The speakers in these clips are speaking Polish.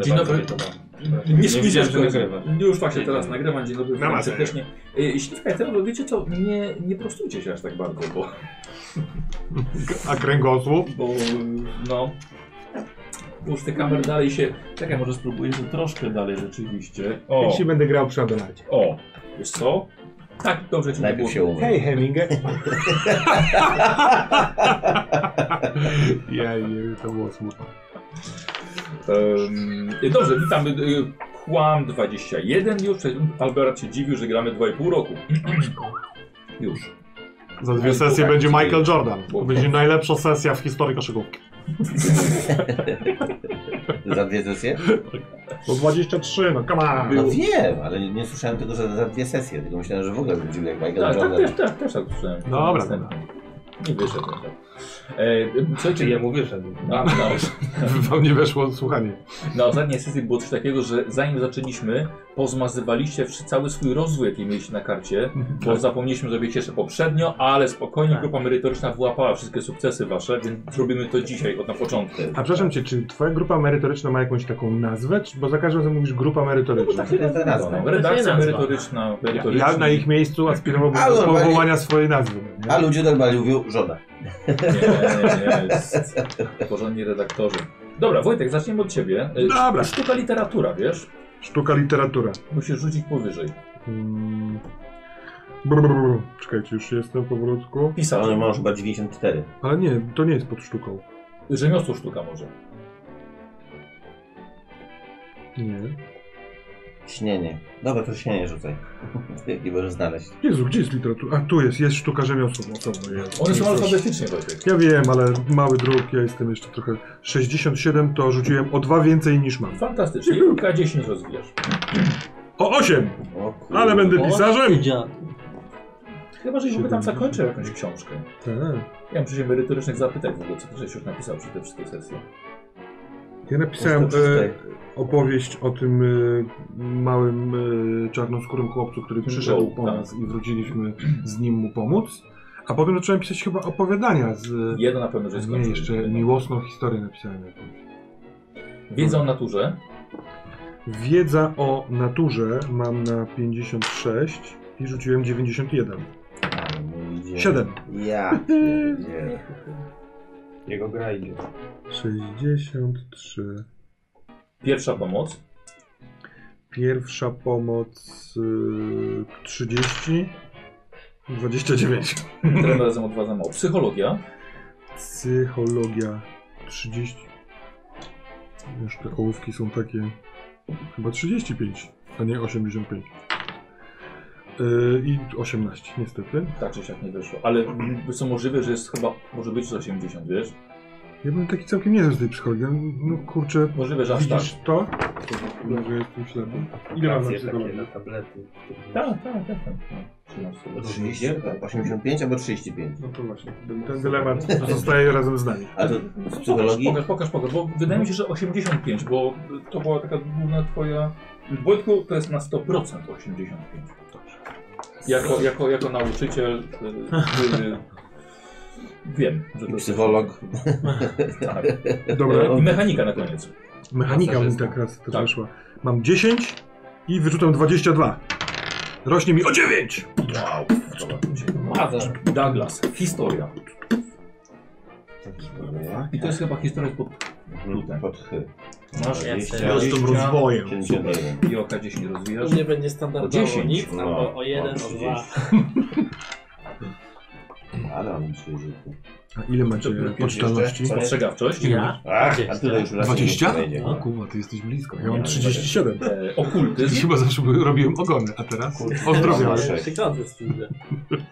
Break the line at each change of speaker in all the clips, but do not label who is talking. Dzień dobry. Nie
Nie
spójrzcie,
widziałem, że
że
nagrywa.
Już właśnie teraz nagrywam, dzień dobry, witam
Namaste.
serdecznie. Y, Jeśli w teraz wiecie co, nie, nie prostujcie się aż tak bardzo, bo,
A kręgosłup?
bo no, już te kamer dalej się,
Czekaj, może spróbuję tu troszkę dalej rzeczywiście.
Jak
O,
się będę grał przy Abelardzie.
o, wiesz co?
tak dobrze ci nie było.
Najpierw się umył.
Hej Hemingway. ja nie wiem, to było smutne.
Em, y, dobrze, witamy. y, Kłam 21 już, Albert się dziwił, że gramy 2,5 roku. już.
Za dwie sesje
Bo-
będzie
bo-
Michael Jordan.
bo-
To będzie najlepsza sesja w historii koszykówki.
Za dwie sesje?
Bo 23, no come on.
No wiem, ale nie słyszałem tego, że za dwie sesje, tylko myślałem, że w ogóle będzie jak Michael
Tak, tak,
Jordan.
też, też, też tak słyszałem.
Dobra,
Następny. Nie wyszedł. tak. E, Słuchajcie, ja mówię, że... A, no,
Wam nie weszło słuchanie.
Na ostatniej sesji było coś takiego, że zanim zaczęliśmy, pozmazywaliście wszy- cały swój rozwój, jaki mieliście na karcie, bo zapomnieliśmy zrobić jeszcze poprzednio, ale spokojnie
Tak.
grupa merytoryczna wyłapała wszystkie sukcesy wasze, więc zrobimy to dzisiaj od na początku.
A przepraszam cię, czy twoja grupa merytoryczna ma jakąś taką nazwę? Czy, bo za każdym razem mówisz grupa merytoryczna.
No to nazwa.
No, redakcja
nazwa.
merytoryczna, merytoryczna.
Tak. Ja na ich miejscu aspirowałbym
Ale
do
normalnie-
powołania swojej nazwy.
A
Nie?
ludzie normalnie mówią żona.
Nie, nie, nie, jest porządni redaktorzy. Dobra, Wojtek, zaczniemy od ciebie. Y,
Dobra.
Sztuka literatura, wiesz?
Sztuka, literatura.
Musisz rzucić powyżej.
Mm. Brr, brr, brr. Czekajcie, już jestem powolutku.
Ale
Pisarz.
masz chyba 94.
Ale nie, to nie jest pod sztuką.
Rzemiosło sztuka może.
Nie.
Śnienie. Dobra, to śnienie rzucaj. Nie możesz znaleźć.
Jezu, gdzie jest literatura? A tu jest, jest sztuka rzemiosła. No to jest.
One
Nie,
są
proszę.
alfabetycznie, Wojtek.
Ja wiem, ale mały druk, ja jestem jeszcze trochę. 67 to rzuciłem o dwa więcej niż mam.
Fantastycznie. Kilka dziesięć rozwijasz.
O 8!
O kurde.
Ale będę pisarzem!
Chyba, że by tam zakończył jakąś książkę.
Tak.
Ja muszę się merytorycznych zapytać w ogóle, co ty żeś już napisał przy te wszystkie sesje.
Ja napisałem
Pusto, pusto.
e, opowieść o tym e, małym e, czarnoskórym chłopcu, który przyszedł
Joe,
po
tak.
nas i wróciliśmy z nim mu pomóc. A potem zacząłem pisać chyba opowiadania z.
E,
Jedno na pewno, że
Nie,
skończyłem.
jeszcze miłosną historię napisałem jakąś.
Wiedza o naturze.
Wiedza o naturze mam na 56 i rzuciłem 91.
Ale mój dzień.
7.
no Ja. pierdzielę.
Jego gra idzie.
63.
Pierwsza pomoc.
Pierwsza pomoc y, 30. 29.
Tym razem o dwa za mało. Psychologia.
Psychologia 30. Już te ołówki są takie. Chyba 35, a nie 85. Yy, I 18, niestety.
Tak czy siak nie wyszło. Ale mm, są możliwe, że jest chyba, może być z 80, wiesz?
Ja byłem taki całkiem niezły z tej psychologii. No kurczę,
Możliwe, że aż tak.
widzisz to? Kurwa, że jestem ślepy. Ile mam na
Akcje takie
no,
psychologię?
na tablety.
Tak, tak, tak. tak. No, trzynastki.
30? Tak, 85 albo 35.
No to właśnie. Ten dylemat zostaje razem z nami.
A to
No,
z psychologii?
Pokaż, pokaż, pokaż, bo wydaje mi się, że 85, bo to była taka główna twoja... Wojtku, to jest na 100% 85. Jako, jako, jako nauczyciel, y, który... Wiem, że to
I psycholog.
Tak.
Dobra,
I mechanika na koniec.
mechanika mi tak raz też
Tak.
weszła. Mam 10 i wyrzucam 22. Rośnie mi o 9!
Wow. Douglas, historia. I to jest chyba historia pod
Mhm, Pod chy.
Masz
Ja
Ja jestem rozwojem.
51.
i oka 10 rozwijasz.
U mnie będzie
O
standardowo
10,
nic,
no,
albo o
o
1, o 2.
30. Ale on się rzucił.
A ile macie
Dobra, pięć
pocztalności?
jeszcze.
Spostrzegawczość.
Ja?
Ach, a
20.
tyle już raz nie
20?
wejdzie.
A No, kurwa, ty jesteś blisko. Ja mam
Nie,
37.
E,
I
okultyzm.
Chyba zawsze były- robiłem ogony, a teraz?
Kurczę,
Ozdrowiałem.
mam sześć.
Przykłady z tym, że-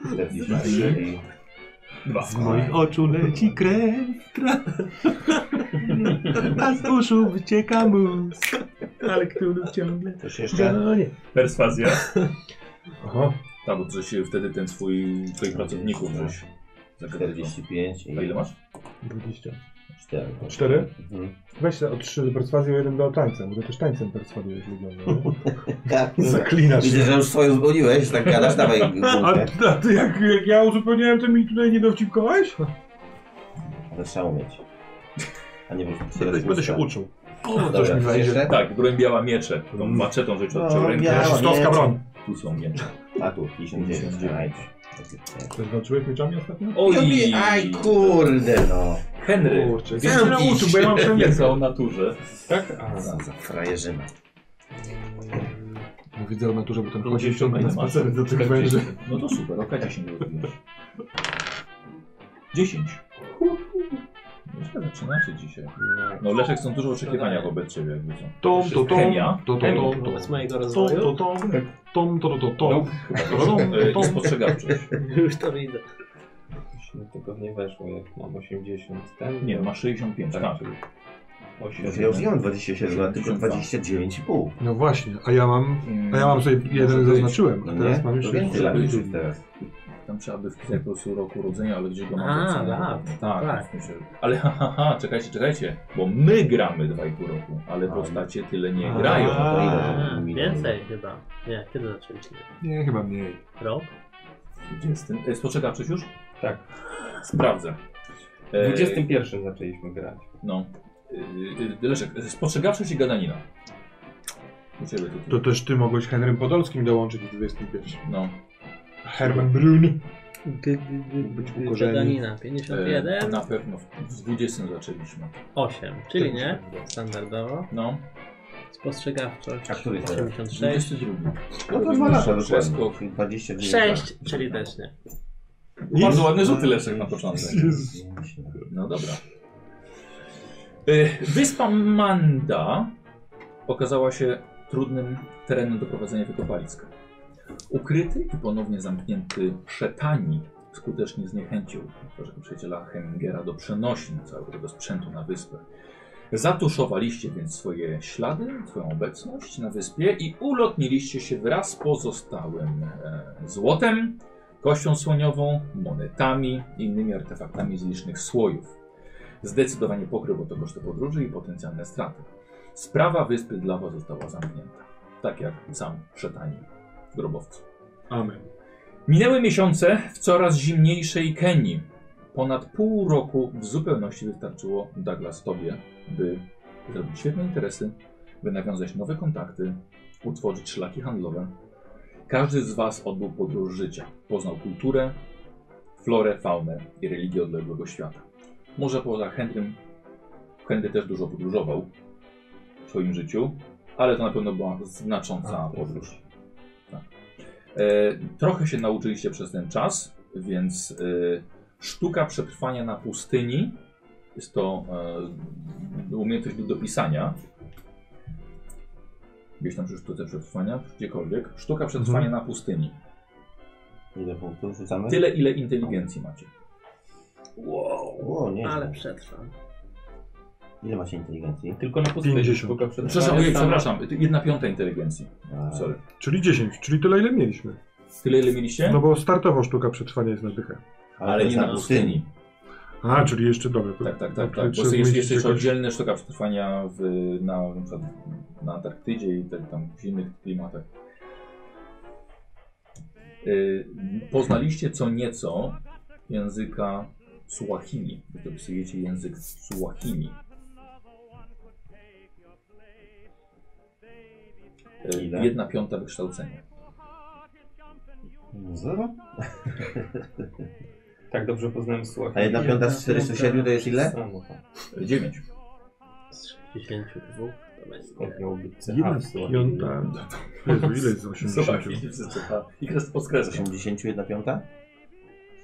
43 i-
Z moich oczu leci krew, krew. A z uszu wycieka mus. Ale który ciągle...
Coś jeszcze?
No nie.
Perswazja.
Aha.
Tak, bo coś wtedy ten twój, twoich pracowników coś. zagadnął.
45 i
A ile masz?
20.
4.
Cztery?
Mhm.
Weź o trzy perswazję, o jeden do tańca. Może też tańcem perswazję wygląda.
Tak.
Zaklinasz
Widzę,
się.
że już swoją zgoniłeś, tak gadasz, dawaj.
A,
gumkę.
a ty jak, jak ja uzupełniałem, to mi tutaj nie dowcipkowałeś?
Ale trzeba umieć. A nie wiem,
Będę się uczył.
O,
Dobra,
coś mi
coś
wejdzie.
jeszcze?
Tak, brąbiała miecze. Tą
Mm.
maczetą, że
No,
no, rękę.
miała.
Szystowska broń.
Tu są miecze.
A tu, 59.
59.
Też walczyłeś mieczami ostatnio?
Oj,
Aj, kurde no.
Henry.
Kurczę,
Widzisz?
ja się nauczył, bo ja mam przemiętę.
Wiedza o naturze.
Tak? A,
Za, za frajerzyna.
No Widzę o naturze, bo ten
To
chodzi
gdzieś
ciągle na
tutaj masz.
spacer do tych węży.
10. No to super, oka 10 rozwijasz. 10. Jeszcze No zaczynacie dzisiaj. No Leszek są dużo oczekiwania wobec ciebie. Jakby co.
Tom, to tom,
Chemia.
to to
Chemia.
tom,
Wobec
to
mojego
tom,
rozwoju.
to tom, tom, to to
No,
tom.
chyba e, to jest spostrzegawczość.
Już to widzę.
właśnie tego nie weszło, jak mam tak? 80. Ten
Nie, no, masz 65. Mm. Tak.
Już ja już nie mam 27, a tylko
82.
29,5.
No właśnie, a ja mam, a No ja mam sobie
Mm, Może
jeden
być.
zaznaczyłem,
No
a teraz
nie?
mam już
To więcej
Może
lat niż
być.
jest teraz.
Tam trzeba by wpisać po prostu roku urodzenia, ale gdzie go mam
A,
zapisane?
lat.
Tak,
Tak.
tak. Myślę, ale ha, ha, ha, czekajcie, czekajcie, bo my gramy 2,5 roku, ale
A,
postacie tyle nie
A.
grają.
No to ile?
A,
Milion.
Hmm, więcej chyba. Nie, kiedy zaczęliśmy?
Nie, chyba mniej.
Rok?
Gdzie jest ten? e, Spoczekawczyś już?
Tak.
Sprawdzę.
W
E,
21 zaczęliśmy grać.
No. E, e, Leszek, e, spostrzegawczość i gadanina. U ciebie to,
To też ty mogłeś Henrym Podolskim dołączyć w 21.
No.
Herman Brun.
Być
ukorzeni.
Danina
E,
51,
na pewno w- w 20 zaczęliśmy.
8, czyli nie? Standardowo.
No.
Spostrzegawczość
A który jest teraz?
86,
22.
No to dwa lata
Wszystko.
dokładnie. 29
6, czyli też nie.
Bardzo ładny rzuty Leszek na początek. No dobra. Y, Wyspa Manda okazała się trudnym terenem do prowadzenia wykopalisk. Ukryty i ponownie zamknięty Szetani skutecznie zniechęcił naszego przyjaciela Hemingera do przenośni całego tego sprzętu na wyspę. Zatuszowaliście więc swoje ślady, swoją obecność na wyspie i ulotniliście się wraz z pozostałym e, złotem, kością słoniową, monetami i innymi artefaktami z licznych słojów. Zdecydowanie pokryło to koszty podróży i potencjalne straty. Sprawa wyspy dla Was została zamknięta, tak jak sam przetani w grobowcu.
Amen.
Minęły miesiące w coraz zimniejszej Kenii. Ponad pół roku w zupełności wystarczyło Douglas Tobie, by zrobić świetne interesy, by nawiązać nowe kontakty, utworzyć szlaki handlowe. Każdy z Was odbył podróż życia, poznał kulturę, florę, faunę i religię odległego świata. Może poza Henrym, Henry też dużo podróżował w swoim życiu, ale to na pewno była znacząca podróż. Tak. E, trochę się nauczyliście przez ten czas, więc e, sztuka przetrwania na pustyni jest to e, umiejętność do dopisania. Gdzieś tam przy sztuce przetrwania, gdziekolwiek. Sztuka przetrwania na pustyni.
Ile punktów rzucamy?
Tyle, ile inteligencji macie.
Wow,
O, nie.
ale przetrwam.
Ile macie inteligencji?
Tylko na pustyni.
50.
Tylko przed
Przepraszam,
nami
ojej,
sama-
przepraszam. Jedna piąta inteligencji.
Tak.
A,
Sorry.
Czyli 10, czyli tyle ile mieliśmy.
Tyle, ile mieliście?
No bo startowo sztuka przetrwania jest na dychę.
ale
to jest
nie na pustyni.
A, czyli jeszcze dobre.
Tak, tak,
No,
tak.
to
tak.
trzeba
Bo jest jeszcze,
zmienić
jeszcze
jakoś-
oddzielna sztuka przetrwania w, na, na, przykład na Antarktydzie i tak, tam w innych klimatach. Yy, poznaliście co nieco języka Suahili. Wy Dopisujecie język Suahili. Yy,
Ile?
Jedna piąta wykształcenia.
Zero?
Tak dobrze poznałem słuchaj.
A jedna piąta z 407 to jest ile?
Samo, tak.
Yy, Dziewięć.
Z 62 to
Skąd
będzie.
miał być CH
Jedna
w Słowakii?
piąta. Jezu, ile jest z 80?
Suahili wszyscy. a, I kres pod kresem.
80, jedna piąta?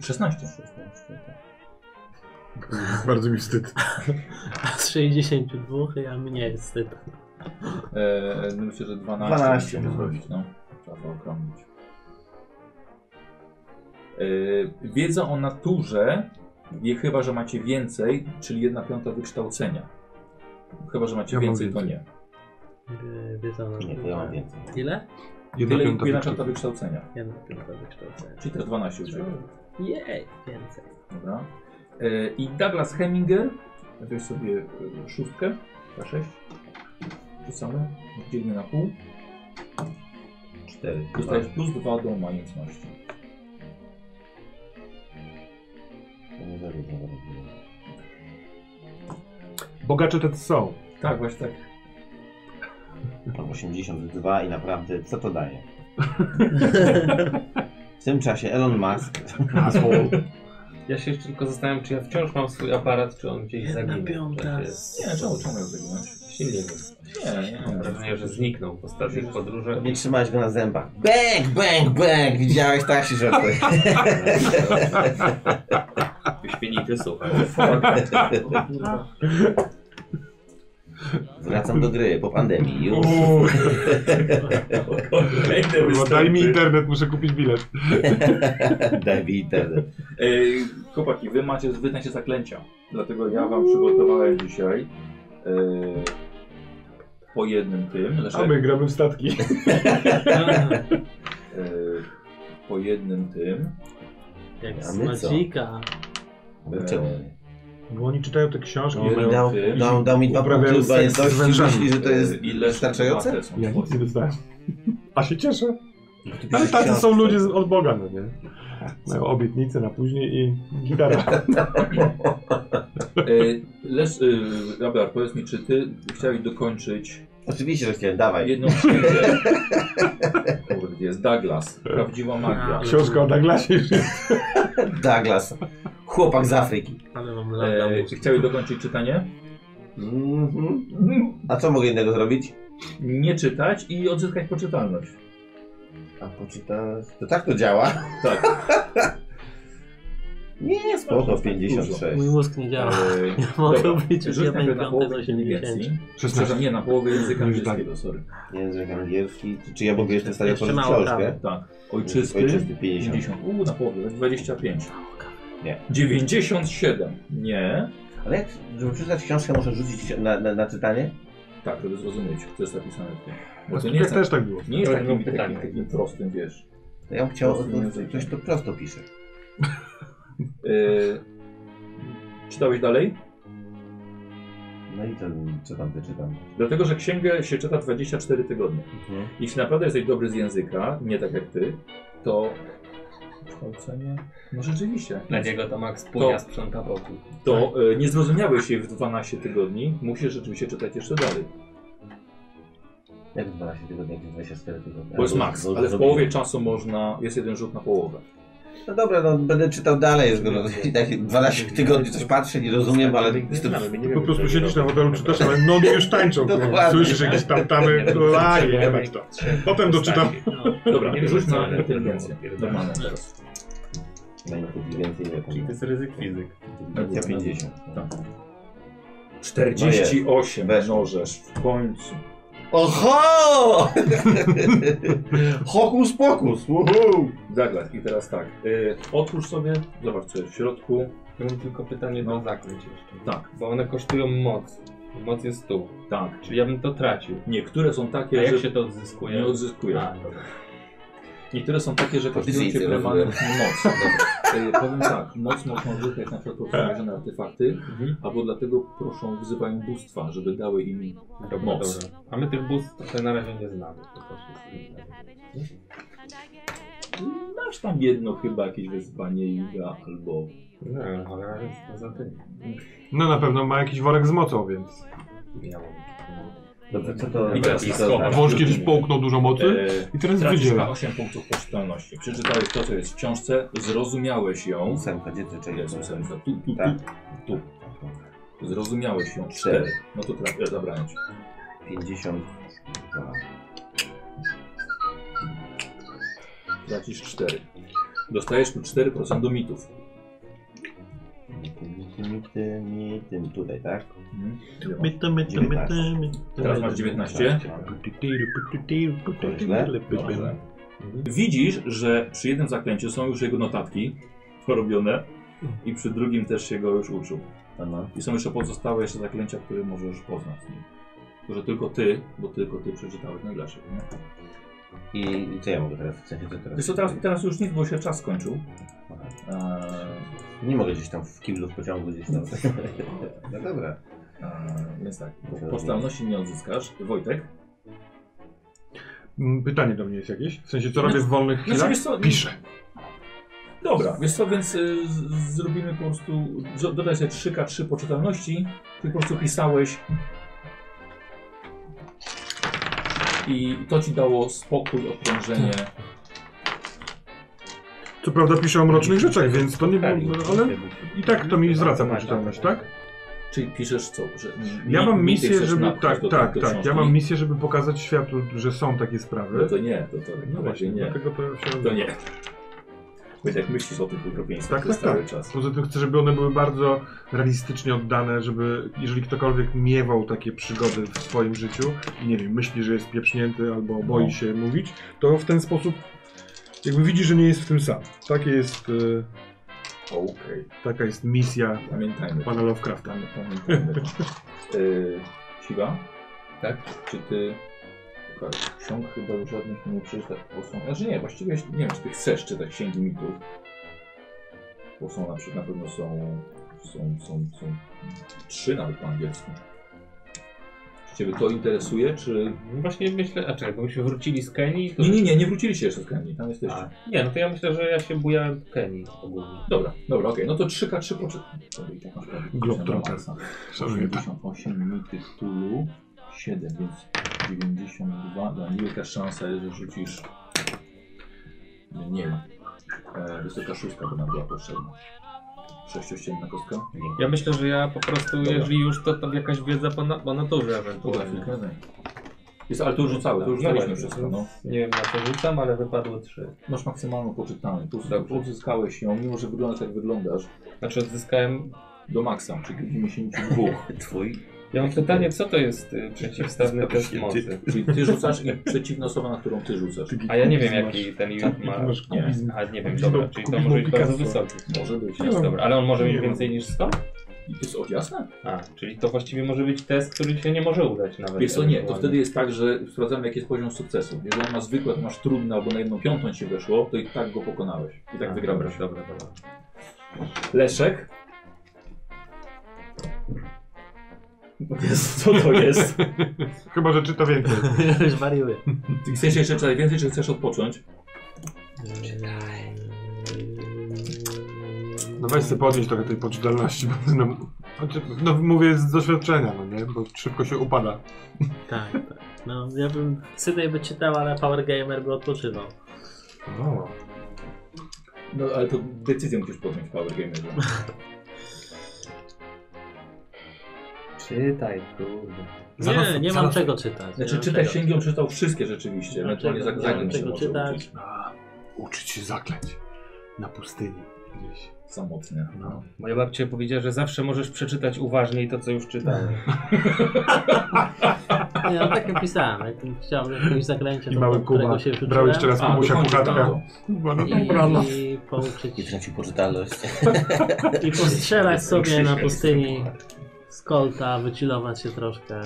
16.
16. tak.
Bardzo mi wstyd.
A z 62 ja mniej wstyd.
Eee, myślę, że 12.
12,
musimy
no.
zrobić, no. Trzeba zaokrąglić. Eee, wiedza o naturze, nie chyba, że macie więcej, czyli 1 piąta wykształcenia. Chyba, że macie
Ja mam
więcej, to
więcej.
nie.
Yy, Wiedza na
Nie, to ja mam więcej.
Ile?
Jedna
Tyle
piąta
1 piąta
wykształcenia.
wykształcenia.
Jedna piąta wykształcenia.
Czyli też 12 u Ciebie.
Jej, więcej.
Dobra. Eee, I Douglas Heminger, weź sobie e, szóstkę, K6. Rzucamy, dzielimy na pół.
4.
Dostajesz plus 2 do majątności.
Bogacze te są.
Tak, właśnie tak.
Mam 82 i naprawdę, co to daje? W tym czasie Elon Musk
Ja się jeszcze tylko zastanawiam, czy ja wciąż mam swój aparat, czy on gdzieś
Jedna
zaginął.
piąta.
Tak jest.
Nie, czemu, czemu ją zaginąć?
Właśnie nie wiem.
Nie, nie,
Mam
nie.
wrażenie, że zniknął po ostatnich podróżach.
nie trzymałeś go na zębach. Bang, bang, bang! Widziałeś, tak się żartuje.
Wyśmienity, słuchaj.
Kurwa.
Wracam do gry po pandemii. Już.
Kolejny
Kurwa,
występ.
daj mi internet, muszę kupić bilet.
Daj mi internet.
Ej, chłopaki, wy macie, wy znacie zaklęcia. Dlatego ja wam przygotowałem dzisiaj e, po jednym tym,
A
znaczy,
my gramy w statki.
No,
e, po jednym tym.
Jak
A
z
my co?
Magika.
Czemu nie?
Bo oni czytają te książki.
No,
ja-
my-
Dał, dał, dał mi dwa
Uprawiają
punkty
Eee, seks z
obojętności.
wężami. Eee,
Myśli, że to jest
e,
wystarczające?
są E,
Ja nic nie
twoje.
dostałem. A się cieszę.
No
Ale tacy są ludzie z- od Boga, no nie? Mają obietnice na później i
Tak.
gitara.
E, Lecz, e, Robert, powiedz mi, czy ty chciałeś dokończyć
Oczywiście, że chciałem, dawaj.
jedną księgę? Kurde, jest Douglas, prawdziwa magia.
Książka o Douglasie już jest.
Douglas, chłopak z Afryki.
Ale mam lada
E,
mózg.
czy chciałeś dokończyć czytanie?
Mhm.
Mm.
A co mogę innego zrobić?
Nie czytać i odzyskać poczytalność.
A poczytać... To tak to działa?
Tak.
Nie, spoko, 56.
Mój mózg nie działa.
Eee,
Ja mogę
dobra.
być już
Rzuć
jeden
najpierw na
piąty z
połowę
80.
inteligencji. Przepraszam, nie, na połowę języka
Już
angielskiego, sorry.
Język angielski. Czy- Czy ja mogę jeszcze stać
Jeszcze
otworzyć
mało
książkę?
Tak. Ojczysty,
Ojczysty 50.
50. Uuu, na połowę, 25.
Nie.
97. Nie.
Ale jak, żeby przeczytać książkę, muszę rzucić na, na, na czytanie?
Tak, żeby zrozumieć, co jest napisane w tym. Bo to nie
Tak
jest,
też tak było.
nie jest
To
takim,
nie pytanie.
takim, takim prostym, wiesz.
To ja bym chciał,
Prosty język.
ktoś to prosto pisze.
Eee, czytałeś dalej?
No i to, co tam wyczytam?
Dlatego, że księgę się czyta 24 tygodnie.
Mhm.
Jeśli naprawdę jesteś dobry z języka, nie tak jak ty, to... Kształcenie? No rzeczywiście.
Dla niego to Max Punia sprząta wokół.
to
Tak.
e, nie zrozumiałeś jej w 12 tygodni, musisz rzeczywiście czytać jeszcze dalej.
Jak 12 tygodni, jak 24 tygodnie?
Bo jest
Albo-
maks,
albo
ale w
zrobię.
połowie czasu można, jest jeden rzut na połowę.
No dobra, no będę czytał dalej, skoro i tak 12 tygodni coś patrzę, nie rozumiem, ale jestem...
Po prostu siedzisz na hotelu, czytasz, ale no oni już tańczą. kurwa.
Dokładnie.
Słyszysz jakieś tam tamy, laje, jebać to. Potem doczytam.
No.
Dobra,
Nie wiem,
rzuć
co,
na
ale
inteligencję.
to było
Normalne teraz.
No Na inteligencję nie
Czyli to
wiem.
jest ryzyk fizyk.
Ja 50.
Tak. 48
Weź.
mnożesz w końcu.
Oho! Hokus pokus! Uhu!
Douglas, i teraz tak. Y, otwórz sobie, zobacz co jest w środku.
Mam tylko pytanie
No.
do zaklęć jeszcze.
Tak,
Bo one kosztują moc. Moc jest tu.
tak.
Czyli ja bym to tracił.
Niektóre są
A
takie,
jak
że
się to odzyskuje?
Znaczy, nie odzyskujesz.
A, dobra.
Niektóre są takie, że kosztują cię
Pozycje,
permanentnie moc. Y, powiem tak, moc można używać na przykład
Tak.
poprzemierzone artefakty,
Mhm.
albo dlatego proszą, wzywają bóstwa, żeby dały im
Dobra,
Moc.
dobra. A my tych bus tutaj na razie nie znamy. To też jest inne.
Masz tam jedno chyba jakieś wezwanie Iga albo...
No, ale jest to za tym.
No na pewno ma jakiś worek z mocą, więc...
Ja mam.
Dobrze, co to...
I teraz
co to
schowa.
znaczy?
Wąż kiedyś połknął dużo mocy
E,
i teraz
tracisz na
wydziela.
8 punktów poczytalności. Przeczytałeś to, co jest w książce, zrozumiałeś ją.
Ósemka, gdzie ty
Jezu,
czekaj?
sensa. Tu, tu,
Tak.
tu, tu. Zrozumiałeś ją.
Cztery.
4. No to traf, e, zabrałem ci.
52.
Tracisz 4. Dostajesz tu 4% do mitów.
Tym, tym, tym, tutaj, tak?
Mhm.
My to, my to, my to, my to.
Teraz masz 19. Dobrze. Widzisz, że przy jednym zaklęciu są już jego notatki porobione i przy drugim też się go już uczył.
Ano.
I są jeszcze pozostałe jeszcze zaklęcia, które możesz poznać. z nim. Tylko, że tylko ty, bo tylko ty przeczytałeś no najlepsze. nie?
I, I co ja mogę teraz? W sensie, co teraz?
Wiesz co, teraz, teraz już nic, bo się czas skończył.
Aha.
Eee,
Nie mogę gdzieś tam w kiblu, w pociągu gdzieś tam. No dobra.
eee, więc tak, poczytalności nie odzyskasz. Wojtek?
Mm, Pytanie do mnie jest jakieś? W sensie, co robię w wolnych
Znaczy,
chwilach?
wiesz co,
Piszę.
dobra, wiesz co, więc y, z- zrobimy po prostu, z- dodaj sobie 3K3 poczytalności, ty po prostu pisałeś i to ci dało spokój, okrążenie.
Co prawda pisze o mrocznych rzeczach, więc to nie było,
Pewnie.
ale i tak to mi zwraca poczytalność, tak?
Czyli piszesz co? Że mi-
Ja mam
mi- mi ty
misję,
chcesz
żeby,
napchać
tak,
do
tak,
tamtej
tak,
książki?
ja mam misję, żeby pokazać światu, że są takie
No
sprawy.
to nie, to, to no właśnie nie.
dlatego to się...
To nie. Bo jak myślisz o tych okropieństwach
Tak,
przez
tak,
cały
tak.
czas.
Poza tym chcę, żeby one były bardzo realistycznie oddane, żeby jeżeli ktokolwiek miewał takie przygody w swoim życiu i nie wiem, myśli, że jest pieprznięty albo boi
No.
się mówić, to w ten sposób jakby widzi, że nie jest w tym sam. Takie jest, e,
Okej,
taka jest misja
pamiętajmy.
pana Lovecrafta.
Pamiętamy, pamiętajmy. Yy, Siwa?
Tak?
Czy ty... Słuchaj, Ksiąg chyba już żadnych nie przeczytać, bo są... Znaczy nie, właściwie nie wiem, czy ty chcesz czytać księgi mitów. Bo są na przykład, na pewno są... Są, są, są trzy nawet po angielsku. Czy ciebie to interesuje, czy...
Mm, Właśnie myślę, a czekaj, bo myśmy wrócili z Kenii, to...
Nie, nie, nie, nie wróciliście jeszcze z Kenii, tam jesteście.
A.
Nie, no to ja myślę, że ja się bujałem w Kenii ogólnie.
Dobra, dobra, okej, no to 3K3 poczytam. To i tak masz prawie
Globetrotter.
50 na maksa. tak. 88 mity Cthulhu, 7, więc 92. Dla mnie jaka szansa jest, że rzucisz... Nie, nie wiem. E, wysoka szóstka by nam była potrzebna. Sześciościenna kostka?
Ja myślę, że ja po prostu,
Dobra.
jeżeli już, to tam jakaś wiedza po, na, po naturze
Potrafię.
ewentualnie.
Jest, ale to już rzucałeś, to już
No
rzucaliśmy
właśnie,
wszystko, no.
Nie wiem na co rzucam, ale wypadły trzy.
Masz maksymalną poczytalność, po prostu odzyskałeś ją, mimo że wyglądasz jak wyglądasz,
Znaczy odzyskałem...
do maksa, czyli 92.
Twój.
Ja mam pytanie, co to jest y, przeciwstawny test mocy?
Czyli ty rzucasz i przeciwna osoba, na którą ty rzucasz.
A ja nie wiem, jaki ten unit ma.
Masz
Nie.
kubizm.
A nie wiem,
Kubizm-
dobra, czyli to
kubizm
może być bardzo
Picasso.
wysoki.
Może być.
Nie wiem.
Dobra, ale on może
Nie
mieć
wiem.
więcej niż 100?
I to jest o, jasne?
A, czyli to właściwie może być test, który się nie może udać nawet.
Wiesz co, nie, to
ewentualnie.
wtedy jest tak, że sprawdzamy jaki jest poziom sukcesu. Jeżeli masz zwykłe, to masz trudne albo na jedną piątą ci weszło, to i tak go pokonałeś. I tak
A,
wygrałeś.
Dobra, dobra, dobra.
Leszek? Jezu, co to jest?
Chyba, że czyta więcej.
Ja już wariuję.
Ty chcesz jeszcze czytać więcej, czy chcesz odpocząć?
Czytaj.
No weź sobie podnieść trochę tej poczytalności, bo no, choć- no mówię z doświadczenia, no nie? Bo szybko się upada.
Tak, tak. No, ja bym Sydney by czytał, ale Power Gamer by odpoczywał.
O.
No ale to decyzję musisz podjąć, Power Gamerze.
Czytaj, kurde.
Za nas-
Nie, nie
za
mam
nas-
czego czytać.
Znaczy
nie
czytaj
mam czego.
księgi, on czytał wszystkie rzeczywiście. Ewentualnie za
Dlaczego? Nie mam
zanim się
No, czego
może
czytać.
uczyć.
A, Uczyć się zaklęć. Na pustyni gdzieś.
Samotnie.
No.
Moja babcia powiedziała, że zawsze możesz przeczytać uważniej to, co już czytałem.
Nie, no tak napisałem. Jak chciałem jakiegoś zaklęcia,
I
to
mały
do którego
Kuba.
się wrzuciłem.
Brał jeszcze raz
A,
Kubusia
do końca
kuchatka.
tamto.
Kuba, no
I,
dobra, no.
i pouczyć
I traci poczytalność.
i postrzelać sobie na pustyni z kolta, wychillować się troszkę,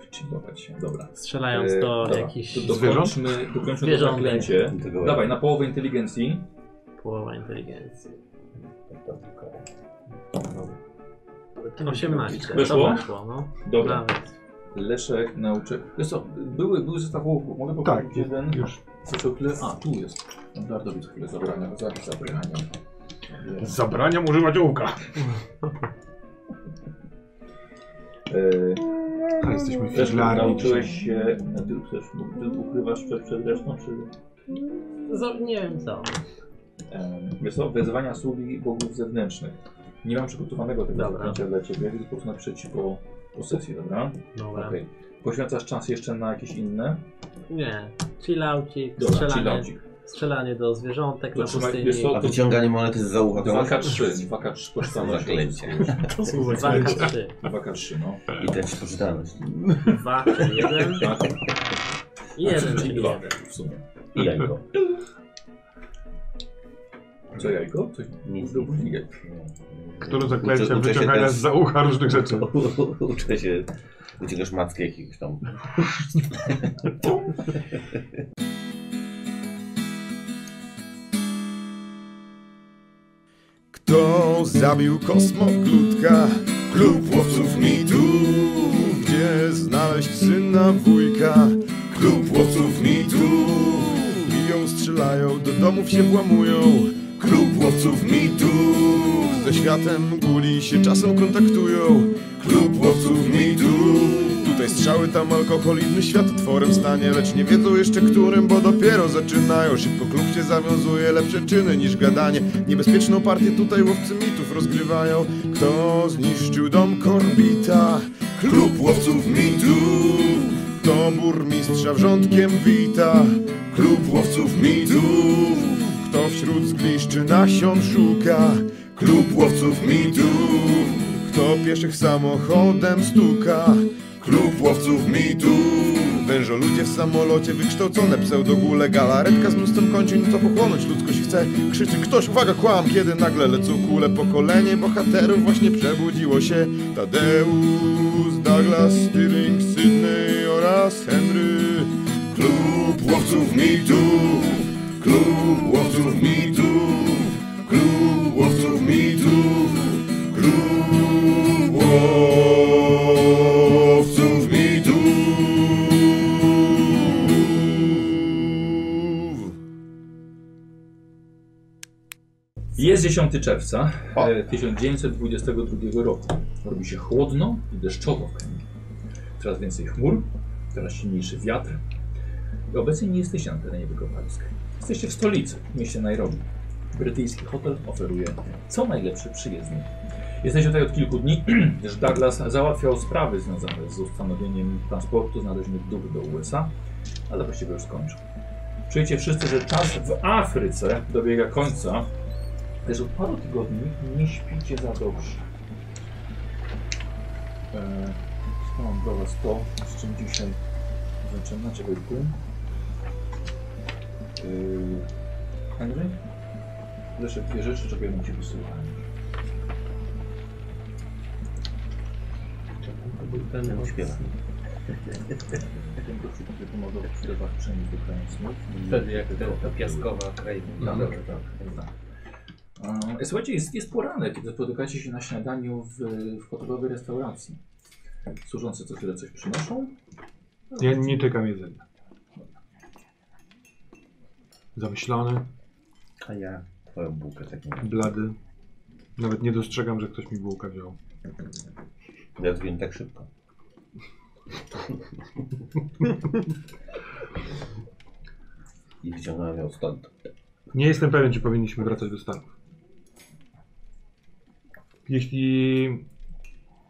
Wczytować się, dobra.
strzelając
E,
do
dobra.
jakichś
To Dokończmy, dokończmy to
Zwierząt.
zaklęcie.
Tego-
Dawaj, na połowę inteligencji.
połowa inteligencji. 18.
Wyszło?
To weszło, no.
Dobra.
Nawet.
Leszek, nauczek. Wiesz co, były, były zestaw łowków. Mogę powiedzieć
Tak,
jeden?
już.
Zaczął chwilę. A, tu jest. Standardowi co chwilę zabrania. Zapis zabrania.
Zabraniam używać ołka.
Eee,
Ale jesteśmy
Też
figlarni.
nauczyłeś się. e, Ty, też, ty ukrywasz przed, przed resztą, czy.
Za- nie wiem co.
Eee, wiesz co, wezwania sługi bogów zewnętrznych. Nie mam przygotowanego tego
Dobra.
zaklęcia dla ciebie, więc po prostu napiszę ci po, po sesji, dobra?
Dobra.
Okej. Poświęcasz czas jeszcze na jakieś inne?
Nie. Chillaucik,
Dobra, czyli
strzelanie,
laucik.
strzelanie do zwierzątek
To
na
trzymaj-
pustyni.
wiesz co,
A wyciąganie monety z za ucha.
2K3, 2K3 kosztowności.
Zaklęcie.
To są
Walka
zaklęcia.
3.
2K3, no.
I traci poczytalność.
2, 1
Tak,
i 1,
czyli
czyli
dwa
1.
w sumie.
I jajko.
Co jajko? Coś
Nic.
do budzika.
Które
Uczę-
zaklęcia
uczę się
wyciągania
też-
z za ucha różnych rzeczy.
Uczę się. Wyciągasz mackę jakiegoś tam.
Kto zabił kosmoklutka? Klub łowców mitu. Gdzie znaleźć syna wujka? Klub łowców mitu. Biją, strzelają, do domów się włamują. Klub łowców mitu. Ze światem guli się czasem kontaktują. Klub łowców mitu. Tutaj strzały, tam alkohol, inny świat otworem stanie Lecz nie wiedzą jeszcze którym, bo dopiero zaczynają Szybko klub się zawiązuje, lepsze czyny niż gadanie Niebezpieczną partię tutaj łowcy mitów rozgrywają Kto zniszczył dom Korbita? Klub łowców mitów Kto burmistrza wrzątkiem wita? Klub łowców mitów Kto wśród zgliszczy nasion szuka? Klub łowców mitów Kto pieszych samochodem stuka? Klub łowców mitów Wężo ludzie w samolocie, wykształcone pseudogule Galaretka z mnóstwem kończyn, co pochłonąć ludzkość chce Krzyczy ktoś, uwaga, kłam, kiedy nagle lecą kule Pokolenie bohaterów właśnie przebudziło się Tadeusz, Douglas, Stirling, Sydney oraz Henry Klub łowców mitów Klub łowców mitów Klub łowców mitów Klub łowców mitów
Jest 10 czerwca
O.
e, 1922 roku. Robi się chłodno i deszczowo w Kenii. Coraz więcej chmur, coraz silniejszy wiatr. I obecnie nie jesteście na terenie wykopalisk. Jesteście w stolicy, w mieście Nairobi. Brytyjski hotel oferuje co najlepsze przyjezdnie. Jesteście tutaj od kilku dni, gdyż Douglas załatwiał sprawy związane z ustanowieniem transportu znalezionych dóbr do USA, ale właściwie już skończył. Czujecie wszyscy, że czas w Afryce dobiega końca, też od paru tygodni nie śpicie za dobrze. Eee, mam dla Was to, z czym dzisiaj zaczynam. Czekaj, tu. Eee, Henry? Jeszcze dwie rzeczy, czego ja bym Cię wysłuchałem. No,
Śpiewa.
Ten gościu, który pomagał w chlebach przenieść do krańców.
Wtedy jak te, ta piaskowa kraina.
Tak, tak, tak. Eee, Słuchajcie, jest, jest poranek, kiedy spotykacie się na śniadaniu w, w hotelowej restauracji. Służący co chwilę coś przynoszą.
Ja nie tykam jedzenia. Zamyślony,
A ja twoją bułkę tak taką.
blady. Nawet nie dostrzegam, że ktoś mi bułkę wziął.
Ja zginę tak szybko. I wyciągnąłem ją stąd.
Nie jestem pewien, czy powinniśmy wracać do Stanów. Jeśli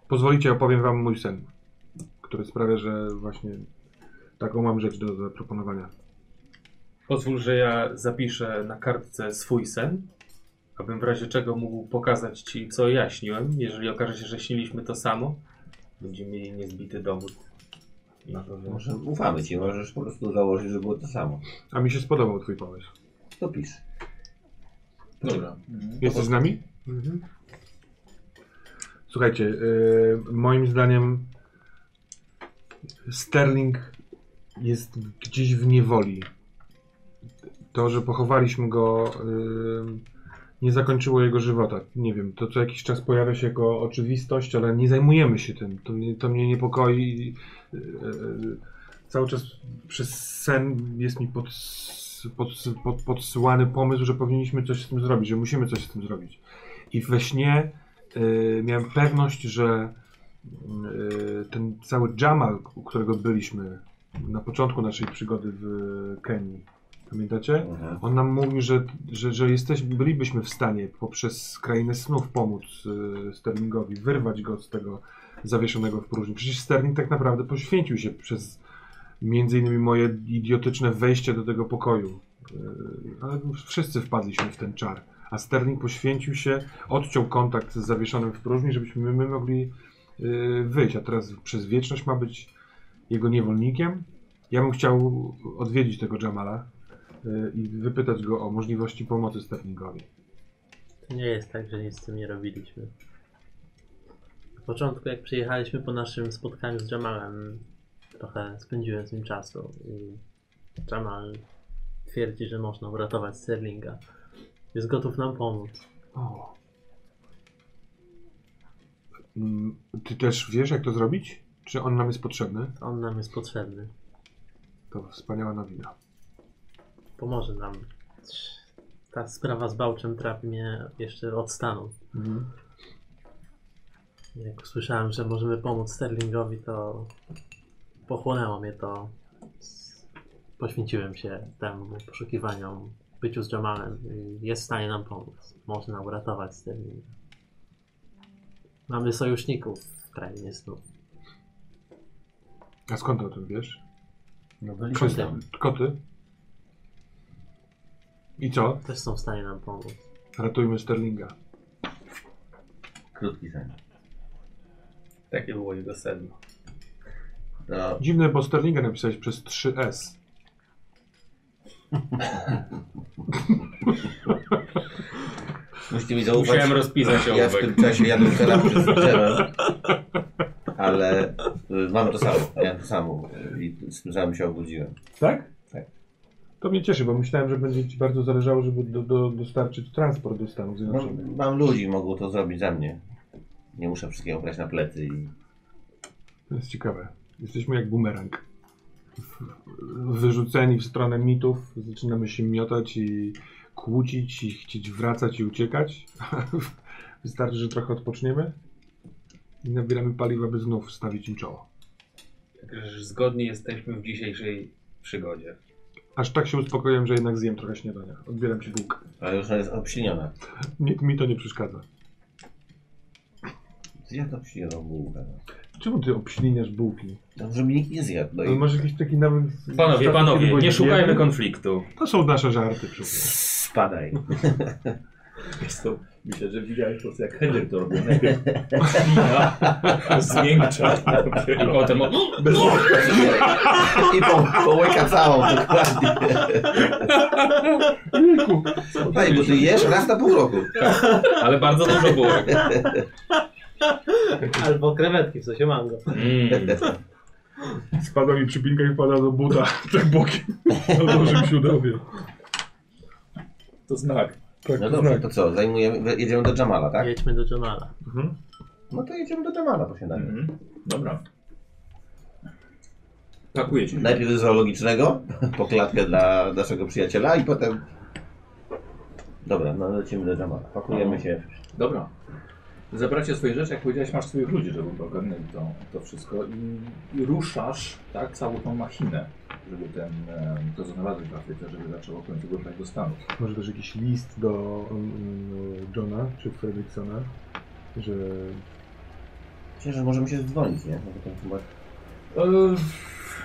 pozwolicie, opowiem wam mój sen, który sprawia, że właśnie taką mam rzecz do zaproponowania.
Pozwól, że ja zapiszę na kartce swój sen, abym w razie czego mógł pokazać ci, co ja śniłem. Jeżeli okaże się, że śniliśmy to samo, będziemy mieli niezbity dowód. Na to, że...
Może ufamy ci, możesz po prostu założyć, że było to samo.
A mi się spodobał twój pomysł.
To pisz.
Dobra.
Jesteś z nami? Słuchajcie, yy, moim zdaniem Sterling jest gdzieś w niewoli. To, że pochowaliśmy go, yy, nie zakończyło jego żywota. Nie wiem, to co jakiś czas pojawia się jako oczywistość, ale nie zajmujemy się tym. To mnie, to mnie niepokoi. Yy, cały czas przez sen jest mi pod, pod, pod, podsyłany pomysł, że powinniśmy coś z tym zrobić, że musimy coś z tym zrobić. I we śnie y, miałem pewność, że y, ten cały Jamal, u którego byliśmy na początku naszej przygody w Kenii, pamiętacie?
Mhm.
On nam mówił, że, że, że jesteś, bylibyśmy w stanie poprzez krainę snów pomóc y, Sterlingowi, wyrwać go z tego zawieszonego w próżni. Przecież Sterling tak naprawdę poświęcił się przez między innymi moje idiotyczne wejście do tego pokoju. Yy, Ale wszyscy wpadliśmy w ten czar. A Sterling poświęcił się, odciął kontakt z zawieszonym w próżni, żebyśmy my mogli yy, wyjść. A teraz przez wieczność ma być jego niewolnikiem. Ja bym chciał odwiedzić tego Jamala yy, i wypytać go o możliwości pomocy Sterlingowi.
To nie jest tak, że nic z tym nie robiliśmy. Na początku, jak przyjechaliśmy po naszym spotkaniu z Jamalem, trochę spędziłem z nim czasu i Jamal twierdzi, że można uratować Sterlinga. Jest gotów nam pomóc.
O. Mm, Ty też wiesz, jak to zrobić? Czy on nam jest potrzebny?
On nam jest potrzebny.
To wspaniała nowina.
Pomoże nam. Ta sprawa z Bałczem trapi mnie jeszcze od stanu.
Mhm.
Jak słyszałem, że możemy pomóc Sterlingowi, to pochłonęło mnie to. Poświęciłem się temu poszukiwaniom, byciu z Jamalem. Jest w stanie nam pomóc. Może nam uratować z tym. Mamy sojuszników w krainie snów.
A skąd o tym wiesz?
No
Krzysztof, Koty? I co?
Też są w stanie nam pomóc.
Ratujmy Sterlinga.
Krótki sen.
Takie było jego sedno.
No,
Dziwne, bo Sterlinga napisałeś przez 3S.
musicie mi zaufać.
Musiałem rozpisać
Ja w
ołówek.
tym czasie jadłem kanapę przez drzewo, ale y, mam to samo, ja to samo y, i z tym samym się obudziłem.
Tak?
Tak.
To mnie cieszy, bo myślałem, że będzie ci bardzo zależało, żeby do, do, dostarczyć transport do Stanów Zjednoczonych.
Mam, No, mam ludzi, mogą to zrobić za mnie. Nie muszę wszystkiego brać na plecy i
To jest ciekawe. Jesteśmy jak bumerang. Wyrzuceni w stronę mitów, zaczynamy się miotać i kłócić, i chcieć wracać i uciekać. Wystarczy, że trochę odpoczniemy i nabieramy paliwa, by znów stawić im czoło.
Także zgodni jesteśmy w dzisiejszej przygodzie.
Aż tak się uspokoiłem, że jednak zjem trochę śniadania. Odbieram ci bułkę.
a już ona jest obśliniona.
Nikt mi to nie przeszkadza.
Zjadł obślinioną bułkę. no.
Czemu ty obśliniasz bułki?
No, żeby nikt nie zjadł. No
No,
i...
masz jakiś taki nawet...
Panowie, panowie, nie szukajmy
konfliktu.
konfliktu.
To są nasze żarty, przecież.
Spadaj.
Wiesz co, myślę, że widziałeś to, co jak Henryk to robił. Najpierw spina, zmiękcza.
I potem o,
tak.
Bez
I po, połyka całą dokładnie.
Jejku,
Ej, bo ty jesz raz na pół roku.
ale bardzo dużo było.
Albo krewetki, w sensie mango.
Tak,
Mm.
Spada mi przypinka i wpada do buta tak bokiem. Odłożył się udowie.
To znak.
Tak,
No
no
dobrze, to co? Zajmujemy, jedziemy do Jamala, tak?
Jedźmy do Jamala.
Mhm.
No to jedziemy do Jamala po śniadaniu.
Mhm. Dobra. Pakujecie. się.
Hmm. Najpierw do zoologicznego, po klatkę dla naszego przyjaciela i potem... Dobra, no lecimy do Jamala.
No.
Pakujemy się.
Dobra. Zabracie swoje rzeczy, jak powiedziałeś, masz swoich ludzi, żeby ogarnęli to, to wszystko i, i ruszasz, tak, całą tą machinę, żeby ten, e, to co znalazłeś w Afryce, żeby zaczęło w końcu wracać do Stanów.
Może też jakiś list do mm, Johna czy Fredricksona, że
Myślę, że możemy się dzwonić, nie? No bo to chyba
E,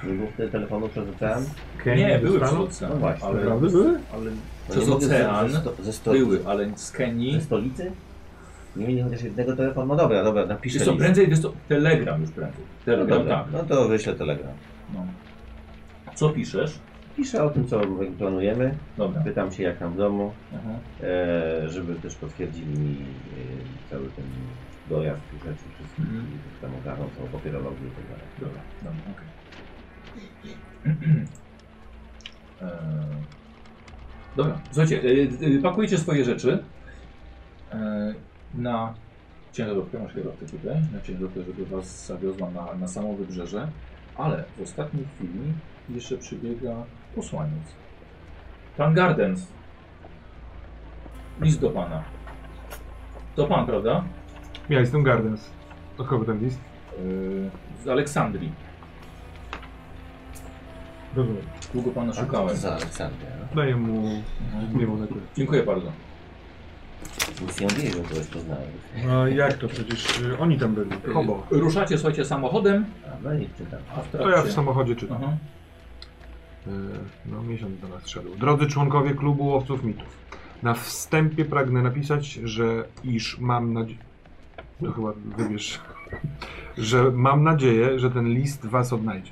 nie było wtedy telefonu przez ocean.
nie, były
zostaną?
przez ocean,
No właśnie.
ale,
Naprawdę były?
ale
No
Przez
nie mogę
ocean
ze, ze, sto, ze, sto,
były, ale z Kenii,
ze stolicy? Nie mieli chociaż jednego telefonu. No dobra, dobra, napiszę
wiesz co,
list.
prędzej, wiesz co, telegram już prędzej,
No,
telegram,
dobra,
tak.
no to wyślę telegram.
No. Co piszesz?
Piszę o tym, co planujemy.
Dobra.
Pytam się jak tam w domu,
Aha.
e, żeby też potwierdzili mi e, cały ten dojazd tych rzeczy wszystkich.
Mhm.
Mm. Tam ogarną całą papierologię i tak dalej.
Dobra, dobra, okej. Eee, Dobra, słuchajcie, y, y, pakujecie swoje rzeczy e, na ciężarówkę, masz kierowcę tutaj, na ciężarówkę, żeby was zawiozła na, na samo wybrzeże, ale w ostatniej chwili jeszcze przybiega posłaniec. Pan Gardens. List do pana. To pan, prawda?
Ja jestem Gardens. Od kogo ten list?
Yy, z Aleksandrii.
Rozumiem.
Długo pana
Tak,
szukałem.
Za Aleksandrę. no.
Daję mu niebo na górę.
Dziękuję bardzo.
Nic nie mówię, że kogoś poznałem.
No jak to? Przecież y, oni tam byli. Hobo.
Ruszacie, słuchajcie, samochodem,
A, no i czytam.
a w trakcie...
To ja w samochodzie czytam.
Aha.
E, No, miesiąc do nas szedł. Drodzy członkowie klubu łowców mitów, na wstępie pragnę napisać, że iż mam nadzieję. To chyba wybierz. że mam nadzieję, że ten list was odnajdzie.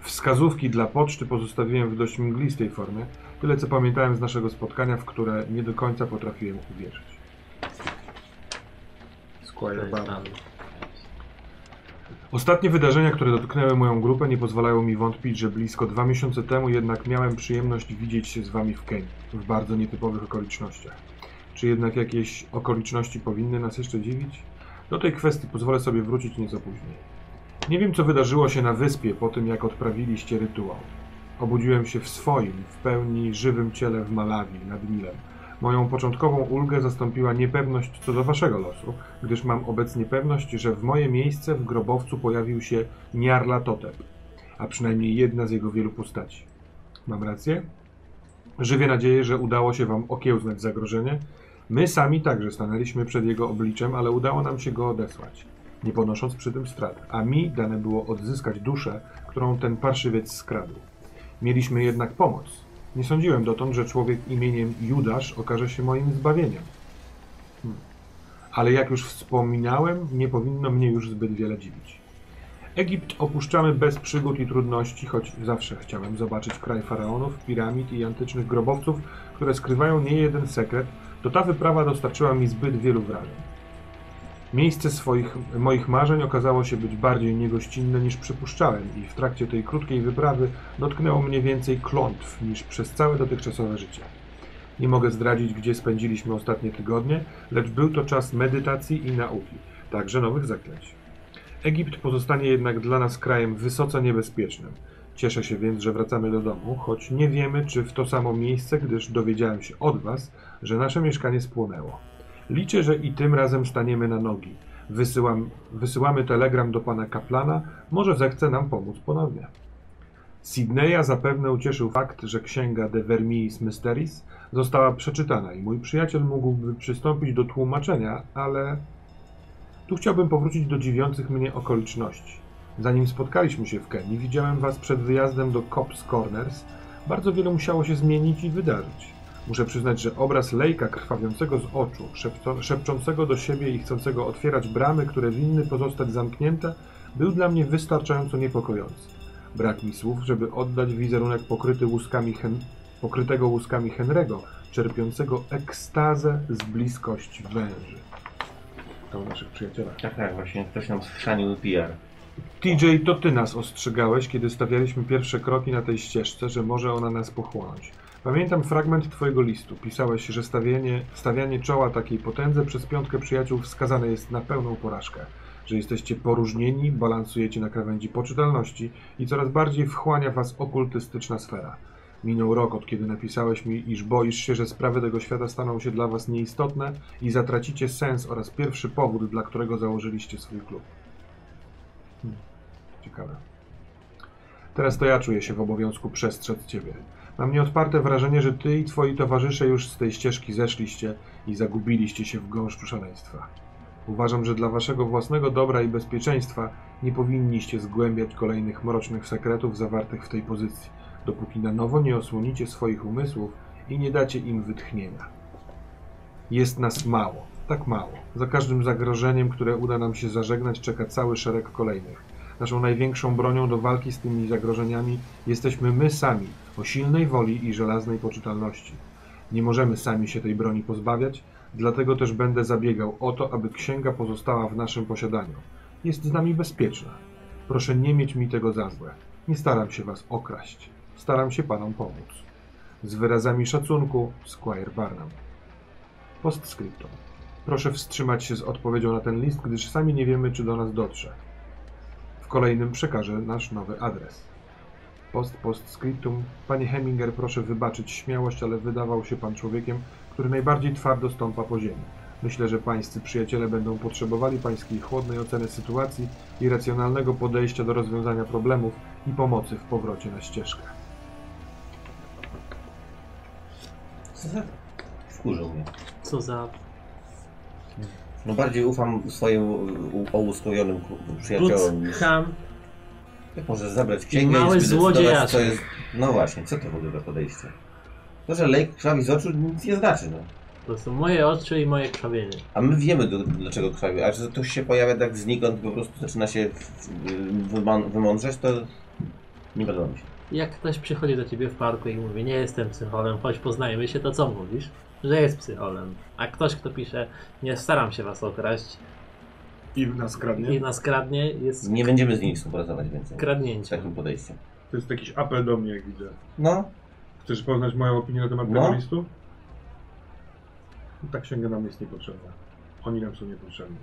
Wskazówki dla poczty pozostawiłem w dość mglistej formie, tyle co pamiętałem z naszego spotkania, w które nie do końca potrafiłem uwierzyć.
To
Squire
jest
Barnes.
plan.
Ostatnie wydarzenia, które dotknęły moją grupę, nie pozwalają mi wątpić, że blisko dwa miesiące temu jednak miałem przyjemność widzieć się z wami w Kenii, w bardzo nietypowych okolicznościach. Czy jednak jakieś okoliczności powinny nas jeszcze dziwić? Do tej kwestii pozwolę sobie wrócić nieco później. Nie wiem, co wydarzyło się na wyspie po tym, jak odprawiliście rytuał. Obudziłem się w swoim, w pełni żywym ciele w Malawi, nad Nilem. Moją początkową ulgę zastąpiła niepewność co do waszego losu, gdyż mam obecnie pewność, że w moje miejsce w grobowcu pojawił się Niarlatotep, a przynajmniej jedna z jego wielu postaci. Mam rację? Żywię nadzieję, że udało się wam okiełznać zagrożenie. My sami także stanęliśmy przed jego obliczem, ale udało nam się go odesłać, nie ponosząc przy tym strat, a mi dane było odzyskać duszę, którą ten parszywiec skradł. Mieliśmy jednak pomoc. Nie sądziłem dotąd, że człowiek imieniem Judasz okaże się moim zbawieniem. Hmm. Ale jak już wspominałem, nie powinno mnie już zbyt wiele dziwić. Egipt opuszczamy bez przygód i trudności, choć zawsze chciałem zobaczyć kraj faraonów, piramid i antycznych grobowców, które skrywają nie jeden sekret, to ta wyprawa dostarczyła mi zbyt wielu wrażeń. Miejsce swoich, moich marzeń okazało się być bardziej niegościnne niż przypuszczałem i w trakcie tej krótkiej wyprawy dotknęło mnie więcej klątw niż przez całe dotychczasowe życie. Nie mogę zdradzić, gdzie spędziliśmy ostatnie tygodnie, lecz był to czas medytacji i nauki, także nowych zaklęć. Egipt pozostanie jednak dla nas krajem wysoce niebezpiecznym. Cieszę się więc, że wracamy do domu, choć nie wiemy, czy w to samo miejsce, gdyż dowiedziałem się od Was, że nasze mieszkanie spłonęło. Liczę, że i tym razem staniemy na nogi. Wysyłam, wysyłamy telegram do pana kaplana, może zechce nam pomóc ponownie. Sydneya zapewne ucieszył fakt, że księga De Vermiis Mysteris została przeczytana i mój przyjaciel mógłby przystąpić do tłumaczenia, ale tu chciałbym powrócić do dziwiących mnie okoliczności. Zanim spotkaliśmy się w Kenii, widziałem was przed wyjazdem do Cops Corners. Bardzo wiele musiało się zmienić i wydarzyć. Muszę przyznać, że obraz lejka krwawiącego z oczu, szepco, szepczącego do siebie i chcącego otwierać bramy, które winny pozostać zamknięte, był dla mnie wystarczająco niepokojący. Brak mi słów, żeby oddać wizerunek pokryty łuskami hen, pokrytego łuskami Henry'ego, czerpiącego ekstazę z bliskości węży. To o naszych przyjacielach.
Tak, tak, właśnie ktoś nam schrzanił PR.
TJ, to ty nas ostrzegałeś, kiedy stawialiśmy pierwsze kroki na tej ścieżce, że może ona nas pochłonąć. Pamiętam fragment twojego listu. Pisałeś, że stawianie, stawianie czoła takiej potędze przez piątkę przyjaciół wskazane jest na pełną porażkę. Że jesteście poróżnieni, balansujecie na krawędzi poczytalności i coraz bardziej wchłania was okultystyczna sfera. Minął rok od kiedy napisałeś mi, iż boisz się, że sprawy tego świata staną się dla was nieistotne i zatracicie sens oraz pierwszy powód, dla którego założyliście swój klub. Hmm. Ciekawe. Teraz to ja czuję się w obowiązku przestrzec ciebie. Mam nieodparte wrażenie, że ty i twoi towarzysze już z tej ścieżki zeszliście i zagubiliście się w gąszczu szaleństwa. Uważam, że dla waszego własnego dobra i bezpieczeństwa nie powinniście zgłębiać kolejnych mrocznych sekretów zawartych w tej pozycji, dopóki na nowo nie osłonicie swoich umysłów i nie dacie im wytchnienia. Jest nas mało, tak mało. Za każdym zagrożeniem, które uda nam się zażegnać, czeka cały szereg kolejnych. Naszą największą bronią do walki z tymi zagrożeniami jesteśmy my sami, o silnej woli i żelaznej poczytalności. Nie możemy sami się tej broni pozbawiać, dlatego też będę zabiegał o to, aby księga pozostała w naszym posiadaniu. Jest z nami bezpieczna. Proszę nie mieć mi tego za złe. Nie staram się was okraść. Staram się panom pomóc. Z wyrazami szacunku, Squire Barnum. Postscriptum. Proszę wstrzymać się z odpowiedzią na ten list, gdyż sami nie wiemy, czy do nas dotrze. W kolejnym przekażę nasz nowy adres. Post postscriptum. Panie Heminger, proszę wybaczyć śmiałość, ale wydawał się pan człowiekiem, który najbardziej twardo stąpa po ziemi. Myślę, że pańscy przyjaciele będą potrzebowali pańskiej chłodnej oceny sytuacji i racjonalnego podejścia do rozwiązania problemów i pomocy w powrocie na ścieżkę.
Wkurzył mnie.
Co za
No bardziej ufam swoim u- ołuskojonym ku- przyjaciołom niż...
butkam.
Jak możesz zabrać księgę
Mały
i zdecydować,
złodziejaszek.
co jest... No właśnie, co to w ogóle za podejście? To, że lejk krwawi z oczu nic nie znaczy, no.
To są moje oczy i moje krwawienie.
A my wiemy, do, dlaczego krwawi, a że to się pojawia tak znikąd, po prostu zaczyna się w- w- wyman- wymądrzeć, to nie podoba mi się.
Jak ktoś przychodzi do ciebie w parku i mówi, nie jestem psycholem, chodź poznajmy się, to co mówisz? Że jest psycholem. A ktoś, kto pisze, nie staram się was okraść
I nas kradnie?
i nas kradnie, jest
Nie będziemy z nimi współpracować więcej. Z
kradnięciem.
takim podejściem.
To jest jakiś apel do mnie, jak widzę.
No,
Chcesz poznać moją opinię na temat
No.
tego listu? Tak Ta księga nam jest niepotrzebna. Oni nam są niepotrzebni.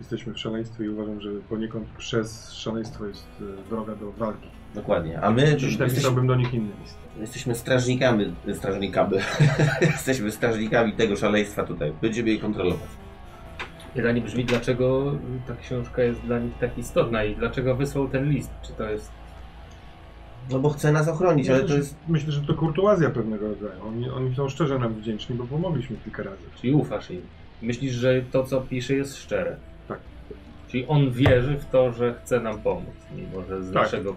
Jesteśmy w szaleństwie i uważam, że poniekąd przez szaleństwo jest e, droga do walki.
dokładnie. A my
Dziś
jesteśmy,
napisałbym do nich inny list.
jesteśmy strażnikami, strażnikami, jesteśmy strażnikami tego szaleństwa tutaj. Będziemy je kontrolować.
Pytanie brzmi, dlaczego ta książka jest dla nich tak istotna i dlaczego wysłał ten list? Czy to jest
No bo chce nas ochronić, ale to
myślę,
jest...
że- myślę, że to kurtuazja pewnego rodzaju. Oni, oni są szczerze nam wdzięczni, bo pomogliśmy kilka razy.
Czyli ufasz im. Myślisz, że to, co pisze, jest szczere.
Tak.
Czyli on wierzy w to, że chce nam pomóc, mimo że z
Tak.
naszego...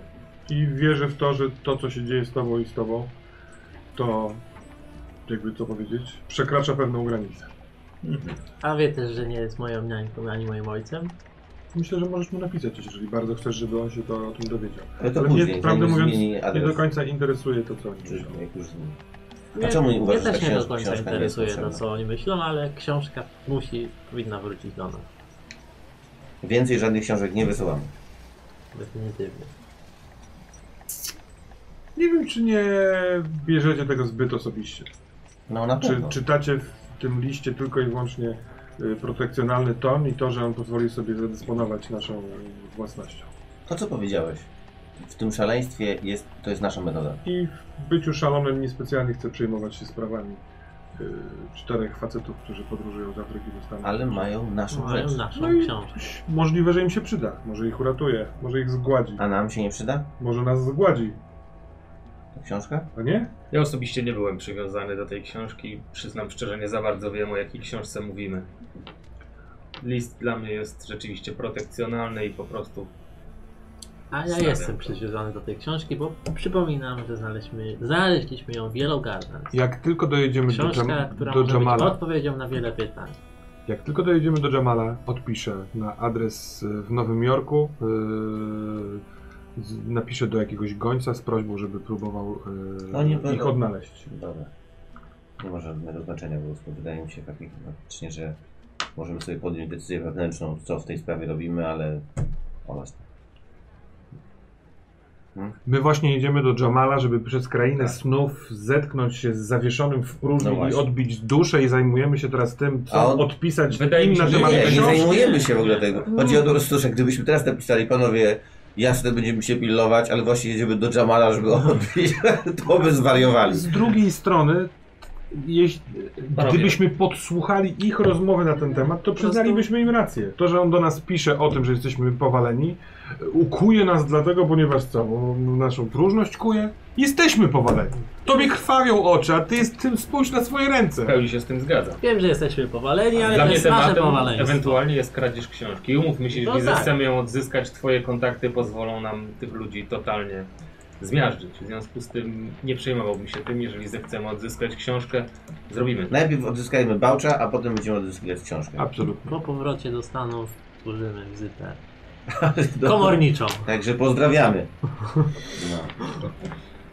I wierzę w to, że to, co się dzieje z tobą i z tobą, to, jakby to powiedzieć, przekracza pewną granicę.
A wie też, że nie jest moją niańką ani moim ojcem.
Myślę, że możesz mu napisać, jeżeli bardzo chcesz, żeby on się to o tym dowiedział.
Ale to
Ale
później,
mnie,
zanim
prawdę mówiąc,
zmieni
Nie
adres.
do końca interesuje to, co oni
Czy-
myślą.
jak już zmieni.
Mnie-
czemu nie uważasz, że
Mnie też
ta
nie do
książ- książka
końca
nie jest
interesuje to,
potrzebna?
co oni myślą, ale książka musi, powinna wrócić do nas.
Więcej żadnych książek nie wysyłamy.
Definitywnie.
Nie wiem, czy nie bierzecie tego zbyt osobiście.
No na
Czy
pewno.
czytacie w tym liście tylko i wyłącznie y, protekcjonalny ton i to, że on pozwoli sobie zadysponować naszą y, własnością.
To co powiedziałeś? W tym szaleństwie jest, to jest nasza metoda.
I w byciu szalonym niespecjalnie chce przejmować się sprawami y, czterech facetów, którzy podróżują z Afryki do Stanów.
Ale mają naszą
Mają
rzecz.
naszą
No i-
książkę.
Możliwe, że im się przyda. Może ich uratuje, może ich zgładzi,
A nam się nie przyda?
może nas zgładzi,
Ta książka?
a nie?
Ja osobiście nie byłem przywiązany do tej książki. Przyznam szczerze, nie za bardzo wiem, o jakiej książce mówimy. List dla mnie jest rzeczywiście protekcjonalny i po prostu...
A ja
Stawiam
jestem
to.
przywiązany do tej książki, bo przypominam, że znaleźliśmy, znaleźliśmy ją w Yellow Garden.
Jak tylko dojedziemy do,
Książka,
Jam-
która
do
może być
Jamala,
odpowiedzią na wiele pytań.
Jak tylko dojedziemy do Jamala, odpiszę na adres y, w Nowym Jorku. Yy, z- napiszę do jakiegoś gońca z prośbą, żeby próbował yy,
Oni
ich
będą-
odnaleźć.
Dobra. Nie ma żadnego znaczenia, bo to wydaje mi się faktycznie, faktycznie, że możemy sobie podjąć decyzję wewnętrzną, co w tej sprawie robimy, ale o nas.
My właśnie jedziemy do Jamala, żeby przez krainę snów zetknąć się z zawieszonym w próżni
Tak. No
i
właśnie.
odbić duszę i zajmujemy się teraz tym,
A
co
on-
odpisać
Wydaje
im
mi się,
na
że
temat
Nie, nie
książki.
zajmujemy się w ogóle tego. Chodzi o to, że że gdybyśmy teraz napisali, panowie, jasne, będziemy się pilnować, ale właśnie jedziemy do Jamala, żeby odbić, to by zwariowali.
Z drugiej strony, jeśli, gdybyśmy podsłuchali ich rozmowy na ten temat, to przyznalibyśmy im rację. To, że on do nas pisze o tym, że jesteśmy powaleni, ukuje nas dlatego, ponieważ co, bo naszą próżność kuje. Jesteśmy powaleni. Tobie krwawią oczy, a ty jest tym spójrz na swoje
W
ręce.
pełni się z tym zgadzam.
Wiem, że jesteśmy powaleni, ale
Dla
to
mnie
jest nasze
tematem
powaleństwo.
ewentualnie jest kradzież książki. Umówmy się,
No
jeżeli
tak.
chcemy ją odzyskać, twoje kontakty pozwolą nam tych ludzi totalnie zmiażdżyć. W związku z tym nie przejmowałbym się tym, jeżeli zechcemy odzyskać książkę, zrobimy to.
Najpierw odzyskajmy Bałcza, a potem będziemy odzyskiwać książkę.
Absolutnie.
Po powrocie do Stanów użymy wizytę
Do-
komorniczą.
Także pozdrawiamy. No.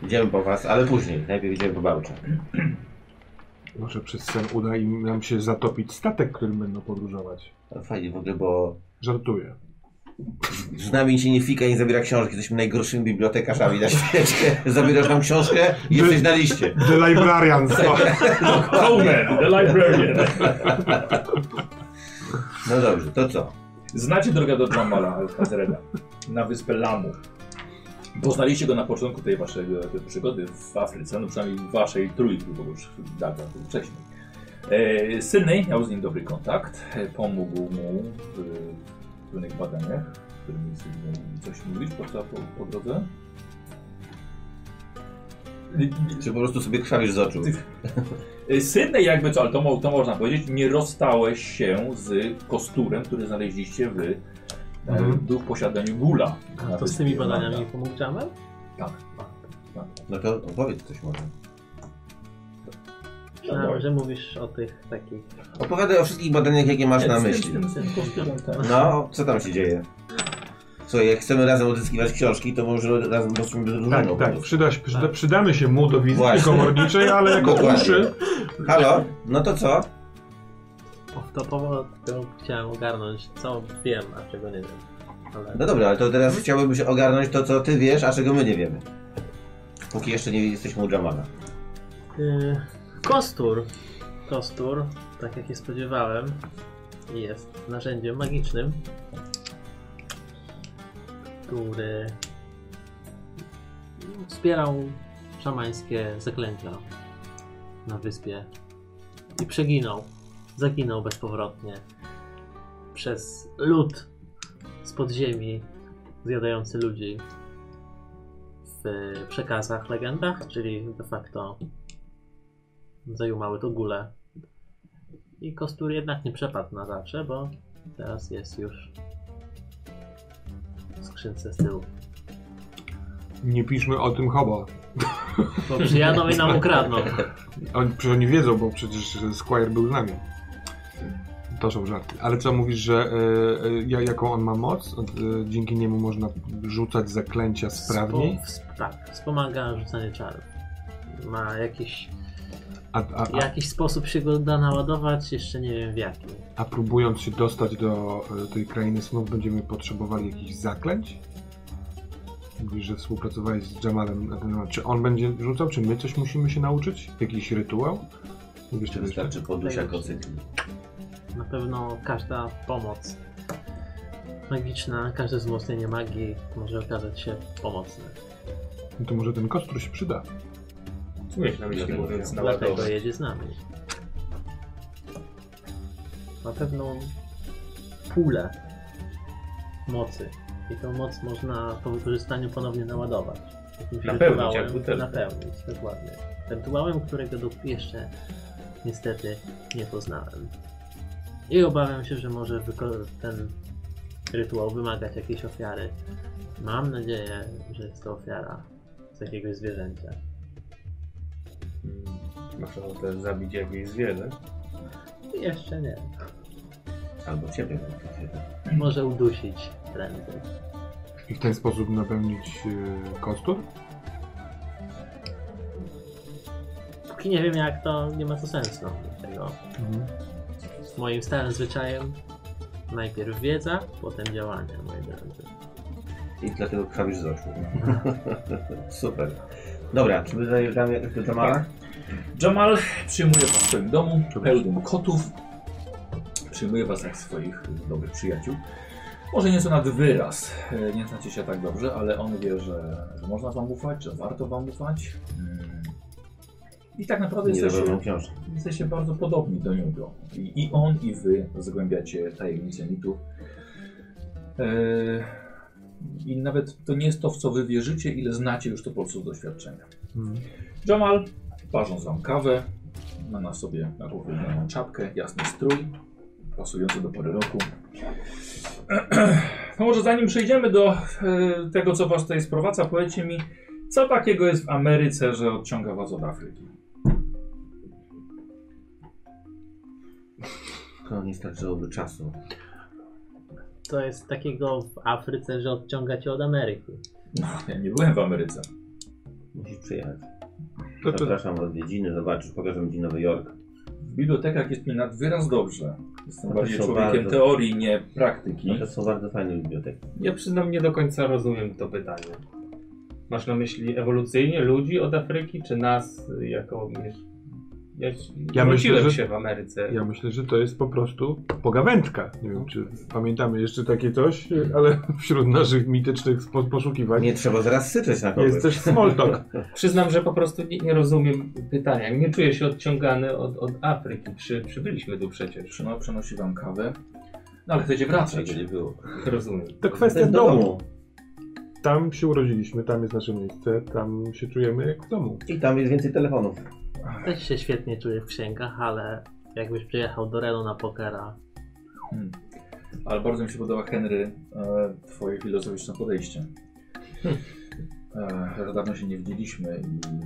Idziemy po was, ale później. Najpierw idziemy po Bałcza.
Może przez sen uda im nam się zatopić statek, którym będą podróżować.
To Fajnie w ogóle, bo
Żartuję.
z nami się nie fika i nie zabiera książki. Jesteśmy najgorszymi bibliotekarzami na świecie. Zabierasz nam książkę i jesteś na liście.
The Tak, Librarian. co?
Homer, the librarian.
No dobrze, to co?
Znacie drogę do Dramala Alcazreda na wyspę Lamu. Poznaliście go na początku tej waszej e, tej przygody w Afryce, no przynajmniej waszej trójki, bo już data to był wcześniej. E, Sydney miał z nim dobry kontakt, e, pomógł mu w e, pewnych badaniach, w którym Sydney mówi coś mówić po, po, po drodze. E,
Czy po prostu sobie krwawisz z oczu?
Sydney Y, jakby co, ale to, mo- to można powiedzieć, nie rozstałeś się z kosturem, który znaleźliście w, e,
Mhm.
w posiadaniu gula.
A to z tymi badaniami pomógł Jamal?
Tak.
No to opowiedz coś może.
No
Myślałem, że mówisz o tych takich...
Opowiadaj o wszystkich badaniach, jakie masz na
z tym-
myśli.
z tym- z tym kosturem, tak.
No, co tam się dzieje? Słuchaj, jak chcemy razem odzyskiwać książki, to może razem wrócimy do
Tak,
drużyną. po
tak.
prostu.
Przyda, się- przyda, przydamy się mu do wizyty
no, Właśnie.
komorniczej, ale jako
Dokładnie.
uszy
Halo? No to co?
To powód, to chciałem ogarnąć, co wiem, a czego nie wiem. Ale...
No dobra, ale to teraz chciałbym się ogarnąć to, co ty wiesz, a czego my nie wiemy. Póki jeszcze nie jesteśmy u Jamala.
Y, Kostur. Kostur, tak jak się spodziewałem, jest narzędziem magicznym, który wspierał szamańskie zaklęcia na wyspie i przeginął. Zaginął bezpowrotnie przez lód z podziemi zjadający ludzi w przekazach, legendach, czyli de facto zajumały to gule. I Kostur jednak nie przepadł na zawsze, bo teraz jest już w skrzynce z tyłu.
Nie piszmy o tym hobo.
Bo przyjadą i nam ukradną.
Oni, przecież oni wiedzą, bo przecież Squire był z nami. To są żarty. Ale co mówisz, że y, y, ja- jaką on ma moc? Y, dzięki niemu można rzucać zaklęcia sprawniej?
Spo- wsp- tak, wspomaga rzucanie czarów. Ma jakiś,
A, a, a,
jakiś sposób się go da naładować, jeszcze nie wiem w jaki.
a próbując się dostać do y, tej krainy snów, będziemy potrzebowali jakichś zaklęć? Mówisz, że współpracowałeś z Jamalem na ten temat. Czy on będzie rzucał? Czy my coś musimy się nauczyć? Jakiś rytuał? Mówisz,
Czy
czegoś
wystarczy podusia kocykli?
Na pewno każda pomoc magiczna, każde wzmocnienie magii może okazać się pomocne.
No to może ten kostur się przyda.
Co miałeś na myśli
Dlatego
mówiąc
ja-
Dlatego
naładować?
No jedzie z nami. Ma pewną pulę mocy. I tą moc można po wykorzystaniu ponownie naładować. Jakimś
Napełnić,
rytuałem,
jak butelkę.
Napełnić, dokładnie. Rytuałem, którego do- jeszcze niestety nie poznałem. I obawiam się, że może wyko- ten rytuał wymagać jakiejś ofiary. Mam nadzieję, że jest to ofiara z jakiegoś zwierzęcia.
Mm, Masz ochotę zabić jakieś zwierzę?
Jeszcze nie.
Albo No, ciebie będzie.
Może udusić prędzej.
I w ten sposób napełnić y, kostur?
Póki nie wiem jak, to nie ma to sensu. Dlatego
Mhm.
moim starym zwyczajem najpierw wiedza, potem działania, moi drodzy.
I dlatego krwawisz z oczu. Mhm. Super. Dobra, czy my zajeżdżamy jakoś do Jamala?
Jamal przyjmuje was w swoim domu, pełnym kotów. Przyjmuje was jak swoich y, dobrych przyjaciół. Może nieco nad wyraz. y, Nie znacie się tak dobrze, ale on wie, że, że można wam ufać, że warto wam ufać. Mm. I tak naprawdę
Nie
jesteście,
zabrałem książki.
jesteście bardzo podobni do niego. I, I on, i wy zgłębiacie tajemnice mitów. Yy, I nawet to nie jest to, w co wy wierzycie, ile znacie już to po prostu z doświadczenia.
Mhm.
Jamal, parząc wam kawę, ma na sobie nakłowioną czapkę, jasny strój, pasujący do pory roku. No może zanim przejdziemy do e, tego, co was tutaj sprowadza, powiedzcie mi, co takiego jest w Ameryce, że odciąga was od Afryki?
To nie starczyłoby czasu.
To jest takiego w Afryce, że odciąga cię od Ameryki.
No, ja nie byłem w Ameryce.
Musisz przyjechać.
To, to,
Zapraszam w odwiedziny, zobaczysz, pokażę Ci Nowy Jork.
W bibliotekach jest mi nad wyraz dobrze. Jestem
No to
bardziej
są
człowiekiem
bardzo-
teorii, nie praktyki.
No to są bardzo fajne biblioteki.
Ja przyznam, nie do końca rozumiem to pytanie. Masz na myśli ewolucyjnie ludzi od Afryki, czy nas y, jako... miesz- Ja,
Ja
ja
myślę, że-
się w Ameryce.
ja myślę, że to jest po prostu pogawędka. Nie wiem, czy pamiętamy jeszcze takie coś, e, ale wśród naszych mitycznych spo- poszukiwań
Nie trzeba zaraz syczeć na kogoś.
jest też small talk.
Przyznam, że po prostu nie, nie rozumiem pytania. Nie czuję się odciągany od, od Afryki. Przy, przybyliśmy tu przecież.
Przyno, przenosi wam kawę. No ale chcecie wracać.
Czego nie było.
Rozumiem.
To kwestia
Do
domu. Tam się urodziliśmy, tam jest nasze miejsce, tam się czujemy jak w domu.
I tam jest więcej telefonów.
Też się świetnie czuję w księgach, ale jakbyś przyjechał do Renu na pokera,
Hmm. Ale bardzo mi się podoba, Henry, e, twoje filozoficzne podejście. E, że dawno się nie widzieliśmy i...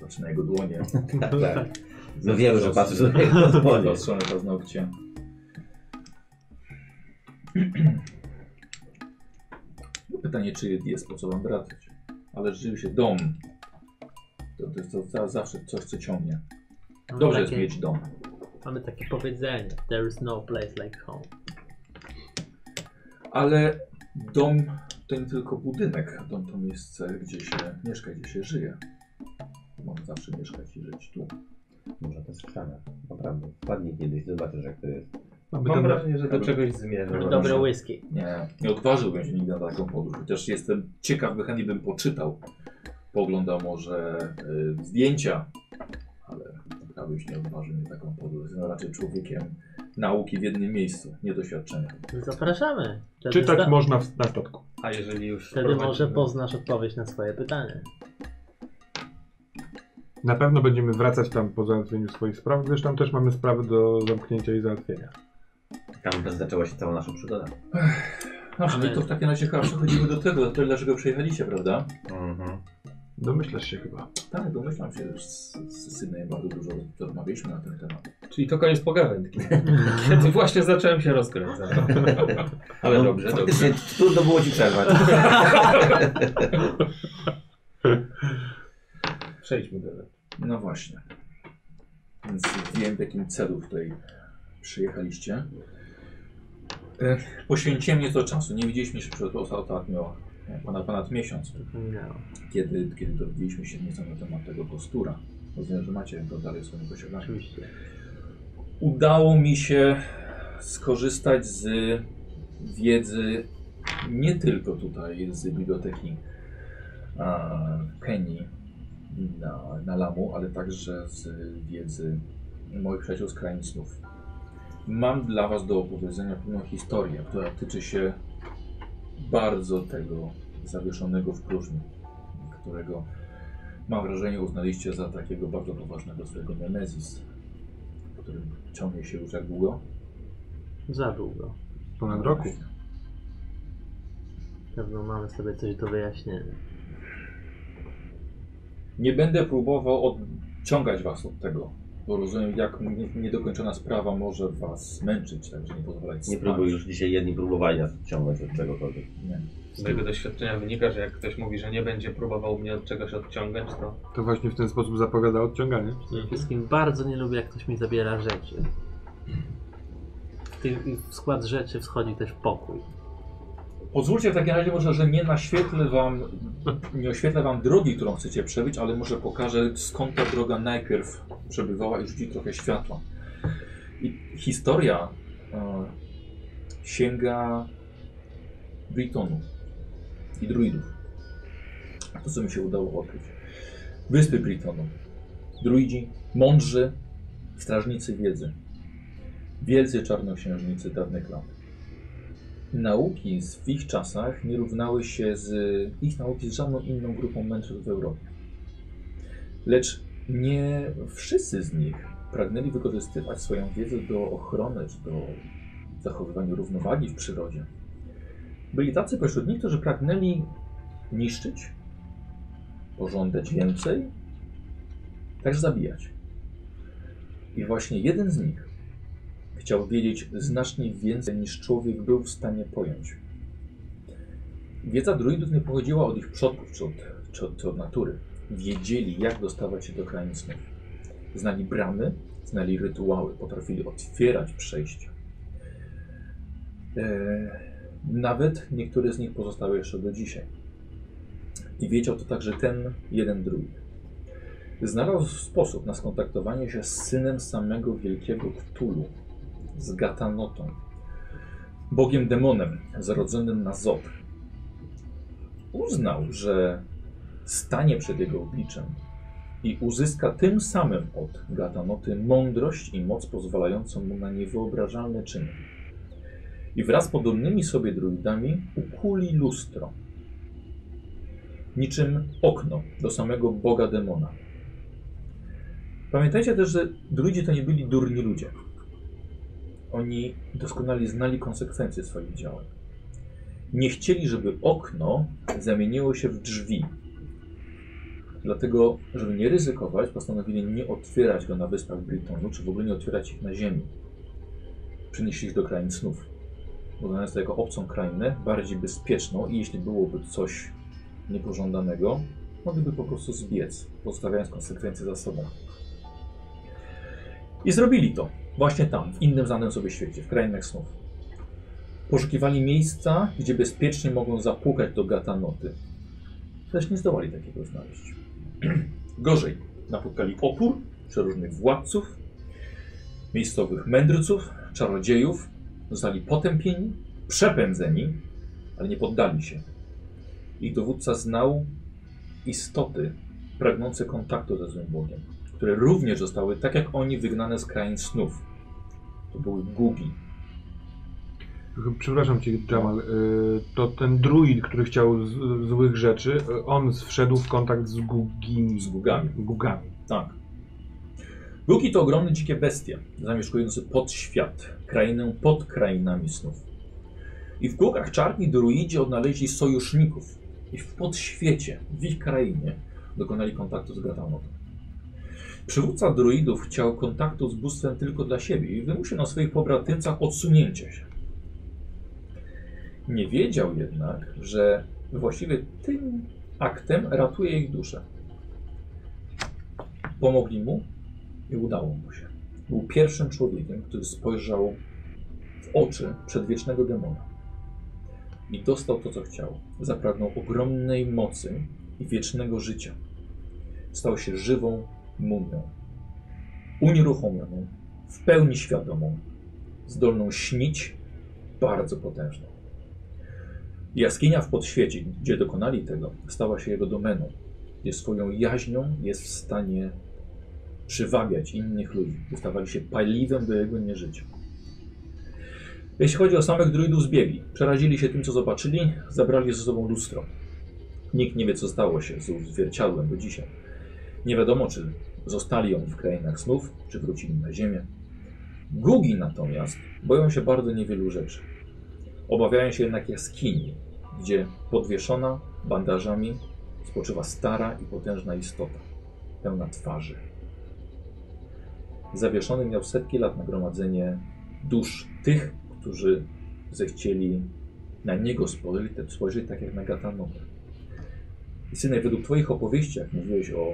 Patrzę na jego dłonie,
Tak, tak. No wiem, że patrzysz na niego z
zaostrzone paznokcie. Pytanie, czy jest po co wam wracać? Ale żył się dom. To, to jest to, za- zawsze coś, co ciągnie.
mamy
Dobrze jest
No takie,
mieć dom.
mamy takie powiedzenie, there is no place like home.
Ale dom to nie tylko budynek. Dom to miejsce, gdzie się mieszka, gdzie się żyje. Można zawsze mieszkać i żyć tu.
Może to jest krzana. Naprawdę. Wpadnij kiedyś, zobaczysz jak to jest.
Mamy
Mam
tam
wrażenie, że do czegoś
No
zmierzam.
Dobre whisky.
Nie, nie odważyłbym się nigdy na taką podróż. Chociaż jestem ciekaw, by chętnie bym poczytał. Poglądał może y, zdjęcia, ale ja bym się nie odważył na taką podróż. Jestem raczej człowiekiem nauki w jednym miejscu, nie doświadczenia.
Zapraszamy. Wtedy zda-
Czytać można w, na statku.
A jeżeli już.
Wtedy
prowadzimy-
może poznasz odpowiedź na swoje pytanie.
Na pewno będziemy wracać tam po załatwieniu swoich spraw, gdyż tam też mamy sprawy do zamknięcia i załatwienia.
Tam zaczęła się cała nasza przygoda.
No, czyli to w takim razie chyba przechodzimy do tego, do tego, dlaczego przyjechaliście, prawda?
Mhm.
Domyślasz się chyba.
Tak, domyślam się, że z, z synem bardzo dużo rozmawialiśmy na ten temat.
Czyli to koniec pogawędki. Kiedy właśnie zacząłem się rozkręcać. Ale
No,
dobrze,
Faktycznie
dobrze.
trudno było ci przerwać.
Przejdźmy do tego.
No właśnie. Więc wiem, w jakim celu tutaj przyjechaliście. E, Poświęciłem nieco czasu. Nie widzieliśmy się przez osta- ostatnio e, ponad, ponad miesiąc,
Przypominałem.
kiedy, kiedy dowiedzieliśmy się nieco na temat tego kostura. Rozumiem, że macie go dalej w swoim posiadaniu.
Oczywiście.
Udało mi się skorzystać z wiedzy nie tylko tutaj z biblioteki a, Kenii na, na Lamu, ale także z wiedzy moich przyjaciół z krain snów. Mam dla Was do opowiedzenia pewną historię, która tyczy się bardzo tego zawieszonego w próżni, którego mam wrażenie uznaliście za takiego bardzo poważnego swojego Nemezis którym ciągnie się już jak długo?
Za długo.
Ponad roku.
Pewno mamy sobie coś do wyjaśnienia.
Nie będę próbował odciągać was od tego, bo rozumiem, jak nie- niedokończona sprawa może was męczyć, także nie pozwalać
Nie
spać.
próbuj już dzisiaj jedni próbowali nas odciągnąć od czegokolwiek.
Nie.
Z mojego doświadczenia wynika, że jak ktoś mówi, że nie będzie próbował mnie od czegoś odciągać, to
To właśnie w ten sposób zapowiada odciąganie.
Przede
Mhm.
wszystkim bardzo nie lubię, jak ktoś mi zabiera rzeczy. W, tych, w skład rzeczy wchodzi też pokój.
Pozwólcie w takim razie może, że nie naświetlę wam, nie oświetlę wam drogi, którą chcecie przebyć, ale może pokażę skąd ta droga najpierw przebywała i rzuci trochę światła. I historia e, sięga Britonu i druidów. To, co mi się udało odkryć. Wyspy Britonu. Druidzi, mądrzy, strażnicy wiedzy. Wielcy czarnoksiężnicy dawnych lat nauki z- w ich czasach nie równały się z ich nauki z żadną inną grupą mędrców w Europie. Lecz nie wszyscy z nich pragnęli wykorzystywać swoją wiedzę do ochrony czy do zachowywania równowagi w przyrodzie. Byli tacy pośród nich, którzy pragnęli niszczyć, pożądać więcej, także zabijać. I właśnie jeden z nich Chciał wiedzieć znacznie więcej niż człowiek był w stanie pojąć. Wiedza druidów nie pochodziła od ich przodków czy od, czy od, czy od natury. Wiedzieli, jak dostawać się do krain snów. Znali bramy, znali rytuały, potrafili otwierać przejścia. Eee, nawet niektóre z nich pozostały jeszcze do dzisiaj. I wiedział to także ten jeden druid znalazł sposób na skontaktowanie się z synem samego wielkiego Ktulu, z Gatanotą, bogiem demonem zrodzonym na Zot. Uznał, że stanie przed jego obliczem i uzyska tym samym od Gatanoty mądrość i moc pozwalającą mu na niewyobrażalne czyny. I wraz z podobnymi sobie druidami ukuli lustro, niczym okno do samego boga demona. Pamiętajcie też, że druidzi to nie byli durni ludzie. Oni doskonale znali konsekwencje swoich działań. Nie chcieli, żeby okno zamieniło się w drzwi. Dlatego, żeby nie ryzykować, postanowili nie otwierać go na wyspach Brytonu, czy w ogóle nie otwierać ich na ziemi. Przenieśli ich do krain snów. Uznając to jako obcą krainę, bardziej bezpieczną i jeśli byłoby coś niepożądanego, mogliby po prostu zbiec, pozostawiając konsekwencje za sobą. I zrobili to właśnie tam, w innym znanym sobie świecie, w krainach snów. Poszukiwali miejsca, gdzie bezpiecznie mogą zapukać do gatanoty. Też nie zdołali takiego znaleźć. Gorzej, napotkali opór przeróżnych władców, miejscowych mędrców, czarodziejów. Zostali potępieni, przepędzeni, ale nie poddali się. Ich dowódca znał istoty pragnące kontaktu ze złym Bogiem które również zostały, tak jak oni, wygnane z krain snów. To były gugi.
Przepraszam cię, Jamal. y, To ten druid, który chciał z, złych rzeczy, y, on wszedł w kontakt z Gugimi.
Z gugami.
Gugami.
Tak. Gugi to ogromne dzikie bestie, zamieszkujące podświat, krainę pod krainami snów. I w gugach czarni druidzi odnaleźli sojuszników i w podświecie, w ich krainie, dokonali kontaktu z Gratanotem. Przywódca druidów chciał kontaktu z bóstwem tylko dla siebie i wymusił na swoich pobratymcach odsunięcie się. Nie wiedział jednak, że właściwie tym aktem ratuje ich duszę. Pomogli mu i udało mu się. Był pierwszym człowiekiem, który spojrzał w oczy przedwiecznego demona i dostał to, co chciał. Zapragnął ogromnej mocy i wiecznego życia. Stał się żywą mumią, unieruchomioną, w pełni świadomą, zdolną śnić, bardzo potężną. Jaskinia w podświecie, gdzie dokonali tego, stała się jego domeną gdzie swoją jaźnią jest w stanie przywabiać innych ludzi, którzy stawali się paliwem do jego nieżycia. Jeśli chodzi o samych druidów, zbiegli. Przerazili się tym, co zobaczyli, zabrali ze sobą lustro. Nikt nie wie, co stało się z zwierciadłem do dzisiaj. Nie wiadomo, czy zostali ją w krainach snów, czy wrócili na ziemię. Gugi natomiast boją się bardzo niewielu rzeczy. Obawiają się jednak jaskini, gdzie podwieszona bandażami spoczywa stara i potężna istota, pełna twarzy. Zawieszony miał setki lat nagromadzenie dusz tych, którzy zechcieli na niego spojrzeć, spojrzeć tak jak na Gatanowę. I synek, według Twoich opowieści, jak mówiłeś o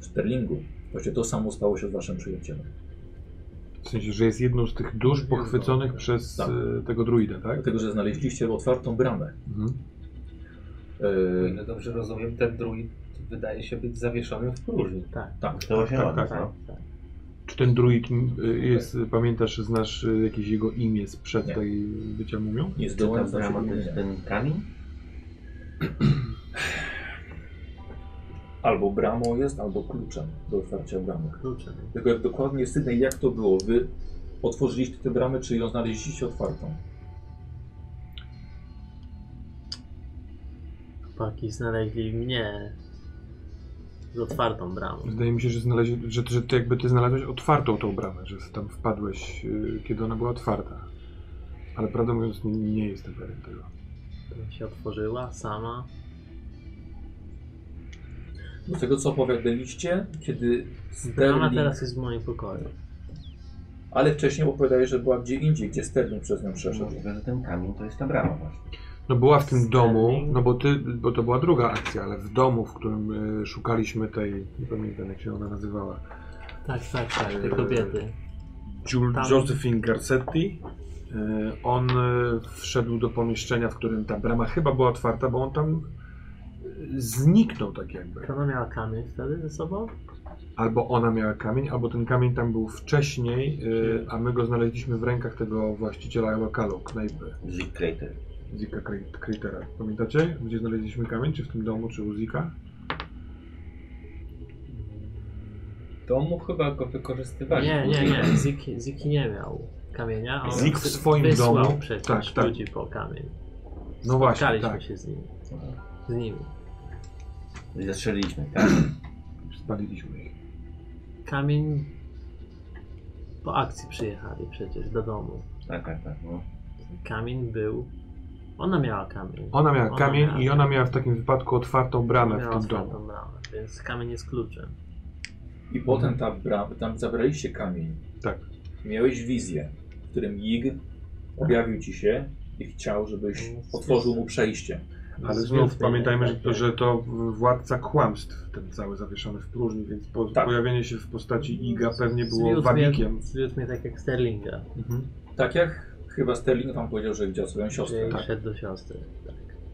Sterlingu, właśnie to samo stało się z Waszym przyjacielem.
W sensie, że jest jedną z tych dusz pochwyconych przez
Tak.
y, tego druida, tak?
Dlatego, że znaleźliście otwartą bramę.
Mhm.
O
Yy,
ile no dobrze rozumiem, ten druid wydaje się być zawieszony w próżni.
Tak,
To właśnie
Tak,
on,
tak,
no.
tak.
Czy ten druid m, y, jest, pamiętasz, znasz y, jakieś jego imię sprzed
Tak. Nie.
tej bycia mumią?
nie
Czy ta
zdołałem znaleźć
brama to jest
imienia.
ten kamień?
Albo bramą jest, albo kluczem do otwarcia bramy.
klucze.
Tylko jak dokładnie Sydney, jak to było? Wy otworzyliście tę bramę, czy ją znaleźliście otwartą?
Chłopaki znaleźli mnie z otwartą bramą.
Wydaje mi się, że, znaleźli, że, że ty jakby ty znalazłeś otwartą tą bramę, że tam wpadłeś, y, kiedy ona była otwarta. Ale prawdę mówiąc, nie, nie jestem pewien tego.
Która się otworzyła sama.
Z tego co opowiadaliście, kiedy
Brama
Sterling,
teraz jest w moim pokoju.
ale wcześniej opowiadałeś, że była gdzie indziej, gdzie Sterling przez nią przeszedł.
Możliwe, że ten kamień to jest ta brama właśnie.
No była w tym domu, no bo ty, bo to była druga akcja, ale w domu, w którym y, szukaliśmy tej, nie pamiętam jak się ona nazywała,
Tak, tak, tak, te kobiety.
Jul-
Tam.
Josephine Garcetti, y, on y, wszedł do pomieszczenia, w którym ta brama chyba była otwarta, bo on tam y, zniknął tak jakby.
Czy ona miała kamień wtedy ze sobą?
Albo ona miała kamień, albo ten kamień tam był wcześniej, y, a my go znaleźliśmy w rękach tego właściciela lokalu, knajpy,
Zig Crater.
Zika Cratera. Pamiętacie, gdzie znaleźliśmy kamień? Czy w tym domu, czy u Zika?
W domu chyba go
Tak.
wykorzystywali.
Nie, nie, nie. Ziki, Ziki nie miał kamienia. on
Zik w
wys-
swoim
wysłał
domu.
przecież
Tak, tak.
ludzi po kamień.
No właśnie,
Spotkaliśmy
tak.
się z nimi. Z nimi.
I zastrzeliliśmy, tak?
Spaliliśmy ich.
Kamień po akcji przyjechali przecież do domu.
Tak, tak, tak. No.
Kamień był. Ona miała kamień.
Ona miała
Ona
kamień
miała
i ona miała w takim wypadku otwartą bramę
miała
w tym
otwartą
domu.
bramę, więc kamień jest kluczem.
I potem ta bram, tam zabraliście kamień.
Mhm. Tak.
Miałeś wizję, w którym Yig objawił ci się i chciał, żebyś otworzył mu przejście.
Ale znów pamiętajmy,
tak
że to, że to władca kłamstw, ten cały zawieszony w próżni, więc po,
Tak.
pojawienie się w postaci Iga pewnie było
Zwiódł
wabikiem.
Mnie, zwiódł mnie tak jak Sterlinga,
Mhm.
Tak jak chyba Sterling wam powiedział, że widział swoją siostrę. Tak.
czyli
Tak.
szedł do siostry.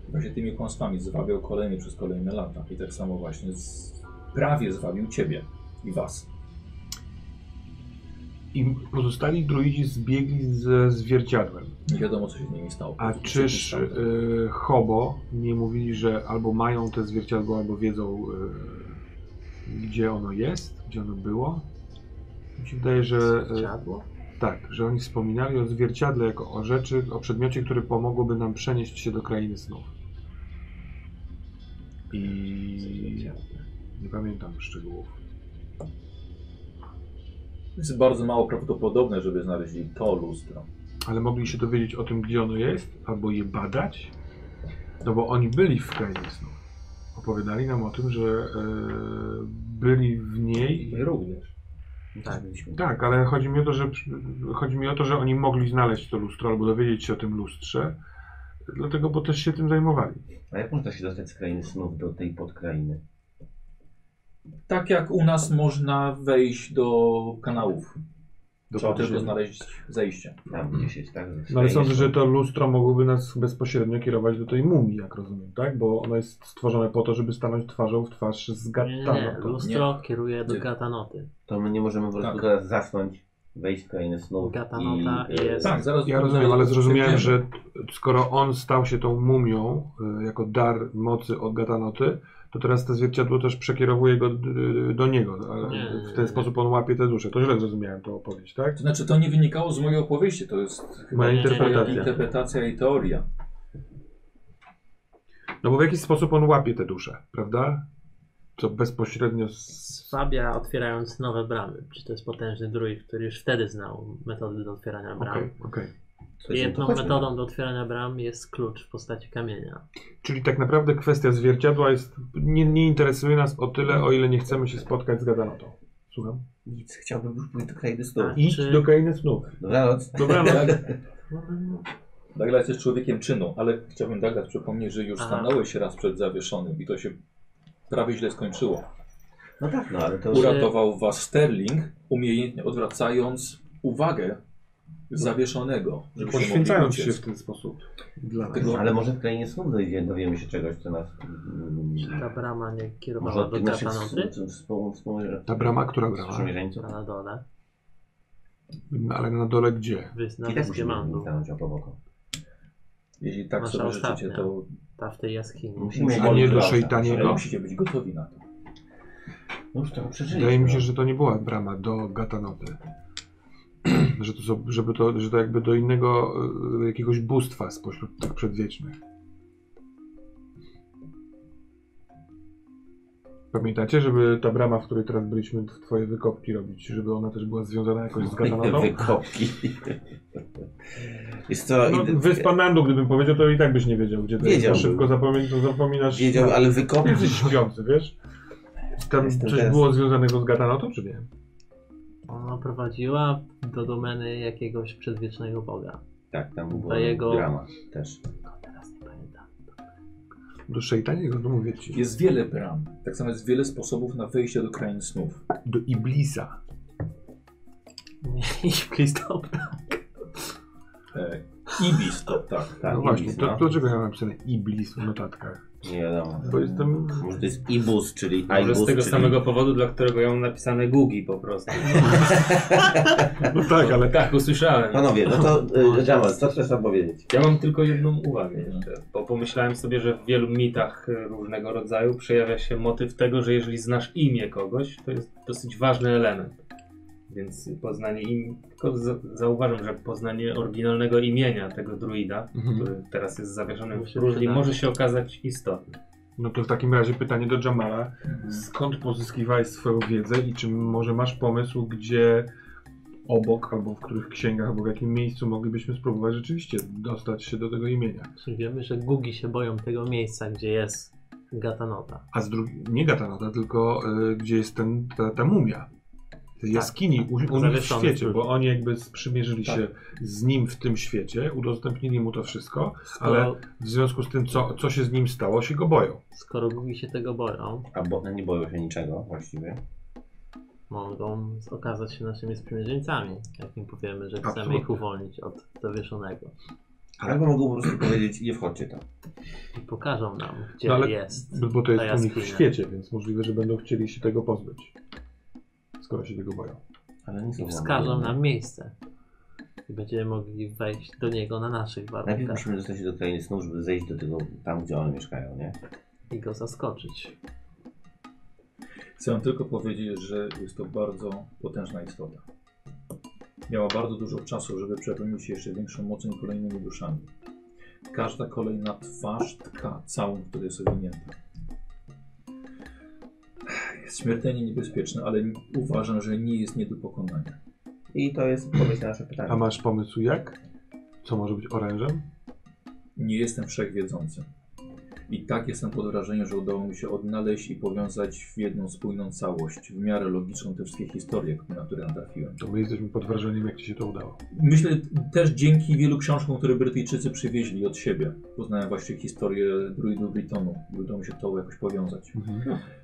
Właśnie tymi kłamstwami zwabiał kolejny przez kolejne lata. I tak samo właśnie z... prawie zwabił ciebie i was.
I pozostali druidzi zbiegli ze zwierciadłem.
Nie wiadomo, co się z nimi stało.
A
Co się
czyż
stało.
y, Hobo nie mówili, że albo mają te zwierciadło, albo wiedzą, e, y, gdzie ono jest, gdzie ono było? Mi się wydaje, że. Y,
Zwierciadło?
Tak, że oni wspominali o zwierciadle jako o rzeczy, o przedmiocie, które pomogłoby nam przenieść się do krainy snów. I nie pamiętam szczegółów.
Jest bardzo mało prawdopodobne, żeby znaleźli to lustro.
Ale mogli się dowiedzieć o tym, gdzie ono jest, albo je badać. No bo oni byli w krainie snów. Opowiadali nam o tym, że e, byli w niej.
My również.
Tak, byliśmy.
Tak, ale chodzi mi, o to, że, chodzi mi o to, że oni mogli znaleźć to lustro albo dowiedzieć się o tym lustrze. Dlatego, bo też się tym zajmowali.
A jak można się dostać z krainy snów do tej podkrainy?
Tak jak u nas można wejść do kanałów.
Do
Trzeba
podziemi.
tylko znaleźć zejście.
Tam gdzieś jest, tak?
No ale sądzę,
Krainy
że
snów.
to lustro mogłoby nas bezpośrednio kierować do tej mumii, jak rozumiem, tak? Bo ono jest stworzone po to, żeby stanąć twarzą w twarz z tak?
Nie, nie,
Gattanotą.
lustro kieruje do
Nie.
Gatanoty.
To my nie możemy po prostu
Tak.
teraz zasnąć, wejść w krainę snów
Gatanota
i... e,
jest-
Tak, zaraz.
Ja rozumiem, ale zrozumiałem,
Wiem.
że skoro on stał się tą mumią y, jako dar mocy od Gatanoty, to teraz to zwierciadło też przekierowuje go y, do niego. ale
Nie.
W ten sposób on łapie te dusze. To źle zrozumiałem tą opowieść, tak?
To znaczy, to nie wynikało z mojej opowieści, to jest chyba
Moja
Nie, nie, nie,
twoja
interpretacja.
interpretacja i teoria.
No bo w jakiś sposób on łapie te dusze, prawda? Co bezpośrednio z...
Słabia otwierając nowe bramy. Czy to jest potężny druid, który już wtedy znał metody do otwierania bram.
Okej, okej.
coś tam
Jedną
pochodzi.
metodą do otwierania bram jest klucz w postaci kamienia.
Czyli tak naprawdę kwestia zwierciadła jest, nie, nie interesuje nas o tyle, o ile nie chcemy się spotkać z Gadanotą. Słucham?
Nic, chciałbym już pójść do krainy snów.
Tak.
Idź
Czy-
do krainy snów.
Dobranoc.
Dobranoc.
Douglas jest człowiekiem czynu, ale chciałbym Douglas przypomnieć, że już
Aha.
stanąłeś raz przed zawieszonym i to się prawie źle skończyło.
No tak, no ale to już...
Uratował was Sterling, umiejętnie odwracając uwagę zawieszonego, żeby się mogli
Poświęcając się
uciec.
w ten sposób. Dla nas.
Tego-
Ale może w krainie snów dojdzie, dowiemy się czegoś, co nas...
Tak.
mm,
Czy ta brama nie
Może
kierowała
od
do
tych naszych
Gatanoty?
współmierzeńców.
Ta brama, która brama?
Na dole.
No, ale na dole gdzie?
Wys- Na
I tak
wyspie
musimy
Mandu.
stanąć oko w oko.
Jeśli tak
Nasza
sobie
ostatnia.
życzycie, to
Ta w tej jaskini.
Musimy
A nie do
Dobrze.
ale
szejtaniego?
musicie być gotowi na to.
No Już to przeżyliśmy.
Wydaje mi się, że to nie była brama do Gatanoty. że, to, są- żeby to, że to jakby do innego y, jakiegoś bóstwa spośród tych przedwiecznych. Pamiętacie, żeby ta brama, w której teraz byliśmy, w twoje wykopki robić, żeby ona też była związana jakoś z Gatanotą?
Wykopki. Jest to...
No,
ide-
wyspa Nandu, gdybym powiedział, to i tak byś nie wiedział, gdzie to jest. To
Wiedziałbym.
szybko zapomin to zapominasz. Tak.
Wiedział, ale
Ty
wykopki...
Jesteś śpiący, wiesz? Tam
Jestem
coś
teraz-
było związanego z Gatanotą, czy nie?
Ona prowadziła do domeny jakiegoś przedwiecznego boga.
Tak, tam
To
była
jego-
brama też.
No teraz nie pamiętam.
Do szejtaniego, no mówię ci.
Jest wiele bram, tak samo jest wiele sposobów na wejście do krain snów.
do Iblisa.
I w Kristop.
E, Ibis to tak.
Tak,
no właśnie,
Ibis,
to,
no.
dlaczego ja mam napisane Iblis w notatkach?
Nie wiadomo.
Bo jestem...
Może to jest ibus, czyli
Może
ibus,
z tego
czyli...
samego powodu, dla którego ja mam napisane Gugi po prostu.
No tak, ale...
Tak, usłyszałem.
Panowie, no to y, Jamal, co chcesz nam powiedzieć?
Ja mam tylko jedną uwagę jeszcze, bo pomyślałem sobie, że w wielu mitach y, różnego rodzaju przejawia się motyw tego, że jeżeli znasz imię kogoś, to jest dosyć ważny element. Więc poznanie im, tylko za, zauważam, że poznanie oryginalnego imienia tego druida,
Mhm.
który teraz jest zawieszony
Mu
w
się
próżni,
przyda.
może się okazać istotne.
No to w takim razie pytanie do Jamala. Skąd pozyskiwałeś swoją wiedzę i czy może masz pomysł, gdzie obok, albo w których księgach, albo w jakim miejscu moglibyśmy spróbować rzeczywiście dostać się do tego imienia?
Czyli wiemy, że gugi się boją tego miejsca, gdzie jest Gatanota.
A z drugiej, nie Gatanata, tylko y, gdzie jest ten, ta, ta mumia. Tej jaskini u, u nich w
Zawieszony
świecie,
był.
bo oni jakby sprzymierzyli się z nim w tym świecie, udostępnili mu to wszystko,
Skoro,
ale w związku z tym, co, co się z nim stało, się go boją.
skoro gugi się tego boją,
A bo no nie boją się niczego właściwie.
mogą okazać się naszymi sprzymierzeńcami, jak im powiemy, że chcemy
Absolutnie.
ich uwolnić od zawieszonego.
Albo mogą po prostu powiedzieć, nie wchodźcie tam.
I pokażą nam, gdzie
No ale-
jest.
Bo to jest
ta
u nich w
jaskinia.
świecie, więc możliwe, że będą chcieli się tego pozbyć. Skoro się tego boją.
Ale nie no.
I
są
wskażą
wolni.
nam miejsce. I będziemy mogli wejść do niego na naszych
Najpierw
warunkach
musimy dostać się do krainy snów, żeby zejść do tego, tam gdzie one mieszkają, nie?
i go zaskoczyć.
Chcę tylko powiedzieć, że jest to bardzo potężna istota. miała bardzo dużo czasu, żeby przepełnić się jeszcze większą mocą i kolejnymi duszami. Każda kolejna twarz tka całą, w której jest owinięta. Jest śmiertelnie niebezpieczne, ale uważam, że nie jest nie do pokonania.
I to jest odpowiedź na nasze
A
pytanie.
masz pomysł jak? Co może być orężem?
Nie jestem wszechwiedzący. I tak jestem pod wrażeniem, że udało mi się odnaleźć i powiązać w jedną spójną całość, w miarę logiczną te wszystkie historie, na które natrafiłem.
To my jesteśmy pod wrażeniem, jak ci się to udało.
Myślę też dzięki wielu książkom, które Brytyjczycy przywieźli od siebie. Poznałem właśnie historię druidów Britonu. i Udało mi się to jakoś powiązać.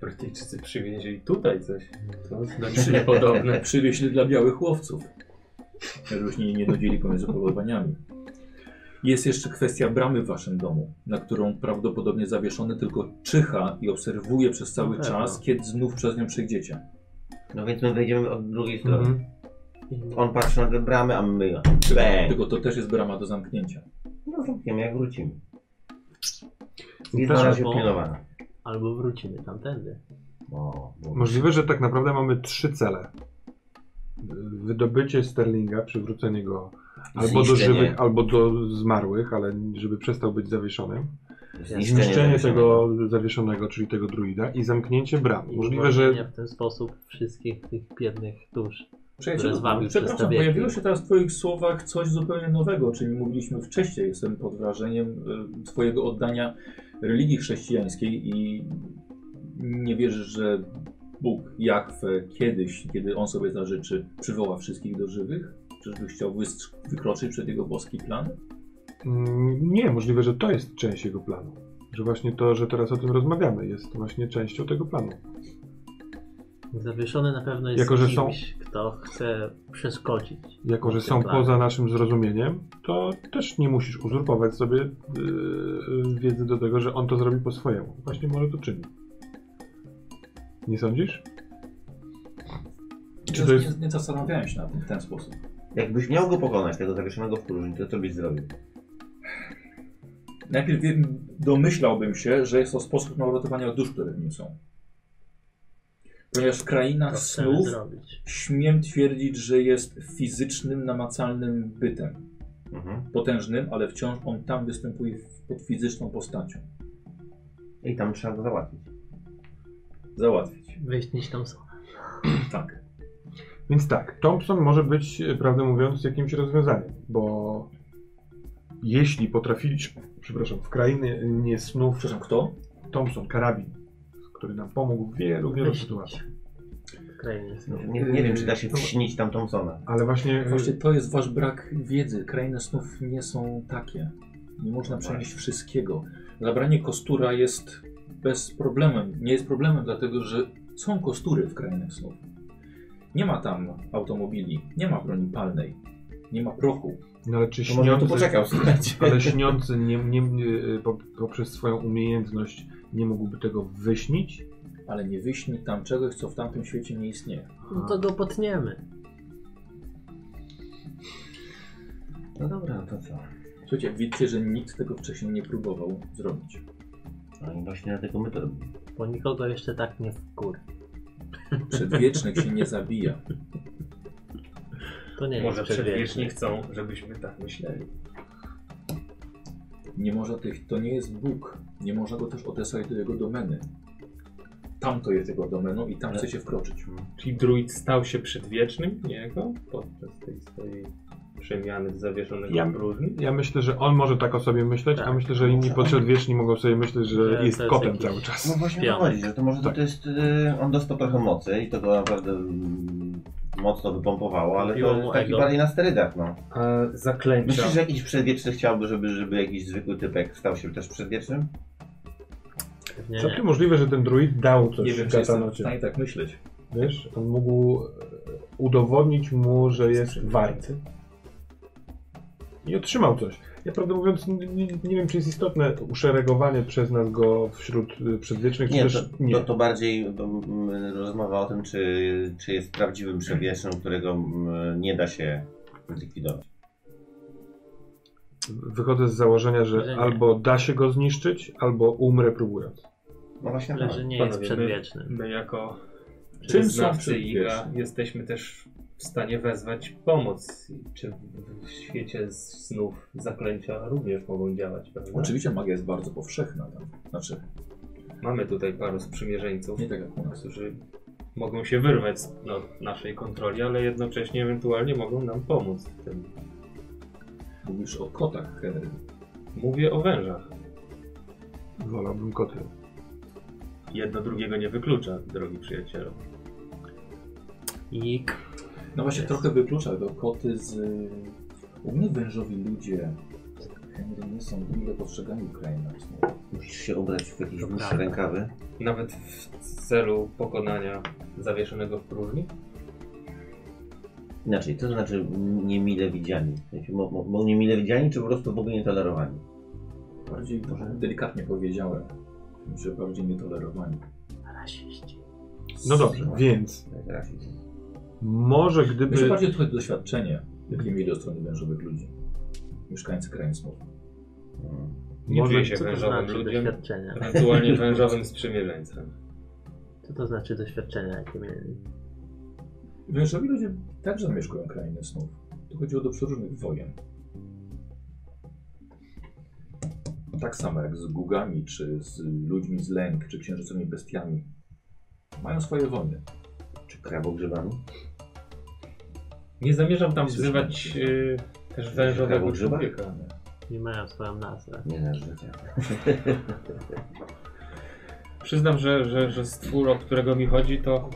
Brytyjczycy przywieźli tutaj coś. To znaczy niepodobne.
Przywieźli dla białych łowców, żebyśmy nie nudzili pomiędzy polowaniami. Jest jeszcze kwestia bramy w waszym domu, na którą prawdopodobnie zawieszony tylko czyha i obserwuje przez cały
Na pewno.
czas, kiedy znów przez nią przejdziecie.
No więc my wejdziemy od drugiej strony.
Mhm.
On patrzy na te bramy, a my ją. Bang!
Tylko to też jest brama do zamknięcia.
No zamkniemy, jak wrócimy.
I
I na razie
bo-
pilnowana.
Albo wrócimy tamtędy.
O, bo-
Możliwe, że tak naprawdę mamy trzy cele. Wydobycie Sterlinga, przywrócenie go albo do
Zniszczenie.
żywych, albo do zmarłych, ale żeby przestał być zawieszonym.
zniszczenie,
Zniszczenie tego zawieszonego, czyli tego druida i zamknięcie bram.
I
Możliwe,
uwolnienie
że...
w ten sposób wszystkich tych biednych dusz.
Przyjacielu,
zwabił przez
przepraszam,
te wieki.
pojawiło się teraz w Twoich słowach coś zupełnie nowego, o czym mówiliśmy wcześniej. Jestem pod wrażeniem y, Twojego oddania religii chrześcijańskiej i nie wierzysz, że Bóg Jahwe kiedyś, kiedy On sobie zażyczy, przywoła wszystkich do żywych? Czyżbyś chciał wystrz- wykroczyć przed Jego boski plan?
Mm, Nie, możliwe, że to jest część jego planu. Że właśnie to, że teraz o tym rozmawiamy, jest właśnie częścią tego planu.
Zawieszony na pewno jest
Jako, że są-
kimś, kto chce przeszkodzić.
Jako, że
tym
są
tak.
planie.
poza naszym zrozumieniem, to też nie musisz uzurpować sobie yy, yy, wiedzy do tego, że on to zrobi po swojemu. Właśnie może to czyni. Nie sądzisz? Czy to jest...
Nie, nie zastanawiałem się na tym w ten sposób.
Jakbyś miał go pokonać, tego zawieszonego w próżni, to co byś zrobił?
Najpierw wiem- domyślałbym się, że jest to sposób na uratowanie dusz, które w nim są. Ponieważ w
To
krainach
chcemy
snów
zrobić.
śmiem twierdzić, że jest fizycznym, namacalnym bytem.
Mhm.
Potężnym, ale wciąż on tam występuje w- pod fizyczną postacią.
I tam trzeba go załatwić.
Załatwić.
Wyjaśnić tam są.
Tak.
Więc tak, Thompson może być, e, prawdę mówiąc, jakimś rozwiązaniem, bo jeśli potrafiliśmy, przepraszam, w krainie nie snów,
Przepraszam, kto?
Thompson, karabin, który nam pomógł w wielu, wielu sytuacjach.
w krainie.
No, nie, nie wiem, czy da się wśnić tam Thompsona.
Ale właśnie, y,
Właśnie to jest wasz brak wiedzy. Krainy snów nie są takie. Nie można przenieść wszystkiego. Zabranie kostura jest bez problemem. Nie jest problemem, dlatego że są kostury w krainach snów. Nie ma tam automobili, nie ma broni palnej, nie ma prochu.
no ale czy
To może tu
śniący,
poczekał, słuchajcie.
ale śniący nie, nie, nie, po- poprzez swoją umiejętność nie mógłby tego wyśnić?
Ale nie wyśni tam czegoś, co w tamtym świecie nie istnieje.
No to go potniemy.
No dobra, to co?
Słuchajcie, widzicie, że nikt tego wcześniej nie próbował zrobić.
No i właśnie dlatego my to robimy.
Bo nikogo jeszcze tak nie wkur.
Przedwiecznych się nie zabija.
To nie
Może
jest
przedwieczni chcą, żebyśmy tak myśleli.
Nie może tych, to nie jest Bóg. Nie można go też odesłać do jego domeny. Tam to jest jego domeną i tam chce się wkroczyć.
Czyli druid stał się przedwiecznym niejako podczas tej swojej przemiany z zawieszonego
Ja-
w próżni?
Ja myślę, że on może tak o sobie myśleć, a myślę, że inni podśredwieczni mogą sobie myśleć, że
Że
jest
to jest
kotem
jakiś-
cały
No
czas.
właśnie o
Śpią.
to chodzi, że to może
Tak.
to jest... y, on dostał trochę mocy i to go naprawdę mm, mocno wypompowało, ale
Kupiło
to
mu
jest taki
ego.
bardziej na sterydach, no.
A zaklęcia.
Myślisz, że jakiś przedwieczny chciałby, żeby, żeby jakiś zwykły typek stał się też przedwiecznym?
Nie,
Całkiem możliwe, że ten druid dał coś
Nie wiem, czy jestem w
katanocie.
stanie tak myśleć.
Wiesz, on mógł e, udowodnić mu, że jest wart. I otrzymał coś. Ja prawdę mówiąc, nie, nie, nie wiem, czy jest istotne uszeregowanie przez nas go wśród e, przedwiecznych,
Nie,
czy
to,
też nie.
to, to bardziej mm, rozmowa o tym, czy, czy jest prawdziwym przedwiecznym, którego mm, nie da się zlikwidować.
Wychodzę z założenia, że
Że nie.
albo da się go zniszczyć, albo umrę próbując.
No właśnie
Ale
tak.
że nie
Panowie,
jest przedwiecznym.
My jako
Czym są
znawcy
przedwieczni?
Iga jesteśmy też
w stanie wezwać pomoc. Czy w świecie snów zaklęcia również mogą działać, prawda?
Oczywiście magia jest bardzo powszechna tam. Znaczy,
Mamy tutaj paru sprzymierzeńców,
nie tak jak u nas.
którzy mogą się wyrwać z no, naszej kontroli, ale jednocześnie ewentualnie mogą nam pomóc w tym.
Mówisz o kotach, Henry.
Mówię o wężach.
Wolałbym koty.
Jedno drugiego nie wyklucza, drogi przyjacielu.
I
No właśnie,
Jest.
trochę wyklucza do koty z... y, U mnie wężowi ludzie, Henry, nie są mile postrzegani w krainach snów.
Musisz się ubrać w jakieś
Dobra.
dłuższe rękawy.
Nawet w celu pokonania zawieszonego w próżni?
Inaczej, to znaczy niemile widziani. W sensie, mo- mo- Bo niemile widziani, czy po prostu w ogóle nietolerowani?
Bardziej może delikatnie powiedziałem, że bardziej nietolerowani.
rasiści.
No dobrze, więc
To jest rasizm.
może
Myślę
gdyby...
bardziej trochę doświadczenie, jakie mieli od strony wężowych ludzi. Mieszkańcy krain snów.
Mm.
Nie
Może-
czuję się
Co to
wężowym
znaczy
ludziem,
doświadczenia?
ewentualnie wężowym sprzymierzeńcem.
Co to znaczy doświadczenia, jakie mieli?
Wężowi ludzie także zamieszkują krainę snów. Tu chodziło do przeróżnych wojen. Tak samo jak z gugami, czy z ludźmi z lęk, czy księżycowymi bestiami. Mają swoje wojny.
Czy krabogrzybami?
Nie zamierzam tam wzywać y, też wężowego
Ciekawego grzyba?
człowieka.
Nie mają swoją nazwę.
Nie znasz życia.
Przyznam, że, że, że stwór, o którego mi chodzi, to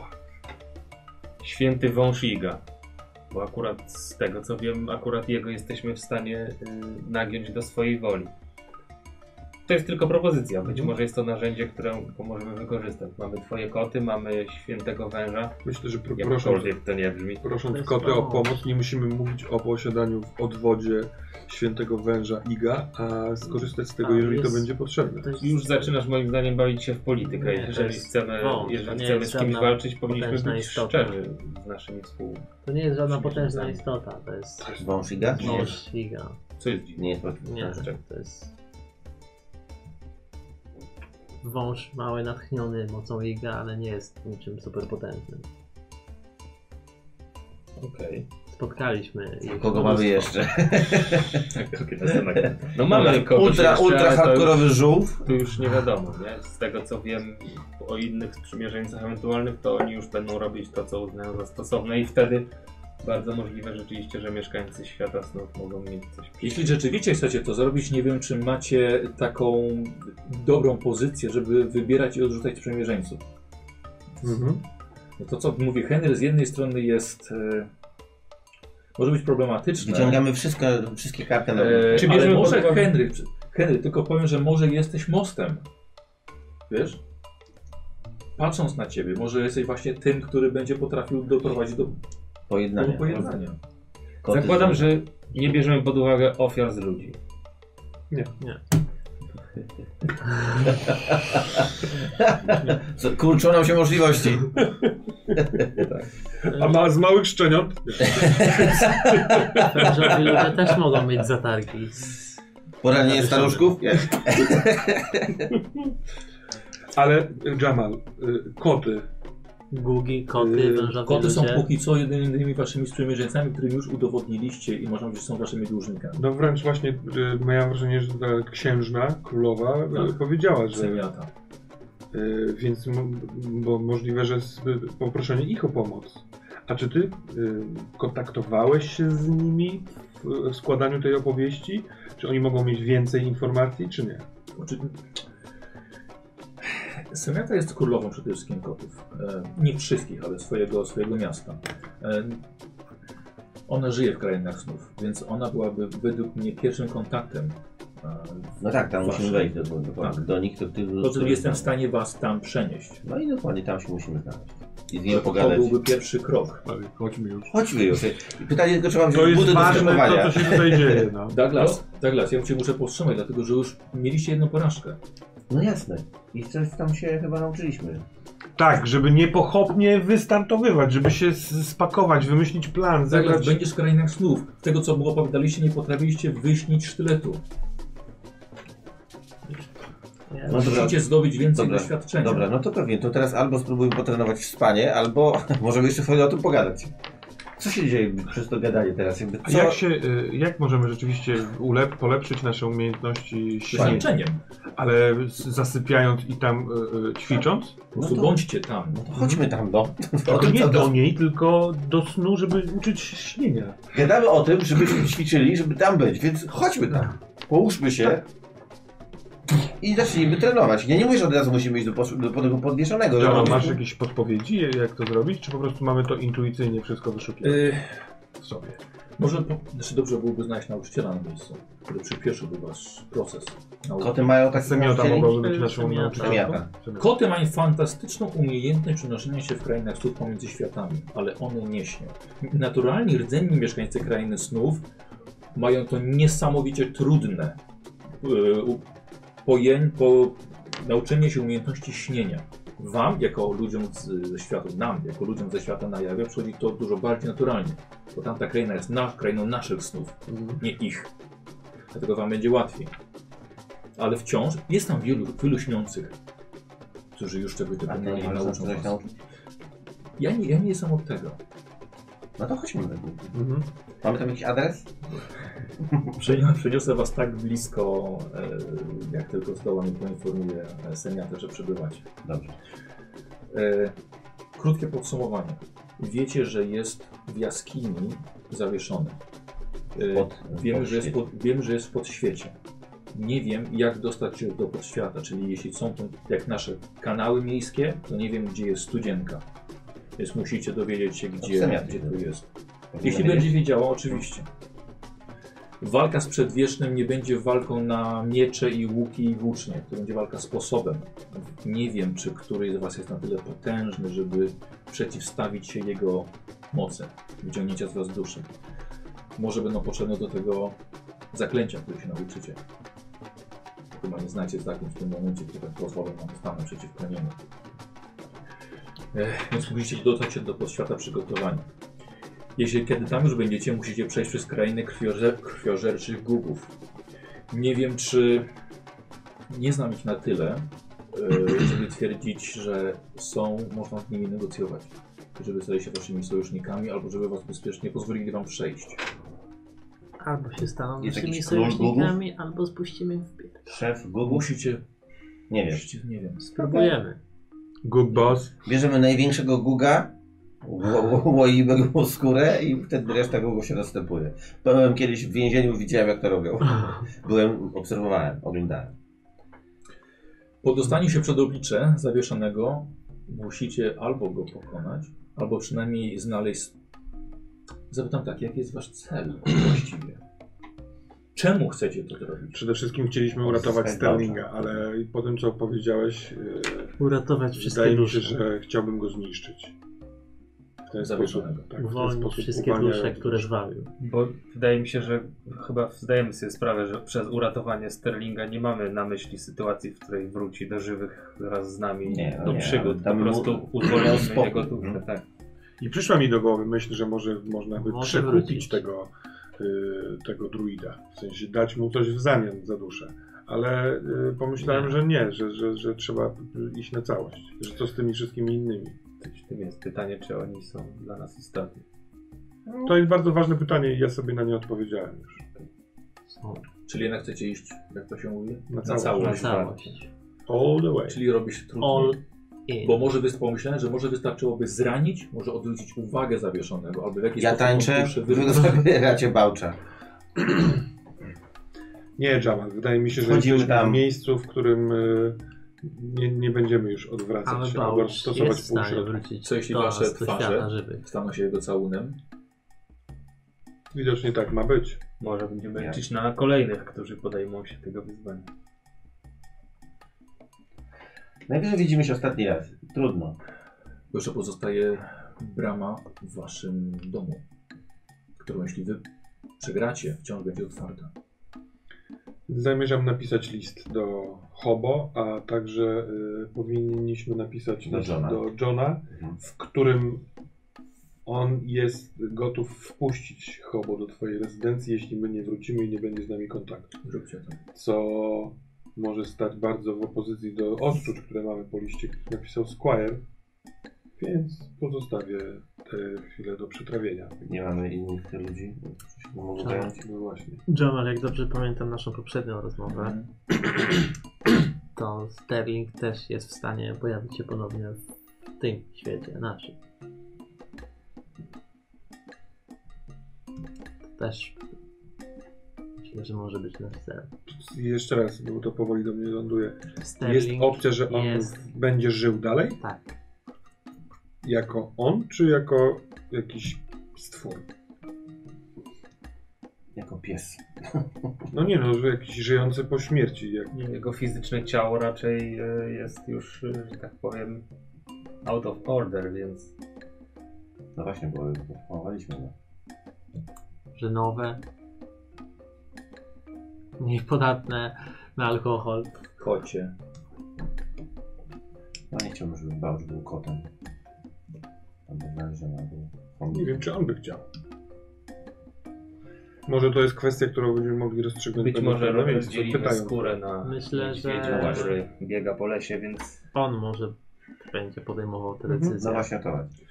święty wąż Iga. Bo akurat z tego co wiem, akurat jego jesteśmy w stanie y, nagiąć do swojej woli. To jest tylko propozycja. Być
Mhm.
może jest to narzędzie, które możemy wykorzystać. Mamy twoje koty, mamy świętego węża.
Myślę, że pro, prosząc,
Jakkolwiek to nie brzmi.
prosząc
Bez
koty o
pomocy.
pomoc, nie musimy mówić o posiadaniu w odwodzie świętego węża Iga, a skorzystać z tego,
Tam
jeżeli to
jest-
będzie potrzebne.
To jest-
Już zaczynasz moim zdaniem bawić się w politykę.
Nie, to
jeżeli
jest
chcemy,
wąż, to
jeżeli
nie
chcemy
jest
z kimś
żadna
walczyć, powinniśmy
potężna
być
istota.
szczerzy z naszymi współ.
To nie jest żadna potężna
Przymieszane.
istota, to jest
Wąż i gaz?
mąż świga.
Co jest dziwne?
Nie jest prosto.
Nie, to jest wąż mały, natchniony mocą Iga, ale nie jest niczym superpotężnym.
Okej.
Spotkaliśmy ich
Kogo mamy jeszcze?
No mamy
Dobra,
kogoś
ultra,
jeszcze,
ultra
ale to już-
hardkorowy żółw.
To już nie wiadomo, nie? Z tego co wiem o innych sprzymierzeńcach ewentualnych, to oni już będą robić to, co uznają za stosowne i wtedy bardzo możliwe rzeczywiście, że mieszkańcy świata snów mogą mieć coś
Jeśli rzeczywiście chcecie to zrobić, nie wiem, czy macie taką dobrą pozycję, żeby wybierać i odrzucać sprzymierzeńców.
Mhm.
No to, co mówi Henry, z jednej strony jest... E, może być problematyczne.
Wyciągamy wszystko, wszystkie karty na
Eee,
Czy
Ale
bierzemy
może
może Henry, Henry, tylko powiem, że może jesteś mostem. Wiesz? Patrząc na ciebie, może jesteś właśnie tym, który będzie potrafił doprowadzić do, do
pojednanie.
pojednania.
Koty
Zakładam,
są-
że nie bierzemy pod uwagę ofiar z ludzi.
Co- Kurczą nam się możliwości.
A ma z małych szczeniąt?
Wężowi ludzie też mogą mieć zatargi.
Poranienie staruszków?
Ale Jamal, y, koty.
Gugi, koty,
Yy,
wężowe
Koty są
ludzie.
póki co jedynymi waszymi sprzymierzeńcami, którym już udowodniliście i można powiedzieć, że są waszymi dłużnikami.
No wręcz właśnie y, miałem wrażenie, że ta księżna, królowa y,
Tak.
powiedziała, że
Zemiata.
Y, więc mo- bo możliwe, że z, poproszenie ich o pomoc. A czy ty y, kontaktowałeś się z nimi w, w składaniu tej opowieści? Czy oni mogą mieć więcej informacji, czy nie?
Oczy... Semiata Znaczy, jest królową przede wszystkim kotów. E, Nie wszystkich, ale swojego, swojego miasta. E, Ona żyje w krainach snów, więc ona byłaby według mnie pierwszym kontaktem. e,
No tak, tam
waszym.
musimy wejść do, do, do,
Tak.
do nich, do tych...
Po prostu jestem w stanie was tam przenieść.
No i dokładnie tam się musimy znaleźć. I z
To,
nim
to
pogadać.
byłby pierwszy krok.
Ale chodźmy już.
Chodźmy już. Pytanie tylko, czy mam wziąć buty do
No to,
skrzypowania.
co się tutaj dzieje. No.
Douglas, Douglas, ja cię muszę powstrzymać, dlatego że już mieliście jedną porażkę.
No jasne. I coś tam się chyba nauczyliśmy.
Tak, żeby niepochopnie wystartowywać, żeby się s- spakować, wymyślić plan,
Douglas,
zebrać...
będziesz w krainach snów. Z tego, co było opowiadaliście, nie potrafiliście wyśnić sztyletu.
Nie,
No dobra,
Musicie zdobyć więcej
Dobra.
doświadczenia.
dobra, no to pewnie. To teraz albo spróbujmy potrenować w spanie, albo możemy jeszcze chwilę o tym pogadać. Co się dzieje przez to gadanie teraz? Jakby
A
co...
jak się, y, jak możemy rzeczywiście ulep, polepszyć nasze umiejętności śnienia?
Przeznaczeniem.
Ale z- zasypiając i tam y, y, ćwicząc?
Po prostu
to-
bądźcie tam.
No to chodźmy tam, no.
To nie
co
do
do-
niej, tylko do snu, żeby uczyć się śnienia.
Gadamy o tym, żebyśmy ćwiczyli, żeby tam być, więc chodźmy tam. Połóżmy się i zacznijmy trenować. Ja nie mówię, że od razu musimy iść do, posz- do, do tego podwieszonego. że
Dobra,
mamy-
masz jakieś podpowiedzi, jak to zrobić? Czy po prostu mamy to intuicyjnie wszystko wyszukiwać
Y,
w sobie?
może po, znaczy dobrze byłoby znaleźć nauczyciela na miejscu, który przyspieszyłby wasz proces. nauki.
Koty mają
Tak
tak
Semiota mogłaby być naszą
Semiota.
nauczycielką.
Semiota.
Semiota.
Koty mają fantastyczną umiejętność przenoszenia się w krainach snów pomiędzy światami, ale one nie śnią. Naturalni rdzenni mieszkańcy krainy snów mają to niesamowicie trudne yy, u- poję, po, nauczenie się umiejętności śnienia. Wam, jako ludziom z, ze świata, nam, jako ludziom ze świata na jawie, przychodzi to dużo bardziej naturalnie, bo tamta kraina jest na, krainą naszych snów, nie ich. Dlatego wam będzie łatwiej. Ale wciąż jest tam wielu, wielu śniących, którzy już czegoś
A
tego
ty
nie, nie
nie możesz
nauczą
nas
was.
coś nauczyć?
Ja nie, ja nie jestem od tego.
No to chodźmy.
Mhm.
Mamy tam jakiś adres?
Przeni- Przeniosę was tak blisko, e, jak tylko zdołam i poinformuję e, seniatę, że przebywacie.
Dobrze.
E, krótkie podsumowanie. Wiecie, że jest w jaskini zawieszony. E,
Pod,
Wiem,
pod
że jest
świecie.
pod, wiem, że jest w podświecie. Nie wiem, jak dostać się do podświata, czyli jeśli są to jak nasze kanały miejskie, to nie wiem, gdzie jest studzienka. Więc musicie dowiedzieć się, gdzie,
Semiaty.
gdzie to jest.
Powinno
Jeśli
wiedzieć.
będzie wiedziała, oczywiście. Walka z przedwiecznym nie będzie walką na miecze i łuki i włócznie. To będzie walka sposobem. Nie wiem, czy któryś z Was jest na tyle potężny, żeby przeciwstawić się jego mocy, wyciągnięcia z Was duszy. Może będą potrzebne do tego zaklęcia, które się nauczycie. Chyba nie znacie zaklęć w tym momencie, które tak pozwolą nam stanąć przeciwko niemu. Ech, więc musicie dotrzeć się do podświata przygotowania. Jeśli kiedy tam już będziecie, musicie przejść przez krainy krwiożer krwiożerczych gugów. Nie wiem, czy nie znam ich na tyle, e, żeby twierdzić, że są, można z nimi negocjować. Żeby stali się waszymi sojusznikami, albo żeby was bezpiecznie pozwolili wam przejść.
Albo się staną
Jest
naszymi
jakiś król
sojusznikami, albo spuścimy w bieg.
Szef Google?
Musicie,
Nie wiem.
musicie, nie wiem,
Spróbujemy.
Good boss.
Bierzemy największego Guga, ło- ło- łoimy go po skórę i wtedy reszta Google się następuje. Byłem kiedyś w więzieniu, widziałem jak to robią. Byłem, obserwowałem, oglądałem.
Po dostaniu się przed oblicze zawieszonego musicie albo go pokonać, albo przynajmniej znaleźć. Zapytam tak, jaki jest wasz cel właściwie? Czemu chcecie to zrobić?
Przede wszystkim chcieliśmy uratować Sterlinga, ale po tym co powiedziałeś, y,
Uratować wszystkie
wydaje mi
dusze.
się, że chciałbym go zniszczyć. W ten sposób.
Zawieszonego.
Tak, w ten
Uwolnić
sposób
wszystkie
uwalnia-
dusze, które żwawił.
Bo wydaje mi się, że chyba zdajemy sobie sprawę, że przez uratowanie Sterlinga nie mamy na myśli sytuacji, w której wróci do żywych wraz z nami
Nie, no
do
nie,
przygód.
tam
po prostu
mu-
uzwolnimy
spokój.
jego duszę.
Mhm.
Tak.
I przyszła mi do głowy myśl, że może można by
Może
przekupić
wrócić.
tego, y, tego druida. W sensie dać mu coś w zamian za duszę. Ale y, pomyślałem, że nie, że, że, że trzeba iść na całość. Że co z tymi wszystkimi innymi?
Tym jest pytanie, czy oni są dla nas istotni.
To jest bardzo ważne pytanie i ja sobie na nie odpowiedziałem już.
Czyli jednak chcecie iść, jak to się mówi?
Na całość.
Na
całość. tak.
całość.
All the way.
Czyli robi się trudniej.
All in.
Bo może wy pomyślałem, że może wystarczyłoby zranić, może odwrócić uwagę zawieszonego, albo w jakiś
Ja
sposób
tańczę,
duszę
wy
wyrwać.
zabieracie bałcza.
Nie, Jamal, wydaje mi się, że
Wchodzimy
jesteśmy
tam.
w miejscu, w którym y, nie, nie będziemy już odwracać
Ale
się albo
Bałcz
stosować
jest w stanie
półśrodki.
wrócić
Co jeśli
do
wasze
nas, do
twarze?
świata żywych.
Staną się jego całunem.
Widocznie tak ma być.
Może będziemy
Jak?
liczyć na kolejnych, którzy podejmą się tego wyzwania.
Najpierw widzimy się ostatni raz. Trudno.
Bo jeszcze pozostaje brama w waszym domu, którą jeśli wy przegracie, wciąż będzie otwarta.
Zamierzam napisać list do Hobo, a także y, powinniśmy napisać
Do
list
Johna.
do Johna,
Mhm.
w którym on jest gotów wpuścić Hobo do twojej rezydencji, jeśli my nie wrócimy i nie będzie z nami kontaktu.
Zróbcie to.
Co może stać bardzo w opozycji do odczuć, które mamy po liście, który napisał Squire. Więc pozostawię tę chwilę do przetrawienia.
Nie mamy innych ludzi, którzy się mogą
Tak.
zająć.
No właśnie.
Jamal, jak dobrze pamiętam naszą poprzednią rozmowę,
Mhm.
to Sterling też jest w stanie pojawić się ponownie w tym świecie znaczy. naszym. To Też myślę, że może być nasz cel.
I jeszcze raz, bo to powoli do mnie ląduje. Jest
Sterling
opcja, że on
jest-
będzie żył dalej?
Tak.
Jako on, czy jako jakiś stwór?
Jako pies.
No nie no, że jakiś żyjący po śmierci. Jak...
Mm.
Jego fizyczne ciało raczej e, jest już, e, że tak powiem, out of order, więc
No właśnie, bo pochowaliśmy go.
że nowe, niepodatne na alkohol.
Kocie.
No nie chciałbym, żeby bał, że był kotem. Albo mężem, albo...
Nie wiem, czy on by chciał. Może to jest kwestia, którą będziemy mogli rozstrzygnąć.
być
pewnie
może
na miejscu,
rozdzielimy
pytając.
skórę na
Myślę,
No
niedźwiedzia,
że-
który biega po lesie, więc
On może będzie podejmował te
Mhm.
No
decyzje.
właśnie to jest.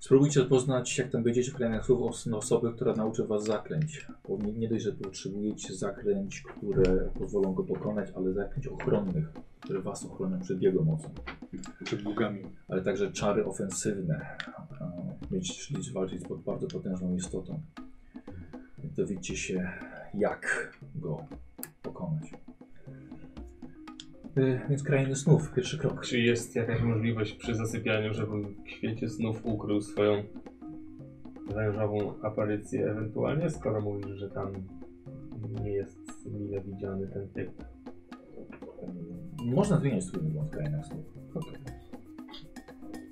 Spróbujcie poznać, jak tam będziecie w krajach słów, os- osoby, która nauczy was zaklęć. Bo nie, nie dość, że tu utrzymujecie zaklęć, które pozwolą go pokonać, ale zaklęć ochronnych, które was ochronią przed jego mocą.
Przed bugami.
ale także czary ofensywne. e, Mieć czyli walczyć z pod bardzo potężną istotą. Więc Dowiecie się, jak go pokonać. Y, Więc krainy snów, pierwszy krok.
Czy jest jakaś możliwość przy zasypianiu, żebym w świecie snów ukrył swoją wężową aparycję ewentualnie, skoro mówisz, że tam nie jest mile widziany ten typ?
Y, Można zmieniać swój wygląd w krainach snów.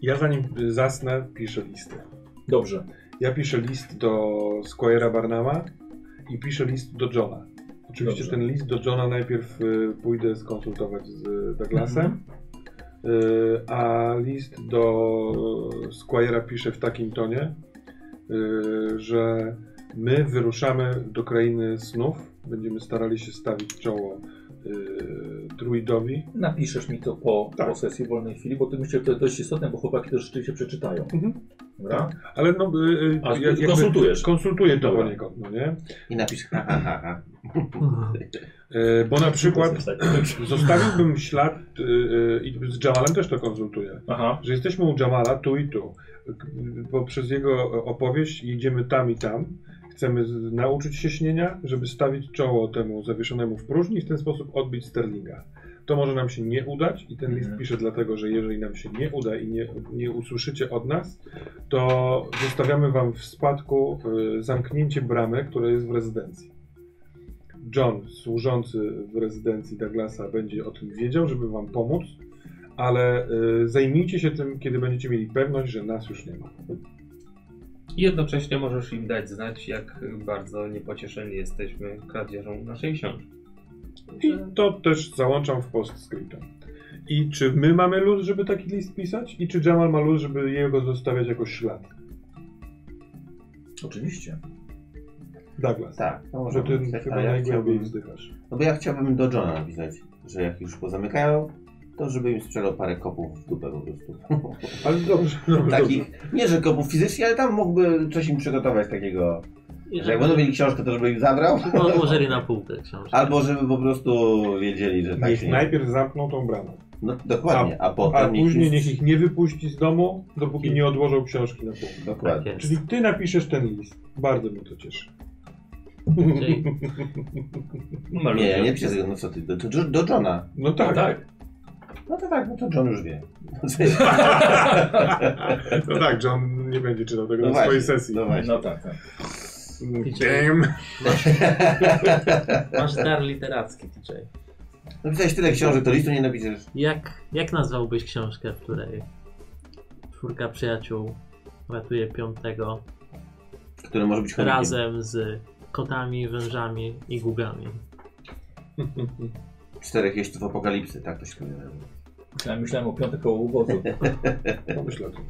Ja zanim y, zasnę, piszę listy.
Dobrze.
Ja piszę list do Squire'a Barnama i piszę list do Johna. Oczywiście
Dobrze.
ten list do Johna najpierw y, pójdę skonsultować z
Mhm.
Douglasem, y, a list do Squire'a piszę w takim tonie, y, że my wyruszamy do krainy snów, będziemy starali się stawić czoło y, druidowi.
Napiszesz mi to po, po sesji wolnej chwili, bo to myślę, że to jest dość istotne, bo chłopaki to rzeczywiście przeczytają.
Mhm.
Dobra?
Ale no, y, y,
A,
ja- jakby-
konsultujesz.
Konsultuję to
Dobra.
do niego, no nie?
I napisz ha ha ha ha.
No Y, bo na przykład
To jest tak.
Zostawiłbym ślad y, y, i z Jamalem też to konsultuję,
Aha.
że jesteśmy u Jamala tu i tu. K- Bo przez jego opowieść jedziemy tam i tam. Chcemy z- nauczyć się śnienia, żeby stawić czoło temu zawieszonemu w próżni i w ten sposób odbić Sterlinga. To może nam się nie udać i ten list
Mhm.
piszę dlatego, że jeżeli nam się nie uda i nie, nie usłyszycie od nas, to zostawiamy wam w spadku y, zamknięcie bramy, która jest w rezydencji. John, służący w rezydencji Douglasa, będzie o tym wiedział, żeby wam pomóc, ale y, zajmijcie się tym, kiedy będziecie mieli pewność, że nas już nie ma.
I jednocześnie możesz im dać znać, jak bardzo niepocieszeni jesteśmy kradzieżą naszej książki.
I to też załączam w postscriptum. I czy my mamy luz, żeby taki list pisać? I czy Jamal ma luz, żeby jego zostawiać jako ślad?
Oczywiście.
Douglas.
Tak, to
Że
może
ty
być. Tak,
chyba
ale ja
najgłębiej
chciałbym,
wzdychasz.
No bo ja chciałbym do Johna napisać, że jak już pozamykają, to żeby im strzelał parę kopów w dupę po prostu.
Ale dobrze, dobrze. dobrze.
Takich, nie że kopów fizycznie, ale tam mógłby coś im przygotować takiego,
I
że jak będą mieli książkę, to żeby im zabrał.
Odłożyli na półkę książkę.
Albo żeby po prostu wiedzieli, że tak
Niech
się nie...
najpierw zamkną tą bramę.
No dokładnie, a
A
potem
później niech
niech
ich nie wypuści z domu, dopóki nie odłożą książki na pół.
Dokładnie.
Tak jest.
Czyli ty napiszesz ten list. Bardzo mnie to cieszy.
Czyli
Nie, ja nie przez no co ty, do, do, do Johna.
No tak.
No to tak, no to John już wie.
No tak, że on nie będzie czytał tego
No
na
właśnie,
swojej sesji.
no właśnie.
No tak, tak.
Damn.
masz dar literacki, DJ.
Napisałeś tyle książek, to listu nie napiszesz.
Jak, jak nazwałbyś książkę, w której czwórka przyjaciół ratuje piątego
Który może być chomikiem.
razem z kotami, wężami i gugami?
Czterech jeźdźców apokalipsy, tak to się powinno nazywać.
Ja myślałem o piątek koło uwozu.
Pomyśl o tym.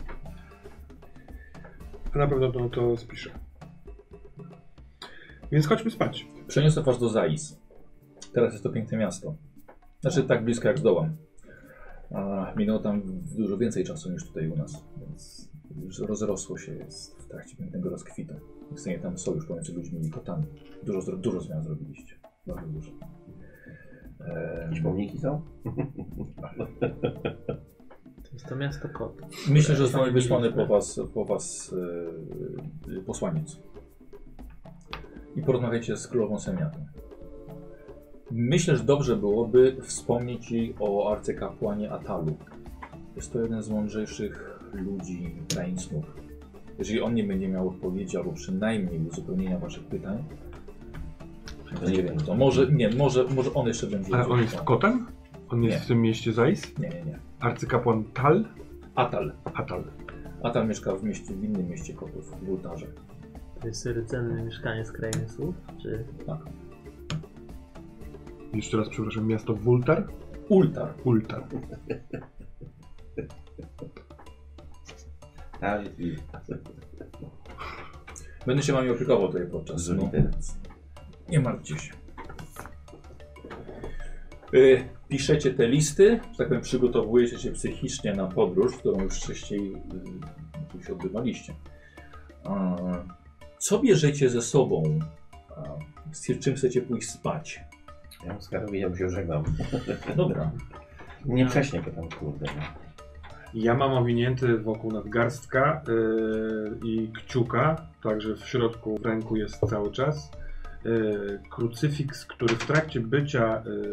A na pewno to, to spiszę. Więc chodźmy spać.
Przeniosę was do Zais. Teraz jest to piękne miasto. Znaczy tak blisko jak zdołam. A minęło tam dużo więcej czasu niż tutaj u nas, więc już rozrosło się, jest w trakcie pięknego rozkwitu. Istnieje tam sojusz pomiędzy ludźmi i kotami. Dużo, zro- dużo zmian zrobiliście. Bardzo dużo.
Jakieś
Ehm,
pomniki są?
To jest to miasto kot.
myślę, że zostanie wysłany po was, po was e, posłaniec. I porozmawiacie z królową Semiatą. Myślę, że dobrze byłoby wspomnieć jej o arcykapłanie Atalu. Jest to jeden z mądrzejszych ludzi krańców. Jeżeli on nie będzie miał odpowiedzi, albo przynajmniej uzupełnienia waszych pytań, to nie wiem, to może, nie, może, może on jeszcze będzie.
Ale on jest kotem? On jest
Nie.
w tym mieście Zais?
Nie, nie, nie.
Arcykapłan Tal?
Atal.
Atal.
Atal mieszka w mieście, w innym mieście kotów, w Bultarze.
To jest rdzenny mieszkaniec krainy słów, czy
Jeszcze raz przepraszam, miasto Wultar?
Ultar.
Ultar.
Tak, jest i-
Będę się wami opiekował tutaj podczas.
Zrobi
No.
teraz.
Nie martwcie się. Y, piszecie te listy, że tak powiem, przygotowujecie się psychicznie na podróż, którą już wcześniej y, tu się odbywaliście. A, co bierzecie ze sobą? A, z czym chcecie pójść spać?
Ja z Karolinem się żegnam.
Dobra. No.
Nie prześnie go tam, kurde. no.
Ja mam owinięty wokół nadgarstka yy, i kciuka, także w środku w ręku jest cały czas. Yy, krucyfiks, który w trakcie bycia yy,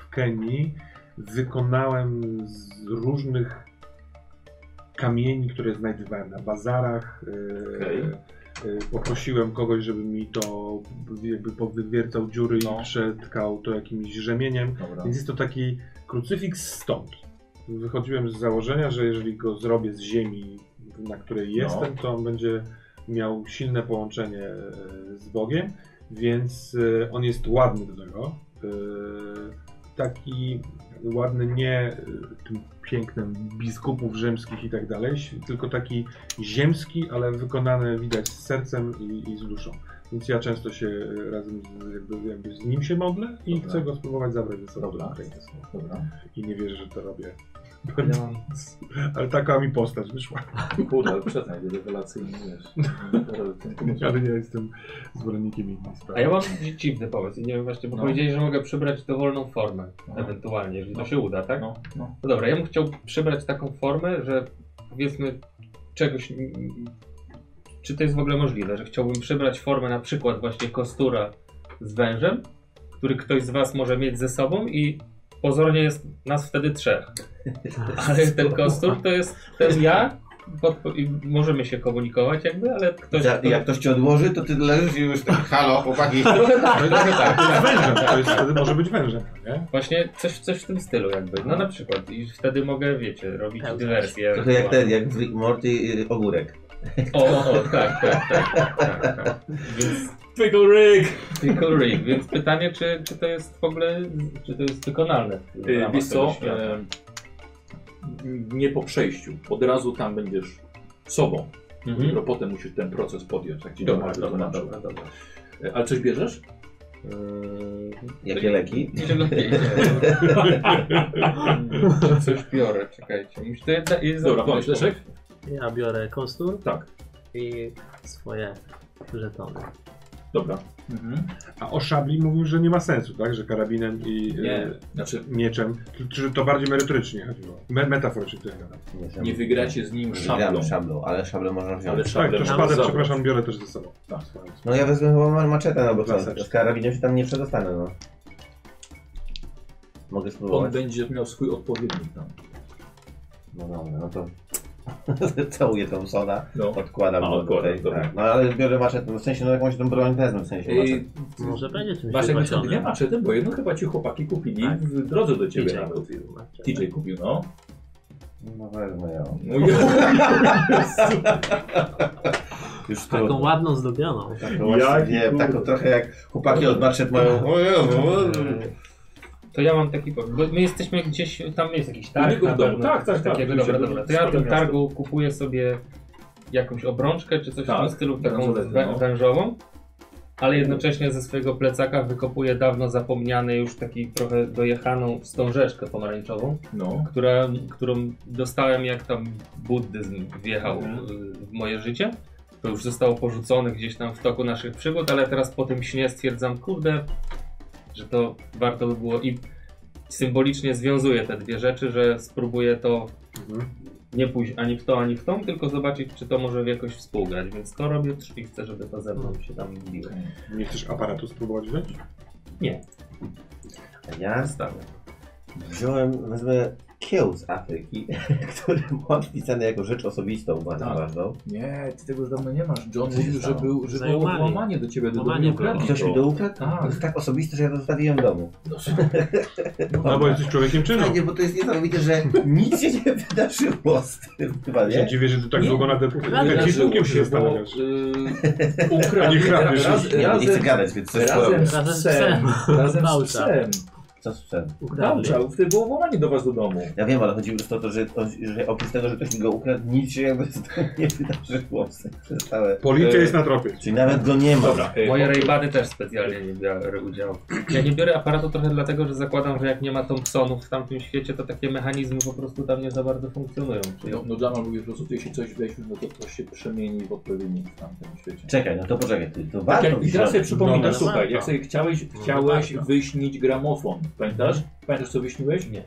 w Kenii wykonałem z różnych kamieni, które znajdowałem na bazarach. Yy,
Okej.
yy, Poprosiłem kogoś, żeby mi to jakby powywiercał dziury
No.
i przetkał to jakimś rzemieniem.
Dobra.
Więc jest to taki krucyfiks stąd. Wychodziłem z założenia, że jeżeli go zrobię z ziemi, na której
No.
jestem, to on będzie miał silne połączenie e, z Bogiem, więc e, on jest ładny do tego. E, Taki ładny nie e, tym pięknem biskupów rzymskich i tak dalej, tylko taki ziemski, ale wykonany widać z sercem i, i z duszą. Więc ja często się e, razem z, jakby, jakby z nim się modlę i
Dobra.
chcę go spróbować zabrać ze sobą
Dobra.
do Ukrainy.
Dobra.
I nie wierzę, że to robię.
Ja mam
Ale taka mi postać wyszła.
Kurde, ale przestań, rewelacyjny wiesz.
Ale ja jestem zwolennikiem innej sprawy.
A ja mam dziwny pomysł i nie wiem właśnie, bo
No.
powiedzieli, że mogę przybrać dowolną formę,
No.
ewentualnie, jeżeli to się uda, tak? No.
No, no.
dobra, ja bym chciał przybrać taką formę, że powiedzmy czegoś... Czy to jest w ogóle możliwe, że chciałbym przybrać formę na przykład właśnie kostura z wężem, który ktoś z was może mieć ze sobą i pozornie jest nas wtedy trzech. Ale ten kostur to jest ten ja, podpo- i możemy się komunikować jakby, ale ktoś...
Ja,
kto-
jak ktoś ci odłoży, to ty leżysz i już tak, halo, chłopaki.
Trochę tak, trochę tak.
To jest wężem, to jest, wtedy może być wężem, nie?
Właśnie coś, coś w tym stylu jakby. No na przykład. I wtedy mogę, wiecie, robić
Pełzać.
dywersję.
To jak ten, jak w Rick Morty y, ogórek.
O, o, tak, tak, tak. tak, tak. Więc
Pickle Rick!
tylko rig. Więc pytanie, czy, czy to jest w ogóle, czy to jest wykonalne? w ramach
Yy, Wiesz
tego
co,
świata?
e, nie po przejściu, od razu tam będziesz sobą.
Mhm.
Dopiero potem musisz ten proces podjąć, tak ci
Dobra,
domaga
dobra,
tłumaczył.
dobra, dobra.
Ale coś bierzesz?
Y, Jakie leki?
Idzie lepiej. Coś biorę, czekajcie. Muszę to jedna, jest
Dobra, pomyśl, Leszek?
ja biorę kostur
Tak,
i swoje żetony.
dobra. Mhm.
A o szabli mówił, że nie ma sensu, tak? Że karabinem i
Nie,
e,
znaczy
mieczem. Czy- Czy to bardziej merytorycznie chodziło? Me metaforycznie tutaj gadam.
wiem.
nie wygracie z nim szablą,
Wygramy szablą, ale szablę można
ale
wziąć.
Tak,
szablę
to
możesz
szpadę,
zabrać.
przepraszam, biorę też ze sobą.
Tak.
No ja wezmę chyba ma- maczetę na
Klasyczne.
początek. Z karabinem się tam nie przedostanę, no. Mogę
On
spróbować?
będzie miał swój odpowiednik tam.
No dobra, no to... Całuję tą soda,
No.
Tak.
odkładam
A,
go
odkładam,
tutaj,
dobra.
tak. No ale biorę maczetę, no w sensie, no jakąś tą broń wezmę, w sensie maczetę.
Ej,
Może będzie czymś
Masz jakieś tam dwie
wypasiony.
maszety, bo jedno chyba ci chłopaki kupili
Tak.
w drodze do ciebie
DJ
nawet.
kupił. macie.
TJ kupił, no.
No wezmę ją.
no i-
Już
Taką
trudno.
ładną, zdobioną.
Taką Tak, no właśnie,
Jaki
wiem, taką trochę jak chłopaki od maczet mają... Eee,
No,
To ja mam taki powód, bo my jesteśmy gdzieś, tam jest jakiś
U
targ
niego
na
w domu.
pewno,
Tak, tak,
coś
tak,
takiego,
oczywiście,
dobra,
to
dobra.
jest
To ja na
spore
tym
miasto.
targu kupuję sobie jakąś obrączkę czy coś w
Tak,
tym stylu, taką
bransoletę,
wę-
no.
wężową ale jednocześnie ze swojego plecaka wykopuje dawno zapomniany już taki trochę dojechaną wstążeczkę pomarańczową,
No.
która, którą dostałem jak tam buddyzm wjechał y, w moje życie. To już zostało porzucone gdzieś tam w toku naszych przygód, ale teraz po tym śnie stwierdzam, kurde, że to warto by było i symbolicznie związuję te dwie rzeczy, że spróbuję to nie pójść ani w to, ani w tą, tylko zobaczyć, czy to może jakoś współgrać. Więc to robię i chcę, żeby to ze mną się tam biło.
Nie chcesz aparatu spróbować wziąć?
A ja
Zostawiam.
wziąłem, wezmę kieł z Afryki, który mam wpisany jako rzecz osobistą, bardzo
Tak.
ważną.
Nie, ty tego już dawno nie masz. John
Co się
mówił, że,
stało?
był, że było
Zajumali.
włamanie do ciebie. Do
Włamanie
domu ukradli
było.
Ktoś mi
to.
to ukradł?
Tak.
To jest tak osobiste, że ja to zostawiłem w domu.
No,
No bo jesteś człowiekiem czynu.
Fajnie, bo to jest niesamowite, że nic się nie wydarzyło z tym chyba,
Ja się
nie?
dziwię, że ty tak
Nie.
długo nad tym
Wydarzyło
kierunkiem
się,
się
bo,
zastanawiasz.
y,
A nie
Ukradli
kradniesz
raz,
Nie, no bo nie chcę
razem,
gadać, więc coś
razem
powiem.
z
Razem z
psem. Razem z
Bałcza.
psem.
Co z czym?
Ukradli.
Bałcza, wtedy było włamanie do was do domu.
Ja wiem, ale chodzi po prostu o to, że, że oprócz tego, że ktoś mi go ukradł, nic się jakby z tym nie wydarzyło w sensie przez całe...
Policja jest na tropie.
Czyli nawet go nie ma.
Dobra, y,
Moje rejbany też specjalnie nie biorę udziału. Ja nie biorę aparatu trochę dlatego, że zakładam, że jak nie ma Thompsonów w tamtym świecie, to takie mechanizmy po prostu tam nie za bardzo funkcjonują. Czyli
No, no Jamal mówi, po prostu jeśli coś weźmiesz, no to to się przemieni w odpowiednik w tamtym świecie.
Czekaj, no to poczekaj, ty, to
Tak,
warto
jak, I teraz sobie
wziąć.
przypominasz,
Dobra,
słuchaj,
No, warto.
jak sobie chciałeś,
No,
chciałeś
warto.
wyśnić gramofon, pamiętasz? Pamiętasz co wyśniłeś?
Nie.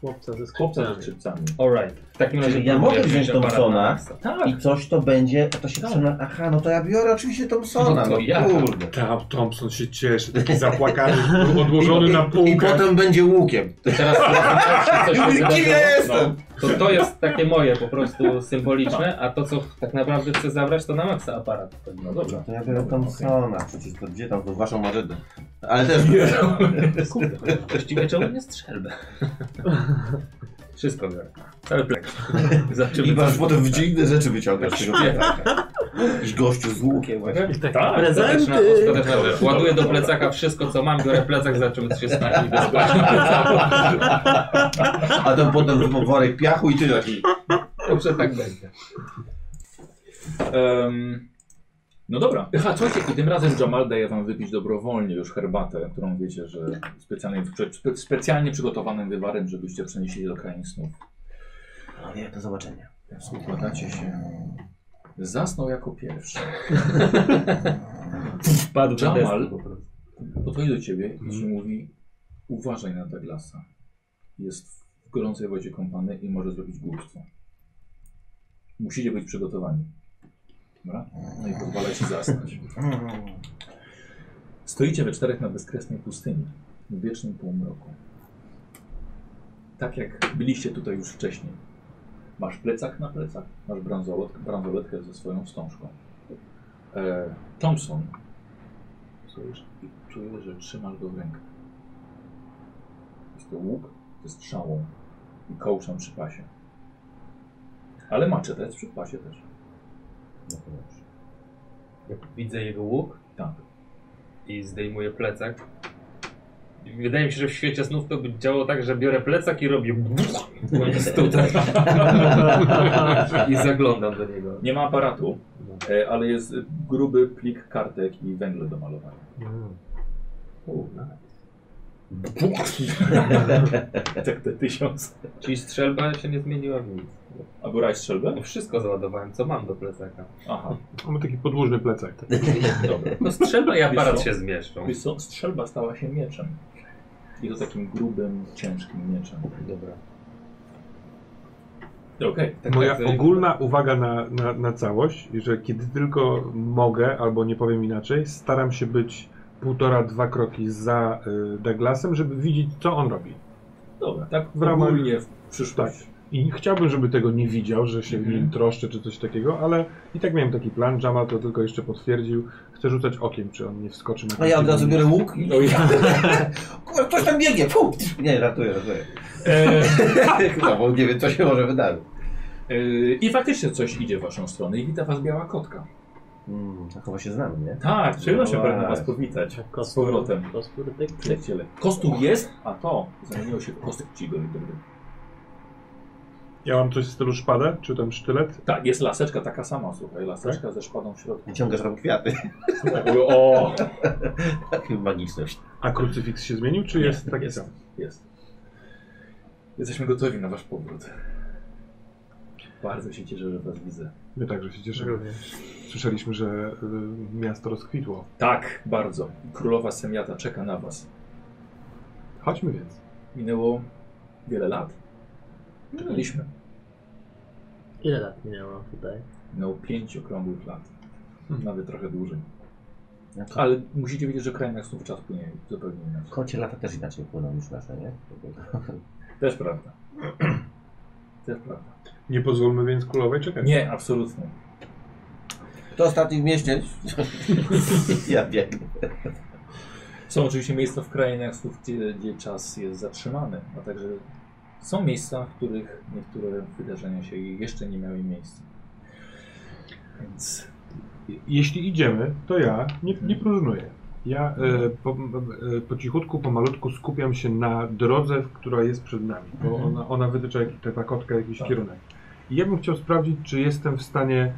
Chłopca ze
Chłopca ze
skrzypcami.
skrzypcami.
Alright. W takim razie
Czyli ja
próbuję
mogę wziąć
aparat
Thompsona?
na Maxa.
Tak,
I coś to będzie, a to się przema... Aha, no to ja biorę oczywiście Thompsona,
No
no
to ja.
kurde.
Tam Thompson się cieszy, taki zapłakany, był odłożony na
I, i
półkę.
potem będzie łukiem.
To teraz jak się coś
Kim
wydarzyło,
ja
No.
jestem?
to to jest takie moje po prostu symboliczne, a to co tak naprawdę chcę zabrać to na maksa aparat.
no dobra.
To ja biorę
Dobra,
Thompsona, przecież to gdzie tam, to waszą marzydę. Ale też...
Kurde, no. właściwie czemu nie strzelbę? Wszystko biorę. Cały plek.
I
Zaczynamy.
masz potem dziwne rzeczy wyciągasz z tego plecaka. Jakiś gościu z łukiem właśnie.
okej.
Tak,
Tak,
prezenty.
Ostateczna, ostateczna rzecz. Ładuję do plecaka wszystko co mam, biorę plecak, za czym się stanie i bezpłatnie
A to potem worek piachu i ty taki.
Dobrze tak będzie.
Em, no dobra. Aha, słuchajcie, i tym razem Jamal daje wam wypić dobrowolnie już herbatę, którą wiecie, że specjalnie, spe, specjalnie przygotowanym wywarem, żebyście przenieśli do krain snów.
Nie, do zobaczenia.
Układacie się. Zasnął jako pierwszy.
Padł
na deskę po Podchodzi do ciebie i ci mówi uważaj na Douglasa. Jest w gorącej wodzie kąpany i może zrobić głupstwo. Musicie być przygotowani. Dobra? No i pozwala ci zasnąć. Stoicie we czterech na bezkresnej pustyni, w wiecznym półmroku. Tak jak byliście tutaj już wcześniej. Masz plecak na plecach, masz bransoletkę, bransoletkę ze swoją wstążką. E, Thompson, czujesz, czuję, że trzymasz go w rękach. Jest to łuk ze strzałą i kołczem przy pasie. Ale maczeta jest przy pasie też.
Jak widzę jego łuk
Tak.
i zdejmuję plecak. I Wydaje mi się, że w świecie snów to by działało tak, że biorę plecak i robię koniec tutaj. I zaglądam do niego.
Nie ma aparatu, e, ale jest e, gruby plik kartek i węgle do malowania. tak te tysiąc.
Czyli strzelba się nie zmieniła w nic.
A brałeś strzelbę?
No wszystko załadowałem, co mam do plecaka.
Aha,
Mamy taki podłużny plecak.
dobra.
No strzelba i aparat
Wiesz co?
się zmieszczą.
Wiesz co, strzelba stała się mieczem. I to takim grubym, ciężkim mieczem.
Dobra.
Okej.
Tak,
Moja
tak,
ogólna uwaga na, na, na całość, że kiedy tylko mogę, albo nie powiem inaczej, staram się być półtora, dwa kroki za y, Douglasem, żeby widzieć, co on robi.
Dobra, tak
W ramach-
ogólnie w przyszłość.
I chciałbym, żeby tego nie widział, że się
Mhm.
nim troszczę czy coś takiego, ale i tak miałem taki plan. Jamal to tylko jeszcze potwierdził. Chcę rzucać okiem, czy on nie wskoczy na
No ja od
końcu.
razu biorę łuk i... Kurwa, ktoś tam biegnie, fu! Nie, ratuję, ratuję.
E,
No, bo nie wiem, co się może wydarzyć.
e, I faktycznie coś idzie w waszą stronę i wita was biała kotka.
Mm, to chyba się znamy, nie?
Tak, przyjemno się
No
pragnę was
właśnie.
powitać.
Tak, kostur-
Z powrotem.
Kostur, pyk, pyk.
Przyjaciele. Kostur jest, a to zamieniło się w kostek cigo i dobry.
Ja mam coś w stylu szpadę, czy tam sztylet.
Tak, jest laseczka taka sama, słuchaj, laseczka ze szpadą w środku.
Wyciągasz tam kwiaty.
Słuchaj, o,
Takie magiczność.
A krucyfiks się zmienił, czy
Nie,
jest taki
jest.
sam?
jest. Jesteśmy gotowi na wasz powrót. Bardzo się cieszę, że was widzę.
My także się cieszymy.
Również.
Słyszeliśmy, że y, miasto rozkwitło.
Tak, bardzo. Królowa Semiata czeka na was.
Chodźmy więc.
Minęło wiele lat. Czekaliśmy.
Ile lat minęło tutaj?
Minęło pięć okrągłych lat.
Hmm.
Nawet trochę dłużej.
No to-
Ale musicie wiedzieć, że kraj snów czas płynie zupełnie inaczej.
Kocie lata też inaczej płyną niż nasze, nie?
Też prawda. Też prawda.
Nie pozwólmy więc królowej czekać.
Nie, absolutnie.
To ostatni w mieście. ja biegnę.
Są oczywiście miejsca w krainach, słów, gdzie, gdzie czas jest zatrzymany, a także są miejsca, w których niektóre wydarzenia się jeszcze nie miały miejsca. Więc
Jeśli idziemy, to ja nie, nie próżnuję. Ja e, po, e, po cichutku, pomalutku skupiam się na drodze, która jest przed nami, bo ona, ona wytycza jakiś, ta kotka jakiś
Tak.
kierunek. I ja bym chciał sprawdzić, czy jestem w stanie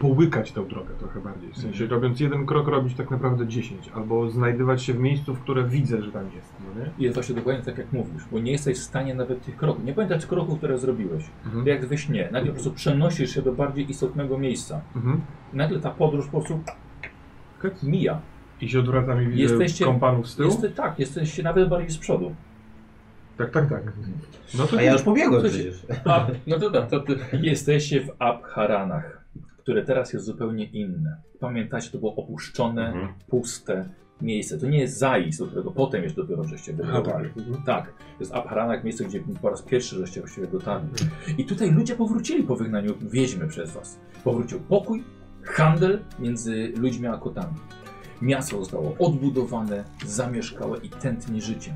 połykać tą drogę trochę bardziej. W sensie, robiąc jeden krok, robić tak naprawdę 10, albo znajdywać się w miejscu, w które widzę, że tam jest. No nie?
jest właśnie dokładnie tak, jak mówisz, bo nie jesteś w stanie nawet tych kroków. Nie pamiętasz kroków, które zrobiłeś.
Mhm.
To Jak we śnie. Nagle po prostu przenosisz się do bardziej istotnego miejsca.
Mhm.
I nagle ta podróż po prostu mija.
I się odwracam i widzę
Jesteście-
kompanów z tyłu?
Jeste, tak, jesteś nawet bardziej z przodu.
Tak, tak, tak. No to
A ja już pobiegłem
Coś-
przecież.
A
No to tak, to ty.
Jesteście w Abharanach, które teraz jest zupełnie inne. Pamiętacie, to było opuszczone,
Mhm.
puste miejsce. To nie jest Zais, do którego potem jeszcze dopiero żeście
No
wybudowali. Tak, to jest Abharanak, miejsce, gdzie po raz pierwszy żeście właściwie dotarli. I tutaj ludzie powrócili po wygnaniu wiedźmy przez was. Powrócił pokój, handel między ludźmi a kotami. Miasto zostało odbudowane, zamieszkałe i tętni życiem.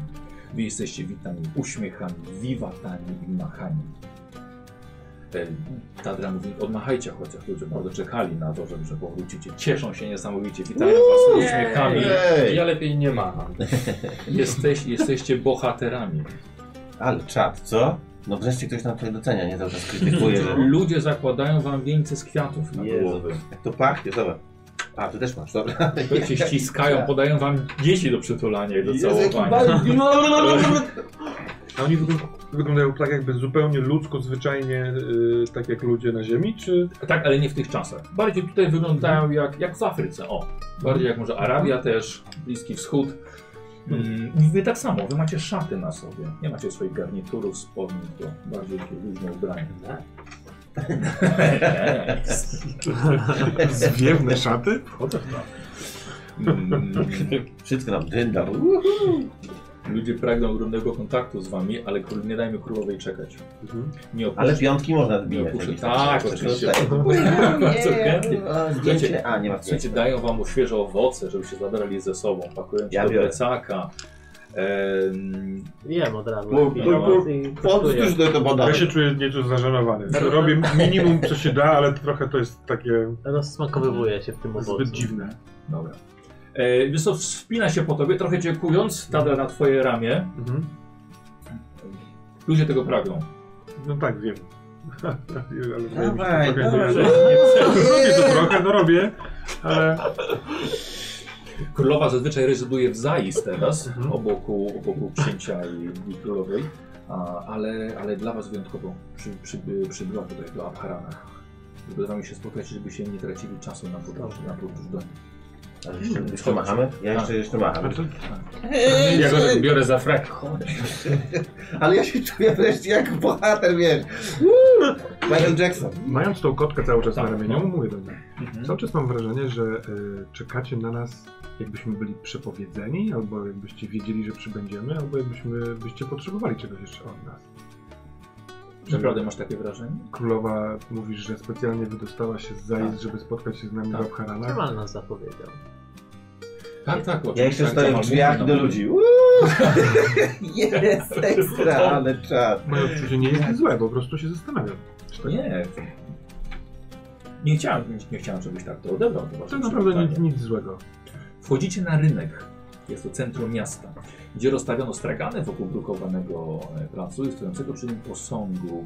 Wy jesteście witani uśmiechami, wiwatami i machani. E, Tadra mówi, odmachajcie chociaż, ludzie bardzo czekali na to, że, że powrócicie. Cieszą się niesamowicie, witają was uśmiechami.
Ej.
Ja lepiej nie macham.
Jesteś, jesteście bohaterami.
Ale czad, co? No wreszcie ktoś nam tutaj docenia, nie cały czas krytykuje, że
Ludzie zakładają wam wieńce z kwiatów na
Jezu.
głowy.
jak to pachnie, zobacz. A, ty też masz, dobra.
Cię ściskają, podają wam dzieci do przytulania i do całowania.
A oni wyglą- wyglądają tak jakby zupełnie ludzko, zwyczajnie, yy, tak jak ludzie na ziemi, czy...
Tak, ale nie w tych czasach. Bardziej tutaj wyglądają jak, jak w Afryce, o. Bardziej jak może Arabia też, Bliski Wschód. Mm, i wy tak samo, wy macie szaty na sobie. Nie macie swoich garniturów, spodni, to bardziej takie luźne ubranie.
Zwiewne szaty?
Mm,
Wszystko nam dynda.
Ludzie pragną ogromnego kontaktu z wami, ale kró- nie dajmy królowej czekać. Nie opuszczę.
Ale piątki można
Nie
zbijać.
opuszczę.
jakieś
Tak,
tam rzeczy.
oczywiście.
Tutaj.
Bardzo chętnie.
A,
Słuchajcie,
Zdjęcie? A, nie ma zdjęcia.
Słuchajcie, dają wam świeże owoce, żeby się zabrali ze sobą, pakują ci
Ja
do
biorę.
plecaka. Em,
Jem od razu.
Bo-
Ja
bo-
mam-
bo-
i-
Podskórz do tego badania.
Ja się czuję nieco zażenowany. Robię minimum, co się da, ale trochę to jest takie
Rozsmakowywuje się w tym owocu.
zbyt dziwne.
dobra. E, wiesz co, wspina się po tobie, trochę dziękując, tada na twoje ramię.
Mhm.
Ludzie tego pragną.
No tak, wiem. ale wydaje mi się to
Dawaj,
trochę
dawaj.
niewiele. Robię to trochę, no robię, ale...
Królowa zazwyczaj rezyduje w Zais teraz,
Mhm.
obok, obok księcia i, i królowej, a, ale, ale dla was wyjątkowo przy, przy, przybyła tutaj do Abharanach. Żeby z wami się spotkać, żeby się nie tracili czasu na podróż, na podróż do
A, jeszcze- Jeszcze machamy? Ja jeszcze, jeszcze macham.
Ja go tak biorę za frak.
Ale ja się czuję wreszcie jak bohater, wiesz. Uuu, Michael Jackson.
Mając tą kotkę cały czas na
Tak,
ramieniu,
no.
mówię do niej. Cały czas mam wrażenie, że y, czekacie na nas, jakbyśmy byli przepowiedzeni, albo jakbyście wiedzieli, że przybędziemy, albo jakbyśmy byście potrzebowali czegoś jeszcze od nas.
Naprawdę masz takie wrażenie?
Królowa mówisz, że specjalnie wydostała się z zajazd, żeby spotkać się z nami
Tak.
w Abharanach.
Niemal nas zapowiedział.
Tak, tak.
Ja jeszcze stoję w drzwiach do ludzi. Uuu, Jest ekstra, ale czad.
Moje odczucie nie jest złe, po prostu się zastanawiam. Czy tak-
Nie. Nie chciałem, nie, nie chciałem, żebyś tak to odebrał. To
To
wasze
naprawdę nic,
przywitanie.
nic złego.
Wchodzicie na rynek. Jest to centrum miasta, gdzie rozstawiono stragany wokół brukowanego e, placu i stojącego przy nim posągu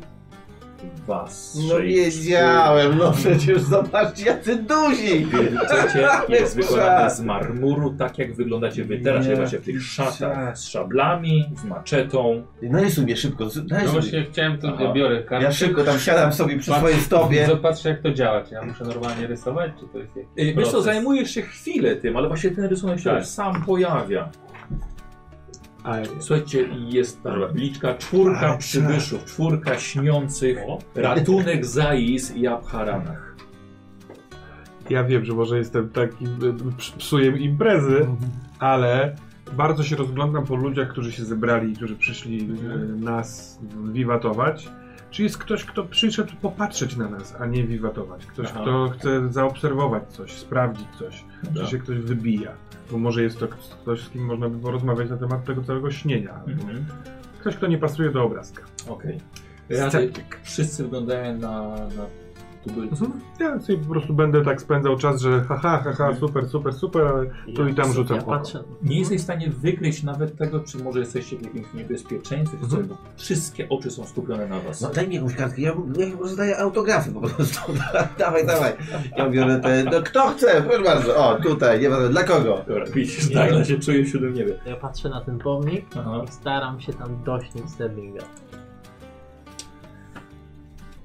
was.
No wiedziałem, no przecież zobaczcie, jacy duzi!
Chcecie jak zwykle
Szat.
robione z marmuru, tak jak wyglądacie wy teraz,
Nie.
jak macie w tych szatach z szablami, z maczetą.
Narysuj mnie szybko, z-
No
narysuj
właśnie
mnie.
chciałem to,
Aha.
ja biorę kartę.
Ja szybko tam siadam sobie przy
Patrz-
swojej stopie.
Zobaczę jak to działa, czy ja muszę normalnie rysować, czy to jest jakiś
Yy, Wiesz co,
proces?
zajmujesz się chwilę tym, ale właśnie ten rysunek się
Tak.
już sam pojawia.
A,
Słuchajcie, jest ta tabliczka
Tak,
czwórka przybyszów, czwórka śniących,
O.
ratunek Zais i Abharanach.
ja wiem, że może jestem takim y, ps- psujem imprezy,
Mhm.
ale bardzo się rozglądam po ludziach, którzy się zebrali i którzy przyszli y,
Mhm.
nas wiwatować. Czy jest ktoś, kto przyszedł popatrzeć na nas, a nie wiwatować? Ktoś,
Aha.
kto chce zaobserwować coś, sprawdzić coś,
Tak.
czy się ktoś wybija. Bo może jest to k- ktoś, z kim można by porozmawiać na temat tego całego śnienia.
Mhm.
Ktoś, kto nie pasuje do obrazka.
Okej. Rady-
Sceptyk.
Wszyscy wyglądają na, na tubylców.
Mhm. Ja sobie po prostu będę tak spędzał czas, że haha,
Mhm.
haha, super, super, super, ale Tu i tam rzucam
Ja
oko.
patrzę.
Nie jesteś w stanie wykryć nawet tego, czy może jesteście w jakimś niebezpieczeństwie, czy coś, bo wszystkie oczy są skupione na was.
No daj mi jakąś kartkę, ja, ja rozdaję autografy po prostu. dawaj, dawaj. Ja biorę te, no kto chce, proszę bardzo. O, tutaj, nie wiem, dla kogo.
Dobra, widzisz, Dagla się czuje w siódmym niebie.
Ja patrzę na ten pomnik
Aha.
i staram się tam dośnić Sterlinga.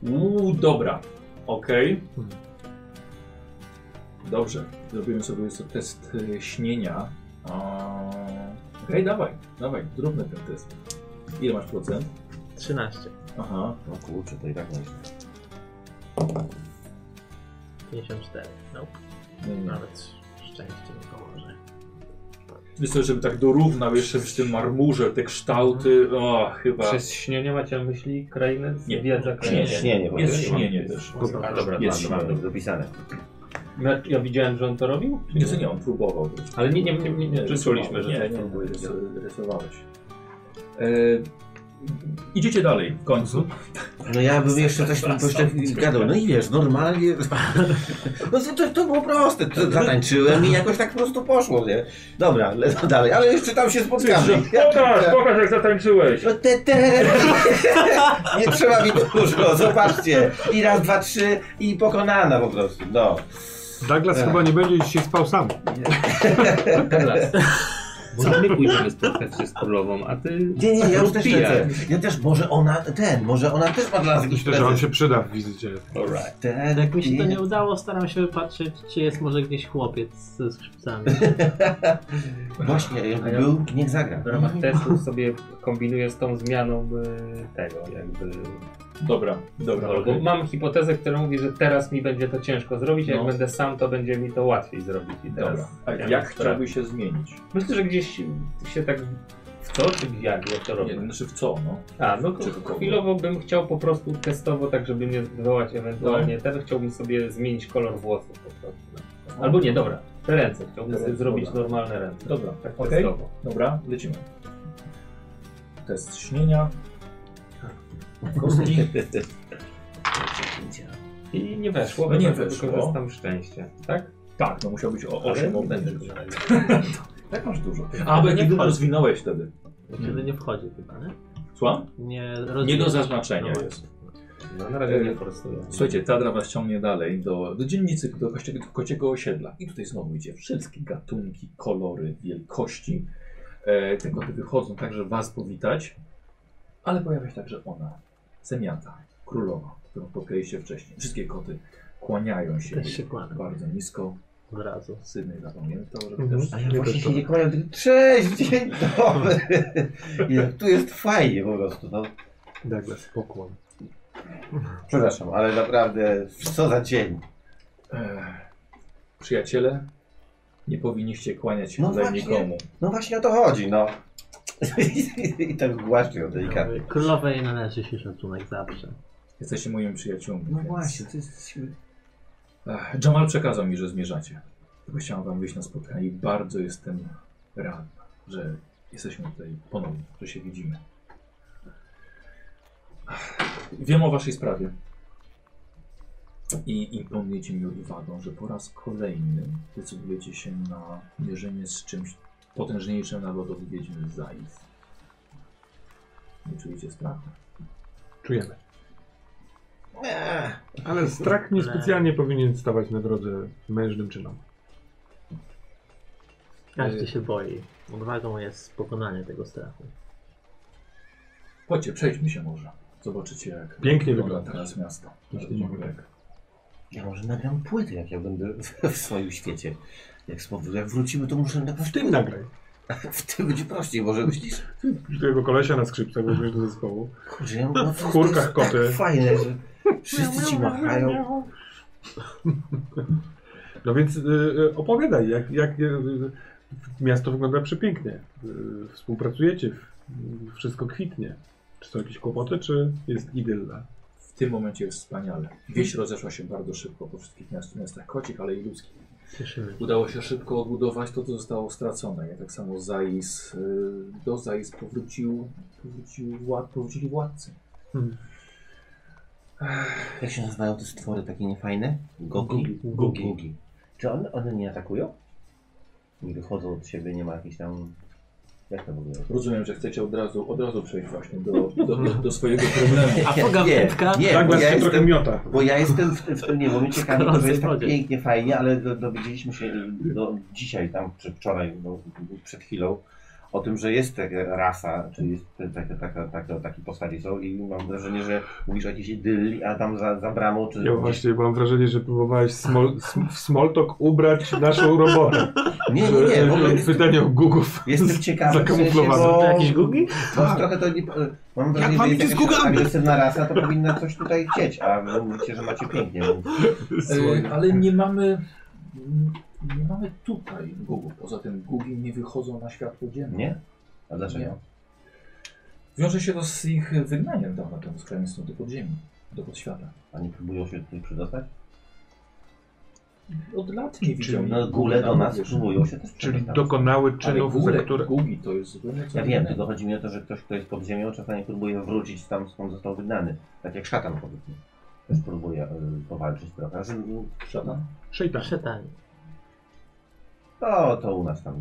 Uuu, dobra. Okej. Dobrze. Zrobimy sobie so- test y, śnienia. A... Okej, dawaj, dawaj, zróbmy ten test. Ile masz procent?
13,
Aha.
No kurczę, to i tak nie.
54. No,
Nie, nie.
nawet szczęście mi pomoże.
Wiesz co, żeby tak dorównał jeszcze w tym marmurze te kształty, o, chyba...
Przez śnienie macie na myśli krainę? z-
Nie.
wiedza krainy.
Nie, śnienie.
Jest śnienie też.
A dobra,
Jest
Dobra,
śnienie.
dobra, dopisane.
Ja, ja widziałem, że on to robił?
Nie, co nie, on próbował.
Ale nie, nie, nie, nie, nie czuliśmy, że
nie,
tak
nie,
próbuje.
nie, rysowałeś. E, idziecie dalej w końcu.
No ja bym jeszcze coś tam coś tam gadał. No i wiesz, normalnie. No to, to było proste. To zatańczyłem i jakoś tak po prostu poszło, nie? Dobra, lecę dalej, ale jeszcze tam się spotkamy.
tak.
pokaż jak zatańczyłeś!
No te, te. Nie trzeba mi dużo, zobaczcie. I raz, dwa, trzy i pokonana po prostu. No.
Douglas
Tak.
chyba nie będzie dzisiaj spał sam.
Teraz. Może my pójdziemy spotkać się z królową, a ty...
Nie, nie, ja już też
Pijak.
lecę. Ja też, może ona, ten, może ona też ma dla nas jakiś
Myślę, że on
prezent.
się przyda w wizycie.
Alright.
Ten,
Jak mi się to
i-
nie udało, staram się wypatrzeć, czy jest może gdzieś chłopiec ze skrzypcami.
Właśnie, jakby był, niech zagra.
W ramach testów sobie kombinuję z tą zmianą e, tego, jakby
Dobra, dobra.
Dobra, bo
okej.
mam hipotezę, która mówi, że teraz mi będzie to ciężko zrobić, a jak
No.
będę sam, to będzie mi to łatwiej zrobić. I
Dobra.
teraz
A
ja
jak
mam
chciałby się zmienić?
sprawę. Myślę, że gdzieś się tak w to, czy w jak, jak to
Nie,
robię.
znaczy w co, no?
A, no
Czy w kogo?
chwilowo bym chciał po prostu testowo, tak żeby mnie wywołać ewentualnie.
No.
Ten chciałbym sobie zmienić kolor włosów po prostu.
No.
Albo nie, dobra, te ręce. Chciałbym
Te
sobie
ręce,
zrobić
dobra.
normalne ręce.
Dobra,
Tak
okej.
testowo.
Dobra, lecimy. Test śnienia. Kostki.
I nie weszło,
No nie
więc
weszło.
wykorzystam szczęście, tak?
Tak, no musiał być o
Ale
8
będę
obniżek.
dużo.
Tak masz dużo. A, bo
Nie
nie
wchodzi.
rozwinąłeś wtedy.
Wtedy nie wchodzi chyba, nie?
Słucham?
Nie,
Nie
rozumiem.
do zaznaczenia
No.
jest.
No, na razie nie
Y,
forsuję.
Słuchajcie, Tadra was ciągnie dalej do, do dzielnicy, do kocie- kociego osiedla. I tutaj znowu idzie wszystkie gatunki, kolory, wielkości. E, te koty wychodzą, także was powitać. Ale pojawia się także ona, Semiata, królowa, którą spotkaliście wcześniej. Wszystkie koty kłaniają się
Też
jej
się kłada
bardzo nisko.
od razu.
Sydney zapamiętał, że
Mhm.
też...
A ja
Nie
właśnie
też
się
to.
nie kłaniam, tylko cześć, dzień dobry. Nie, tu jest fajnie po prostu. No.
Douglas, pokłon.
Przepraszam, ale naprawdę, co za dzień.
Ech, E, przyjaciele, nie powinniście kłaniać się
No
tutaj
właśnie.
nikomu.
No właśnie o to chodzi, no. I tak głaśno, delikatnie.
Królowej należy się szacunek zawsze.
Jesteście moimi przyjaciółmi.
No
więc-
właśnie, to jest...
Ach, Jamal przekazał mi, że zmierzacie. Tylko chciałem wam wyjść na spotkanie i bardzo jestem rad, że jesteśmy tutaj ponownie, że się widzimy. Ach, Wiem o waszej sprawie. I imponujecie mi odwagą, że po raz kolejny decydujecie się na mierzenie z czymś potężniejszym nawet od Wiedźmy Zais. Nie czujecie strachu?
Czujemy.
Eee,
Ale strach niespecjalnie powinien stawać na drodze mężnym czynom.
Każdy się boi. Odwagą jest pokonanie tego strachu.
Chodźcie, przejdźmy się może. Zobaczycie jak
Pięknie wygląda.
teraz miasto.
Jeśli nie wygląda.
Ja może nagram płytę, jak ja będę w, w swoim świecie. Jak, z powrotem- jak wrócimy, to muszę na
W tym nagraj.
W tym będzie prościej, może myślisz?
Tego kolesia na skrzypcach weźmiesz do zespołu.
Kurczę, ja no,
W chórkach
to jest
koty.
Tak fajne, że wszyscy ci machają.
No więc y, y, opowiadaj, jak, jak y, y, miasto wygląda przepięknie. Y, Współpracujecie, w- wszystko kwitnie. Czy są jakieś kłopoty, czy jest idylla?
W tym momencie jest wspaniale. Wieś rozeszła się bardzo szybko po wszystkich miast, miastach kocich, ale i ludzkich.
Cieszymy się.
Udało się szybko odbudować to, co zostało stracone. Ja tak samo Zais, y, do Zais powrócił, powrócił wład, powrócili władcy.
Jak się nazywają te stwory takie niefajne? Gogi?
Gugi.
Gugi. Czy one, one nie atakują? Nie wychodzą od siebie, nie ma jakichś tam... Jak to w ogóle?
Rozumiem, że chcecie od razu, od razu przejść właśnie do, do, do, do swojego problemu.
A poga
Nie,
wędka?
Nie,
Tak
bo
was
ja
się trochę
jestem...
miota.
Bo ja jestem w, w tym niewolnym ciekawy, to
Skoro
że jest tak
wodzie.
pięknie, fajnie, ale do, dowiedzieliśmy się do, dzisiaj tam, czy wczoraj, no, przed chwilą, o tym, że jest taka rasa, czyli jest taka, taka, taka, taki postaci są i mam wrażenie, że mówisz o jakiejś idylli, a tam za, za bramą, czy...
Ja właśnie mam wrażenie, że próbowałeś smol, sm- w smoltok ubrać naszą robotę.
Nie, nie, nie, w ogóle
Że- że Pytanie o Gugów.
jestem ciekawy, w sensie,
zakamuflowane.
bo...
To jakiś gugi?
Bo
Tak.
trochę to nie... Mam wrażenie,
mam
że
idzie
jest
z
jakaś
Gugami?
agresywna rasa, to powinna coś tutaj chcieć, a wy mówicie, że macie pięknie, więc...
Y, ale nie mamy, nie mamy tutaj Gugów. Poza tym Gugi nie wychodzą na światło dzienne.
Nie? A dlaczego?
Nie. Wiąże się to z ich wygnaniem dawno temu z krańców do podziemi, do podświata.
A nie próbują się tutaj przydostać?
Od lat nie
Czyli
widziałem.
no, góle do nas próbują się też
Czyli
przydostać.
dokonały
Ale
czynów, za
góle,
które...
Gugi to jest zupełnie co
Ja wiem,
innego.
tylko chodzi mi o to, że ktoś, kto jest pod ziemią, czasami próbuje wrócić tam, skąd został wygnany. Tak jak szatan powiedzmy. Też próbuje y, powalczyć trochę. Że, y,
Szatan?
Szejtan.
Przetanie.
to, to u nas tam y,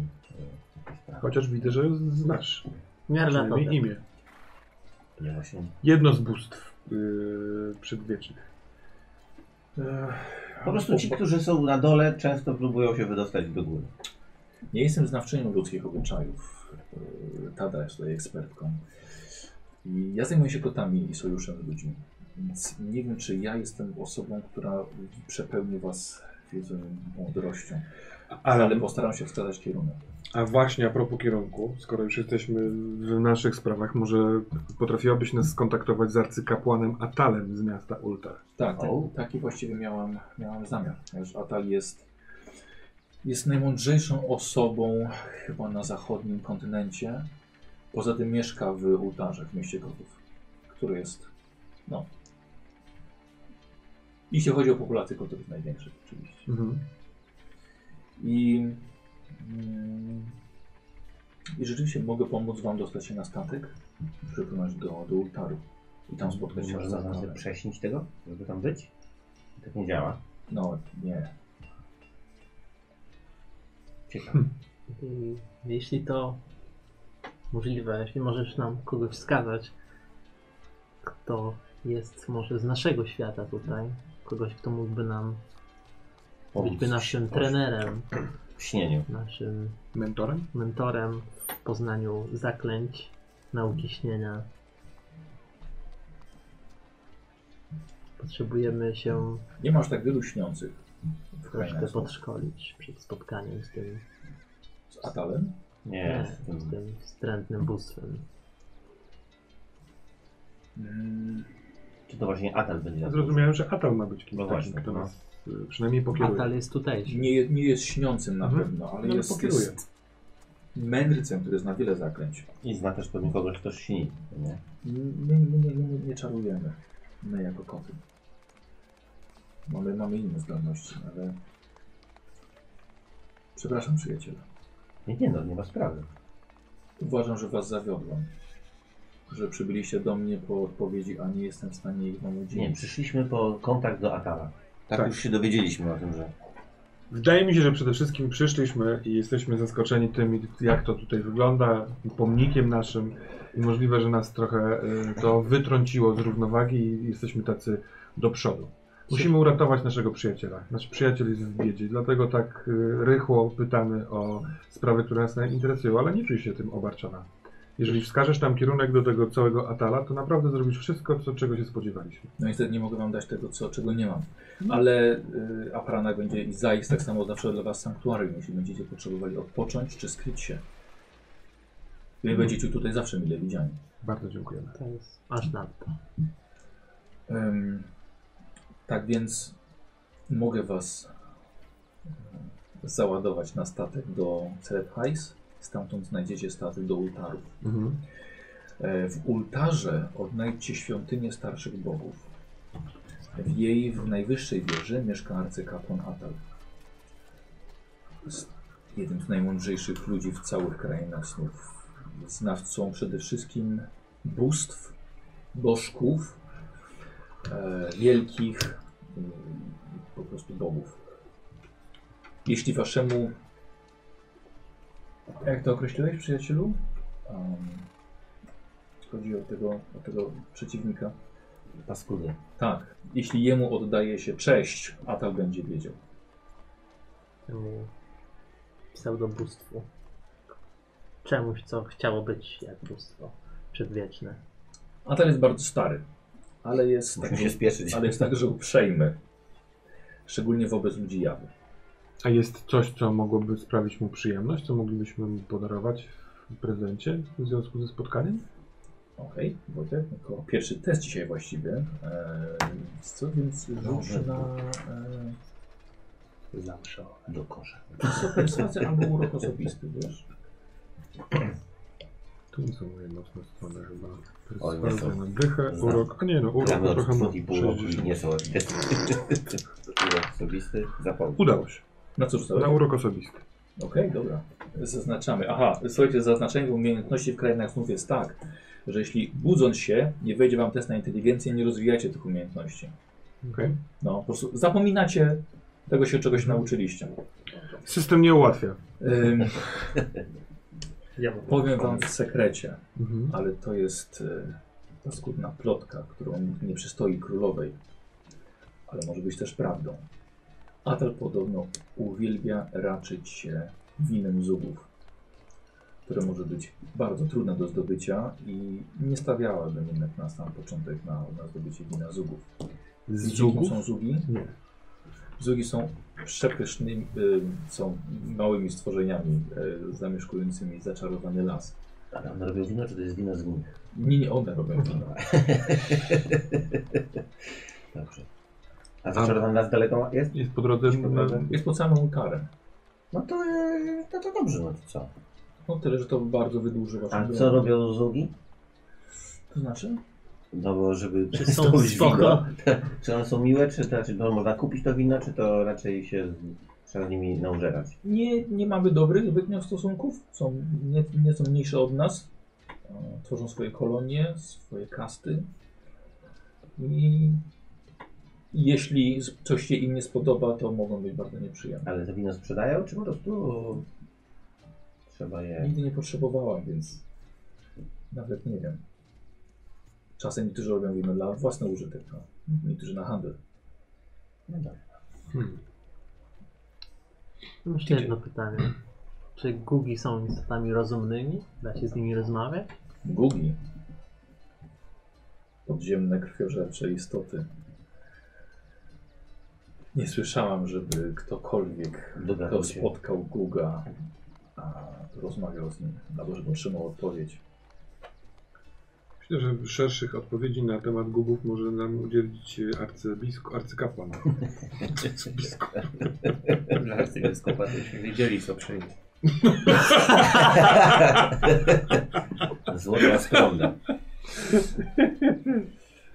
jakieś sprawy.
Chociaż widzę, że znasz.
Miarla to.
Przynajmniej imię.
Nie właśnie.
Jedno z bóstw yy, przedwiecznych.
Po prostu ci, którzy są na dole, często próbują się wydostać do góry.
Nie jestem znawczynią ludzkich obyczajów. Yy, Tada jest tutaj ekspertką. I ja zajmuję się kotami i sojuszem z ludźmi. Więc nie wiem, czy ja jestem osobą, która przepełni was wiedzą mądrością. Ale, postaram się wskazać kierunek.
A właśnie a propos kierunku, skoro już jesteśmy w naszych sprawach, może potrafiłabyś nas skontaktować z arcykapłanem Atalem z miasta Ultar.
Tak, tak
O.
taki właściwie miałam, miałam zamiar. Ponieważ Atal jest, jest najmądrzejszą osobą chyba na zachodnim kontynencie. Poza tym mieszka w ołtarze w mieście Gotów, który jest, no... Jeśli chodzi o populację Gotów, jest największy oczywiście.
Mhm.
I, mm, I rzeczywiście mogę pomóc wam dostać się na statek, przypłynąć do, do ołtaru i tam spotkać się
Może
z
można sobie
Atalem.
prześnić tego, żeby tam być? Tak nie działa.
No, nie.
Ciekawe.
I Jeśli to możliwe, jeśli możesz nam kogoś wskazać, kto jest może z naszego świata tutaj, kogoś, kto mógłby nam być by naszym trenerem,
W śnieniu.
naszym
Mentorem?
mentorem w poznaniu zaklęć, nauki śnienia. Potrzebujemy się
Nie masz tak wielu śniących w
troszkę
krainach
podszkolić przed spotkaniem z tym,
z Atalem.
Nie. z tym-
z tym wstrętnym bóstwem.
Czy to właśnie Atal będzie? na-
Zrozumiałem, że Atal ma być kimś
No
takim,
właśnie,
kto
no.
nas yy, przynajmniej pokieruje.
Atal jest tutejszy.
Nie, je- nie jest śniącym na
Mhm.
pewno, ale
No, ale
jest,
pokieruje.
jest mędrcem, który zna wiele zaklęć.
I zna też pewnie kogoś, kto śni. Nie?
My, my, my, my nie czarujemy. My jako koty. Mamy, mamy inne zdolności, ale... Przepraszam przyjaciela.
Nie, nie, no nie ma sprawy.
Uważam, że was zawiodłem. Że przybyliście do mnie po odpowiedzi, a nie jestem w stanie ich wam
Nie,
udzielić.
przyszliśmy po kontakt do Atala. Tak,
Tak.
już się dowiedzieliśmy o tym, że
Wydaje mi się, że przede wszystkim przyszliśmy i jesteśmy zaskoczeni tym, jak to tutaj wygląda, pomnikiem naszym. I możliwe, że nas trochę y, to wytrąciło z równowagi i jesteśmy tacy do przodu. Musimy uratować naszego przyjaciela. Nasz przyjaciel jest w biedzie, dlatego tak y, rychło pytamy o sprawy, które nas interesują, ale nie czuj się tym obarczona. Jeżeli wskażesz nam kierunek do tego całego Atala, to naprawdę zrobisz wszystko, co, czego się spodziewaliśmy.
No niestety nie mogę wam dać tego, co, czego nie mam. Ale y, Aparana będzie i Zais tak samo zawsze dla was sanktuarium, jeśli będziecie potrzebowali odpocząć czy skryć się. Wy będziecie tutaj zawsze mile widziani.
Bardzo dziękujemy.
To jest aż nadto.
Em, tak więc mogę was em, załadować na statek do Cerephais. Stamtąd znajdziecie statek do Ultarów.
Mhm.
E, W Ultarze odnajdźcie świątynię starszych bogów. W jej w najwyższej wieży mieszka arcykapłan Atal. Jest jednym z najmądrzejszych ludzi w całych krainach snów. Znawcą przede wszystkim bóstw, bożków, e, wielkich mm, po prostu bogów. Jeśli waszemu... Jak to określiłeś, przyjacielu? Em, um, chodzi o tego, o tego przeciwnika.
Paskudy.
Tak, jeśli jemu oddaje się cześć, Atal będzie wiedział.
Temu pseudobóstwu. Czemuś, co chciało być jak bóstwo przedwieczne.
Atal jest bardzo stary, ale jest,
Musimy się spieszyć.
ale jest także uprzejmy. Szczególnie wobec ludzi jawy.
A jest coś, co mogłoby sprawić mu przyjemność, co moglibyśmy mu podarować w prezencie w związku ze spotkaniem?
Okej, Wojtek, jako pierwszy test dzisiaj właściwie. Eee, co, więc rzucę na eee,
Zawsze do kosza.
perswazję albo urok osobisty, wiesz?
Tu nie są moje mocne strony chyba.
Oj, nie
Sprawdzę
są.
na dychę,
Znam.
urok. A nie no, urok
Gramy
to
od
trochę ma.
dwóch i pół roku i
60.
nie są testy. Urok osobisty, zapomnij.
Udało się.
Na co rzucałeś?
Na urok osobisty.
Okej, dobra. Zaznaczamy. Aha, słuchajcie, zaznaczenie umiejętności w krainach snów jest tak, że jeśli budząc się, nie wejdzie wam test na inteligencję, nie rozwijacie tych umiejętności.
Okej.
No, po prostu zapominacie tego się czegoś nauczyliście.
System nie ułatwia.
Ym,
Ja
powiem wam w sekrecie,
Mhm.
ale to jest y, paskudna plotka, którą nie przystoi królowej, ale może być też prawdą. Atel podobno uwielbia raczyć się winem zubów, które może być bardzo trudne do zdobycia i nie stawiałabym jednak na sam początek na, na zdobycie wina zubów.
Z
Wiecie, kim
dżugów?
są zugi?
Nie.
Zugi są przepysznymi, y, są małymi stworzeniami y, zamieszkującymi zaczarowany las.
Ale on robił wino, czy to jest wino z nich?
Nie, nie one robią wino.
Dobrze. A zaczerwony nas daleko ma- jest?
Jest po drodze.
Po drodze?
Jest pod samą karę.
No to, e, no to dobrze, no to co?
No tyle, że to bardzo wydłuży waszą
A
drogę.
Tak, co robią zugi?
To znaczy?
No bo żeby
Czy są
zdobyć
spoko?
wino, czy one są miłe, czy to raczej no, można kupić to wino, czy to raczej się z- trzeba z nimi naużerać?
Nie, nie mamy dobrych zbytnio stosunków. Są, nie, nie są mniejsze od nas. E, Tworzą swoje kolonie, swoje kasty. I jeśli z- coś się im nie spodoba, to mogą być bardzo nieprzyjemne.
Ale te wino sprzedają, czy po prostu trzeba je...
Nigdy nie potrzebowałam, więc nawet nie wiem. Czasem niektórzy robią wino dla własny użytek, no. niektórzy na handel.
No dobra.
Hmm.
Mam No jeszcze jedno pytanie. Czy gugi są istotami rozumnymi? Da się z nimi rozmawiać?
Gugi. Podziemne krwiożercze istoty. Nie słyszałam, żeby ktokolwiek,
Dobra,
kto
ludzie.
spotkał Guga, a, rozmawiał z nim, albo żeby otrzymał odpowiedź.
Myślę, że szerszych odpowiedzi na temat gubów może nam udzielić e, arcybisk- arcykapłan. Arcybiskup.
Dla
e,
arcybiskupa to byśmy wiedzieli co przyjdzie.
Złota skromna.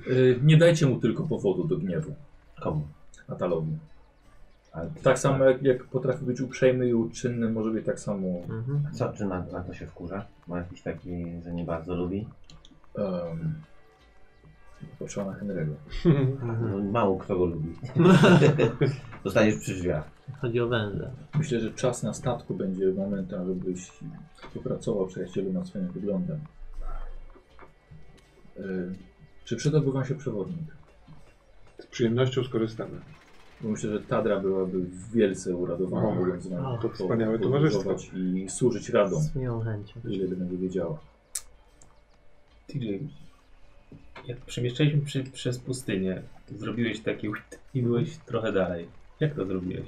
Y, nie dajcie mu tylko powodu do gniewu,
Komu?
Atalowi.
Ale
Tak samo jak, jak potrafi być uprzejmy i uczynny, może być tak samo
Mhm.
Co, czy na, na to się wkurza? Ma jakiś taki, że nie bardzo lubi?
em, Patrzyła na Henry'ego.
No, mało kto go lubi. Zostaniesz przy drzwiach.
Chodzi o węże.
Myślę, że czas na statku będzie momentem, żebyś popracował przyjacielu nad swoim wyglądem. Y, Czy przydałby wam się przewodnik?
Z przyjemnością skorzystamy.
Bo Myślę, że Tadra byłaby wielce uradowana,
O,
mówiąc nam
to
po-
wspaniałe
podróżować
towarzystwo.
I służyć radą,
Z miłą chęcią.
ile by będzie wiedziała.
TJ, jak przemieszczaliśmy przy, przez pustynię, zrobiłeś taki łyt i byłeś trochę dalej. Jak to zrobiłeś?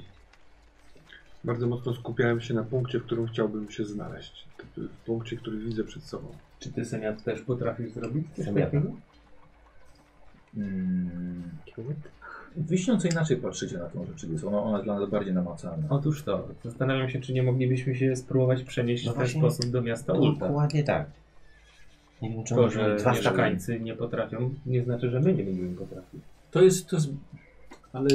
Bardzo mocno skupiałem się na punkcie, w którym chciałbym się znaleźć. W punkcie, który widzę przed sobą.
Czy ty, Seniat, też potrafisz zrobić coś
Seniata.
takiego?
Mm. Wyśniąco inaczej patrzycie na tą rzeczywistość. Ona, ona jest dla nas bardziej namacalna.
Otóż to. Zastanawiam się, czy nie moglibyśmy się spróbować przenieść
No
w ten
właśnie.
sposób do miasta Ulta.
Dokładnie tak. Nie wiem,
To,
czemu
że
dwa szakali.
mieszkańcy nie potrafią, nie znaczy, że my nie będziemy potrafić.
To jest, to jest... Ale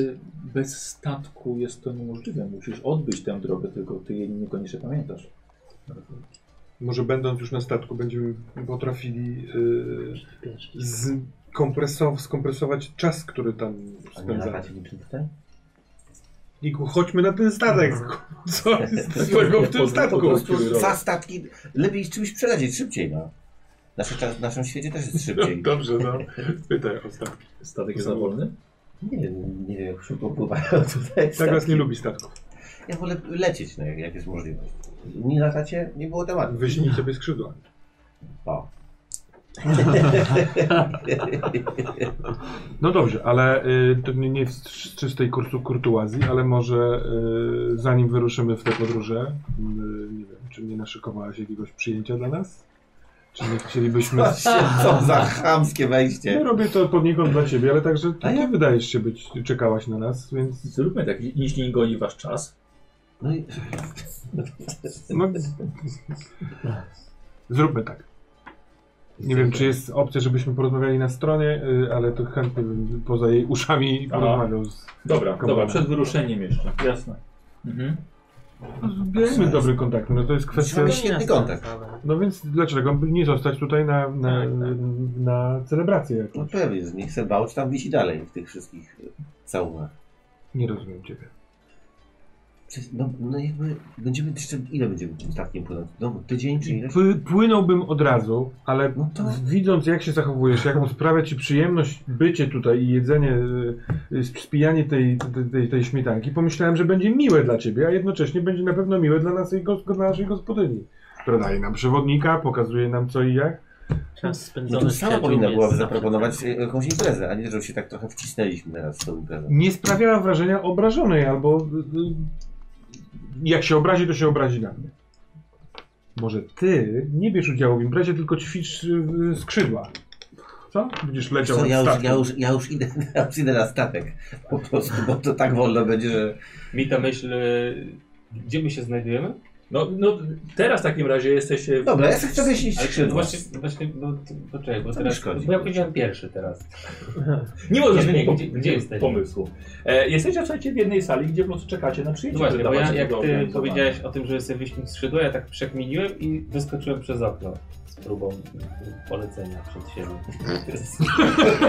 bez statku jest to niemożliwe. Musisz odbyć tę drogę, tylko ty jej niekoniecznie pamiętasz.
Może będąc już na statku, będziemy potrafili yy, zkompresow- skompresować czas, który tam
A nie
spędzamy.
latacie niczym tutaj?
Niku, chodźmy na ten statek. Co jest takiego w tym statku?
Dwa statki. Lepiej czymś przelecieć szybciej, no. Nasze, czas- w naszym świecie też jest
No,
szybciej.
dobrze, no. Pytaj o statki.
Statek jest za wolny?
Nie wiem, nie wiem jak szybko pływają tutaj.
Tak nas
statki.
nie lubi statków.
Ja wolę lecieć, no, jak, jak jest możliwość. Nie latacie? Nie było tematu.
Wyśnij sobie skrzydła.
O.
No dobrze, ale y, to nie, nie z z czystej kursu, kurtuazji, ale może y, zanim wyruszymy w te podróże, y, nie wiem, czy nie naszykowałaś jakiegoś przyjęcia dla nas? Czy nie chcielibyśmy...
Co za chamskie
Nie
wejście.
robię to poniekąd dla ciebie, ale także ty,
A ja-
ty wydajesz się być, czekałaś na nas, więc
Zróbmy tak, jeśli nie goni wasz czas.
No i...
no, zróbmy tak. Nie wiem, czy jest opcja, żebyśmy porozmawiali na stronie, y, ale to chętnie bym poza jej uszami
Aha.
porozmawiał z...
Dobra,
Dobra.
dobra, przed wyruszeniem jeszcze. Jasne. Mhm.
Miejmy dobry kontakt, no to jest kwestia...
Mamy świetny kontakt.
No więc dlaczego by nie zostać tutaj na, na,
Tak, tak.
na celebrację
No
jakąś?
pewnie, że nie chcę bałć, tam wisi dalej w tych wszystkich y, całunach.
Nie rozumiem ciebie.
Przecież, No, no jakby będziemy jeszcze, ile będziemy tym statkiem płynąć? No tydzień czy ile?
Pły- Płynąłbym od razu, ale
No to-
widząc jak się zachowujesz, jaką sprawia ci przyjemność bycie tutaj i jedzenie, y, y, spijanie tej, tej- tej, tej śmietanki, pomyślałem, że będzie miłe dla ciebie, a jednocześnie będzie na pewno miłe dla, nas i gos- dla naszej gospodyni, która daje nam przewodnika, pokazuje nam co i jak.
Czas
No
spędzony
to
z
sama
przyjaciółmi
powinna
jest
byłaby
zawsze
zaproponować
tak.
y, jakąś imprezę, a nie, że się tak trochę wcisnęliśmy teraz w tą imprezę.
Nie sprawiała wrażenia obrażonej albo y, y, jak się obrazi, to się obrazi na mnie. Może ty nie bierz udziału w imprezie, tylko ćwicz y, y, skrzydła. Co? Będziesz leciał
Co,
nad
ja, już,
statkiem.
ja, już, ja, już idę, ja już idę na statek, po prostu, bo to tak wolno będzie, że...
Mi ta myśl, e, gdzie my się znajdujemy?
No, no teraz w takim razie jesteście... W...
Dobra, ja chcę wyjść
Ale
skrzydła.
Właśnie, właśnie, no, to- poczekaj, bo
To
teraz,
nie szkodzi.
bo ja powiedziałem pierwszy teraz.
Nie możesz
Nie, nie,
mieć
gdzie- gdzie jesteśmy?
pomysłu. E, jesteście słuchajcie, w jednej sali, gdzie po prostu czekacie na przyjęcie.
No właśnie,
które
bo ja,
dla was
jak
było
ty
organizowane.
powiedziałeś o tym, że sobie wyśnić skrzydła, ja tak przekminiłem i wyskoczyłem przez okno z próbą polecenia przed siebie.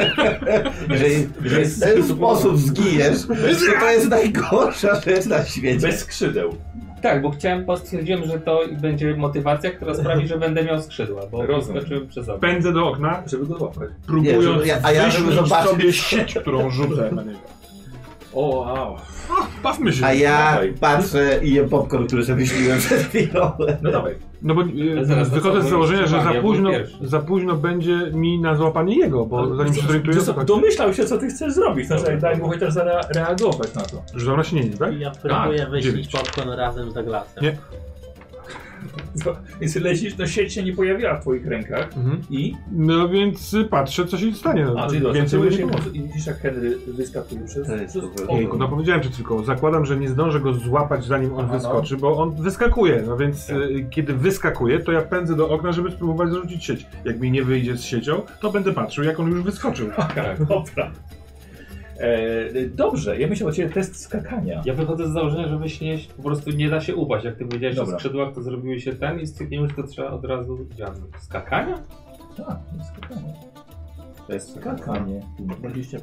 Jeżeli, jeżeli w ten sposób zgijesz, to to jest najgorsza rzecz na świecie.
Bez skrzydeł.
Tak, bo chciałem, bo stwierdziłem, że to będzie motywacja, która sprawi, że będę miał skrzydła, bo
Rozumiem.
wyskoczyłem przez okno.
Pędzę do okna,
Żeby go złapać.
próbując
Nie, żeby- ja- a ja, żeby
wyśmić
zobaczyć-
sobie sieć, którą rzucę na niego.
O, wow.
Bawmy się.
A ja
Dawaj.
patrzę i jem popcorn, który sobie myśliłem przed chwilą.
No dawaj.
No bo
Ale
y,
zaraz, to
wychodzę
co,
z założenia, że
ja
za
byłem
późno,
pierwszy.
za późno będzie mi na złapanie jego, bo
Ale
zanim
co-
się zorientuję,
co-
to tak,
Domyślał się, co ty chcesz zrobić. Znaczy,
Dobra.
daj mu chociaż zareagować na to.
rzucam na śnienie, tak?
I Ja próbuję
Tak,
wyślić
dziewięć.
popcorn razem z Douglasem.
Nie.
Co? Więc lecisz, to sieć się nie pojawiła w twoich rękach.
Mhm.
I
No więc y, patrzę, co się stanie. No,
A, czyli dobrze,
więcej
potrzebujesz
nie
jej
pomoże.
pomocy. I widzisz, jak Henry wyskakuje przez...
To jest
przez
super.
okno.
Ojku, no powiedziałem przed chwilką, zakładam, że nie zdążę go złapać zanim on
Aha, no.
wyskoczy, bo on wyskakuje, no więc y, kiedy wyskakuje, to ja pędzę do okna, żeby spróbować zarzucić sieć. Jak mi nie wyjdzie z siecią, to będę patrzył, jak on już wyskoczył.
Tak, dobra. E, dobrze, ja myślę o ciebie test skakania.
Ja wychodzę z założenia, że wyśnieć po prostu nie da się upaść. Jak ty powiedziałeś
Dobra.
o skrzydłach, to zrobiły się ten i stwierdziłem, że to trzeba od razu działać. Skakania?
Tak, to jest skakanie.
To jest
Kakanie. 20%.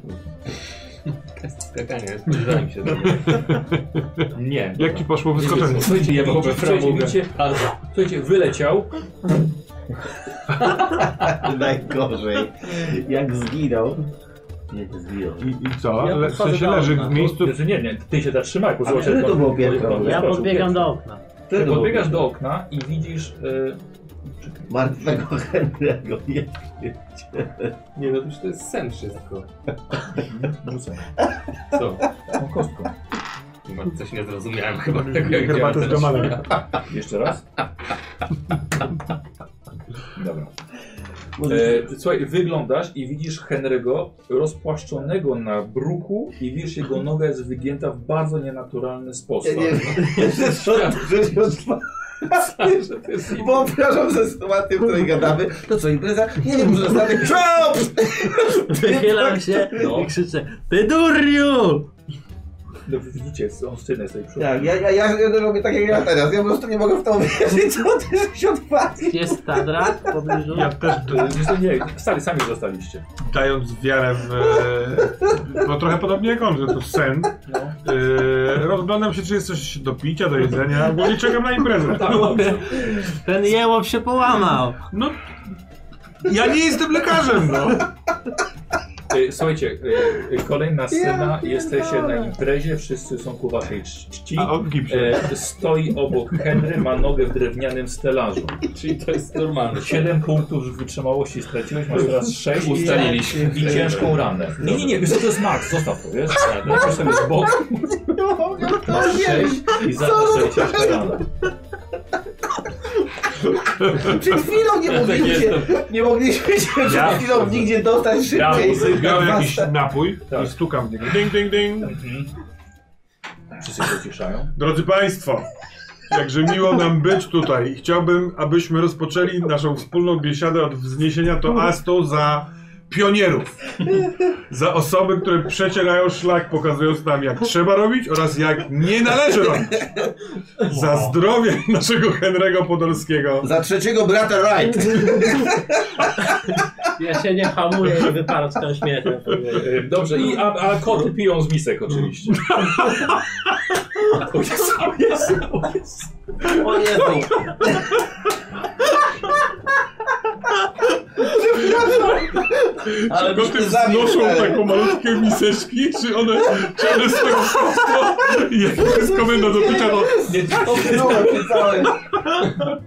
skakanie, spodziewałem się.
Nie.
Jak ci poszło wyskoczenie?
Słuchajcie, ja
Nie
po
mogę,
prostu słuchajcie,
mogę.
widzicie, słuchajcie, wyleciał.
Najgorzej. Jak zginął. Nie, to zginął.
I, I co?
Ja
Le, w
podchodzę
sensie
do
leży
okna.
w miejscu.
Znaczy, nie, nie, ty się zatrzymaj, bo
A które to było piętro?
Ja podbiegam do okna.
Ty podbiegasz do okna i widzisz... y,
Martwego Henry'ego. Nie.
Nie no, to już to jest sen wszystko.
Rzucę.
Co?
Tą kostką.
Chyba coś nie zrozumiałem Mm, chyba tego, jak działa
Herbatę z
teraz.
domalem.
Jeszcze raz. Dobra. E, słuchaj, wyglądasz i widzisz Henry'ego rozpłaszczonego na bruku i widzisz jego noga jest wygięta w bardzo nienaturalny sposób.
Wyobrażam sobie sytuację, w której gadamy. To co, impreza? Nie wiem, może ostatek. Szop!
Wychylam się
No.
i krzyczę Pyduriu!
No, widzicie, on scynę sobie przy
Tak, ja, ja, ja, ja robię tak jak ja teraz. Ja po prostu nie mogę w to uwierzyć, co ty się odpadł.
Jest Tadra w pobliżu?
Ja też d-
E, Wiesz co, Nie, stali sami zostaliście.
dając wiarę w. e, Bo trochę podobnie jak on, że to sen. E, rozglądam się, czy jest coś do picia, do jedzenia, bo nie czekam na imprezę.
Tak,
Ten jełop się połamał!
No. Ja nie jestem lekarzem, no.
E, Słuchajcie, e, e, kolejna scena.
pierdolę.
Jesteście na imprezie, wszyscy są ku waszej cz- czci.
A on gipsie.
E, Stoi obok Henry, ma nogę w drewnianym stelażu.
Czyli to jest normalne.
7 punktów wytrzymałości straciłeś, masz teraz 6
Ustaliliśmy.
i ciężką ranę. Nie, nie, nie, wiesz co, to jest max, zostaw to, wiesz? Lepisz sobie z boku, masz 6 i za to 6 ranę.
Przed chwilą nie mogliśmy, nie mogliśmy się przed
Ja-
chwilą nigdzie dostać
Ja
szybciej.
Biorę jakiś napój
Tak.
i stukam w niego. Ding, ding, ding.
Wszyscy się uciszają.
Drodzy Państwo, jakże miło nam być tutaj. Chciałbym, abyśmy rozpoczęli naszą wspólną biesiadę od wzniesienia toastu za pionierów. Za osoby, które przecierają szlak, pokazując nam, jak trzeba robić oraz jak nie należy robić. Za zdrowie naszego Henry'ego Podolskiego.
Za trzeciego brata Wright.
Ja się nie hamuję i wyparł z tą śmiechem.
E, Dobrze, i, a, a koty piją z misek oczywiście. O Jezu, o Jezu, o Jezu.
O Jezu. Ale
Koty wznoszą taką malutkie miseczki, czy one, czy one z tego wszystko, jak to jest komenda do picia, to
Nie, tak,
Opynułem się cały.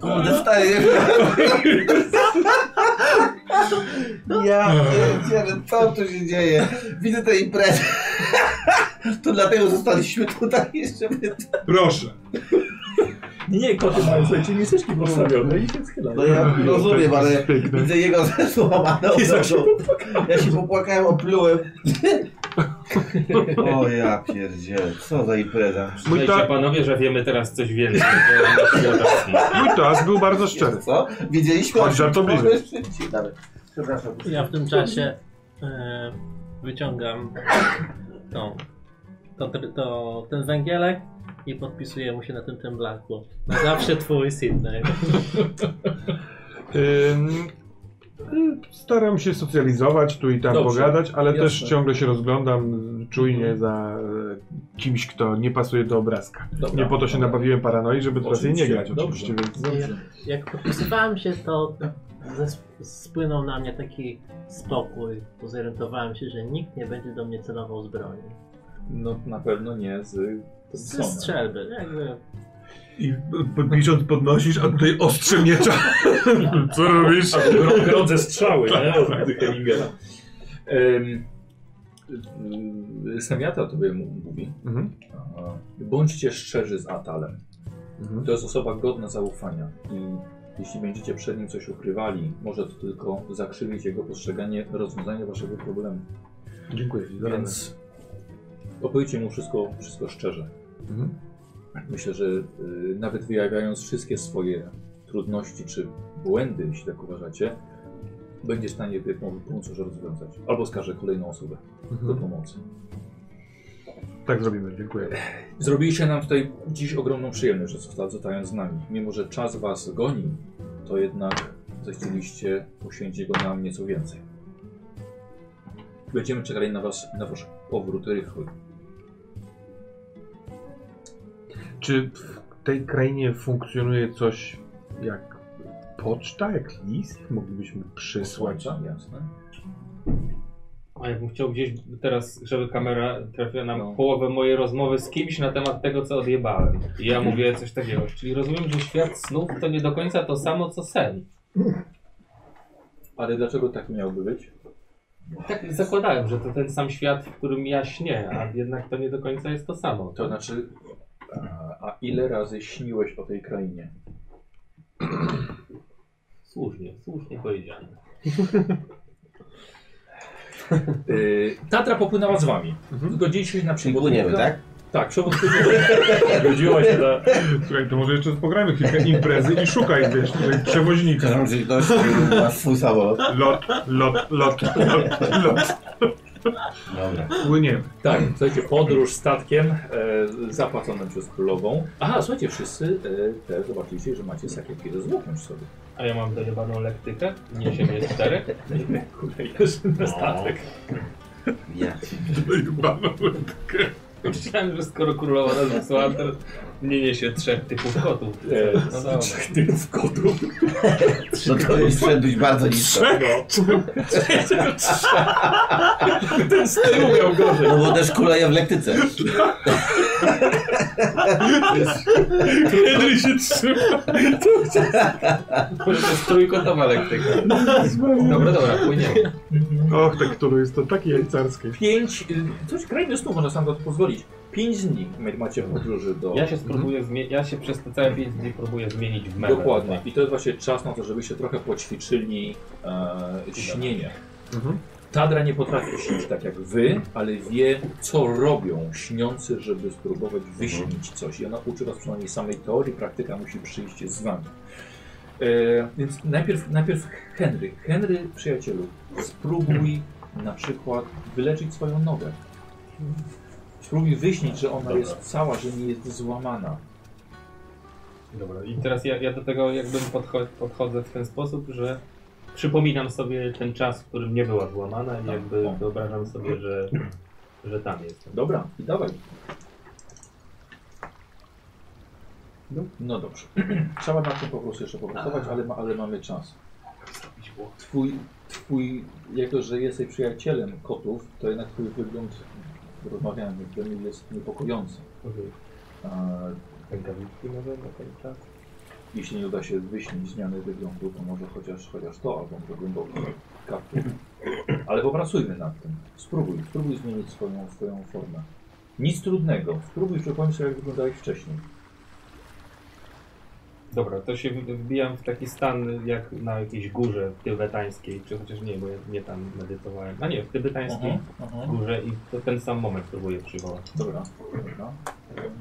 Kurde, stary. Ja pierdzielę, co tu się dzieje? Widzę tę imprezę. To dlatego zostaliśmy tutaj jeszcze.
proszę.
nie, nie, koty mają, słuchajcie, miseczki postawione i się schylają.
No ja rozumiem, ale widzę jego złamaną
I za się
nogą. Ja się popłakałem, oplułem. O ja pierdzielę, co za impreza.
Mój,
Słuchajcie,
ta,
panowie, że wiemy teraz coś więcej. bo nas nie odetchną.
mój tas był bardzo szczery.
Co? Widzieliśmy?
Chodź, żartobliwy.
Trochę szybciej nawet. Przepraszam.
Ja w tym czasie e, wyciągam tą, to, to, ten węgielek i podpisuję mu się na tym temblaku. Na zawsze twój Sydney.
Ym, y, staram się socjalizować tu i tam
Dobrze,
pogadać, ale też
jasne.
ciągle się rozglądam y, czujnie za y, kimś, kto nie pasuje do obrazka.
Dobra.
Nie po to się nabawiłem paranoi, żeby teraz jej nie
Oczywiście,
grać oczywiście,
dobrze.
więc
Dobrze.
Jak podpisywałem się, to zes- spłynął na mnie taki spokój, bo zorientowałem się, że nikt nie będzie do mnie celował z broni.
No na pewno nie z...
Ze strzelby, jakby
i pisząc podnosisz, a tutaj ostrze miecza. Co robisz?
Gro- Grodze strzały, nie? Od Hemingera. Em, y, y, Semiata tobie mu- mówi.
Mhm.
Aha. Bądźcie szczerzy z Atalem.
Mhm.
To jest osoba godna zaufania i jeśli będziecie przed nim coś ukrywali, może to tylko zakrzywić jego postrzeganie rozwiązania waszego problemu.
Dziękuję ci za radę.
Więc opowiedzcie mu wszystko, wszystko szczerze.
Mhm.
Myślę, że y, nawet wyjawiając wszystkie swoje trudności czy błędy, jeśli tak uważacie, będzie w stanie wy- pomóc już rozwiązać. Albo skaże kolejną osobę do
Mhm.
pomocy.
Tak zrobimy, dziękuję.
Zrobiliście nam tutaj dziś ogromną przyjemność, że zosta- zostając z nami. Mimo, że czas was goni, to jednak zechcieliście poświęcić go nam nieco więcej. Będziemy czekali na was, na wasz powrót rychły.
Czy w tej krainie funkcjonuje coś jak poczta, jak list? Moglibyśmy przysłać.
Słońca, jasne.
A jakbym chciał gdzieś teraz, żeby kamera trafiła na
No.
połowę mojej rozmowy z kimś na temat tego, co odjebałem. I ja mówię coś takiego. Czyli rozumiem, że świat snów to nie do końca to samo, co sen.
Ale dlaczego tak miałby być?
Tak zakładałem, że to ten sam świat, w którym ja śnię, a jednak to nie do końca jest to samo.
To znaczy, a, a ile razy śniłeś o tej krainie?
Słusznie, słusznie powiedziane.
Yy, Tatra popłynęła z wami. Zgodziliście się na
Czyli
przewodnika?
płyniemy, tak?
Tak, przewodnika. Zgodziła się na...
Słuchaj, to może jeszcze pogramy kilka imprezy i szukaj, wiesz, tutaj przewoźnika.
Przepraszam, czy ktoś ma swój samolot.
Lot, lot, lot, lot, lot.
Dobra.
Płyniemy.
Tak, słuchajcie, podróż statkiem e, zapłaconym przez królową. Aha, słuchajcie, wszyscy e, też zobaczyliście, że macie sakiewki ze złotem przy sobie.
A ja mam dojebaną lektykę, niesiemy je czterech.
Kurde, jeszcze na statek.
Ja.
Myślałem, że skoro królowa nas wysłała, to nie niesie trzech typów kotów.
E,
No
z
dobra.
trzech tylów kotów.
No to już wszedłeś bardzo nisko.
Ten z tyłu miał gorzej.
No bo też kuleje w lektyce.
Henry się trzyma.
To jest trójkątowa lektyka. Dobra, dobra, płyniemy.
Och, tak, to jest to takie jajcarskie.
Pięć, y, coś krajnie snu można sam to pozwolić. Pięć dni ma- macie podróży do...
Ja się spróbuję zmienić, ja się przez te całe 5 dni próbuję zmienić w mewę.
Dokładnie. I to jest właśnie czas na to, żebyście trochę poćwiczyli e, śnienie.
Mhm.
Tadra nie potrafi śnić tak jak wy, ale wie, co robią śniący, żeby spróbować wyśnić coś. I ona uczy was przynajmniej samej teorii, praktyka musi przyjść z wami. E, więc najpierw, najpierw Henry. Henry, przyjacielu, spróbuj na przykład wyleczyć swoją nogę. Spróbuj wyśnić, że ona
Dobra.
jest cała, że nie jest złamana.
Dobra, i teraz ja, ja do tego jakbym podcho podchodzę w ten sposób, że przypominam sobie ten czas, w którym nie była złamana i jakby
O.
wyobrażam sobie, że, że tam jestem.
Dobra, i dawaj. No, no dobrze. Trzeba na tym po prostu jeszcze popracować, ale, ma, ale mamy czas. Twój, twój, jako że jesteś przyjacielem kotów, to jednak twój wygląd, rozmawiałem z tym, jest niepokojący.
Okej.
A
Rękawiczki może na ten czas?
jeśli nie uda się wyśnić zmiany wyglądu, to może chociaż, chociaż to, albo może głęboko kaptur. Ale popracujmy nad tym. Spróbuj, spróbuj zmienić swoją, swoją formę. Nic trudnego. Spróbuj przypomnieć sobie, jak wyglądałeś wcześniej.
Dobra, to się w- wbijam w taki stan jak na jakiejś górze tybetańskiej, czy chociaż nie, bo ja nie tam medytowałem. A nie, w tybetańskiej
Mhm,
górze i to ten sam moment próbuję przywołać.
Dobra, dobra.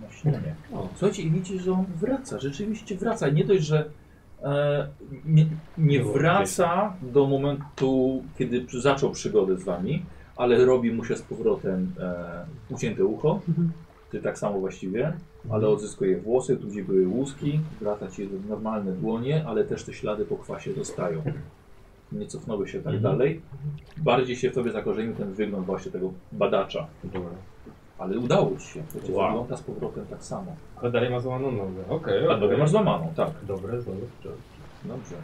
Na śniadanie. O, słuchajcie, i widzicie, że on wraca. Rzeczywiście wraca. I nie dość, że e, nie, nie
Było
wraca do momentu, kiedy przy- zaczął przygodę z wami, ale robi mu się z powrotem e, ucięte ucho.
Mhm.
Ty tak samo właściwie, ale odzyskuje włosy, tu gdzie były łuski, wraca ci normalne dłonie, ale też te ślady po kwasie zostają. Nie cofnąły się tak
Mhm.
dalej. Bardziej się w tobie zakorzenił ten wygląd właśnie tego badacza.
Dobra.
Ale udało ci się. Przecież
Wow.
wygląda z powrotem tak samo.
A dalej ma złamaną nogę. Okej,
A drogę
okej.
masz złamaną, tak.
Dobre, złe. czy-
Dobrze.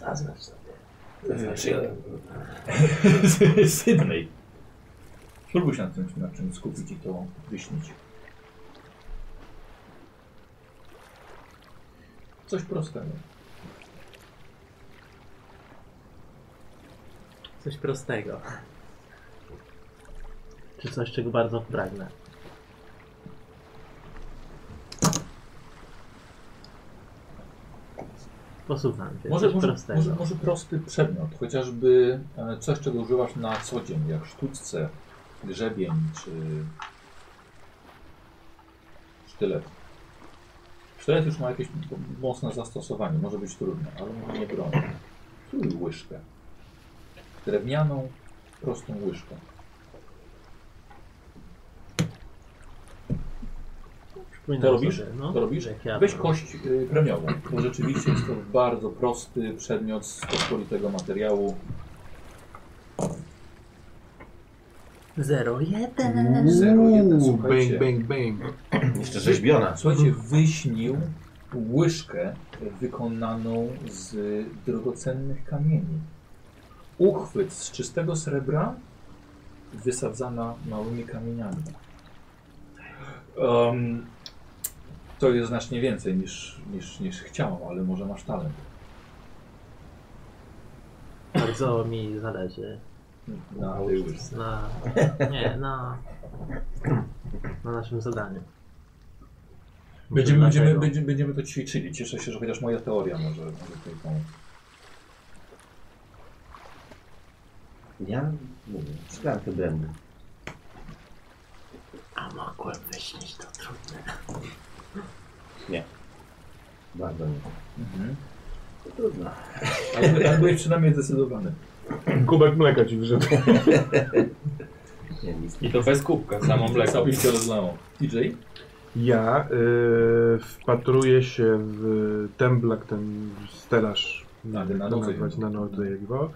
Zaznacz sobie. Zaznaczyłem.
Sydney. Spróbuj się na tym, na czym skupić i to wyśnić. Coś prostego.
Coś prostego. Czy coś, czego bardzo pragnę. Posłucham cię.
Może,
coś
może,
prostego.
może, może prosty przedmiot, chociażby e, coś, czego używasz na co dzień, jak sztućce, grzebień czy sztylet. Sztylet już ma jakieś m- mocne zastosowanie, może być trudne, ale może nie broń. Spróbuj łyżkę. Drewnianą, prostą łyżkę.
Przypominam
To robisz?
Sobie, no,
To robisz?
jak ja
Weź
to-
kość y, premiową, bo rzeczywiście jest to bardzo prosty przedmiot z pospolitego materiału.
Zero jeden.
Mm.
Zero, jeden,
Uuu,
słuchajcie.
bang, bang, bang.
Jeszcze rzeźbiona.
Słuchajcie, wyśnił łyżkę wykonaną z drogocennych kamieni. Uchwyt z czystego srebra wysadzana małymi kamieniami. Em, to jest znacznie więcej niż, niż, niż chciałam, ale może masz talent.
Bardzo mi zależy
Na tej łyżce.
na... Nie, na... Na naszym zadaniu.
Będziemy, będziemy,
Dlaczego?
będziemy, będziemy to ćwiczyli. Cieszę się, że chociaż moja teoria może, może tutaj pomóc.
Ja mówię, szklankę brędy.
A mogłem wyśnić to trudne.
Bardzo nie.
Mhm.
To trudno.
Ale, by- ale byłeś przynajmniej zdecydowany.
Kubek mleka ci wyszedł.
Nie, nic.
I to bez kubka, samo mleko.
Całkowicie rozlało. DJ?
Ja y, wpatruję się w temblak, ten stelaż
Na, na nodze.
nazwać na nocy jego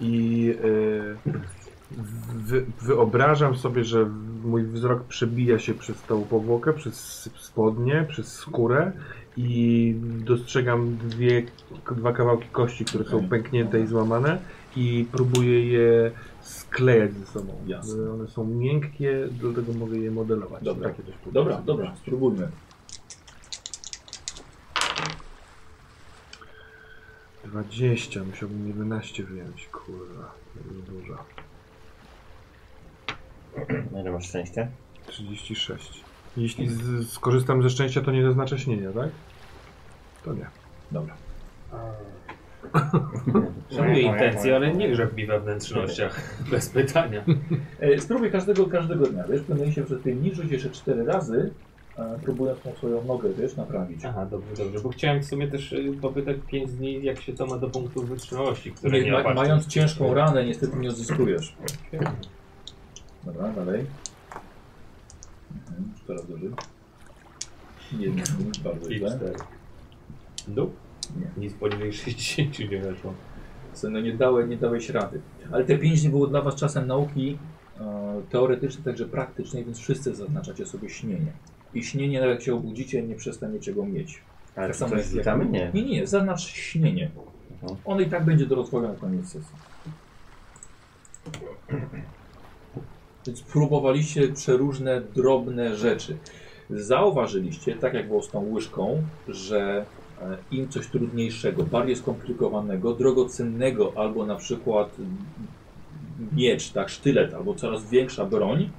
i y, wy, wyobrażam sobie, że mój wzrok przebija się przez tą powłokę, przez spodnie, przez skórę i dostrzegam dwie, dwa kawałki kości, które są pęknięte i złamane i próbuję je sklejać ze sobą.
Jasne.
One są miękkie, dlatego mogę je modelować.
Dobra.
Takie coś próbuję.
Dobra, dobra, spróbujmy.
20, musiałbym 11 wyjąć, kurwa, to jest dużo.
No ile masz szczęścia?
36. Jeśli z, skorzystam ze szczęścia, to nie zaznaczę śnienia, tak? To nie.
Dobra.
Szanuję intencje, ale nie grzeb mi we wnętrznościach. Bez pytania.
E, spróbuj każdego, każdego dnia, wiesz, pewnie się przez tej niż jeszcze cztery razy, e, próbując tą swoją nogę, wiesz, naprawić.
Aha, dobrze, dobrze. Bo chciałem w sumie też y, popytać 5 dni, jak się to ma do punktów wytrzymałości, które nie
Ma-
ma,
mając ciężką ranę, niestety nie odzyskujesz. Dobra, dalej. Mhm, teraz dobrze. Jeden, bardzo
I
źle.
cztery. Dół?
Nie.
Nic No. poniżej 60 nie weszło.
Co, No nie, dałe, nie dałeś rady. Ale te pięć dni było dla was czasem nauki e, teoretycznej, także praktycznej, więc wszyscy zaznaczacie sobie śnienie. I śnienie, nawet jak się obudzicie, nie przestaniecie go mieć.
Ale
Tak
czy
samo
coś
jak-
rzucamy? Nie.
Nie, nie, nie, zaznacz śnienie.
Mhm.
Ono i tak będzie do rozwoju na koniec sesji. Więc próbowaliście przeróżne drobne rzeczy. Zauważyliście, tak jak było z tą łyżką, że e, im coś trudniejszego, bardziej skomplikowanego, drogocennego, albo na przykład m, miecz, tak, sztylet, albo coraz większa broń,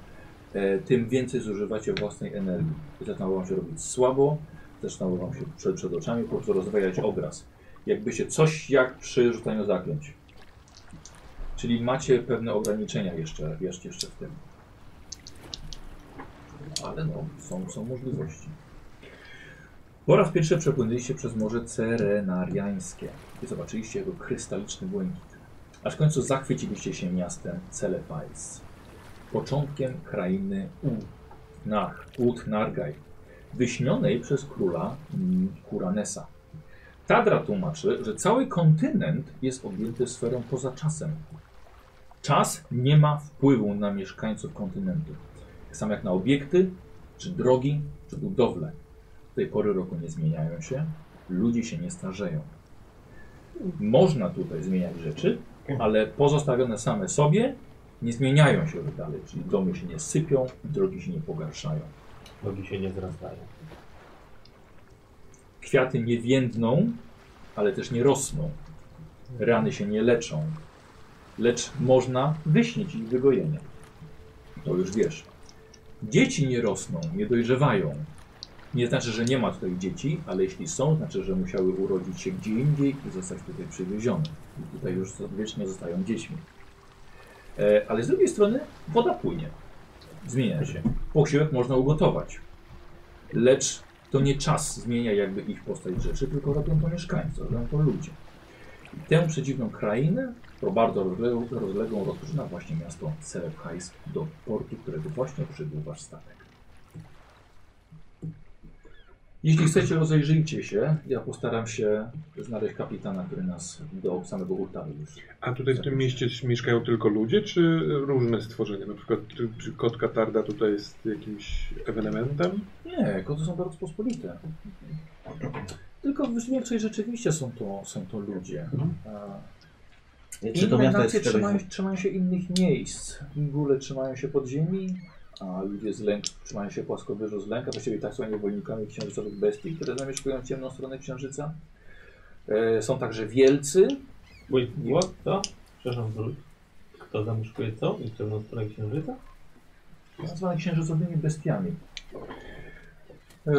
e, tym więcej zużywacie własnej energii. I zaczynało wam się robić słabo, zaczynało wam się przed, przed oczami po prostu rozwijać obraz. Jakby się coś jak przy rzucaniu zaklęć. Czyli macie pewne ograniczenia jeszcze, jeszcze, jeszcze w tym. Ale no, są, są możliwości. Po raz pierwszy przepłynęliście przez Morze Cerenariańskie i zobaczyliście jego krystaliczny błękit. Aż w końcu zachwyciliście się miastem Celepais, początkiem krainy Utnar, Utnargaj, wyśnionej przez króla mm, Kuranesa. Tadra tłumaczy, że cały kontynent jest objęty sferą poza czasem. Czas nie ma wpływu na mieszkańców kontynentu. Tak samo jak na obiekty, czy drogi, czy budowle. Do tej pory roku nie zmieniają się, ludzie się nie starzeją. Można tutaj zmieniać rzeczy, ale pozostawione same sobie nie zmieniają się dalej, czyli domy się nie sypią, drogi się nie pogarszają.
Nogi się nie zrastają.
Kwiaty nie więdną, ale też nie rosną. Rany się nie leczą. Lecz można wyśnić ich wygojenie. To już wiesz. Dzieci nie rosną, nie dojrzewają. Nie znaczy, że nie ma tutaj dzieci, ale jeśli są, znaczy, że musiały urodzić się gdzie indziej i zostać tutaj przywiezione. I tutaj już wiecznie zostają dziećmi. E, ale z drugiej strony woda płynie. Zmienia się. Posiłek można ugotować. Lecz to nie czas zmienia jakby ich postać rzeczy, tylko robią to mieszkańcy, robią to ludzie. I tę przedziwną krainę, to bardzo rozległą, rozległą rozpoczyna właśnie miasto Selefhais, do portu, którego właśnie przybył wasz statek. Jeśli chcecie, rozejrzyjcie się. Ja postaram się znaleźć kapitana, który nas do samego Hurtawy już.
A tutaj w tym mieście mieszkają tylko ludzie, czy różne stworzenia? Na przykład czy- czy kot Katarda tutaj jest jakimś ewenementem?
Nie, koty są bardzo pospolite. Tylko w większej rzeczywiście są to, są to ludzie. A
Czy to
Inne
miasto jest
nacje
czegoś...
trzymają, trzymają się innych miejsc. Góle trzymają się podziemi, a ludzie z lęk, trzymają się płaskowyżu z lęka. Właściwie tak są niewolnikami księżycowych bestii, które zamieszkują ciemną stronę księżyca. E, są także wielcy.
Wait, what? Co? Przepraszam, wróć. Kto zamieszkuje co? I ciemną stronę księżyca?
nazwane księżycowymi bestiami. E,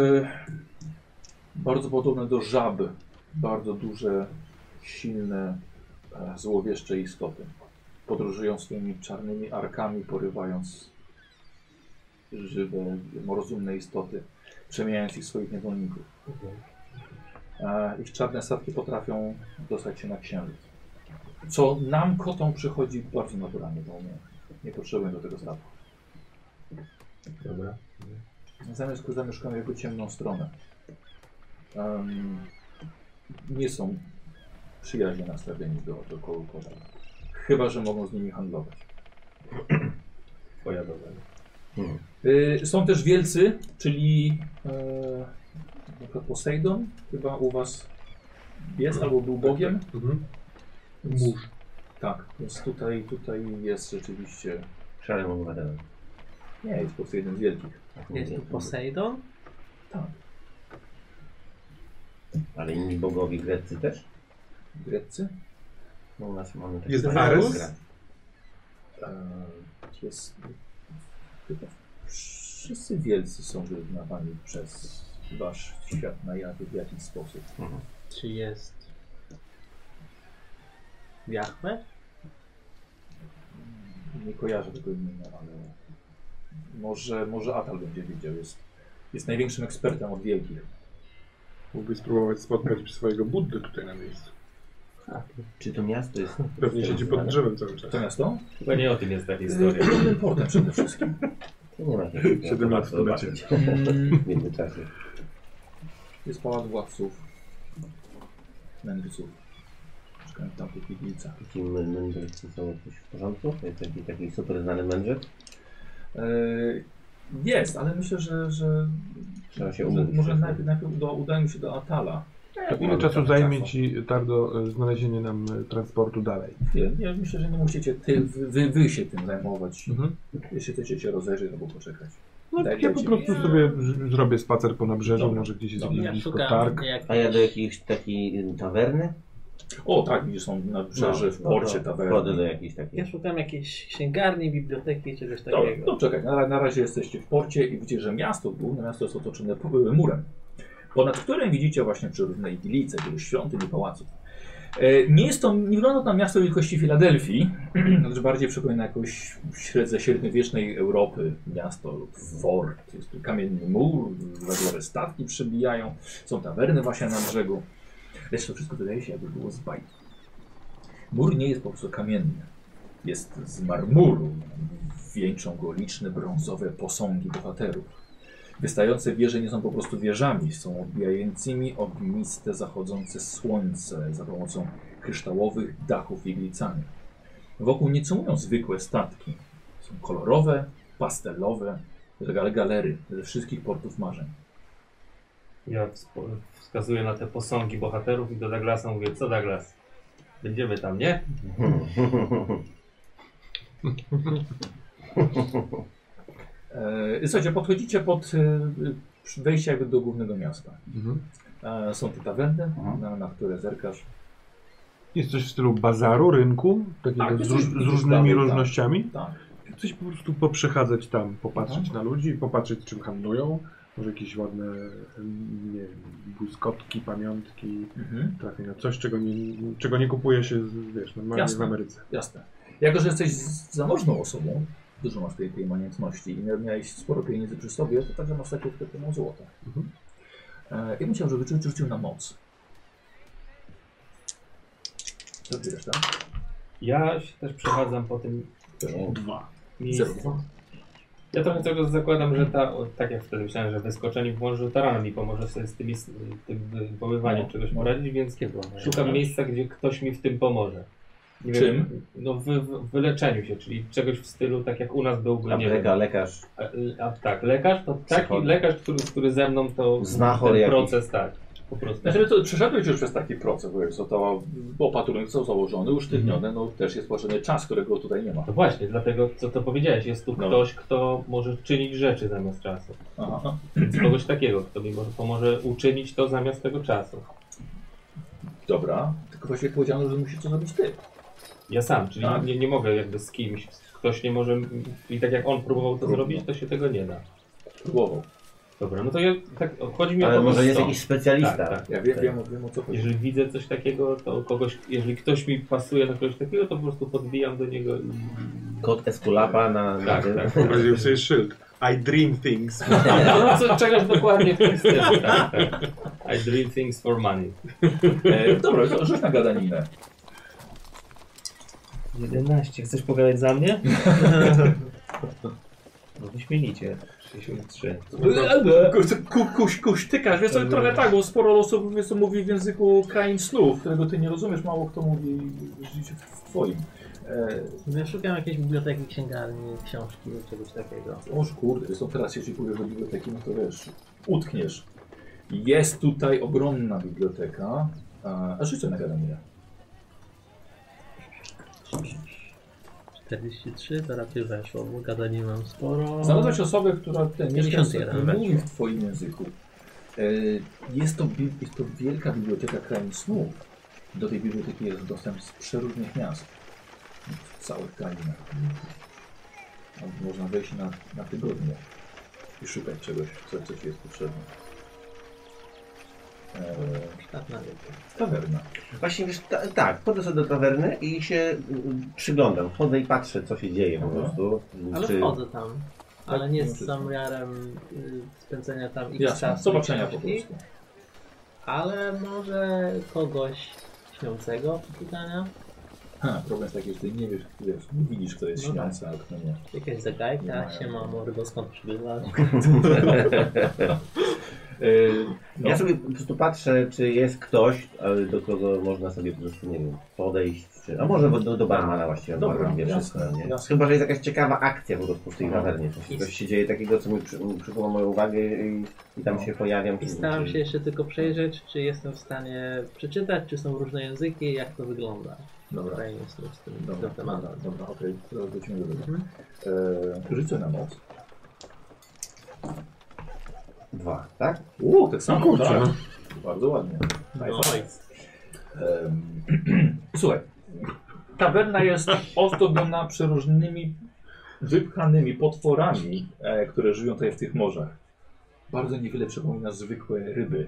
bardzo podobne do żaby. Bardzo duże, silne, e, złowieszcze istoty. Podróżują swoimi czarnymi arkami, porywając żywe, rozumne istoty, przemieniając ich w swoich niewolników. E, ich czarne statki potrafią dostać się na księżyc. Co nam, kotom, przychodzi bardzo naturalnie, bo nie, nie potrzebują do tego statku.
Dobra.
Zamiast zamieszkamy jego ciemną stronę. Em, nie są przyjaźnie nastawieni do, do kołkowa. Chyba, że mogą z nimi handlować.
Twoja dobra.
Y, są też wielcy, czyli e, na przykład Poseidon, chyba u was jest albo był bogiem.
Mhm.
Więc- Tak, więc tutaj, tutaj jest rzeczywiście.
Szarym obywatelem.
Nie, jest po prostu jeden z wielkich.
Tak
Jest tu Poseidon?
Ale inni bogowie greccy też?
Greccy.
No u nas mamy taki
Jest
Ares.
Ares?
E, jest. Chyba wszyscy wielcy są wyznawani przez wasz świat na jawie w jakiś sposób.
Czy jest... Jachwę?
Nie kojarzę tego imienia, ale może, może Atal będzie wiedział. Jest, jest największym ekspertem od wielkich.
Mógłby spróbować spotkać swojego Buddy tutaj na miejscu.
Czy to miasto jest...
Pewnie siedzi pod drzewem cały czas.
To miasto?
Chyba nie o tym jest ta historia.
Ogromnym portem przede wszystkim.
To nie ma
Siedem lat w
zobaczyć
tunecie.
w międzyczasie.
Jest pałac władców, mędrców. Mieszkają tam po piwnicach.
Takim mędrcy są coś w porządku? Jest taki, taki super znany mędrzec?
Yy, Jest, ale myślę, że, że
Trzeba się
może,
umówić.
może najpierw, najpierw do, udajmy się do Atala.
To ile czasu zajmie ci, Tardo, e, znalezienie nam e, transportu dalej?
Nie, nie, myślę, że nie musicie ty, wy, wy się tym zajmować.
Mhm.
Jeśli chcecie się rozejrzeć albo poczekać.
No,
Daj,
ja
daj
po
Tak, ci-
prostu sobie z- zrobię spacer po nabrzeżu,
Dobra.
może gdzieś jest
Dobra.
jakiś
Ja
blisko
szukam
targ.
jakiejś...
A ja do jakiejś takiej y, tawerny?
O tak, widzisz, są na
No,
brzeży, w porcie,
Chodzę do
tawerny.
jakiejś
Ja
takiej.
szukam jakiejś księgarni, biblioteki, czegoś
Dobra,
takiego.
no czekaj, na, na razie jesteście w porcie i widzicie, że miasto, główne miasto jest otoczone p- murem, ponad którym widzicie właśnie przeróżne igilice, wielu świątyń i pałaców. E, Nie, jest to, nie wygląda to na miasto wielkości Filadelfii, lecz bardziej przypomina jakąś średze średniowiecznej Europy miasto lub fort. Jest tu kamienny mur, węglowe statki przebijają, są tawerny właśnie na brzegu. Lecz to wszystko wydaje się, jakby było z bajki. Mur nie jest po prostu kamienny. Jest z marmuru. Wieńczą go liczne brązowe posągi bohaterów. Wystające wieże nie są po prostu wieżami, są odbijającymi ogniste zachodzące słońce za pomocą kryształowych dachów iglicanych. Wokół nie cumują zwykłe statki. Są kolorowe, pastelowe, regal- galery ze wszystkich portów marzeń.
Ja wspo- wskazuję na te posągi bohaterów i do Douglasa mówię, co Douglas? Będziemy tam, nie?
E, Słuchajcie, podchodzicie pod e, przy- wejście jakby do głównego miasta.
Mhm.
E, Są te tawerny, na, na które zerkasz.
Jest coś w stylu bazaru, rynku, takiego
Tak,
z,
jest
róż,
coś-
z różnymi
tak.
różnościami.
Tak.
Coś po prostu poprzechadzać tam, popatrzeć na ludzi, popatrzeć czym handlują. Może jakieś ładne, em, nie wiem, błyskotki, pamiątki,
Mhm.
trafię na coś, czego nie, czego nie kupuje się, z, wiesz, normalnie
Jasne.
w Ameryce.
Jasne. Jako, że jesteś z- zamożną osobą, dużo masz tej, tej majątności i mia- miałeś sporo pieniędzy przy sobie, to także masz takiego pełną złota.
Mhm.
E, ja bym chciał, żeby rzucił, rzucił na moc. Co ty wiesz, tak? No.
Ja się też przechadzam po tym
Dwa.
miejscu.
Zero.
Ja trochę tego zakładam, że ta, o, tak jak wtedy myślałem, że wyskoczenie w morzu tarana mi pomoże sobie z tymi, z tym wywoływaniem czegoś poradzić, więc szukam miejsca, gdzie ktoś mi w tym pomoże. Nie
Czym?
Wiem, no w, w wyleczeniu się, czyli czegoś w stylu tak jak u nas byłby, nie wiem,
Apteka, lekarz.
a, a tak, lekarz to taki
Psycholog.
lekarz, który, który ze mną to
Zna
ten
chory jakiś.
proces, tak, po prostu.
Znaczy, to przeszedłeś już przez taki proces, bo jest to opatrunek są założone, usztywnione, no też jest potrzebny czas, którego tutaj nie ma.
No właśnie, dlatego co to powiedziałeś, jest tu
No.
ktoś, kto może czynić rzeczy zamiast czasu.
Aha.
Więc kogoś takiego, kto mi może pomoże uczynić to zamiast tego czasu.
Dobra, tylko właśnie powiedziano, że musisz to zrobić ty.
Ja sam, czyli
Tak.
nie, nie mogę jakby z kimś, ktoś nie może, i tak jak on próbował to
Trudno.
zrobić, to się tego nie da.
Głową.
Dobra, no to ja, tak, chodzi mi o
Ale
to,
może
że
jest
stąd.
jakiś specjalista.
Tak, tak.
Ja wiem, wiem, wiem o co chodzi.
Jeżeli widzę coś takiego, to kogoś, jeżeli ktoś mi pasuje na kogoś takiego, to po prostu podbijam do niego i...
Kot Eskulapa na... na
Tak,
tym.
tak.
Wyobraziłem sobie szyld. I dream things.
No, co, czegoś dokładnie w tym stylu, tak, tak. I dream things for money.
E, dobra, to rzuć na gadaninę.
11, chcesz pogadać za mnie?
No wyśmienicie. 63.
Kurczę, ku, kuś, kuśtykasz, wiesz, to trochę tak, bo sporo osób wiesz, co mówi w języku krain snów, którego ty nie rozumiesz, mało kto mówi rzeczywiście w w twoim. E,
No Ja szukam jakiejś biblioteki, księgarni, książki, czegoś takiego.
o kurde, są teraz, jeśli pójdziesz do biblioteki, no to wiesz, utkniesz. Jest tutaj ogromna biblioteka, a, a rzuć sobie na gadaninę.
43, to raczej weszło, bo gadani mam sporo.
Znalazłeś osobę, która ten mieszkańca
91
nie mówi
weszło.
w twoim języku. E, Jest to, bi- jest to wielka biblioteka krain snów. Do tej biblioteki jest dostęp z przeróżnych miast. W całych krainach. Tam Można wejść na, na tygodnie i szukać czegoś, co, co ci jest potrzebne. E,
Sztafna wielka.
Tawerna.
Właśnie wiesz, ta, tak, chodzę sobie do tawerny i się mm, przyglądam. Chodzę i patrzę, co się dzieje po
Mhm.
prostu.
Ale
Czy-
wchodzę tam. Ale nie
Tak,
z
no,
zamiarem y, spędzenia tam x
Jasne,
czasu.
zobaczenia po
książki,
prostu.
Ale może kogoś śniącego pytania?
Ha, problem jest taki, że ty nie wiesz, wiesz nie widzisz, kto jest
No tak.
śniący, a kto nie.
Jakaś
Nie
zagadka?
mają.
się ma mordo, skąd przybywasz?
E, no.
Ja sobie po prostu patrzę, czy jest ktoś, ale do kogo można sobie po prostu, nie wiem, podejść. Czy... A może do, do barmana właściwie,
Mhm. Dobra,
barman wie
jasne,
wszystko. Nie?
jasne.
Chyba, że jest jakaś ciekawa akcja po prostu w tej
No.
tawernie. Coś, coś się dzieje takiego, co mi przy, przykuwa moją uwagę i, i tam
No.
się pojawiam.
I staram się jeszcze tylko przejrzeć, czy jestem w stanie przeczytać, czy są różne języki, jak to wygląda.
Dobra.
Tutaj jestem z tym
Tak. Dobra,
tym tematem.
dobra, dobra, okej, teraz wrócimy do tego.
Mhm.
Eee, rzucę na moc.
Dwa, tak?
Uuu, tak samo,
kurczę.
tak. Bardzo ładnie.
No,
Em, Słuchaj, tawerna jest ozdobiona przeróżnymi wypchanymi potworami, e, które żyją tutaj w tych morzach. Bardzo niewiele przypomina zwykłe ryby.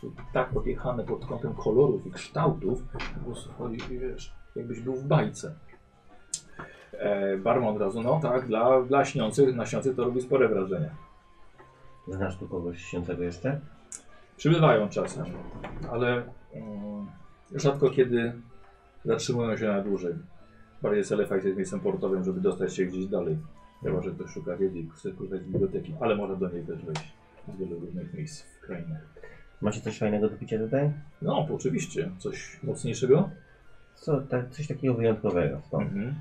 Są tak opiechane pod kątem kolorów i kształtów, że po prostu chodzi, wiesz, jakbyś był w bajce. E, barman od razu, no tak, dla, dla śniących, na śniących to robi spore wrażenie.
Znasz tu kogoś śniącego jeszcze?
Przybywają czasem, ale mm, rzadko kiedy zatrzymują się na dłużej. Bardziej Selefakt jest miejscem portowym, żeby dostać się gdzieś dalej. Chyba, że ktoś szuka wiedzy i chce korzystać z biblioteki, ale można do niej też wejść z wielu różnych miejsc w krainie.
Macie coś fajnego do picia tutaj?
No, oczywiście. Coś mocniejszego?
Co, tak, coś takiego wyjątkowego. No,
Mhm.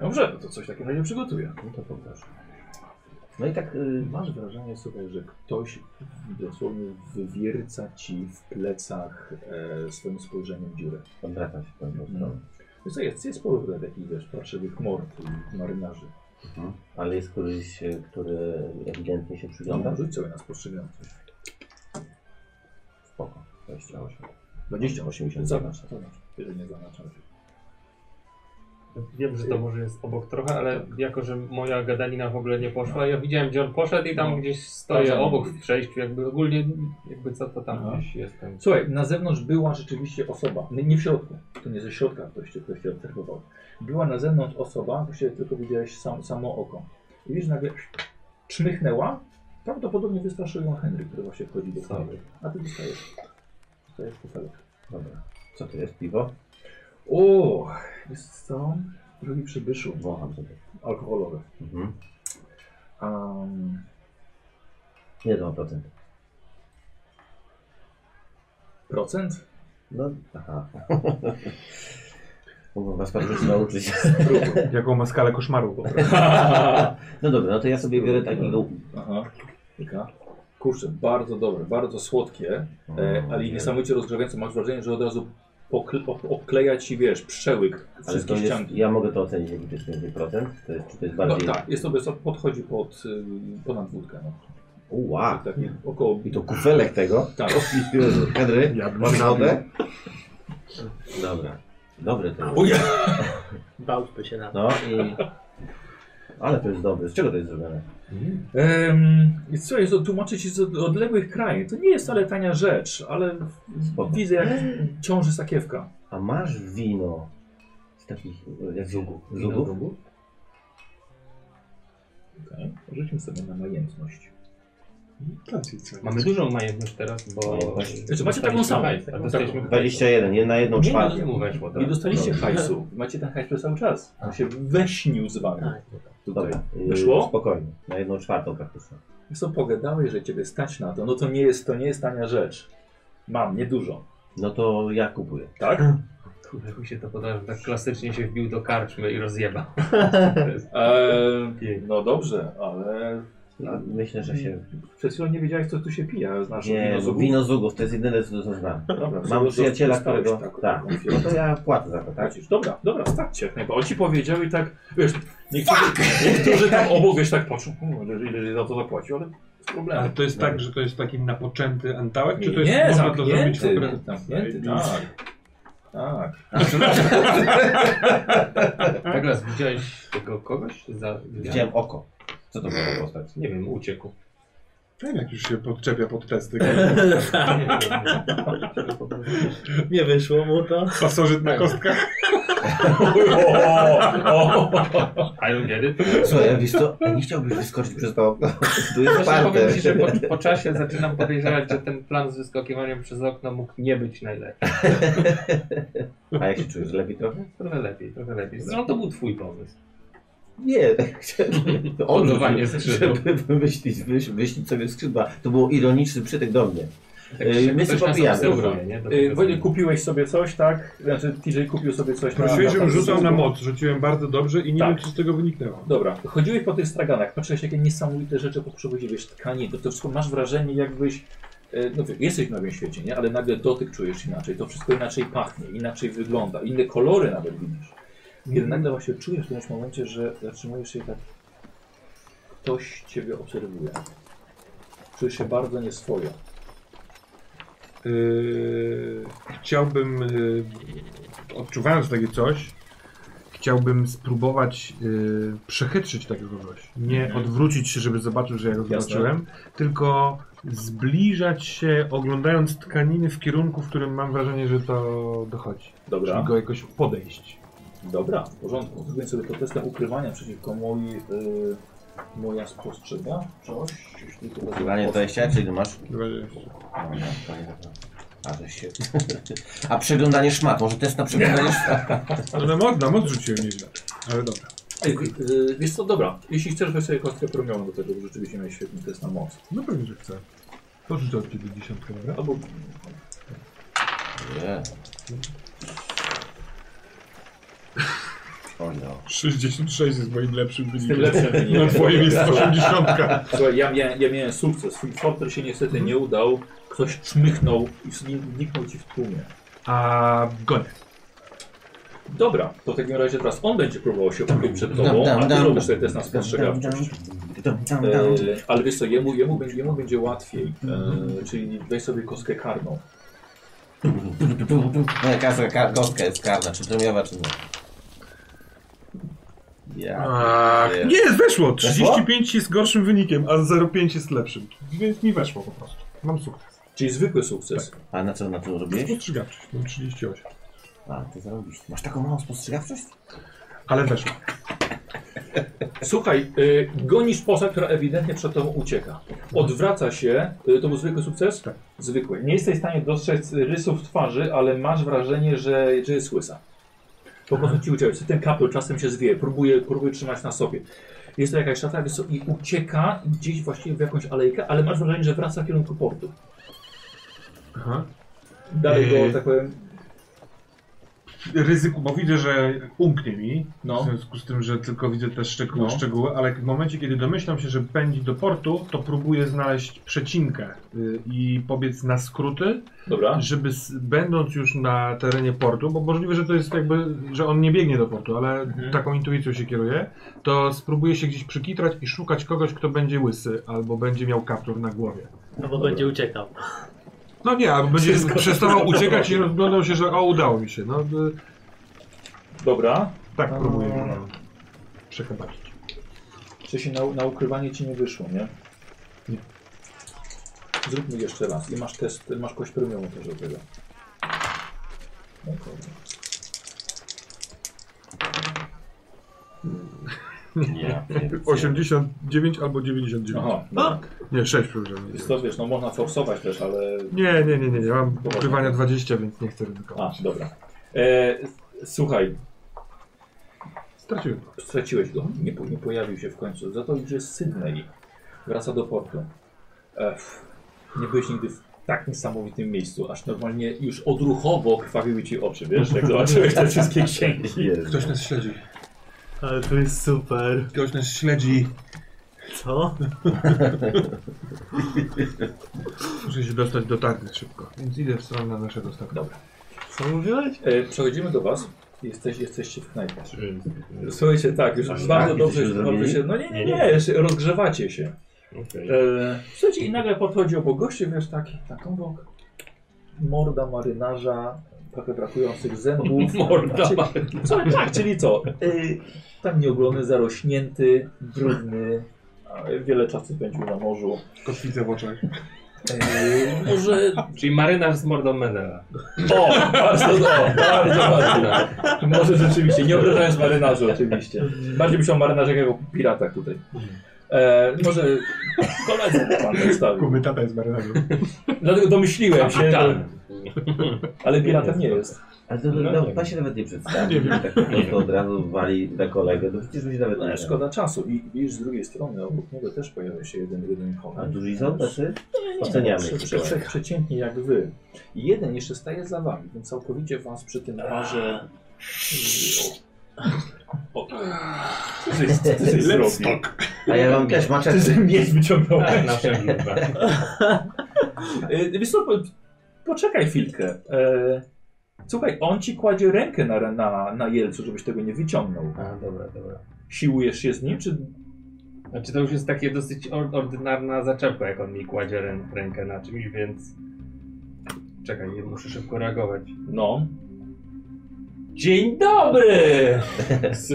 Dobrze, no to coś takiego razie przygotuję.
no to poproszę. No i tak y,
Masz wrażenie, słuchaj, że ktoś dosłownie wywierca ci w plecach e, swoim spojrzeniem dziurę.
odwracam się w tą stronę.
No. Wiesz co, jest, jest sporo tutaj takich, wiesz, parszywych mord i marynarzy.
Ale jest któryś, y, który ewidentnie się przygląda?
Dobra, rzuć sobie na spostrzegawczość.
Spoko. 28.
20,
80.
Zaznacz, zaznacz. Jeżeli nie zaznaczasz.
Wiem, że to może jest obok trochę, ale jako, że moja gadanina w ogóle nie poszła, ja widziałem, gdzie on poszedł i tam No.
No.
gdzieś
Tam
stoję
za nim
obok w
gdzieś.
przejściu, jakby ogólnie, jakby co to tam
Aha.
gdzieś jestem.
Słuchaj, na zewnątrz była rzeczywiście osoba, nie, nie w środku, to nie ze środka ktoś, cię- ktoś cię obserwował. Była na zewnątrz osoba, właściwie tylko widziałeś sam, samo oko. I widzisz, nagle czmychnęła, prawdopodobnie wystraszył ją Henry, który właśnie wchodzi do sali. A ty dostajesz. Dostajesz kufelek.
Dobra. Co to jest? Piwo?
O, jest co? Drogi przybyszu,
Wącham sobie.
alkoholowe.
Mhm.
Um,
Ile to ma procent?
procent?
No, aha. Mogę was pan coś nauczyć.
Jaką ma skalę koszmaru po prostu.
no dobra, no to ja sobie biorę takiego...
Aha. Kilka. Kurczę, bardzo dobre, bardzo słodkie, e, ale i niesamowicie rozgrzewające. Masz wrażenie, że od razu pokl- o- okleja ci, wiesz, przełyk
Ale to
wszystkie
jest,
ścianki.
ja mogę to ocenić, jaki to jest będzie procent? To jest, czy to jest
No,
bardziej...
tak, jest to, jest to podchodzi pod, y, ponad wódkę. No.
Uła.
Taki około
I to kufelek tego.
Tak.
Henry,
Ja bym
masz
się
wodę? Dobra. Dobry to jest.
Uja!
Bałby się na to.
No i... Ale to jest dobry. Z czego to jest zrobione?
Um, co jest, to tłumaczy ci z od- odległych krajów. To nie jest wcale tania rzecz, ale
Spoko.
widzę jak ciąży sakiewka.
A masz wino z takich... jak z łuku? Z
Wino
łuku?
Okay. Rzućmy sobie na majętność.
Mamy dużą majętność teraz, bo...
Majętność.
Znaczy, macie taką samą.
Hajs, a
Taką
dostaliśmy
21, nie na jedną
Nie,
czwartą.
nie weszło, tak?
Nie dostaliście
Dobrze.
hajsu. Macie ten hajs przez cały czas. On się weśnił z wami.
Tak.
Tutaj.
Dobra. y,
Wyszło?
Spokojnie. Na jedną czwartą praktycznie.
Wiesz Co pogadałeś, że ciebie stać na to? No to nie jest, to nie jest tania rzecz. Mam, niedużo.
No to ja kupuję.
Tak?
Hmm.
Kurde, jak mi się to podoba, że tak klasycznie się wbił do karczmy i rozjebał.
Eee, no dobrze, ale
Myślę, że się...
przed chwilą nie wiedziałeś, co tu się pije. a Znasz
Nie,
wino z ogórku.
wino z ugów, to jest jedyne, co co znam.
Dobra,
Mam
do-
przyjaciela,
dostałeś
którego...
taką-
Tak.
taką firmę.
No to ja płacę za to, tak?
Tracisz. Dobra, dobra, stawcie jak najbardziej. On ci powiedział i tak, wiesz, niektórzy, niektórzy tam obok wiesz, tak patrzą, "U, ale ile ile za to zapłacił, ale bez problemu.
Ale to jest tak, że to jest taki napoczęty antałek?
nie,
Czy to jest,
nie,
można to
zamknięty,
zrobić w ogóle?
zamknięty, tak. Tak.
Douglas, widziałeś tego kogoś? Za...
Widziałem oko. Co to była za postać?
Nie wiem, uciekł.
Ten jak już się podczepia pod testy.
Nie wiem.
Nie wyszło mu to.
Pasożyt
Tak.
na kostkach.
I don't get it.
Słuchaj, ja wiesz co, nie chciałbyś wyskoczyć przez to okno. Tu jest
Właśnie powiem
parte.
ci, że po, po czasie zaczynam podejrzewać, że ten plan z wyskakiwaniem przez okno mógł nie być najlepszy. No,
A jak się czujesz? Lepiej trochę?
Trochę lepiej, trochę lepiej. Zresztą to był twój pomysł.
Nie, tak chciałem.
Budowanie skrzydła.
żeby wymyślić, wyś- wyślić sobie skrzydła. To był ironiczny przytyk do mnie.
Tak,
Ej,
że
E,
ktoś
my sobie
nas
popijamy.
obserwuje, nie? Do
Y,
tego
Wojtek, kupiłeś sobie coś, tak? Znaczy TJ kupił sobie coś. na-
Prosiłeś,
na-
żebym rzucał na moc. Rzuciłem bardzo dobrze i nie
Tak.
wiem, co z tego wyniknęło.
Dobra, chodziłeś po tych straganach, patrzyłeś jakie niesamowite rzeczy poprzewodziłeś, tkanie, to, to wszystko masz wrażenie jakbyś, e, no wiesz, jesteś w nowym świecie, nie? Ale nagle dotyk czujesz inaczej, to wszystko inaczej pachnie, inaczej wygląda, inne kolory nawet widzisz. Kiedy
Mhm.
nagle właśnie czujesz w którymś momencie, że zatrzymujesz się i tak, ktoś ciebie obserwuje. Czujesz się bardzo nieswojo.
Yy, chciałbym, yy, odczuwając takie coś, chciałbym spróbować yy, przechytrzyć takiego kogoś. Nie odwrócić się, żeby zobaczył, że ja go
Mhm. Jasne.
zobaczyłem, tylko zbliżać się, oglądając tkaniny w kierunku, w którym mam wrażenie, że to dochodzi. Czyli
Dobra,
go jakoś podejść.
dobra, w porządku. Zrobię sobie to testem ukrywania przeciwko mojej, y, moja spostrzega. Coś, jeśli to
Zwanie 20, czyli ty masz? No, A, to się... A przeglądanie szmat, może test na przeglądanie szmat?
No na moc, na moc rzuciłem nieźle, ale dobra.
Ej, y, wiesz co, dobra, jeśli chcesz weź sobie kostkę promiową do tego, bo rzeczywiście miałeś świetny test na moc.
No pewnie, że chcę. Porzucę od ciebie dziesiątkę, dobra?
Albo
Nie. O no.
66 jest moim lepszym
z tym lepszym
Na
wynikiem.
twoim jest 80.
Słuchaj, ja miałem, ja miałem sukces, swój fotel się niestety nie udał, ktoś czmychnął i zniknął ci w tłumie.
A goń.
Dobra, to w takim razie teraz on będzie próbował się ukryć przed tobą, a ty robisz sobie test na spostrzegawczość. E, ale wiesz co, jemu, jemu, będzie, jemu będzie łatwiej, e, czyli weź sobie kostkę karną.
No jaka jest ka- kostka jest karna, czy premiowa, czy nie? Ja.
Ach, nie, weszło. 35 jest gorszym wynikiem, a 0,5 jest lepszym. Więc mi weszło po prostu. Mam sukces.
Czyli zwykły sukces.
A na co na to robiłeś?
Spostrzegawczość, mam 38.
A, ty zarobisz. Masz taką małą spostrzegawczość?
Ale weszło.
Słuchaj, y, gonisz posa, która ewidentnie przed tobą ucieka. Odwraca się, y, to był zwykły sukces?
Tak.
Zwykły. Nie jesteś w stanie dostrzec rysów twarzy, ale masz wrażenie, że, że jest łysa. Po prostu ci uciekać. Ten kapel czasem się zwieje, próbuje, próbuje trzymać na sobie. Jest to jakaś szata wiesz co, i ucieka gdzieś właściwie w jakąś alejkę, ale masz wrażenie, że wraca w kierunku portu.
Aha.
Dalej
Eee.
go, tak powiem,
ryzyku, bo widzę, że umknie mi,
No.
w związku z tym, że tylko widzę te szczegóły,
No.
szczegóły ale w momencie, kiedy domyślam się, że pędzi do portu, to próbuję znaleźć przecinkę y, i pobiec na skróty,
dobra.
żeby s- będąc już na terenie portu, bo możliwe, że to jest jakby, że on nie biegnie do portu, ale
Mhm.
taką intuicją się kieruje, to spróbuję się gdzieś przykitrać i szukać kogoś, kto będzie łysy albo będzie miał kaptur na głowie.
Albo będzie uciekał.
No nie, albo będzie przestawał uciekać i rozglądał się, że o, udało mi się. No, y,
Dobra.
tak próbuję no, przechobaczyć.
Wcześniej na, na ukrywanie ci nie wyszło, nie?
Nie.
Zróbmy jeszcze raz. I masz test, masz kość premiumu też do tego. No kurde.
Ja pierdzielę.
89 albo 99.
Aha, no,
Nie, 6 przepraszam.
jest to wiesz, no można forsować też, ale...
Nie, nie, nie, nie, nie. Mam ukrywania 20, więc nie chcę ryzykować.
A, dobra. E, słuchaj,
Straciłem.
straciłeś go, nie, po- nie pojawił się w końcu. Za to idzie z Sydney, wraca do portu. Ech, nie byłeś nigdy w tak niesamowitym miejscu, aż normalnie już odruchowo krwawiły ci oczy, wiesz, jak zobaczyłeś te wszystkie księgi.
Ktoś nas śledzi.
Ale to jest super.
Ktoś nas śledzi.
Co?
Muszę się dostać do target szybko. Więc idę w stronę naszego statku.
Dobra.
Co mówiłeś?
E, przechodzimy do was. Jesteś, jesteście w knajpie. Słuchajcie, tak, już
Tak,
bardzo
tak,
dobrze się,
żeśmy
dobrze
zrobili?
się... No nie, nie,
Nie,
nie,
nie.
jeszcze rozgrzewacie się.
Okej.
E, słuchajcie, i nagle podchodzi obok gości, wiesz, taki, taką bok. Morda marynarza, trochę brakujących zębów.
Morda
Czyli- Co, tak, czyli co? Y, Tam nieoglony, zarośnięty, brudny, a wiele czasu spędził na morzu.
Kotwicę w oczach.
Y, Może...
Czyli marynarz z mordą Menela.
O, bardzo, o, bardzo ładnie. Może rzeczywiście, nie obrażając marynarzy oczywiście. Bardziej myślę o marynarzach jako piratach tutaj. E, może koledzy by pan przedstawił.
Kuby tata jest marynarzem.
Dlatego domyśliłem się, że- ale piratem nie
Nie
jest.
Ale to
No,
no,
nie
pan się nawet nie przedstawił. Tak po prostu od razu wali na kolegę. To przecież mi się nawet nie
No, szkoda czasu. I widzisz z drugiej strony, obok niego też pojawia się jeden jeden
A
kochany.
duży są tacy?
Nie,
Oceniamy
prze-
ich
prze- prze- Przeciętnie jak wy. I jeden jeszcze staje za wami, więc całkowicie was przy tym parze... O, o. Co ty, co ty żeś zrobił?
A ja mam też maczę.
Ty że miecz wyciągnąłeś.
Tak, na wszelki wypadek.
E, Wiesz co, po- poczekaj chwilkę. E, Słuchaj, on ci kładzie rękę na, na, na jelcu, żebyś tego nie wyciągnął.
A, dobra, dobra.
Siłujesz się z nim, czy...
Znaczy to już jest takie dosyć or- ordynarna zaczepka, jak on mi kładzie rę- rękę na czymś, więc... Czekaj, nie muszę szybko reagować.
No.
Dzień dobry!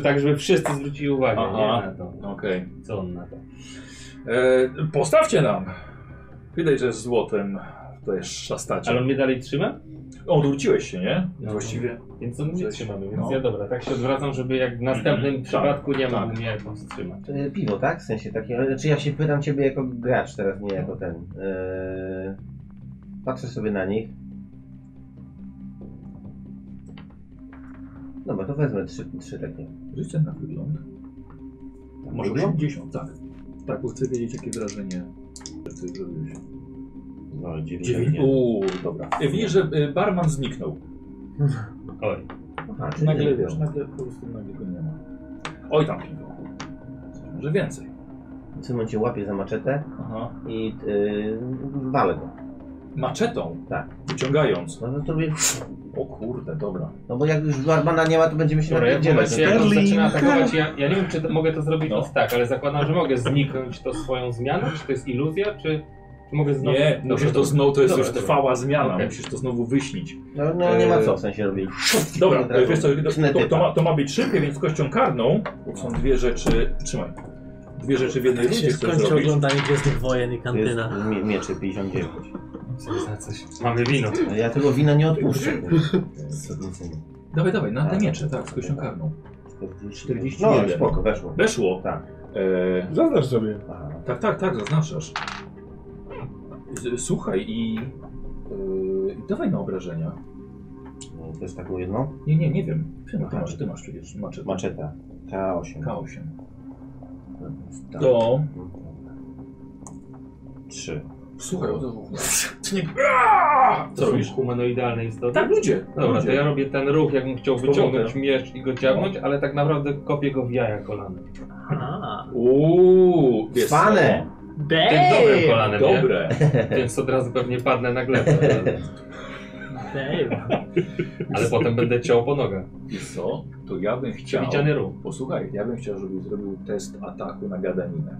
tak, żeby wszyscy zwrócili uwagę,
Aha.
nie na to. No,
Okej.
Co on na to?
E, postawcie nam. Widać, że z złotem to jest szastacie.
Ale
Ale
on mnie dalej trzyma?
odwróciłeś się, nie?
No.
Właściwie.
Więc on mnie
Coś-
trzyma, więc
no.
ja dobra, tak się odwracam, żeby jak w
Mhm,
następnym
tak,
przypadku nie mógł
tak.
mnie powstrzymać.
Piwo, tak? W sensie takie. ale Znaczy ja się pytam ciebie jako gracz teraz, nie jako ten. Eee, patrzę sobie na nich. Dobra, to wezmę trzy, trzy takie.
Życie na wygląd. Może
Wygląd?
80, tak. Tak, bo chcę wiedzieć, jakie wrażenie ty zrobiłeś.
No,
Dziewięć. Uuu, dobra. E, Widzisz, że y, barman zniknął.
Oj,
Aha, czyli
Nagle
nie
wiesz,
wiem.
nagle po prostu nagle go nie ma. Oj tam piwo. Może więcej.
W tym momencie łapię za maczetę
Aha.
i yy, walę go.
Maczetą.
Tak.
Wyciągając.
No, no to mówię,
O kurde, dobra.
no bo jak już barmana nie ma, to będziemy się no
dobra, ja w
napierdzielać.
momencie jak on
Berlin.
zaczyna atakować, ja, ja nie wiem czy to, mogę to zrobić
No.
no. tak, ale zakładam, że mogę zniknąć to swoją zmianą, czy to jest iluzja, czy, czy mogę znowu...
Nie, musisz to znowu, to jest
Dobra,
już
dobra.
trwała zmiana,
Okej.
musisz to znowu wyśnić.
No, no nie ma co w sensie robić. tak,
Dobra,
Od razu
wiesz co, to,
Knetypa.
to, ma, to ma być szybkie, więc kością karną, bo są dwie rzeczy, trzymaj, dwie rzeczy w jednej
Jak
rundzie
się
chcesz
skończy
zrobić.
oglądanie Gwiezdnych Wojen i
To jest
kantyna.
mie- mieczy 59.
Za coś. Mamy wino.
No, Ja tego wina nie odpuszczę. kurczę.
Dawaj, dawaj, na te miecze, tak, z kością karną. 41.
No, spoko, weszło.
Weszło.
Tak.
E,
Zaznacz sobie.
Aha.
tak, tak, tak, zaznaczasz. Z, słuchaj i... E, dawaj na obrażenia.
No, Też taką jedną?
Nie, nie, nie wiem. Ty, no, ty, masz, ty masz przecież maczetę.
Maczeta. K8.
K8.
Tak.
To...
Trzy.
Słuchaj, o to... Ty nie... Aaaa! Co
To
robisz?
są humanoidalne istoty?
Tak, ludzie.
Dobra,
ludzie.
to ja robię ten ruch, jakbym chciał wyciągnąć
powrotem.
miecz i go ciągnąć, ale tak naprawdę kopię go w jaja kolanem.
A,
Uuu, wiesz co?
Pane!
Tym dobrym
Dave!
kolanem, nie?
Dobre.
Więc od razu pewnie padnę na glebę. Ale,
Dave!
ale potem będę ciął po nogach.
Wiesz co? To ja bym chciał...
Przewidziany ruch.
Posłuchaj, ja bym chciał, żebyś zrobił test ataku na gadaninę.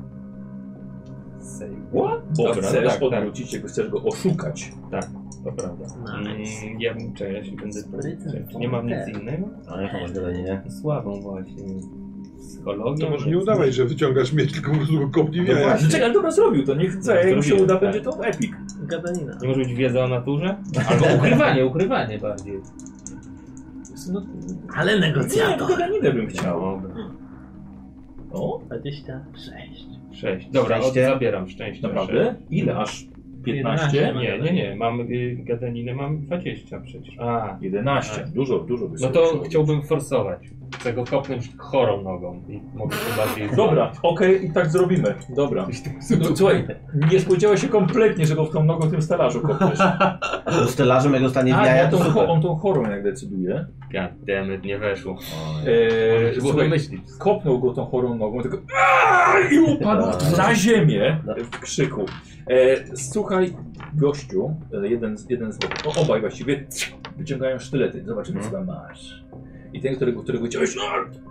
What?
Bo
Dobra, no
chcesz
tak,
odwrócić, jakby chcesz go oszukać.
To prawda.
Nice.
Mm, Ja bym czekał, ja się będę
Sprytny.
czy Nie mam nic innego?
A jaką No, masz gadaninę?
Słabą właśnie. Psychologią.
To może nie
więc-
udawaj, że wyciągasz miecz, tylko po prostu go kopnij w
No
jaja.
właśnie, czekaj, dobra, zrobił to, niech co, jak mu się
Zrobiłem,
uda,
tak.
będzie to epik.
Gadanina.
Nie może być wiedza o naturze? Albo ukrywanie, ukrywanie bardziej.
No,
Ale
nie, to
negocjator!
gadaninę bym chciał. O,
26.
Sześć. Dobra, od,
Szczęście.
zabieram szczęście.
naprawdę? Ile aż?
11
15?
mam.
Nie, nie, nie. Mam y, gadaninę, mam 20 przecież. A,
11, dużo, dużo by
no
sobie
to
przyłożył.
chciałbym forsować. Chcę go kopnąć chorą nogą i mogę się bardziej...
Dobra, okej, i tak zrobimy. Dobra. No, słuchaj, nie spodziewałeś się kompletnie, że go w tą nogą w tym stelażu kopiesz.
Z stelażem jak dostanie w
A, no
jaja,
on
to
tą, cho-
super.
on tą chorą jak decyduje.
Goddammit, nie weszło.
Eee,
Eee,
słuchaj,
myślić.
kopnął go tą chorą nogą, tylko "Aaa!" i upadł na ziemię w krzyku. E, słuchaj, gościu, e, jeden, z- jeden z o, obaj właściwie wyciągają sztylety. Zobaczymy, co tam masz. I ten, którego, którego ciąłeś, no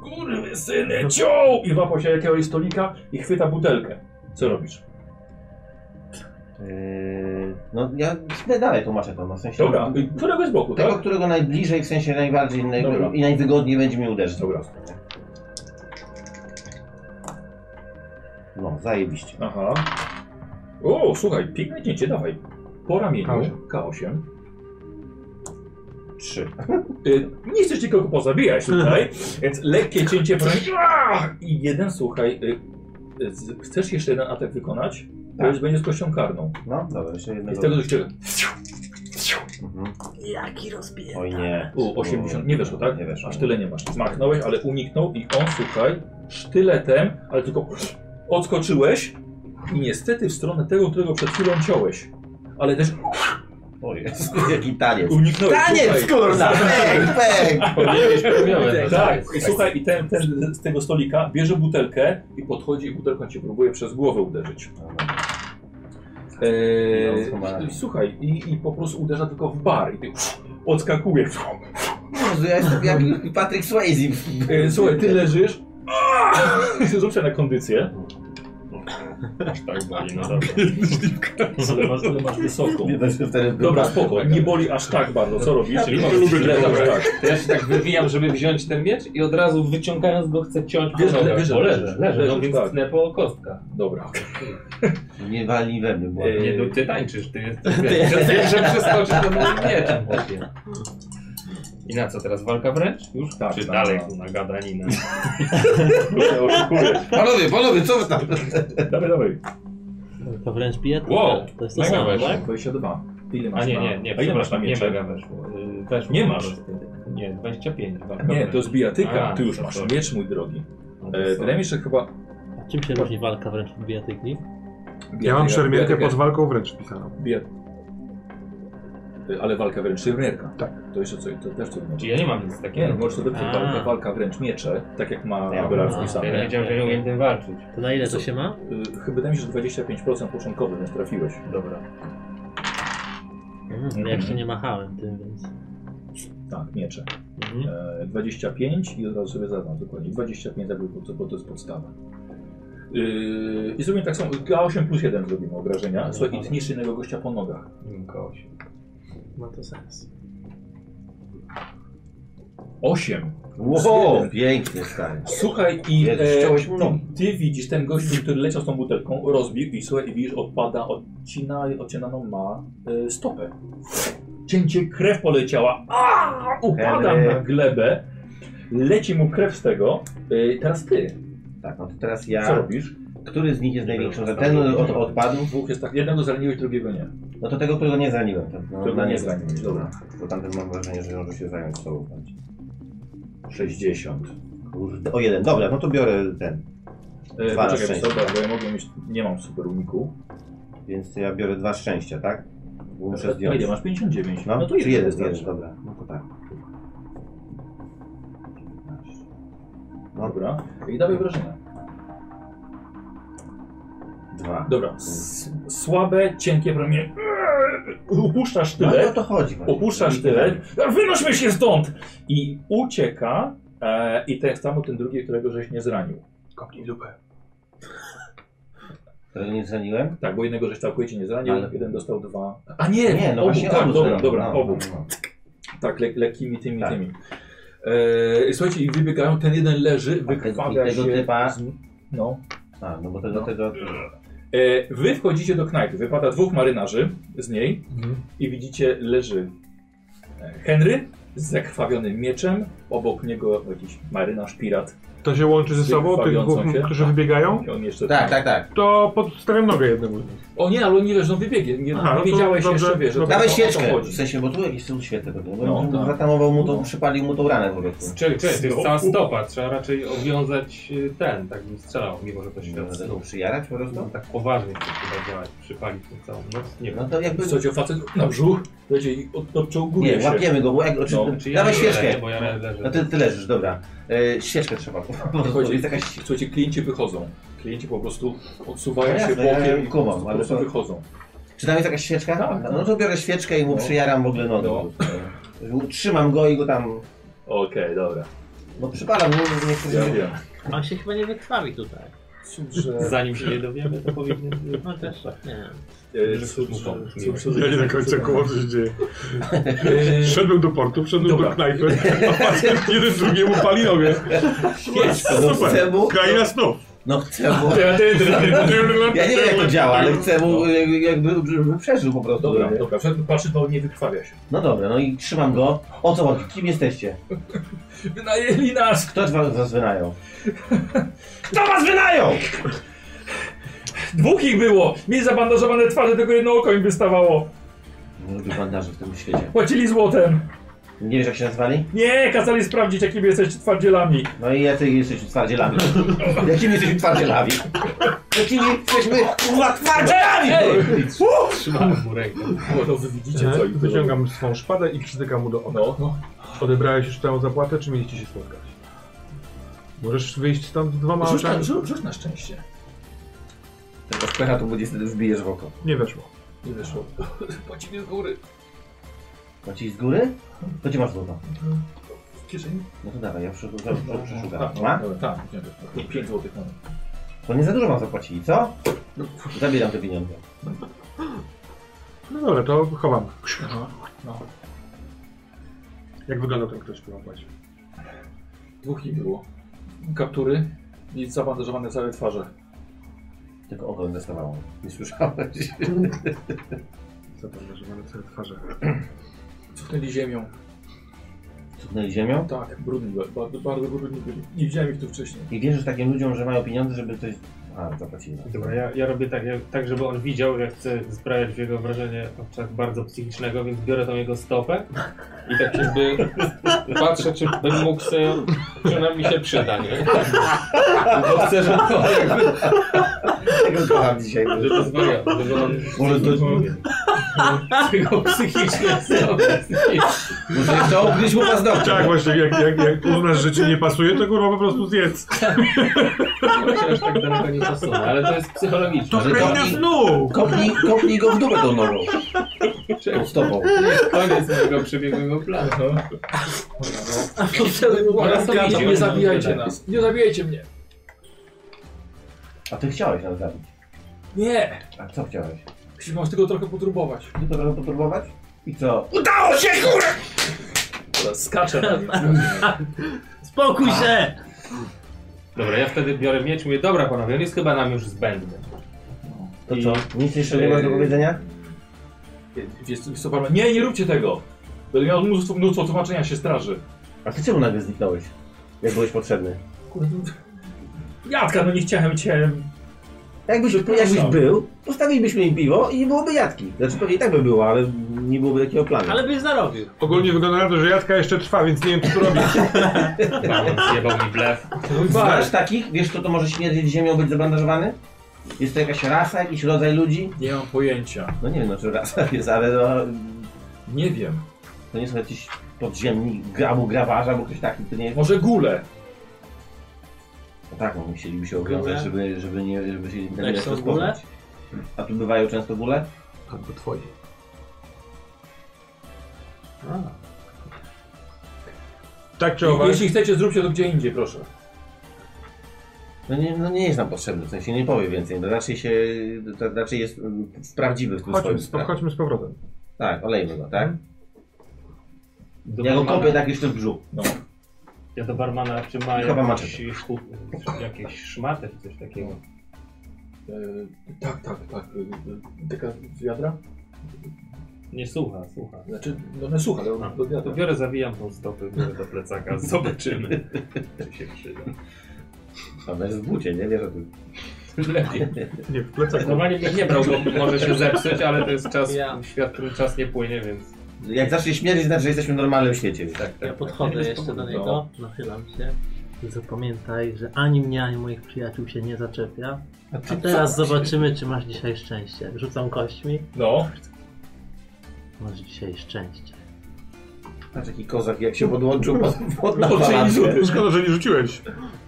kurwy syny, ciął! I łapał się jakiegoś stolika i chwyta butelkę. Co robisz?
Yy, No ja tnę dalej tą maczetą, no w sensie...
Dobra, i którego z boku,
Tego,
tak?
którego najbliżej, w sensie najbardziej naj...
Dobra.
i najwygodniej będzie mi uderzyć.
Dobra.
No, zajebiście.
Aha. O, słuchaj, piękne cięcie, dawaj. Po ramieniu,
K8.
K8.
Trzy.
Y, Nie chcesz nikogo pozabijać tutaj, więc lekkie cięcie po ręku. Aaa! I jeden, słuchaj, y, y, z- chcesz jeszcze jeden atak wykonać? To
Tak.
już będzie z kością karną.
No, dobra, jeszcze
I z
jednego.
tego jeszcze
Mhm.
Jaki rozbieg.
Oj nie.
U, 80, nie weszło, tak?
Nie weszło.
Aż tyle nie masz. Zmachnąłeś, ale uniknął i on, słuchaj, sztyletem, ale tylko odskoczyłeś i niestety w stronę tego, którego przed chwilą ciąłeś. Ale też
O jest. Jaki taniec.
uniknąłeś.
Taniec,
słuchaj.
kurna! Pek, pek!
Miałem
Tak, i słuchaj, i ten, ten z tego stolika bierze butelkę i podchodzi i butelką cię próbuje przez głowę uderzyć. Eee, i- i słuchaj, i, i po prostu uderza tylko w bar i ty odskakujesz.
Jezu, ja jestem jak Patrick Swayze.
Eee, słuchaj, ty leżysz. Aaa! Zrób sobie na kondycję.
Tak boli, no dobra.
Ale masz, ale masz wysoką.
Nie da się wtedy
No. Dobra,
wyobrazić.
spoko, nie boli aż tak bardzo. Co robisz?
Czyli
Masz-
lubię
leżasz
tylko
tak.
To ja się tak wywijam, żeby wziąć ten miecz i od razu wyciągając go chcę ciąć po
Wiesz,
nogach,
le- wiesz,
bo
leżę,
leżę, leżę,
leżę,
no więc
tak.
tnę po kostkach.
Dobra.
Nie walnij we mnie,
E,
błagam.
Nie, no ty tańczysz, ty jesteś, wiesz, że- że przeskoczysz do mnie mieczem. chłopie. I na co teraz, walka wręcz? Już?
Tak,
Czy
tak,
dalej
tak.
tu na gadaninę?
Kurde, oszukujesz.
Panowie, panowie, co wy tam?
Dawaj, dawaj.
To wręcz bije.
Wow,
To jest to
mega
samo,
weszło.
tak?
22. Ile masz
A nie,
na-
nie, nie,
A ile masz na
przepraszam, nie
miecze?
mega weszło. Y, Weszło
Nie
po
masz.
prostu. Nie, 25, walka
Nie,
wręcz.
to jest bijatyka.
A, no
Ty już
to
masz
sorry.
miecz, mój drogi.
No to
Eee,
sorry.
Wydaje mi się, że chyba...
A czym się różni walka wręcz od bijatyki?
Ja mam szermierkę
bijatyka-
pod walką wręcz pisaną.
Bie... Ale walka wręcz czy mierka.
Tak.
To jeszcze co, to też co
Czy
znaczy.
ja nie mam nic
Nie, no,
takiego?
możesz sobie
A.
walka, walka wręcz miecze, tak jak ma
Ja
Abelarz
mam.
Ja nie
wpisane.
wiedziałem, że nie umiem tym walczyć.
To na ile to
Co?
się ma?
Y, Chyba wydaje mi się, że 25% początkowy, więc trafiłeś.
Dobra.
Mhm. Jak się nie machałem tym, więc...
Tak, miecze.
Mhm.
E, 25 i od razu sobie zadam dokładnie. 25 tak, bo to, bo to jest podstawa. Yy, I zrobimy tak samo. K8 plus 1 zrobimy obrażenia. Słuchaj, i zniszczy innego gościa po nogach.
Kogoś.
Ma to sens.
8.
Wow, pięknie, stary.
Słuchaj, i
Jezu, ściąłeś mu nogi.
ty widzisz ten gościu, który leciał z tą butelką, rozbił i słuchaj, i widzisz, odpada, odcina, odcinaną ma y, stopę. Cięcie, krew poleciała, Aaa, upada
Henry.
na glebę, leci mu krew z tego. Y, teraz ty,
Tak, no to teraz
co
ja.
robisz?
Który z nich jest największą? Ten od, odpadł?
Dwóch jest tak, jednego zraniłeś, drugiego nie.
No to tego, którego nie zraniłem. To, no,
Którego
na
nie
niego.
tak.
zraniłeś,
Dobra. Bo tamten mam wrażenie, że może się zająć sobą. bardziej.
60.
Kurde, O jeden, dobra, no to biorę ten.
E,
Dwa na
poczekaj,
szczęście.
dobra, bo ja mogę mieć. Nie mam super uniku.
Więc ja biorę dwa szczęścia, tak? Bo
E,
muszę
A
zdjąć.
ile masz? 59.
No,
to
czy jeden,
wystarczy.
jeden, dobra. No to tak. no.
Dobra. I dawaj wrażenia.
Dwa.
Dobra. S słabe, cienkie promienie. E, Upuszczasz
No
tyle.
to o to chodzi. właśnie.
Opuszczasz tyle, wynośmy się stąd! I ucieka e, i tak samo ten drugi, którego żeś nie zranił.
Kopnij dupę.
Którego nie zraniłem?
Tak, bo jednego żeś całkowicie nie zranił,
Ale-
jeden dostał dwa... A nie,
Nie, no
obu,
właśnie
tak,
obu
dobra,
zraniłem,
dobra,
no,
obu.
no, no.
Tak, le, lekkimi tymi,
Tak.
tymi. E, słuchajcie, i wybiegają, ten jeden leży, wykrwawia
tego
się...
typa-
z- No.
A, no bo tego,
No.
tego...
E, wy wchodzicie do knajpy, wypada dwóch marynarzy z niej
Mhm.
i widzicie, leży e, Henry z zakrwawionym mieczem, obok niego jakiś marynarz, pirat.
To się łączy ze sobą, tych
Wykrwawiącą
dwóch,
się.
którzy wybiegają?
I on jeszcze
Tak, tak, tak.
To podstawiam nogę jednemu.
O nie, ale oni leżą wybiegiem. Nie,
Aha, no
nie
to
wiedziałeś
dobrze,
jeszcze, wiesz, że
dobrze.
to-
Dawaj
o to
świeczkę!
chodzi.
W sensie, bo tu jakieś są świetne pewnie.
No,
No,
tak.
Zatamował mu to, przypalił mu tą ranę po prostu.
Czy, czy, to jest cała stopa, trzeba raczej owiązać y, ten, tak bym strzelał, mimo że to świat
Tego
snu.
przyjarać po
No,
prostu?
tak poważnie to chyba działać, przypalić tę całą noc, nie
No
wiem.
to jakby...
Słuchajcie, facet na brzuch, wiecie, i od, odczołguje
Nie,
się.
łapiemy go, bo jak... Oczy...
No,
Znaczy,
Dawaj
nie
świeczkę!
leżę, Bo ja le- leżę.
No ty, ty leżysz, dobra. E, świeczkę trzeba.
Chodzi-
Jest jakaś...
Słuchajcie, klienci wychodzą. Klienci po prostu odsuwają
No
się
jasne, ja
bokiem i
kumam,
po
ale
prostu
to-
wychodzą.
Czy tam jest jakaś świeczka?
Tak.
No, no to biorę świeczkę i mu
No.
przyjaram w ogóle nogę.
No.
Trzymam go i go tam...
Okej, dobra.
No przypalam mu, nie chcę...
Ja wiem.
On się chyba nie wykrwawi tutaj.
Cud, że...
Zanim się nie dowiemy, to powinien...
No też tak, nie wiem.
e,
że
Cud,
mu
że...
pomóc,
cud, że-
Ja nie do końca kumam, co się dzieje.
E,
Wszedłem do portu, wszedłem
Dobra.
do knajpy, a facet jeden drugiemu pali nogę.
Świeczkę, no
Super.
chcę mu...
Kraina snów.
No chcę mu... Ja
Ja
nie wiem jak to działa, ale chcę mu e, jakby żeby przeżył po prostu.
No. Dobra, dobra, wszedł- patrzy, bo nie wykrwawia się.
No dobra, no i trzymam go. O co chodzi? Kim jesteście?
Wynajęli nas!
Kto z was, was wynają?
Kto was wynają? Dwóch ich było! Mieli zabandażowane twarze, tylko jedno oko im wystawało.
Nie lubię bandaży w tym świecie.
Płacili złotem.
Nie wiesz jak się nazwali?
Nie, kazali sprawdzić, jakimi jesteście twardzielami.
No i jacy jesteśmy twardzielami. Jakimi jesteśmy twardzielami? Jakimi jesteśmy kurwa twardzielami?
Trzymałem mu rękę.
Bo to wy widzicie, co im wyciąga.
Wyciągam swą szpadę i przytykam mu do oka.
No, no.
Odebrałeś już całą zapłatę, czy mieliście się spotkać? Możesz wyjść stąd z dwoma
Rzuć na,
oczami?
rzu- rzuć na szczęście.
Tylko szpecha tu będzie wtedy wbijesz w oko.
Nie weszło.
Nie wyszło. Płacimy z góry.
No ci z góry? To gdzie masz złoto?
W kieszeni?
No to dawaj, ja przeszukam. przeszukam.
Tak,
Ma?
dobra, tak. wziąłem to. 5 złotych mamy.
To nie za dużo wam zapłacili, co? Zabieram te pieniądze.
No dobra, to chowam.
No,
Jak wygląda ten ktoś, który płaci?
Dwóch nie było. Kaptury i zabandażowane całe twarze.
Tylko oko inwestowało. Nie słyszałeś.
Zapomnę, że mamy całe twarze.
Cuchnęli ziemią.
Cudnęli ziemią.
Tak, brudni, byli, bardzo, bardzo brudni byli. Nie widziałem ich tu wcześniej.
I wierzysz takim ludziom, że mają pieniądze, żeby coś... A, zapłacili.
Dobra, ja, ja robię tak, ja, tak, żeby on widział, ja chcę sprawiać w jego wrażenie w oczach bardzo psychicznego, więc biorę tą jego stopę i tak jakby patrzę, czy będę mógł sobie, czy ona mi się przyda, nie? Bo chcę, żeby to jakby,
Tego kocham dzisiaj.
żeby to zwariało, żeby on
Może to-
tego psychiczne stopy.
Może jeszcze obgryźć mu paznokcie.
Tak, właśnie, jak, jak, jak uznasz, że ci nie pasuje, to kurwa po prostu zjedz.
Właśnie aż tak daleko nie pasowało, ale to jest psychologiczne.
To kraina
snu!
Kopnij, kopnij go w dupę tą nogą. Tą stopą.
Koniec mojego przebiegłego planu. Teraz to widzimy,
Nie
no,
zabijajcie
tyle.
nas! Nie zabijajcie mnie!
A ty chciałeś nas zabić.
Nie!
A co chciałeś?
Musimy was tylko trochę potrubować.
Ty to trochę popróbować? I co?
Skaczę Eee, na nich.
Spokój się!
Dobra, ja wtedy biorę miecz i mówię, dobra panowie, on jest chyba nam już zbędny.
To co? Nic jeszcze nie masz
y-
do powiedzenia?
Wiesz, co, wiesz co, Barman? Nie, nie róbcie tego! Będę miał mnóstwo, mnóstwo tłumaczenia się straży.
A ty czemu nagle zniknąłeś? Jak byłeś potrzebny?
Kurde. Jadka, no nie chciałem cię
Jakbyś, jakbyś był, postawilibyśmy im piwo i nie byłoby jadki. Znaczy pewnie i tak by było, ale nie byłoby takiego planu.
Ale byś zarobił.
Ogólnie wygląda na to, że jadka jeszcze trwa, więc nie wiem, co tu robić.
Baron zjebał mi blef.
Znasz takich? Wiesz, kto to może śmierdzieć ziemią, być zabrandażowany? Jest to jakaś rasa, jakiś rodzaj ludzi?
Nie mam pojęcia.
No nie wiem, no, czy rasa jest, ale no,
Nie wiem.
to nie są jacyś podziemni, albo grabarze, albo ktoś taki, to nie jest...
Może gule.
No tak, no, musieliby się oglądać,
Gule?
żeby, żeby, nie, żeby się nie
Jak są bóle?
A tu bywają często bóle?
Albo twoje. Tak czy owak,
Jeśli chcecie, zróbcie to gdzie indziej, proszę.
No nie, no nie jest nam potrzebny, w sensie nie powie więcej. No raczej się, to raczej jest mm, prawdziwy w tym
chodźmy,
swoim
z-
sprawie.
chodźmy z powrotem.
Tak, olejmy go, tak?
Do
Ja go
barmana-
kopię tak jeszcze w brzuch.
Ja do barmana, czy ma
Chyba
jakieś, hu- jakieś szmaty czy coś takiego.
E, tak, tak, tak. E, Taka z wiadra?
Nie słucha, słucha.
Znaczy, no nie słuchaj,
A,
do
To
wiadra.
biorę, zawijam tą stopę, biorę do plecaka, zobaczymy, czy się przyda.
A bez w bucie, nie wiesz o tym.
Lepiej. No,
Nie, w plecaku.
Normalnie bym nie brał, bo może się zepsuć, ale to jest czas,
Ja.
świat, który czas nie płynie, więc...
Jak zacznie śmierdzieć, znaczy, że jesteśmy w normalnym świecie. Tak.
Ja podchodzę jeszcze do niego, nachylam się. Zapamiętaj, że ani mnie, ani moich przyjaciół się nie zaczepia. A teraz zobaczymy, czy masz dzisiaj szczęście. Rzucam kośćmi.
No,
Masz dzisiaj szczęście.
Patrz jaki kozak, jak się podłączył pod, pod
Szkoda,
napalatkę.
że- Szkoda, że nie rzuciłeś.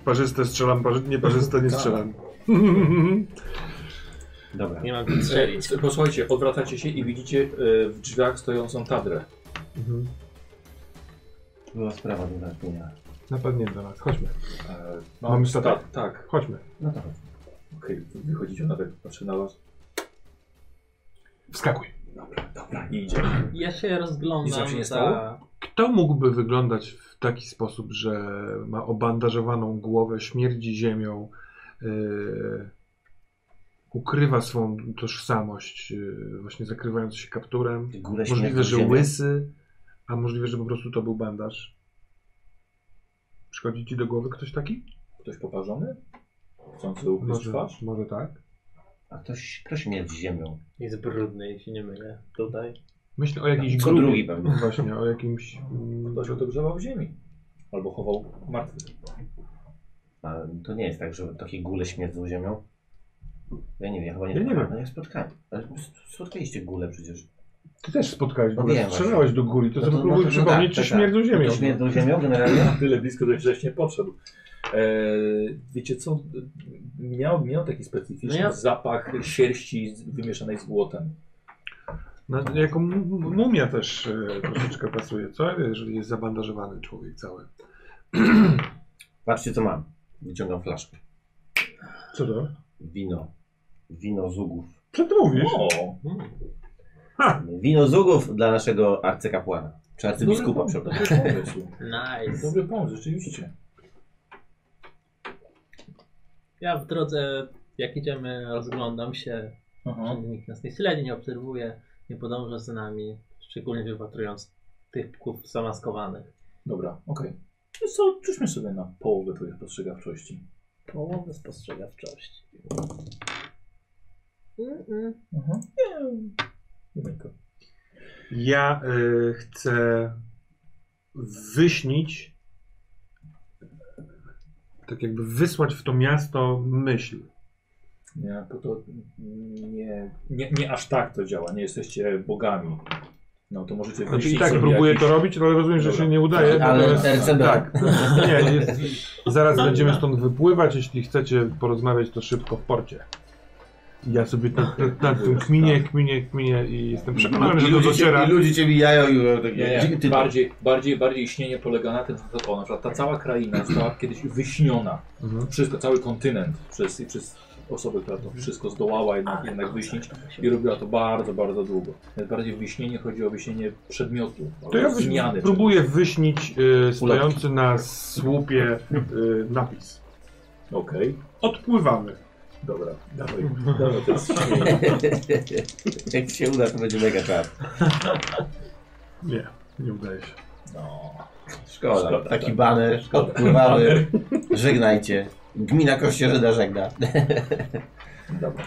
Parzyste strzelam, parzy... nie parzyste nie strzelam.
Dobra.
Nie mam nic
e, s- posłuchajcie, odwracacie się i widzicie e, w drzwiach stojącą tadrę.
Mhm.
Była sprawa do załatwienia.
Napadnięto nas, chodźmy.
E,
Mamy statę?
tak, tak.
Chodźmy.
No to chodź.
Okej, wychodzicie nawet, patrzy na was.
Wskakuj.
Dobra, dobra, nie idzie.
Ja się rozglądam
Nic wam się nie
za...
stało?
Kto mógłby wyglądać w taki sposób, że ma obandażowaną głowę, śmierdzi ziemią, yy, ukrywa swą tożsamość, yy, właśnie zakrywając się kapturem?
Górę
Możliwe,
śmierci
że
ziemię.
łysy, a możliwe, że po prostu to był bandaż. Przychodzi ci do głowy ktoś taki?
Ktoś poparzony? Chcący ukryć twarz?
może tak.
A ktoś, ktoś śmierdzi ziemią.
Jest brudny, jeśli nie mylę. Tutaj.
Myślę o jakiejś
Tak, Co
grupie.
drugi pewnie.
Właśnie, o jakimś... mm,
Ktoś odogrzewał w ziemi. Albo chował martwy.
A to nie jest tak, że takie góle śmierdzą ziemią? Ja nie wiem, ja chyba nie
Ja nie wiem.
No ja spotkałem. Ale s- spotkaliście góle przecież.
Ty też spotkałeś
No
górę,
wiem,
strzelałeś do góry, to
No
no
to-
próbuj
no to- no
przypomnieć,
tak,
czy
tak,
śmierdzą
To
ziemią.
śmierdzą ziemią generalnie?
Na tyle blisko, że wcześniej podszedł. Eee, wiecie co, miał, miał taki specyficzny
No ja-
zapach sierści z- wymieszanej z błotem.
No, jako mu- mumia też e, troszeczkę pasuje, co? Jeżeli jest zabandażowany człowiek cały.
Patrzcie co mam. Wyciągam flaszkę.
Co to?
Wino. Wino z Ugów.
Co ty mówisz?
O,
Hmm,
Wino z Ugów dla naszego arcykapłana. Czy arcybiskupa,
dobry,
przepraszam.
pomysł, dobry pomysł.
Nice.
Dobry pomysł, rzeczywiście.
Ja w drodze, jak idziemy, rozglądam się.
Aha.
Żeby Nikt nas nie śledzi, nie obserwuje, nie podąża za nami, szczególnie wypatrując tych pków zamaskowanych.
Dobra, okej. Wiesz co, rzućmy sobie na połowę twojej spostrzegawczości.
Połowę spostrzegawczości. Mm-mm.
Aha. Nie, jedynka.
Ja e, chcę wyśnić, tak jakby wysłać w to miasto myśl.
Nie, bo to nie, nie, nie aż tak to działa, nie jesteście bogami. No to możecie
Znaczy i
wyjść
tak
sobie
próbuję
jakiś-
to robić, ale rozumiem, że
Dobra.
się nie udaje.
Ale
natomiast-
RCB.
Tak. Nie, jest, zaraz będziemy stąd wypływać. Jeśli chcecie porozmawiać, to szybko w porcie. Ja sobie nad, nad, nad tym kminie, kminie, kminie i jestem przekonany, że to dociera.
I ludzie cię mijają i takie...
Nie,
Gdzie
nie.
ty-
Bardziej, bardziej, bardziej istnienie polega na tym, że to, o, na przykład ta cała kraina została kiedyś wyśniona.
Mhm.
Wszystko, cały kontynent przez, przez osobę, która to wszystko zdołała jednak, jednak wyśnić i robiła to bardzo, bardzo długo. Więc bardziej wyśnienie chodzi o wyśnienie przedmiotu,
To ja
albo zmiany.
próbuję wyśnić y, stojący na słupie y, napis.
czegoś. Okej,
Odpływamy.
dobra, dawaj. dawaj teraz.
Jak się uda, to będzie mega czar.
Nie, nie udaje się.
No.
Szkoda.
Szkoda,
Taki
tak.
baner, odpływamy. Żegnajcie. Gmina Kościerzyna żegna.
Dobra.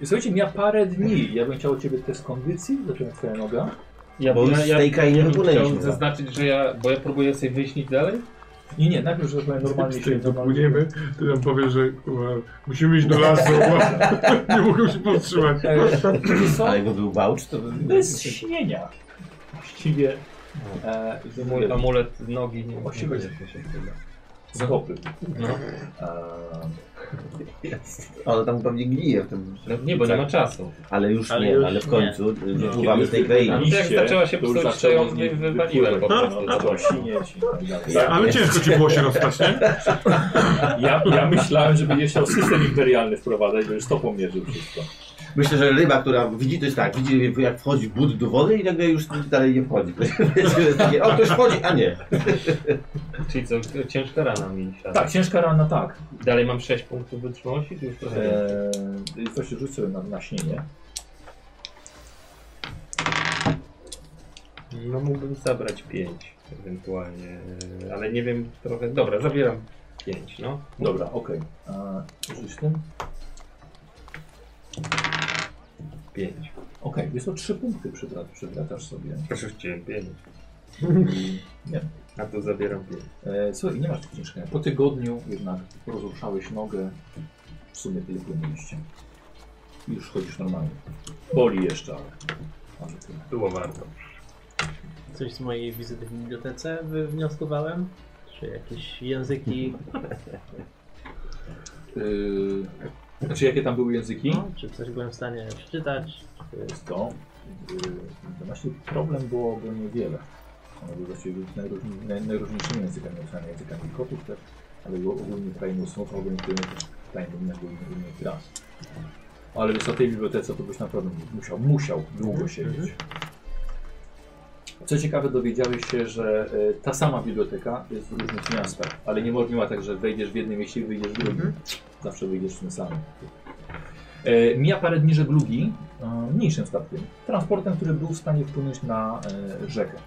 E, słuchajcie, mija parę dni. Ja bym chciał od ciebie test kondycji, zaczyna twoja noga.
Ja,
Bo już stejka i nie
bym
wypłynęliśmy.
Chciał zaznaczyć, że ja, bo ja próbuję sobie wyjaśnić dalej.
Nie, nie, najpierw, że powiem normalnie się
Płyniemy, ty nam powiesz, że kurwa, musimy iść do lasu, bo nie mogę się powstrzymać.
E, są
Ale go był bałcz, to...
bez śnienia. Właściwie e,
Mój amulet nogi nie
Właściwie stopy.
No.
E,
Ale tam pewnie gnije w tym...
No, nie, bo nie ma czasu.
Ale już
Ale
nie,
już
ale w
nie.
końcu wypływamy z tej
No,
tak
krainy.
jak zaczęła się
to już
psuć, to
zaczęło
ją
z nim
wywaliłem po
wypływać.
prostu.
No, zaczęło sinieć i tak dalej.
Ale ciężko ci było się rozstać, nie?
Ja, ja myślałem, że będzie chciał system imperialny wprowadzać, bo już to pomierzył wszystko.
Myślę, że ryba, która widzi, to jest tak, widzi jak wchodzi but do wody i nagle już dalej nie wchodzi. Wiecie, jest takie, o, ktoś wchodzi, a nie.
Czyli co, ciężka rana mi siada.
Tak, ciężka rana, tak.
Dalej mam 6 punktów wytrzymałości, to już
No,
trochę więcej.
Eee, coś rzuć sobie na, na śnienie.
No mógłbym zabrać 5 ewentualnie, e, ale nie wiem trochę. Dobra, zabieram 5, no.
Dobra, okej. Eee, Rzuć tym.
5.
Okej, jest to trzy punkty przywra- przywracasz sobie.
Rzuciłem 5.
Nie.
A tu zabieram 5.
Eee, słuchaj, nie masz tu ciężkiego. Po tygodniu jednak rozruszałeś nogę. W sumie tyle płynęliście. Już chodzisz normalnie. Boli jeszcze, ale... ale tyle.
Było warto.
Coś z mojej wizyty w bibliotece wywnioskowałem? Czy jakieś języki?
Eee, znaczy, jakie tam były języki?
No, czy coś byłem w stanie przeczytać?
To jest to. Yy, Właśnie problem byłoby niewiele. Ono było właściwie najróżni, naj, najróżniejszymi językami, na językami kotów też, ale było ogólnie krainą słów, ogólnie krainą innych raz. Ale w tej bibliotece to byś naprawdę musiał, musiał długo siedzieć. Co ciekawe, dowiedziałeś się, że e, ta sama biblioteka jest w różnych miastach, ale nie mo- nie ma tak, że wejdziesz w jednym mieście i wyjdziesz w drugim. Zawsze wyjdziesz w tym samym. E, mija parę dni żeglugi e, mniejszym statkiem. Transportem, który był w stanie wpłynąć na e, rzekę.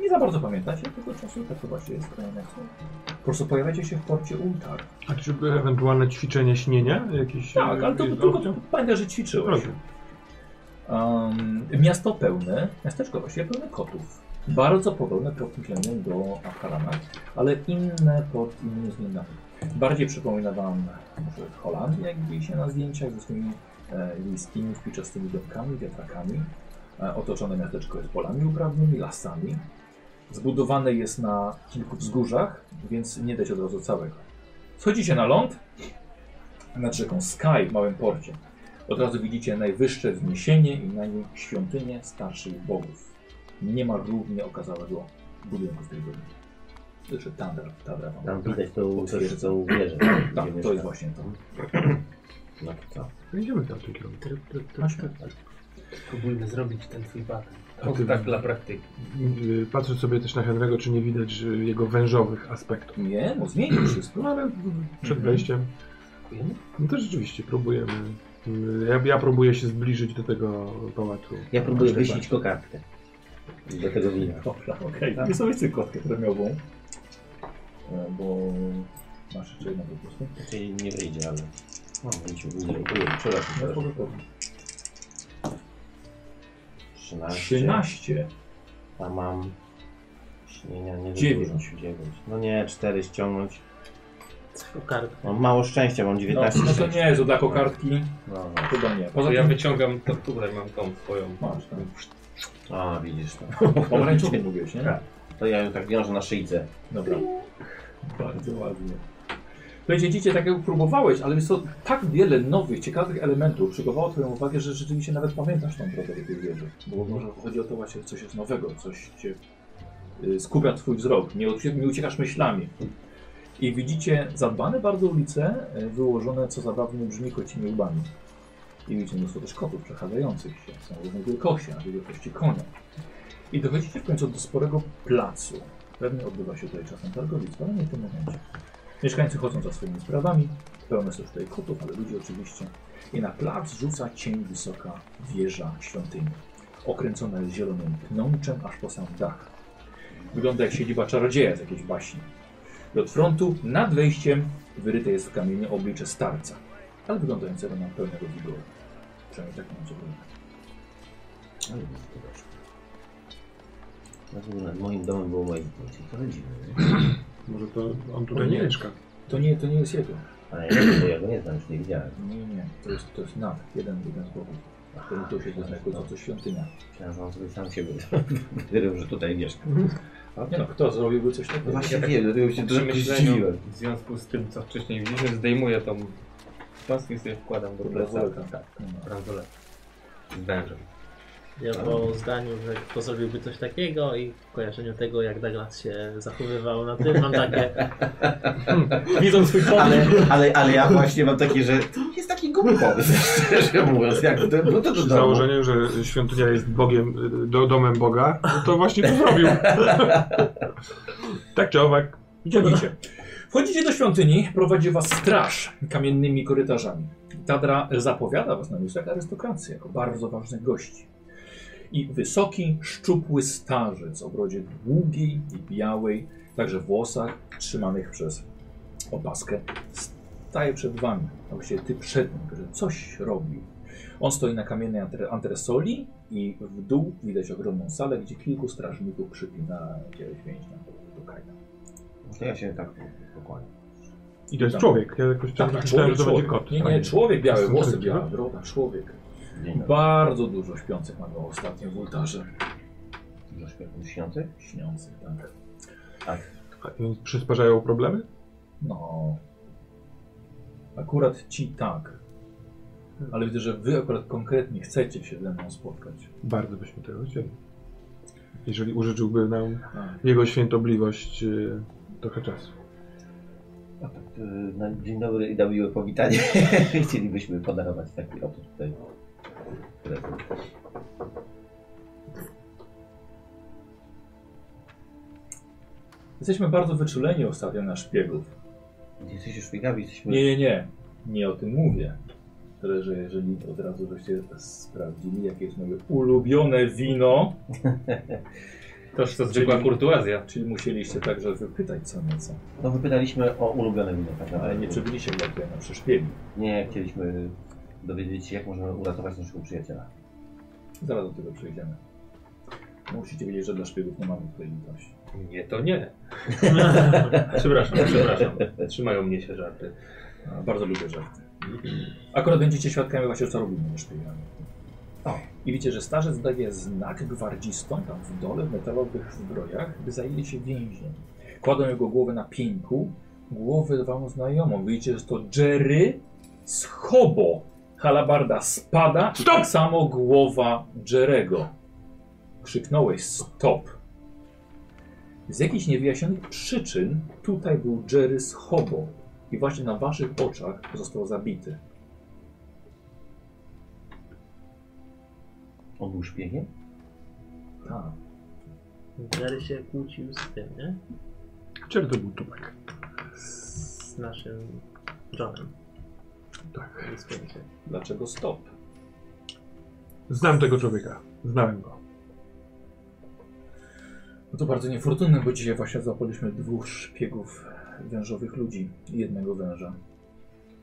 Nie za bardzo pamiętacie tego czasu, tak to właśnie jest. e, jak to- Po prostu pojawiacie się w porcie Ultar.
A czy by ewentualne ćwiczenie śnienia? Jakieś,
Tak,
e,
ale to
jest
tylko
opcja?
pamiętaj, że ćwiczyłeś.
Rozumiem.
Um, miasto pełne, miasteczko właściwie pełne kotów. Bardzo podobne pod tym względem do Akarana, ale inne pod innymi względami. Bardziej przypomina Wam może Holandię, jak widzieliście na zdjęciach, ze swoimi e, wiejskimi, spiczastymi domkami, wiatrakami. E, otoczone miasteczko jest polami uprawnymi, lasami. Zbudowane jest na kilku wzgórzach, więc nie dać od razu całego. Schodzicie na ląd, nad rzeką Sky w małym porcie. Od razu widzicie najwyższe wzniesienie i na nim świątynię starszych bogów. Nie ma równie okazałego budynku z tej góry. Znaczy Tandra, Tandra wam
Tam widać tą, też tą wieżę.
Tak,
gdzie
to
mieszka.
jest właśnie to.
No to co?
Idziemy tam w tym kierunku.
Tak,
Próbujmy zrobić ten twój batem.
A ty-
Tak dla praktyki.
Y, Patrzę sobie też na Henry'ego, czy nie widać y, jego wężowych aspektów.
Nie, no zmienił wszystko.
No ale y, przed
Mhm.
wejściem. No to rzeczywiście próbujemy. y, Ja, ja próbuję się zbliżyć do tego pałacu. tak,
Ja próbuję wyścić kokardkę. Do tego wina.
Dobra, okej. Okay. sobie chcę kotkę premiową. Tak. E, Bo masz jeszcze jedną po prostu.
Raczej nie wyjdzie, ale... No, wyjdzie, wyjdzie. Ojej, przepraszam.
No,
przepraszam.
spoko, spoko.
13.
13.
A mam... Śnienia nie za
Dziewięć.
dużo. 9. No nie, 4 ściągnąć.
O kartę.
Mam mało szczęścia, mam
No,
19.
no to nie jest dla kokardki.
No,
Chyba nie.
To
Poza
ja
tym
wyciągam to tutaj, mam tą swoją.
masz tam.
no. A, widzisz to.
Pomarańczowy mówisz, nie?
Tak. To ja ją tak wiążę na szyjce.
Dobra. Bardzo ładnie. Słuchajcie, dziecię, tak jak próbowałeś, ale jest to tak wiele nowych, ciekawych elementów przygotowało Twoją uwagę, że rzeczywiście nawet pamiętasz tą drogę do tej wiedzy. Bo może chodzi o to właśnie, coś jest nowego, coś cię y, skupia Twój wzrok, nie, ucie- nie uciekasz myślami. I widzicie zadbane bardzo ulice, y, wyłożone, co zabawnie brzmi, kocimi łbami. I widzicie mnóstwo też kotów przechadzających się, są różnej wielkości, na wielkości konia. I dochodzicie w końcu do sporego placu. Pewnie odbywa się tutaj czasem targowisko, ale nie w tym momencie. Mieszkańcy chodzą za swoimi sprawami, pełno jest tutaj kotów, ale ludzi oczywiście. I na plac rzuca cień wysoka wieża świątyni, okręcona jest zielonym pnączem aż po sam dach. Wygląda jak siedziba czarodzieja z jakiejś baśni. Od frontu nad wejściem Wyryte jest w kamieniu oblicze starca, ale wyglądającego na pełnego wigoru. Przynajmniej tak mam zrozumieć.
Ale to dobrze. Dlatego nad moim domem było moje dzieci. To rodziny.
Może to on tutaj
O No
nie
nie.
mieszka.
To nie, to nie jest jego.
Ale ja go- ja go nie znam, już nie widziałem.
Nie, nie, nie. To jest, to jest nad. Jeden, jeden z bogów. Który tu się zaznaczył, to co świątynia.
Myślałem, że on sobie sam się wyrył, że tutaj mieszka.
Nie no, kto zrobiłby coś takiego?
No właśnie wiem, dlatego się
Przy
trochę
myśleniu,
zdziwiłem.
w związku z tym, co wcześniej widzieliśmy, zdejmuję tą paskę i sobie wkładam do plecaka.
Tak,
Bransolet. Z wężem.
Ja po zdaniu, że kto zrobiłby coś takiego i w kojarzeniu tego, jak Douglas się zachowywał na tym, mam takie... hmm, Widząc swój
Ale,
pomysł,
ale, ale ja właśnie mam takie, że to nie jest taki głupi pomysł, szczerze mówiąc. Jak to, no to do
Przy
domu.
założeniu, że świątynia jest Bogiem, y, do, domem Boga, no to właśnie to zrobił. tak czy owak,
Idziecie. Wchodzicie do świątyni, prowadzi was straż kamiennymi korytarzami. Tadra zapowiada was na miejscu jak arystokrację, jako bardzo ważnych gości. I wysoki, szczupły starzec o brodzie długiej i białej, także w włosach trzymanych przez opaskę, staje przed wami, a właściwie ty przed nim, że coś robił. On stoi na kamiennej antre- antresoli i w dół widać ogromną salę, gdzie kilku strażników przypina jakiegoś więźnia do kajna.
To ja się tak pokłaniam.
i to jest
Tak.
człowiek. Ja jakoś tam
Tak,
czytałem,
człowiek,
że to będzie
człowiek.
kot.
Nie, nie, człowiek, białe
Jestem
włosy,
taki,
biała
tak?
broda, człowiek.
Dzień dobry.
Bardzo dużo śpiących mamy ostatnio w ultarze.
Do śpiewu śniący?
Śniących, tak.
A Więc przysparzają problemy?
No. Akurat ci tak. Ale widzę, że wy akurat konkretnie chcecie się ze mną spotkać.
Bardzo byśmy tego chcieli. Jeżeli użyczyłby nam
A,
jego świętobliwość y, trochę czasu.
A tak, y, na dzień dobry i na miłe powitanie. Chcielibyśmy podarować taki oto tutaj prezent.
Jesteśmy bardzo wyczuleni ostatnio na szpiegów.
Nie jesteście szpiegami, jesteśmy...
Nie, nie, nie. Nie o tym mówię. Tyle, że jeżeli od razu byście sprawdzili, jakie jest moje ulubione wino,
Toż to zwykła kurtuazja.
czyli musieliście także wypytać co nieco.
No wypytaliśmy o ulubione wino, tak
No, Ale
naprawdę.
nie przebyliście jak ja na przeszpiegu.
Nie, chcieliśmy dowiedzieć się, jak możemy uratować naszego przyjaciela.
Zaraz do tego przejdziemy. Musicie wiedzieć, że dla szpiegów nie mamy tutaj litości.
Nie, to nie. Przepraszam, przepraszam. Trzymają mnie się żarty.
A, Bardzo lubię żarty. Akurat będziecie świadkami właśnie, co robimy ze szpiegami. I widzicie, że starzec daje znak gwardzistom tam w dole, w metalowych zbrojach, by zajęli się więźniem. Kładą jego głowę na pieńku, głowę wam znajomą. Widzicie, że to Jerry z Hobo. Halabarda spada i tak samo głowa Jerego. Krzyknąłeś stop. Z jakichś niewyjaśnionych przyczyn tutaj był Jerry z Hobo i właśnie na waszych oczach został zabity.
On był szpiegiem?
Tak.
Jerry się kłócił z tym, nie?
Czemu to był tupek?
Z naszym Johnem.
Tak.
Więc będzie.
Dlaczego stop?
Znam tego człowieka. Znałem go.
No to bardzo niefortunne, bo dzisiaj właśnie złapaliśmy dwóch szpiegów wężowych ludzi i jednego węża.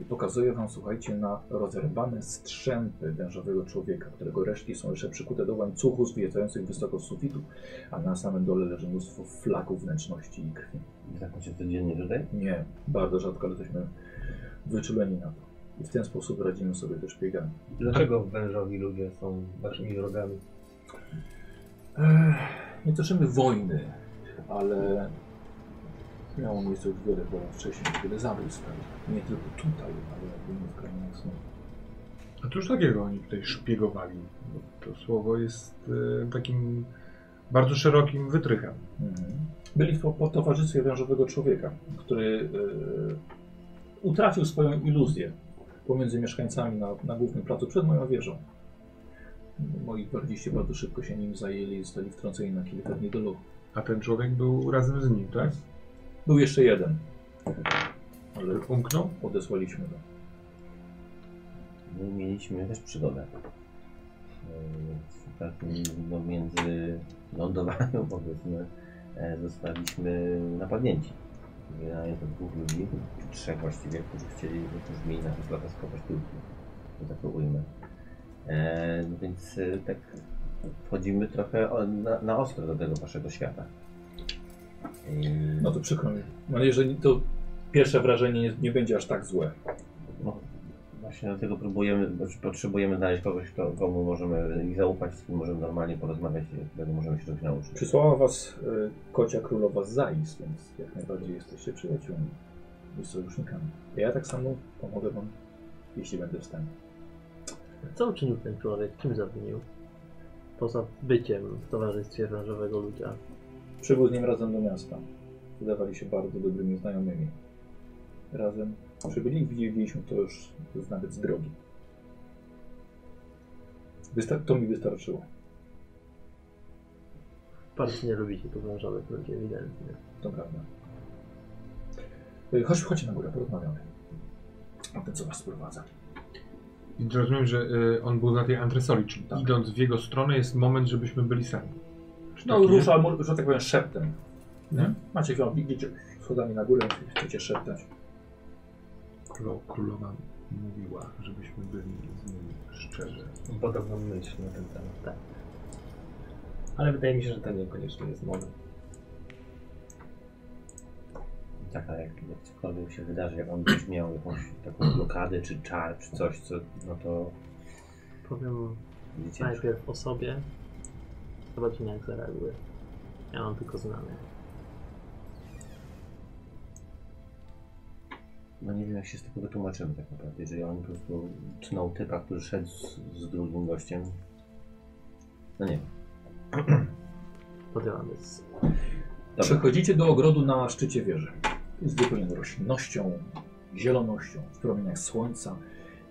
I pokazuję wam, słuchajcie, na rozerwane strzępy wężowego człowieka, którego resztki są jeszcze przykute do łańcuchu zwijających wysoko z sufitu, a na samym dole leży mnóstwo flaków wnętrzności i krwi.
Nie tak macie codziennie tutaj?
Nie, bardzo rzadko, ale jesteśmy wyczuleni na to. I w ten sposób radzimy sobie ze szpiegami.
Dlaczego wężowi ludzie są waszymi wrogami?
Ech, Nie toczymy wojny, ale miało miejsce już wiele było wcześniej, wiele zabójstw. stał. Nie tylko tutaj, ale w innych krajach są.
A cóż takiego oni tutaj szpiegowali? Bo to słowo jest y, takim bardzo szerokim wytrychem.
Mhm. Byli w po, po towarzystwie wężowego człowieka, który e, utrafił swoją iluzję pomiędzy mieszkańcami na, na głównym placu przed moją wieżą. Moi gwardziści bardzo szybko się nim zajęli i zostali wtrąceni na kilka dni do lochu.
A ten człowiek był razem z nim, tak?
Był jeszcze jeden, ale
Umknął?
odesłaliśmy go.
My mieliśmy też przygodę. E, W takim, no, między lądowaniem, powiedzmy, e, zostaliśmy napadnięci. Generalnie to dwóch ludzi, trzech właściwie, którzy chcieli oprócz mi na lata skopać piłki, że tak to ujmę. E, no więc e, tak wchodzimy trochę o, na, na ostro do tego waszego świata. I,
No to przykro mi. Mam nadzieję, że to pierwsze wrażenie nie, nie będzie aż tak złe.
no, właśnie dlatego próbujemy, znaczy potrzebujemy znaleźć kogoś, kto, komu możemy i zaufać, z kim możemy normalnie porozmawiać i od którego możemy się czegoś nauczyć.
Przysłała was y, kocia królowa Zais, więc jak najbardziej jesteście przyjaciółmi i sojusznikami. A ja tak samo pomogę wam, jeśli będę w stanie.
Co uczynił ten człowiek? Czym zawinił? Poza byciem w towarzystwie wężowego ludzia.
Przybył z nim razem do miasta. Wydawali się bardzo dobrymi znajomymi. Razem przybyli i widzieliśmy to już z- nawet z drogi. Wysta- to mi wystarczyło.
Bardzo nie lubicie tu wężowych ludzi, ewidentnie.
To prawda. Y, Chodź, chodźcie na górę, porozmawiamy. O tym, co was sprowadza.
I rozumiem, że y, on był na tej antresoli, czyli
Tak.
idąc w jego stronę jest moment, żebyśmy byli sami. Czy
No,
tak jest?
rusza, mu- że tak powiem, szeptem. Nie? Macie chwilę, idziecie schodami na górę, chcecie szeptać.
Królo, królowa mówiła, żebyśmy byli z nim szczerzy.
Podobną myśl na ten temat, tak. Ale wydaje mi się, że to niekoniecznie jest moda.
Tak, ale jak, jak cokolwiek się wydarzy, jak on gdzieś miał jakąś taką blokadę, czy czar, czy coś, co, no to
Powiem
widzicie,
najpierw o sobie. Zobaczymy jak zareaguje. Ja mam tylko znamy.
no nie wiem jak się z tego wytłumaczymy tak naprawdę, jeżeli on po prostu tnął typa, który szedł z, z drugim gościem, no nie wiem.
Podjęłam jest.
Dobra.
Przechodzicie do ogrodu na szczycie wieży. Jest wypełniony roślinnością, zielonością, w promieniach słońca.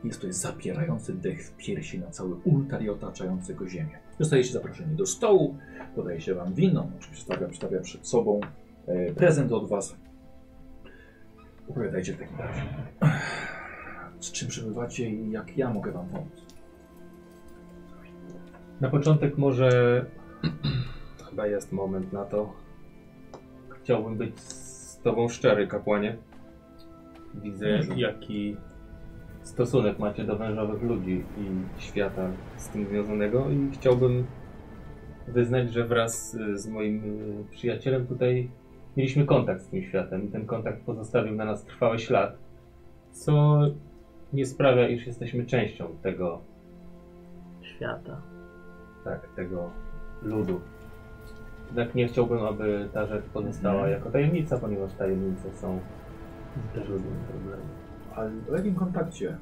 Jest to zapierający dech w piersi na cały ultar i otaczający go ziemię. Dostajecie zaproszenie do stołu, podaje się wam wino, oczywiście stawia, stawia przed sobą e, prezent od was. Opowiadajcie w takim razie, z czym przybywacie i jak ja mogę wam pomóc.
Na początek może chyba jest moment na to. Chciałbym być z tobą szczery, kapłanie. Widzę, jaki stosunek macie do wężowych ludzi i świata z tym związanego i chciałbym wyznać, że wraz y, z moim y, przyjacielem tutaj mieliśmy kontakt z tym światem i ten kontakt pozostawił na nas trwały ślad, co nie sprawia, iż jesteśmy częścią tego
Świata.
tak, tego ludu. Jednak nie chciałbym, aby ta rzecz pozostała jako tajemnica, ponieważ tajemnice są też ludzkim problemem.
Ale o jakim kontakcie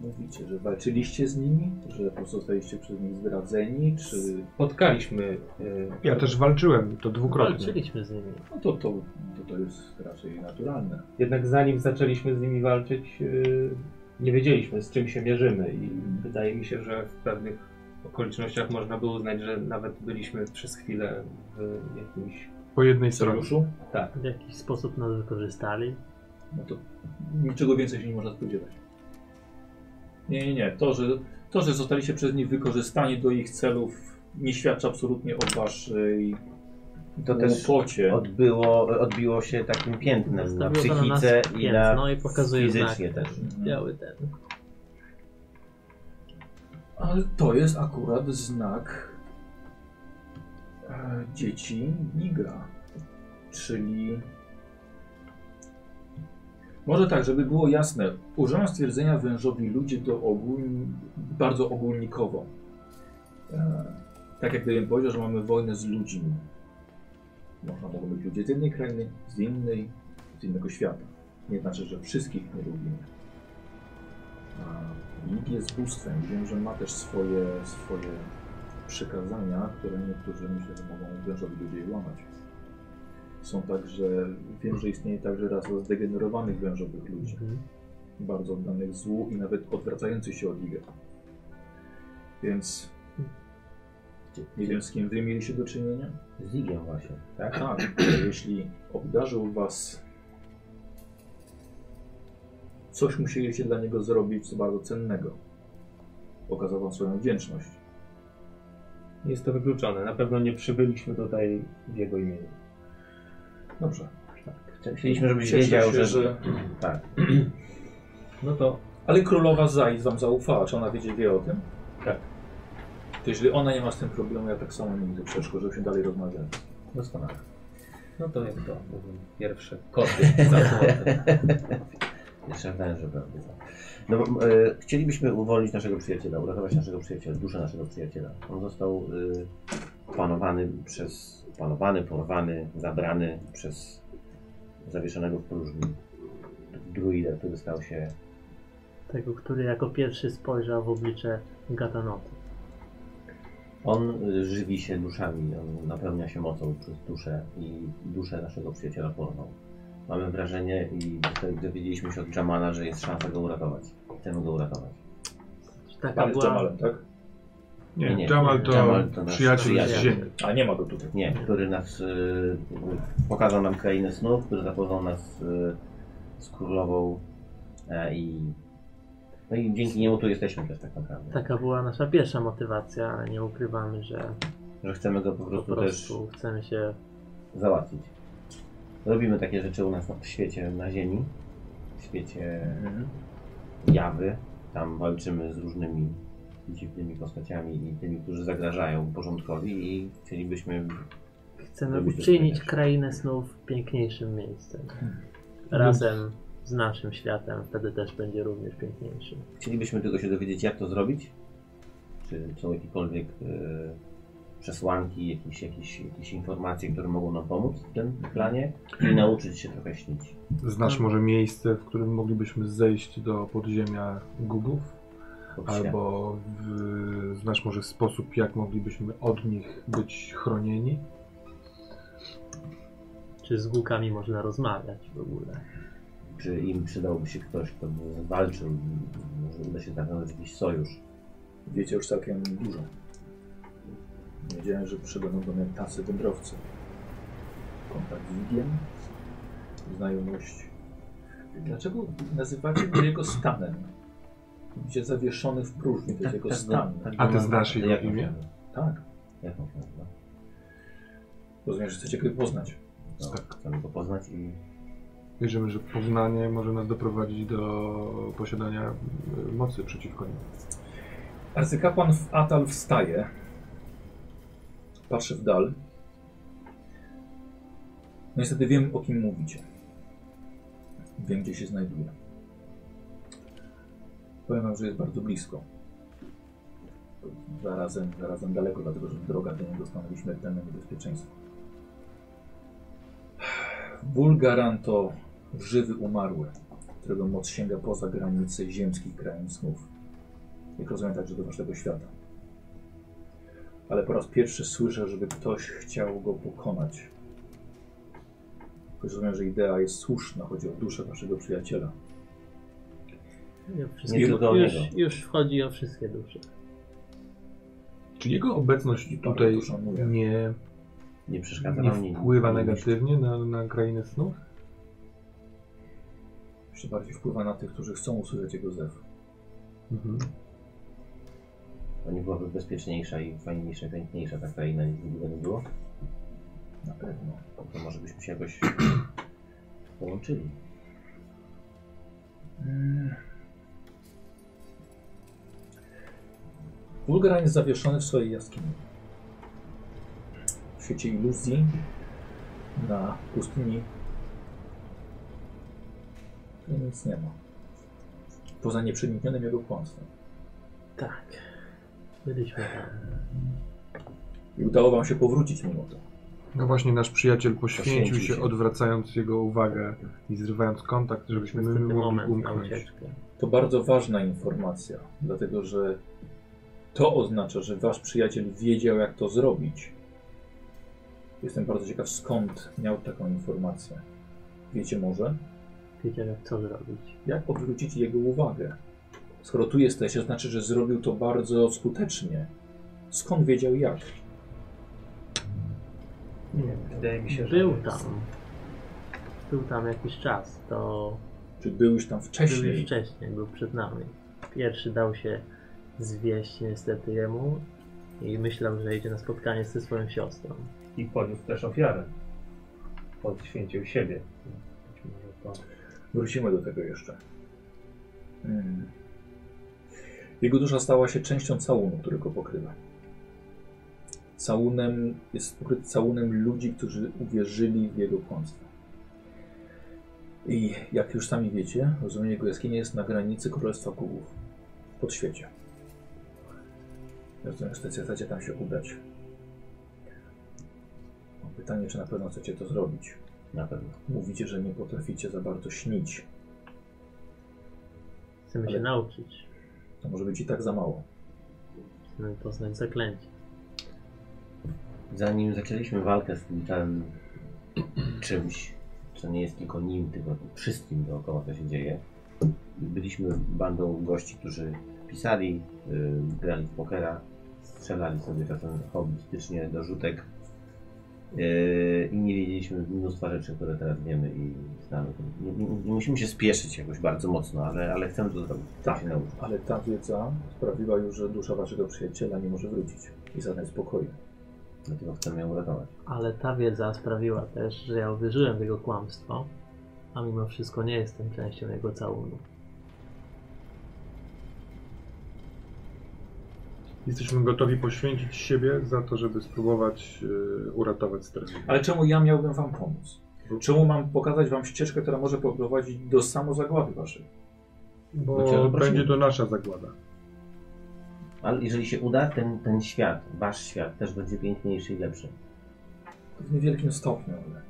mówicie? Że walczyliście z nimi? Że po prostu zostaliście przez nich zdradzeni? Czy...
Spotkaliśmy. y,
Tak.
Ja też walczyłem, to dwukrotnie.
Walczyliśmy z nimi.
No to, to, to, to jest raczej naturalne.
Jednak zanim zaczęliśmy z nimi walczyć, y, nie wiedzieliśmy z czym się mierzymy i wydaje mi się, że w pewnych okolicznościach można było uznać, że nawet byliśmy przez chwilę w jakimś...
Po jednej
W
stronie.
sojuszu?
W jakiś sposób nas wykorzystali.
No to niczego więcej się nie można spodziewać. Nie, nie, nie. To, że, to, że zostaliście przez nich wykorzystani do ich celów nie świadczy absolutnie o waszej
To też
łopocie.
odbyło, odbiło się takim piętnem na
Zostawiło to na nas
psychice i na
piętno i pokazuje
fizycznie
znaki.
też.
Mhm.
Biały ten.
Ale to jest akurat znak e, dzieci Nigra. Czyli. Może tak, żeby było jasne. Użyłem stwierdzenia wężowi ludzie do ogólni, bardzo ogólnikowo. E, tak jak gdybym powiedział, że mamy wojnę z ludźmi. Można mogą być ludzie z jednej krainy, z innej, z innego świata. Nie znaczy, że wszystkich nie lubimy. A Bóg jest bóstwem. Wiem, że ma też swoje, swoje przykazania, które niektórzy myślę, że mogą wężowi ludzie łamać. Są także, wiem, że istnieje także rasa zdegenerowanych wężowych ludzi, bardzo oddanych złu i nawet odwracających się od igry. Więc nie wiem, z kim wy mieliście do czynienia.
Z Igiem właśnie, tak?
Tak, ale jeśli obdarzył was, coś musieliście dla niego zrobić co bardzo cennego. Pokazał wam swoją wdzięczność.
Jest to wykluczone. Na pewno nie przybyliśmy tutaj w jego imieniu.
Dobrze.
Chcieliśmy, żebyś
Cieszę
wiedział,
się,
że...
że...
Tak.
No to
Ale królowa Zajt wam zaufała, czy ona wiedzie, wie o tym?
Tak.
To jeżeli ona nie ma z tym problemu, ja tak samo nie widzę przeszkód, żebyśmy dalej rozmawiali.
Doskonale.
No to jak to mówią pierwsze koty za złote.
Jeszcze węże prawda. No, bo, e, chcielibyśmy uwolnić naszego przyjaciela, uratować naszego przyjaciela, duszę naszego przyjaciela. On został e, panowany przez, panowany, porwany, zabrany przez zawieszonego w próżni druida, który stał się
Tego, który jako pierwszy spojrzał w oblicze Gatanoty.
On y, żywi się duszami, on napełnia się mocą przez duszę i duszę naszego przyjaciela porwał. Mamy wrażenie i tutaj dowiedzieliśmy się od Jamana, że jest szansa go uratować. Chcemy go uratować.
Czy Taka
Pan z
była,
Jamalem, tak?
Nie,
Nie,
Jamal to
Jamal to nasz
przyjaciel z
przyjaciel.
ziemi.
A nie ma go tutaj.
Nie, który nas y, pokazał nam krainę snów, który zapoznał nas y, z królową e, i no i dzięki niemu tu jesteśmy też tak naprawdę.
taka była nasza pierwsza motywacja, ale nie ukrywamy, że
Że chcemy go po
po
prostu, też
prostu chcemy się
załatwić. Robimy takie rzeczy u nas na, w świecie, na ziemi, w świecie
Mhm.
jawy. Tam walczymy z różnymi dziwnymi postaciami i tymi, którzy zagrażają porządkowi i chcielibyśmy...
Chcemy
Robić to
uczynić
również.
krainę snów piękniejszym miejscem. Razem z naszym światem, wtedy też będzie również piękniejszy.
Chcielibyśmy tylko się dowiedzieć, jak to zrobić. Czy są jakiekolwiek e, przesłanki, jakieś, jakieś, jakieś informacje, które mogą nam pomóc w tym planie i nauczyć się trochę śnić.
Znasz może miejsce, w którym moglibyśmy zejść do podziemia Gugów?
pod świat.
Albo w, znasz może sposób, jak moglibyśmy od nich być chronieni?
Czy z gukami można rozmawiać w ogóle?
Czy im przydałby się ktoś, kto by walczył, może uda się nawiązać jakiś sojusz.
Wiecie już całkiem dużo. Wiedziałem, że przybędą do mnie tacy wędrowcy. Kontakt z Wigiem, znajomość. Dlaczego nazywacie go jego stanem? Gdzie zawieszony w próżni, to jest jego
Tak,
stan.
A ty znasz jego
jak on
imię?
się nazywa?
Tak,
Jak on się nazywa?
rozumiem, że chcecie go poznać.
No,
Tak.
Chcemy go poznać i
Wierzymy, że poznanie może nas doprowadzić do posiadania y, mocy przeciwko nim.
Arcykapłan w Atal wstaje. Patrzy w dal. No niestety wiem, o kim mówicie. Wiem, gdzie się znajduje. Powiem wam, że jest bardzo blisko. Zarazem, zarazem daleko, dlatego że droga do niego stanowi śmiertelne niebezpieczeństwo. Bulgaran to żywy umarły, którego moc sięga poza granice ziemskich krain snów jak rozumiem także do waszego świata. Ale po raz pierwszy słyszę, żeby ktoś chciał go pokonać. Choć rozumiem, że idea jest słuszna, chodzi o duszę waszego przyjaciela.
Nie, wszystkie-
nie tylko o
już,
niego.
już wchodzi o wszystkie dusze.
Czy jego obecność tutaj
szanuje.
nie,
Nie przeszkadza nam
nie
nic.
wpływa negatywnie na, na krainę snów?
Jeszcze bardziej wpływa na tych, którzy chcą usłyszeć jego zew.
Mhm.
Pani byłaby bezpieczniejsza i fajniejsza, piękniejsza ta kraina, niż gdyby nie było.
Na pewno.
To może byśmy się jakoś połączyli.
Mm. Wulgaran jest zawieszony w swojej jaskini. W świecie iluzji, na pustyni. Tu nic nie ma. Poza nieprzeniknionym jego kłamstwem.
Tak. Byliśmy tam.
I udało wam się powrócić mimo to.
No właśnie nasz przyjaciel poświęcił
Poświęcił
się,
się.
odwracając jego uwagę i zrywając kontakt, żebyśmy my
Niestety
mogli
moment na
umknąć.
ucieczkę.
To bardzo ważna informacja, dlatego że to oznacza, że wasz przyjaciel wiedział, jak to zrobić. Jestem bardzo ciekaw, skąd miał taką informację. Wiecie może,
Wiedziałem co zrobić.
jak odwrócić jego uwagę? Skoro tu jesteście, znaczy, że zrobił to bardzo skutecznie. Skąd wiedział jak?
Nie,
Wydaje mi się, że
Był
jest-
tam. Był tam jakiś czas. To
Czy był już tam
Był
wcześniej?
już wcześniej, był przed nami. Pierwszy dał się zwieść niestety jemu i myślał, że idzie na spotkanie ze swoją siostrą.
I poniósł też ofiarę. Odświęcił siebie.
Wrócimy do tego jeszcze. Mm. Jego dusza stała się częścią całunu, który go pokrywa. Całunem jest pokryty całunem ludzi, którzy uwierzyli w jego kłamstwo. I jak już sami wiecie, rozumienie jego jaskini jest na granicy Królestwa Kubów w podświecie. Rozumiem, że chcecie tam się udać. Mam Pytanie, czy na pewno chcecie to zrobić.
Na pewno.
Mówicie, że nie potraficie za bardzo śnić.
Chcemy się
Ale-
nauczyć.
To może być i tak za mało.
Chcemy poznać zaklęcie.
Zanim zaczęliśmy walkę z tym tam czymś, co nie jest tylko nim, tylko wszystkim dookoła, co się dzieje, byliśmy bandą gości, którzy pisali, yy, grali w pokera, strzelali sobie czasem hobbystycznie do rzutek yy, i nie wiedzieliśmy mnóstwa rzeczy, które teraz wiemy i znamy. Nie, nie, nie musimy się spieszyć jakoś bardzo mocno, ale, ale chcemy to zrobić. chcemy
Tak.
Się nauczyć.
Ale ta wiedza sprawiła już, że dusza waszego przyjaciela nie może wrócić i zadać spokoju.
Dlatego chcemy ją uratować.
Ale ta wiedza sprawiła też, że ja uwierzyłem w jego kłamstwo, a mimo wszystko nie jestem częścią jego całunu.
Jesteśmy gotowi poświęcić siebie za to, żeby spróbować y, uratować strefę.
Ale czemu ja miałbym wam pomóc? Czemu mam pokazać wam ścieżkę, która może poprowadzić do samozagłady waszej?
Bo cię
Bo
zaprosimy.
Znaczy, będzie to nasza zagłada.
Ale jeżeli się uda, ten, ten świat, wasz świat też będzie piękniejszy i lepszy.
W niewielkim stopniu, ale...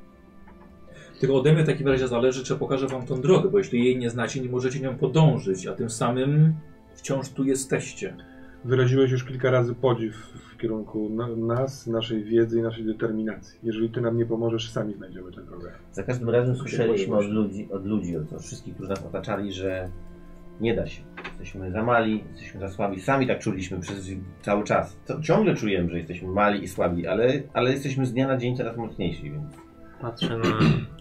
Tylko ode mnie w takim razie zależy, czy pokażę wam tą drogę, bo jeśli jej nie znacie, nie możecie nią podążyć, a tym samym wciąż tu jesteście.
Wyraziłeś już kilka razy podziw w kierunku na, nas, naszej wiedzy i naszej determinacji. Jeżeli ty nam nie pomożesz, sami znajdziemy tę drogę.
Za każdym razem
się
słyszeliśmy
boję właśnie.
od ludzi, od ludzi, od, od wszystkich, którzy nas otaczali, że nie da się. Jesteśmy za mali, jesteśmy za słabi. Sami tak czuliśmy przez cały czas. To, ciągle czujemy, że jesteśmy mali i słabi, ale, ale jesteśmy z dnia na dzień coraz mocniejsi, więc
Patrzę na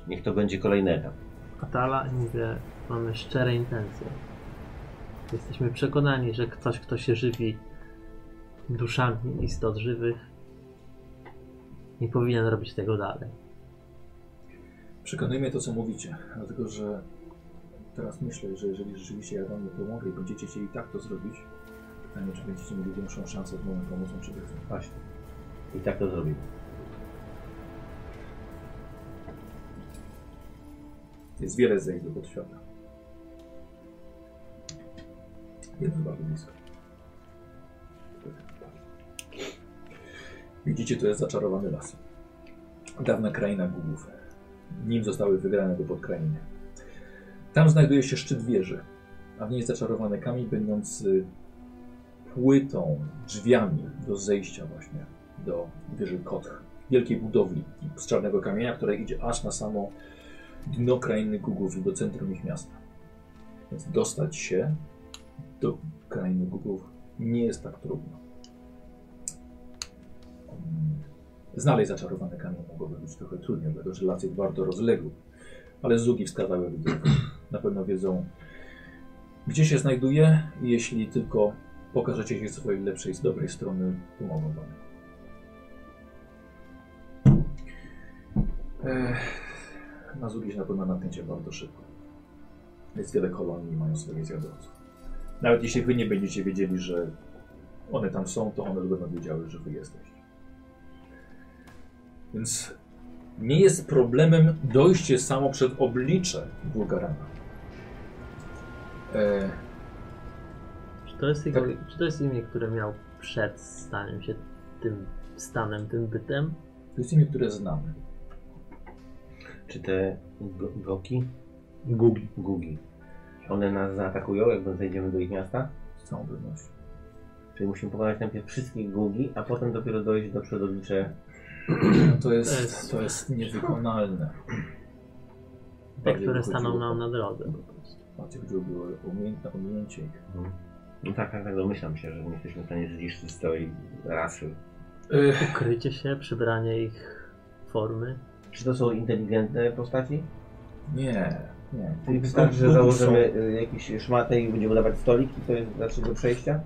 niech to będzie kolejny etap.
Atala i mówię, mamy szczere intencje. Jesteśmy przekonani, że ktoś, kto się żywi duszami istot żywych, nie powinien robić tego dalej.
Przekonujmy to, co mówicie, dlatego że teraz myślę, że jeżeli rzeczywiście ja wam nie pomogę i będziecie chcieli tak to zrobić, pytanie, czy będziecie mieli większą szansę z moją pomocą, czy bez niej.
Właśnie. I tak to zrobimy.
Jest wiele zejść do podświata. Jedno bardzo blisko. Widzicie, to jest zaczarowany las. Dawna kraina gubów. Nim zostały wygrane do podkrainy. Tam znajduje się szczyt wieży, a w niej zaczarowany kamień, będąc y, płytą, drzwiami do zejścia właśnie do wieży Kotch. Wielkiej budowli z czarnego kamienia, która idzie aż na samo dno krainy Gugów i do centrum ich miasta. Więc dostać się do krainy Gugów nie jest tak trudno. Mm, Znaleźć zaczarowany kamień mogłoby być trochę trudniej, dlatego że las jest bardzo rozległy. Ale Zugi wskazały widzów. Na pewno wiedzą, gdzie się znajduje i jeśli tylko pokażecie się z swojej lepszej, z dobrej strony, pomogą wam. Ech, na Zugi się na pewno natniecie bardzo szybko. Jest wiele kolonii i mają swoich zjadowców. Nawet jeśli wy nie będziecie wiedzieli, że one tam są, to one będą wiedziały, że wy jesteście. Więc nie jest problemem dojście samo przed oblicze Bulgarana. E,
Czy to jest, jego,
Tak.
czy to jest imię, które miał przed staniem się tym stanem, tym bytem?
to jest imię, które znamy.
Czy te go- goki,
Gugi.
gugi, one nas zaatakują, jak zejdziemy do ich miasta?
Z całą pewnością.
Czyli musimy pokonać najpierw wszystkich gugi, a potem dopiero dojść do przodoblicze
No to,
To
jest,
jest-
to jest niewykonalne.
Te,
Bardziej
które
by
staną
chodziło-
nam na drodze.
Bardziej chodziło o umiejętne ominięcie ich.
Mhm. No tak, tak, tak, domyślam się, że nie jesteśmy w stanie zniszczyć całej rasy.
Ukrycie się, przybranie ich formy.
Czy to są inteligentne postaci?
Nie, nie.
Czyli wystarczy, Tak, że
Gugi
założymy y, jakiś szmatę i będziemy dawać stolik i to jest znaczy do przejścia?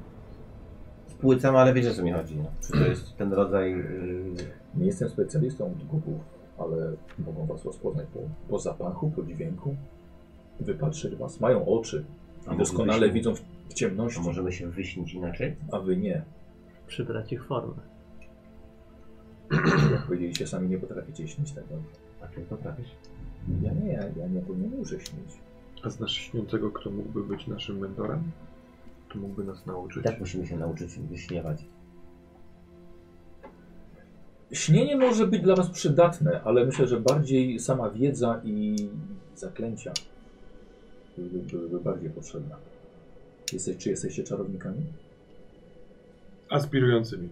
Spłycam, ale wiecie o co mi chodzi. No. Czy to jest ten rodzaj... y,
Nie jestem specjalistą od gubów, ale mogą was rozpoznać po, po zapachu, po dźwięku. wypatrzy was, mają oczy
A
i
mogłybyśmy-
doskonale widzą w, w
A
ciemności,
możemy się wyśnić inaczej?
a wy nie.
przybrać ich formę.
Jak powiedzieliście sami, nie potraficie śnić tego.
A ty tak, potrafisz.
Ja nie, ja, ja nie powinienem muszę śnić.
A znasz śniącego, kto mógłby być naszym mentorem? Kto mógłby nas nauczyć?
Tak musimy się nauczyć wyśniewać.
Śnienie może być dla was przydatne, ale myślę, że bardziej sama wiedza i zaklęcia byłyby, byłyby bardziej potrzebne. Jesteś, czy jesteście czarownikami?
Aspirującymi.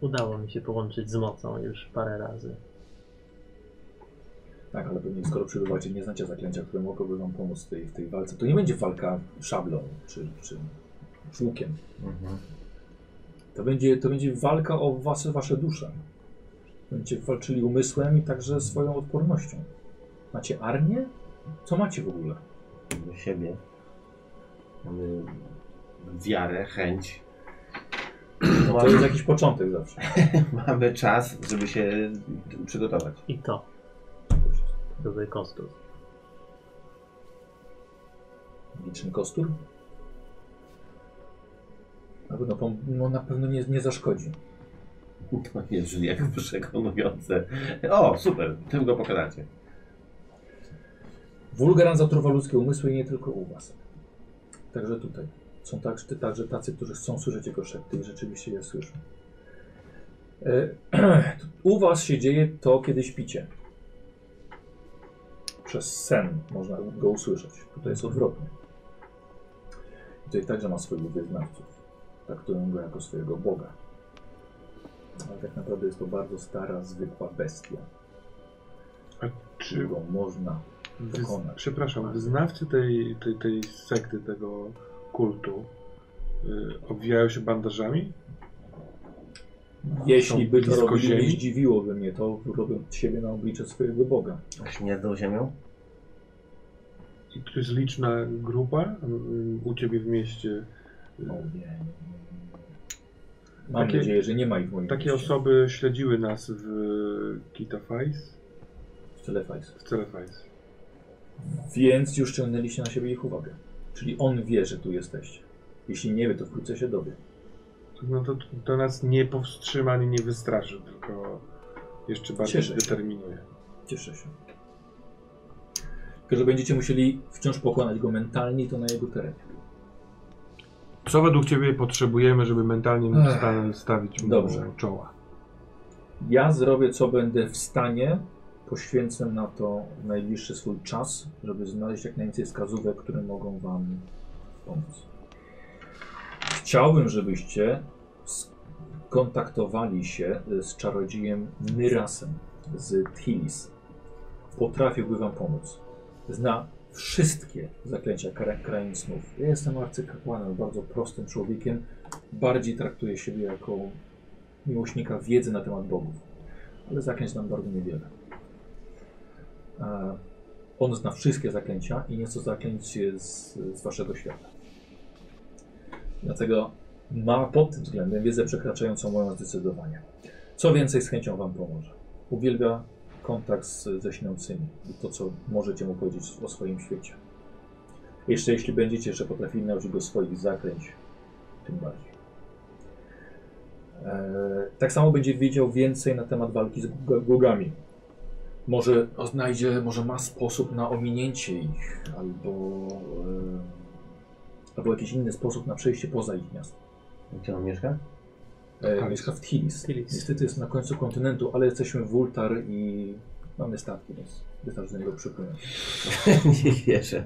Udało mi się połączyć z mocą już parę razy.
Tak, ale pewnie skoro przybywacie, nie znacie zaklęcia, które mogłoby wam pomóc w tej, w tej walce. To nie będzie walka szablą czy, czy czy łukiem.
Mhm.
To będzie, to będzie walka o wasze, wasze dusze. Będziecie walczyli umysłem i także swoją odpornością. Macie armię? Co macie w ogóle?
Do siebie. Mamy wiarę, chęć.
To jest jakiś początek zawsze.
Mamy czas, żeby się przygotować.
I to. Rodzaj kostów.
Liczny kostur? Na pewno, pom- no, na pewno nie, nie zaszkodzi.
To jest jak przekonujące. O, super, tym go pokaracie.
Wulgaran zatruwa ludzkie umysły i nie tylko u was. Także tutaj. Są także, także tacy, którzy chcą słyszeć jego szepty i rzeczywiście je słyszą. E, u was się dzieje to, kiedy śpicie. Przez sen można go usłyszeć. Tutaj jest odwrotnie. Tutaj także ma swoich wyznawców. Traktują go jako swojego Boga. Ale tak naprawdę jest to bardzo stara, zwykła bestia,
Czy
którą można
Wyz...
Dokonać.
Przepraszam, wyznawcy tej, tej, tej sekty, tego kultu y, obwijają się bandażami?
Jeśli
Są
by to
blisko
robili,
ziemi?
nie zdziwiłoby mnie to, robiąc siebie na oblicze swojego Boga.
Śmierdzą ziemią?
I tu jest liczna grupa y, u ciebie w mieście. Y,
No, nie, nie, nie. Mam
Takie-
nadzieję, że nie ma ich w moim
Takie
mieście.
osoby śledziły nas w Kitafajs,
W Telefajs.
w Celefajs.
Więc już ciągnęliście na siebie ich uwagę. Czyli on wie, że tu jesteście. Jeśli nie wie, to wkrótce się dowie.
No to, to nas nie powstrzyma ani nie wystraży, tylko jeszcze bardziej
Cieszę się.
determinuje.
Cieszę się. Tylko, że będziecie musieli wciąż pokonać go mentalnie i to na jego terenie.
Co według ciebie potrzebujemy, żeby mentalnie móc
Ech.
sta- stawić mu
Dobrze.
czoła?
Ja zrobię, co będę w stanie. Poświęcę na to najbliższy swój czas, żeby znaleźć jak najwięcej wskazówek, które mogą Wam pomóc. Chciałbym, żebyście skontaktowali się y, z czarodziejem Nyrasem z Tilis. Potrafiłby Wam pomóc. Zna wszystkie zaklęcia kra- krain snów. Ja jestem arcykapłanem, bardzo prostym człowiekiem. Bardziej traktuję siebie jako miłośnika wiedzy na temat bogów. Ale zaklęć nam bardzo niewiele. E, on zna wszystkie zaklęcia i nieco zaklęć z, z waszego świata. Dlatego ma pod tym względem wiedzę przekraczającą moją zdecydowanie. Co więcej, z chęcią wam pomoże. Uwielbia kontakt z, ze śniącymi i to, co możecie mu powiedzieć o swoim świecie. Jeszcze jeśli będziecie jeszcze potrafili nauczyć go swoich zaklęć, tym bardziej. E, Tak samo będzie wiedział więcej na temat walki z gu- gugami. Może o, znajdzie, może ma sposób na ominięcie ich, albo, e, albo jakiś inny sposób na przejście poza ich miasto.
Gdzie on mieszka?
E, mieszka w Tilis.
Tilis.
Niestety jest na końcu kontynentu, ale jesteśmy w Ultar i mamy statki, więc wystarczy do niego przypłynąć.
nie wierzę.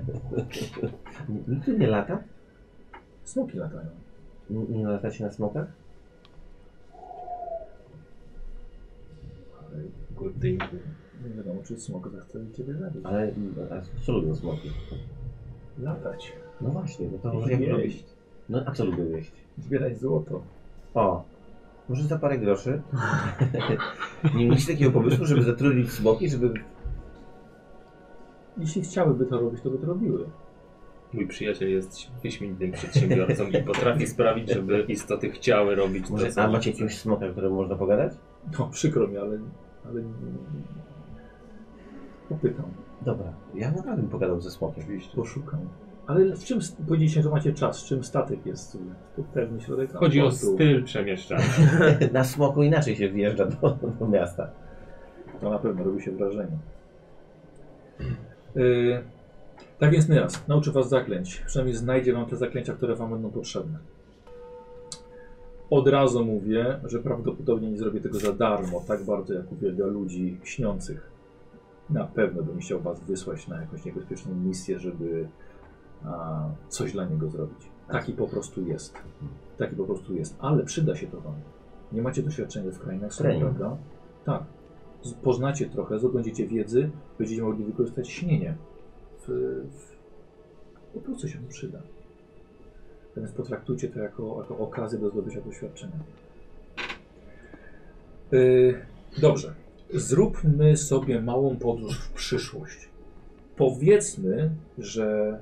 Nigdy nie lata?
Smoki latają.
N- Nie lata się na smokach?
Nie wiadomo, czy smok zechce ciebie zabić.
Ale a co lubią smoki?
Latać,
No właśnie, no to może jak robić.
jeść,
No a co lubią jeść?
zbierać złoto.
O, może za parę groszy? nie mieliście takiego pomysłu, żeby zatrudnić smoki, żeby...
Jeśli chciałyby to robić, to by to robiły.
Mój przyjaciel jest wyśmienitym przedsiębiorcą i potrafi sprawić, żeby istoty chciały robić to,
Może,
co
a macie jakiegoś smoka, któremu można pogadać?
No, przykro mi, ale, ale popytam.
Dobra, ja naprawdę bym pogadał ze smokiem.
Poszukam. Ale w czym st- powiedzieliście, że macie czas? W czym statek jest? To pewny środek
Chodzi o
transportu.
styl przemieszczania.
Na smoku inaczej się wjeżdża do, do miasta.
To na pewno robi się wrażenie.
Y, tak więc Nyas, nauczę was zaklęć. Przynajmniej znajdzie wam te zaklęcia, które wam będą potrzebne. Od razu mówię, że prawdopodobnie nie zrobię tego za darmo, tak bardzo jak uwielbia ludzi śniących. Na pewno bym chciał was wysłać na jakąś niebezpieczną misję, żeby a, coś dla niego zrobić. Taki po prostu jest. Taki po prostu jest. Ale przyda się to wam. Nie macie doświadczenia w krainach, snu,
Trening.
prawda? Tak. Z- Poznacie trochę, zdobędziecie wiedzy, będziecie mogli wykorzystać śnienie. W, w... Po prostu się to przyda. Więc potraktujcie to jako, jako okazję do zdobycia doświadczenia. Yy, dobrze. Zróbmy sobie małą podróż w przyszłość. Powiedzmy, że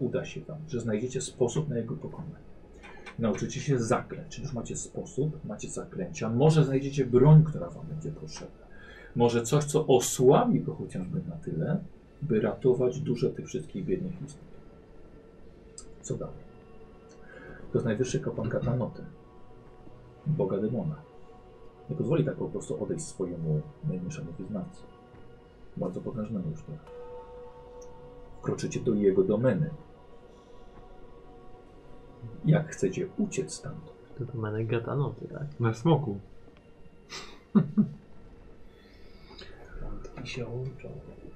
uda się Wam, że znajdziecie sposób na jego pokonanie. Nauczycie się zaklęć, czyli już macie sposób, macie zaklęcia. Może znajdziecie broń, która Wam będzie potrzebna. Może coś, co osłabi go chociażby na tyle, by ratować duże tych wszystkich biednych istot. Co dalej? To jest najwyższy kapłan Katanoty, boga demona. Nie pozwoli tak po prostu odejść swojemu najmniejszemu wyznawcy. Bardzo potężnemu już teraz. Wkroczycie do jego domeny. Jak chcecie uciec stamtąd?
To domenek Gatanoty, tak?
Na smoku.
I się łączą.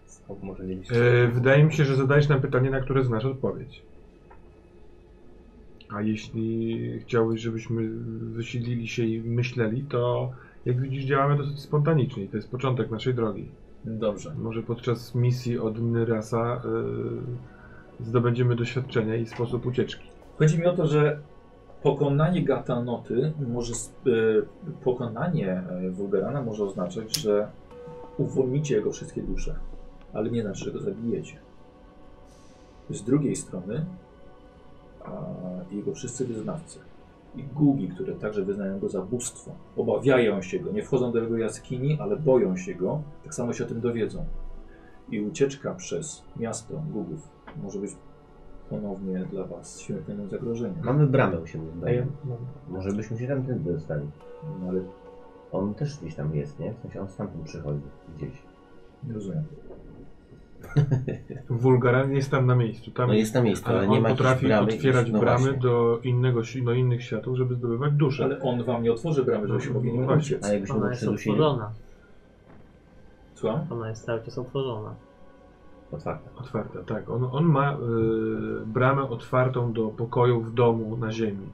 Skąd może nie być?
E, wydaje mi się, że zadajesz nam pytanie, na które znasz odpowiedź. A jeśli chciałbyś, żebyśmy wysiedlili się i myśleli, to jak widzisz, działamy dosyć spontanicznie i to jest początek naszej drogi.
Dobrze.
Może podczas misji od Nyrasa y, zdobędziemy doświadczenie i sposób ucieczki.
Chodzi mi o to, że pokonanie Gatanoty może sp- e, pokonanie e, Wulgarana może oznaczać, że uwolnicie jego wszystkie dusze, ale nie znaczy, że go zabijecie. Z drugiej strony a, jego wszyscy wyznawcy i gugi, które także wyznają go za bóstwo, obawiają się go, nie wchodzą do jego jaskini, ale boją się go, tak samo się o tym dowiedzą. I ucieczka przez miasto gugów może być ponownie dla Was śmiertelnym zagrożeniem.
Mamy bramę się wydaje.
mam.
Może byśmy się tam tędy dostali.
No, ale
On też gdzieś tam jest, nie? W sensie on stamtąd przychodzi gdzieś. No
nie rozumiem.
Wulgaran jest tam na miejscu. Tam
No jest na miejscu, ale,
ale
nie
on
ma jakiejś
potrafi
bramy.
otwierać
no
bramy
właśnie.
do, innego, si- do innych światów, żeby zdobywać duszę.
Ale on Wam nie otworzy bramy, żebyście
No,
mogli
no
nim
właśnie.
uciec.
A jakbyśmy
Ona
go
jest
przydusili,
otworzona.
Słucham?
Ona jest cały czas otworzona.
otwarte.
Otwarta, tak. On, on ma y, bramę otwartą do pokoju w domu na ziemi.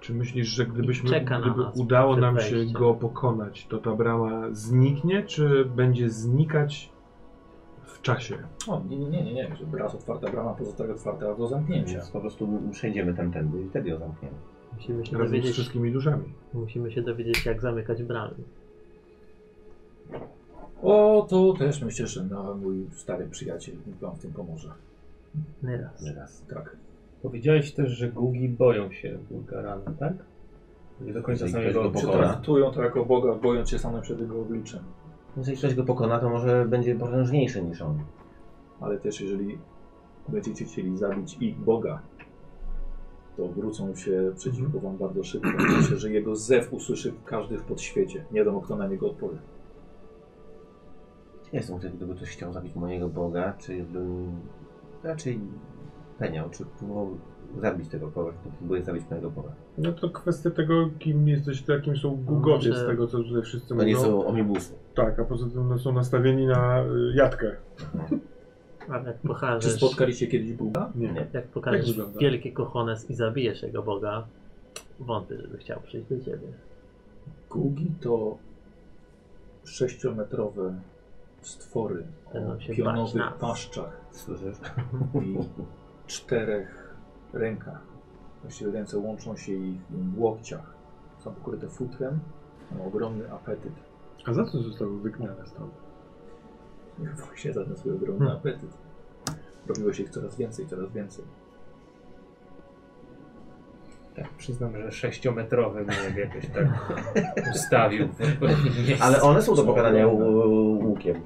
Czy myślisz, że
I
gdybyśmy,
czeka na
gdyby
nas
udało
przed
nam się
wejściem.
go pokonać, to ta brama zniknie, czy będzie znikać w czasie?
O, nie, nie, nie, nie, nie. że Raz otwarta brama, pozostaje otwarta do zamknięcia.
Więc po prostu przejdziemy tamtędy i wtedy ją zamkniemy.
Musimy się,
Razem z
dowiedzieć,
wszystkimi duszami.
musimy się dowiedzieć, jak zamykać bramy.
O, to też myślę, że no, mój stary przyjaciel Wam w tym pomoże.
Nieraz.
Teraz.
Tak.
Powiedziałeś też, że Gugi boją się Bulgarana, tak? Nie do końca
Jeżeli
samego
ktoś go
odczytałem.
pokona.
Traktują to jako Boga, bojąc się samym przed Jego obliczem.
Więc jeśli ktoś go pokona, to może będzie potężniejszy niż on.
Ale też jeżeli będziecie chcieli zabić ich Boga, to wrócą się przeciwko Wam bardzo szybko. Myślę, że Jego zew usłyszy każdy w podświecie. Nie wiadomo, kto na niego odpowie.
Ja jestem wtedy, gdyby ktoś chciał zabić mojego Boga, czy bym raczej peniał, czy próbował zabić tego kogoś, kto próbuje zabić mojego Boga.
No to kwestia tego, kim jesteś, to jakim są gugowie
No Może-
z tego, co tutaj wszyscy
To nie
mówią.
są omnibusy.
Tak, a poza tym no, są nastawieni na y, jatkę.
Ale jak
Czy
pokażesz,
spotkaliście kiedyś Boga?
Nie.
jak pokażesz
wygląda?
wielkie kochones i zabijesz jego Boga, wątpię, żeby chciał przyjść do ciebie.
Gugi to sześciometrowe stwory o
Będą się bać
pionowych
nas.
paszczach
Słyszysz?
i czterech rękach. Właściwie ręce łączą się ich w łokciach. Są pokryte futrem, mają ogromny apetyt.
A za co zostały wygnane stąd?
Właśnie za ten swój ogromny
Hmm.
apetyt. Robiło się ich coraz więcej, coraz więcej.
Tak, przyznam, że sześciometrowy mnie jakoś tak ustawił.
Ale one są do
Są
pokonania
ogromne.
łu- łu- łukiem.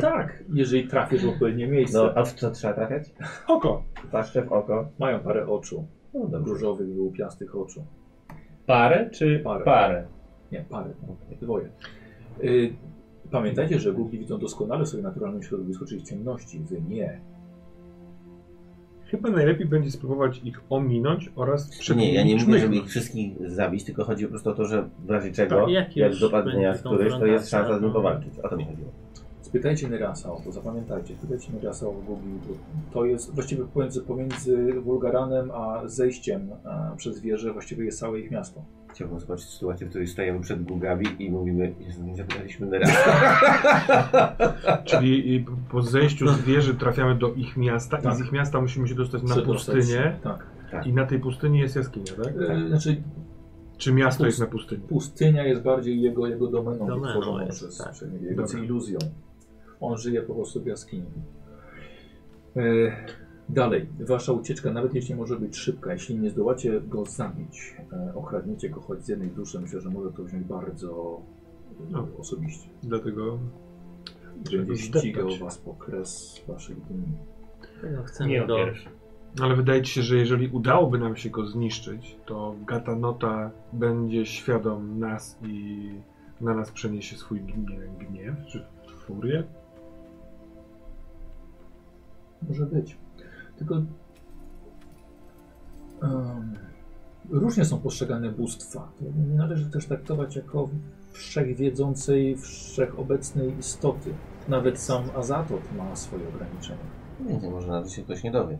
Tak, jeżeli trafisz w odpowiednie miejsce.
No, a w co trzeba trafiać?
Oko.
Patrzę w oko.
Mają parę oczu.
No dobrze.
Różowych, wyłupiastych oczu.
Parę czy
Parę.
parę?
Nie, parę. Dwoje. Y, pamiętajcie, że głupi widzą doskonale sobie w naturalnym środowisku, czyli w ciemności. Wy nie.
Chyba najlepiej będzie spróbować ich ominąć oraz
Nie, ja nie mówię,
szmychnąć.
żeby ich wszystkich zabić, tylko chodzi po prostu o to, że w razie czego,
Tak, jak
jak
już
dopadnienia
będzie
z któryś, to jest
konfrontacja,
szansa z nim
no.
powalczyć. O to mi chodziło.
Spytajcie Nerasa o to, zapamiętajcie. Spytajcie Nerasa o Gubi. To jest właściwie pomiędzy, pomiędzy Wulgaranem a zejściem a, przez wieżę właściwie jest całe ich miasto.
Chciałbym zobaczyć sytuację, w której stajemy przed Gugami i mówimy, Jezu, nie zapytaliśmy na raz.
Czyli i po zejściu
No.
z wieży trafiamy do ich miasta i z ich miasta musimy się dostać na
Przedostać
pustynię.
się, Tak.
Tak.
I na tej pustyni jest jaskinia, tak?
E,
Y, Znaczy
Czy miasto
Pust-
jest na pustyni?
pustynia jest bardziej jego, jego domeną,
Domeną
wytworzoną
jest,
przez,
tak.
przez niego, jego
Dobra.
iluzją. On żyje po prostu w jaskini. E, dalej, wasza ucieczka, nawet jeśli może być szybka, jeśli nie zdołacie go zabić, e, okradniecie go choć z jednej duszy, myślę, że może to wziąć bardzo e,
No.
osobiście.
Dlatego
Będzie
go
ścigał
zdeptać.
was po kres waszych dni.
Tego chcemy
Nie
do...
no pierwszy.
Ale wydaje ci się, że jeżeli udałoby nam się go zniszczyć, to Gatanota będzie świadom nas i na nas przeniesie swój gnie- gniew czy furię.
Może być. Tylko em, różnie są postrzegane bóstwa. Nie należy też traktować jako wszechwiedzącej, wszechobecnej istoty. Nawet sam Azatot ma swoje ograniczenia.
Nie wiem, może nawet się ktoś nie dowie.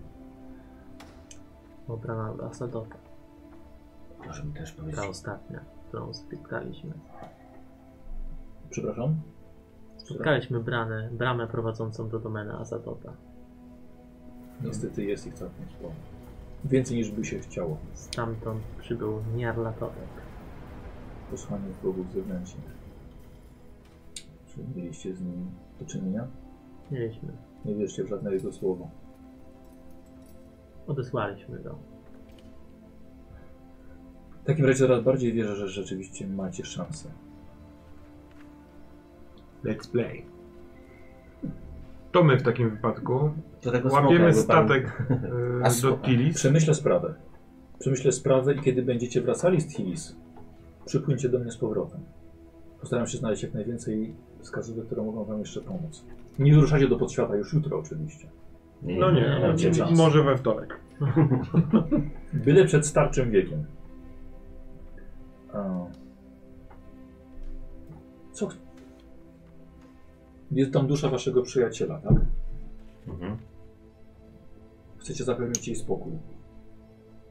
Obrana do Asadota.
Możemy też powiedzieć.
Ta ostatnia, którą spotkaliśmy.
Przepraszam?
Spotkaliśmy bramę, bramę prowadzącą do domeny Azatota.
Niestety jest ich całkiem sporo. Więcej niż by się chciało.
Stamtąd przybył Niarlatorek.
Posłanie wrogów zewnętrznych. Czy mieliście z nim do czynienia?
Mieliśmy.
Nie wierzcie w żadne jego słowo.
Odesłaliśmy go.
W takim razie coraz bardziej wierzę, że rzeczywiście macie szansę.
Let's play. To my w takim wypadku
To tego smoka,
łapiemy
jakby pan-
statek y,
A smoka.
do Tilis.
Przemyślę sprawę. Przemyślę sprawę i kiedy będziecie wracali z Tilis, przypłyńcie do mnie z powrotem. Postaram się znaleźć jak najwięcej wskazówek, które mogą wam jeszcze pomóc. Nie wyruszacie do podświata już jutro oczywiście.
No nie,
Nie,
macie czas.
może we wtorek.
Byle przed starczym wiekiem. A... Co? ch- Jest tam dusza waszego przyjaciela, tak?
Mhm,
Chcecie zapewnić jej spokój.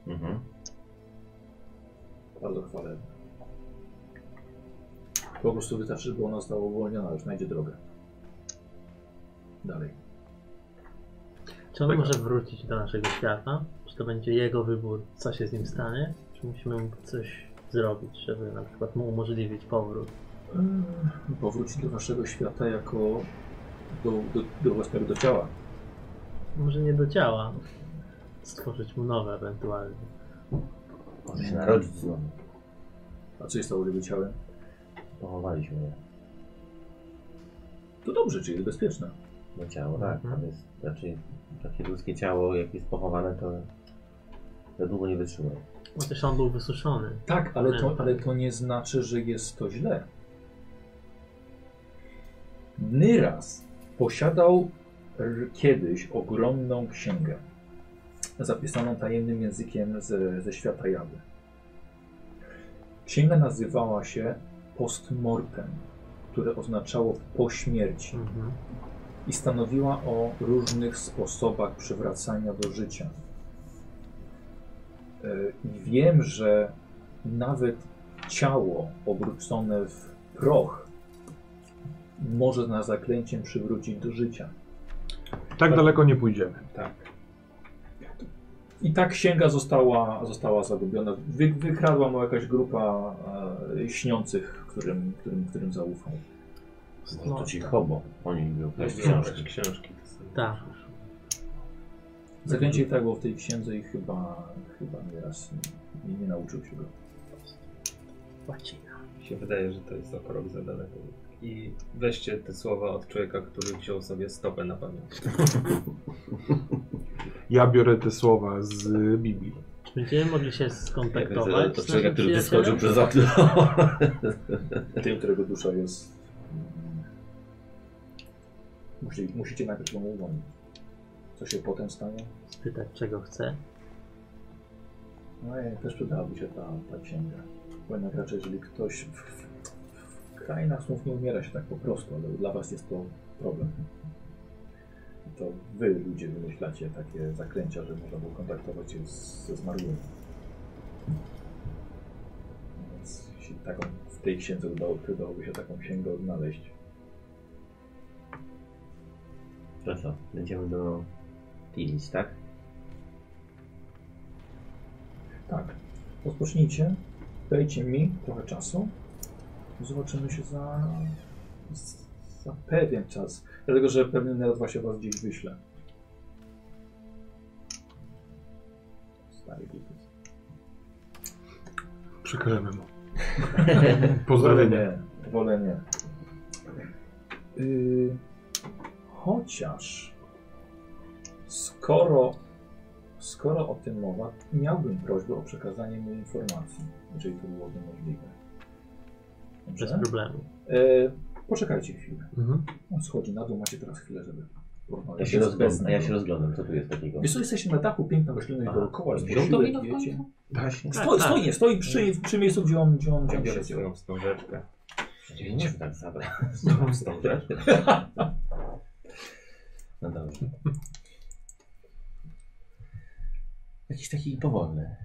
mhm.
Bardzo chwalę. Po prostu wystarczy, żeby ona została uwolniona, już znajdzie drogę. Dalej.
Czy on
Tak.
może wrócić do naszego świata? Czy to będzie jego wybór, co się z nim stanie? Czy musimy mu coś zrobić, żeby na przykład mu umożliwić powrót?
Yy, Powróci do waszego świata jako do, do, do własnego do ciała.
Może nie do ciała. Stworzyć mu nowe ewentualnie.
Może się narodzić znowu.
A co jest stało z jego ciałem?
Pochowaliśmy je.
To dobrze, czyli jest bezpieczne.
No ciało, tak.
Mhm.
Tam jest raczej takie ludzkie ciało, jak jest pochowane, to za długo nie wytrzyma.
Chociaż on był wysuszony.
Tak, ale to, ale to nie znaczy, że jest to źle. Nyras posiadał r- kiedyś ogromną księgę zapisaną tajemnym językiem ze, ze świata Jady. Księga nazywała się Postmortem, które oznaczało po śmierci
Mhm.
i stanowiła o różnych sposobach przywracania do życia. Yy, I wiem, że nawet ciało obrócone w proch może na zaklęciem przywrócić do życia.
Tak daleko nie pójdziemy.
I ta księga została, została zagubiona. Wy, wykradła mu jakaś grupa e, śniących, którym, którym, którym zaufał.
No. To ci hobo. O nim był.
Tak, książki, książki. to są.
Tak.
Zaklęcie i tak było w tej księdze i chyba, chyba nieraz nie, nie nauczył się go.
Łacina.
Mi się wydaje, że to jest o krok za daleko. i weźcie te słowa od człowieka, który wziął sobie stopę na pamiątkę.
Ja biorę te słowa z Biblii.
Czy będziemy mogli się skontaktować?
Tak, e, To
z
człowiek,
naszym
który wyskoczył
przyjacielem?
przez okno.
Tym, którego dusza jest... mm, Musi, musicie najpierw ją uwolnić. Co się potem stanie?
Spytać, czego chce.
No i też przydałaby się ta, ta księga. Bo jednak raczej, jeżeli ktoś w, w, w krainach snów nie umiera się tak po prostu, ale dla was jest to problem. To wy, ludzie, wymyślacie takie zaklęcia, że można było kontaktować się z, ze zmarłymi. Więc jeśli taką, w tej księdze udało, przydałoby się taką księgę odnaleźć.
To co? Będziemy do Tilis, tak?
Tak. Rozpocznijcie. Dajcie mi trochę czasu. Zobaczymy się za, z- za pewien czas. Dlatego, że pewnie nawet właśnie was gdzieś wyślę. Stary Gitus.
Przekażemy mu. Pozdrowienia.
Wolę nie. Yy, chociaż skoro, skoro o tym mowa, miałbym prośbę o przekazanie mi informacji, jeżeli to byłoby możliwe.
Bez
Dobrze?
problemu.
Yy, poczekajcie chwilę.
Mhm.
On schodzi na dół, macie teraz chwilę, żeby porozmawiać.
Ja się,
Jest
rozglądam,
bez-
ja się rozglądam, co tu jest takiego.
Wiesz co, jesteśmy na dachu piękna rośliny
Aha.
dookoła, jest
Wziął to
posiłek,
wino w
wiecie.
Właśnie.
Stoi,
tak.
stoi, stoi przy, przy miejscu, gdzie on, gdzie on, gdzie on
Biorę
siedział.
swoją wstążeczkę.
Dziewięć tak zabrał.
Wstążeczkę.
No dobrze. Jakiś taki powolny.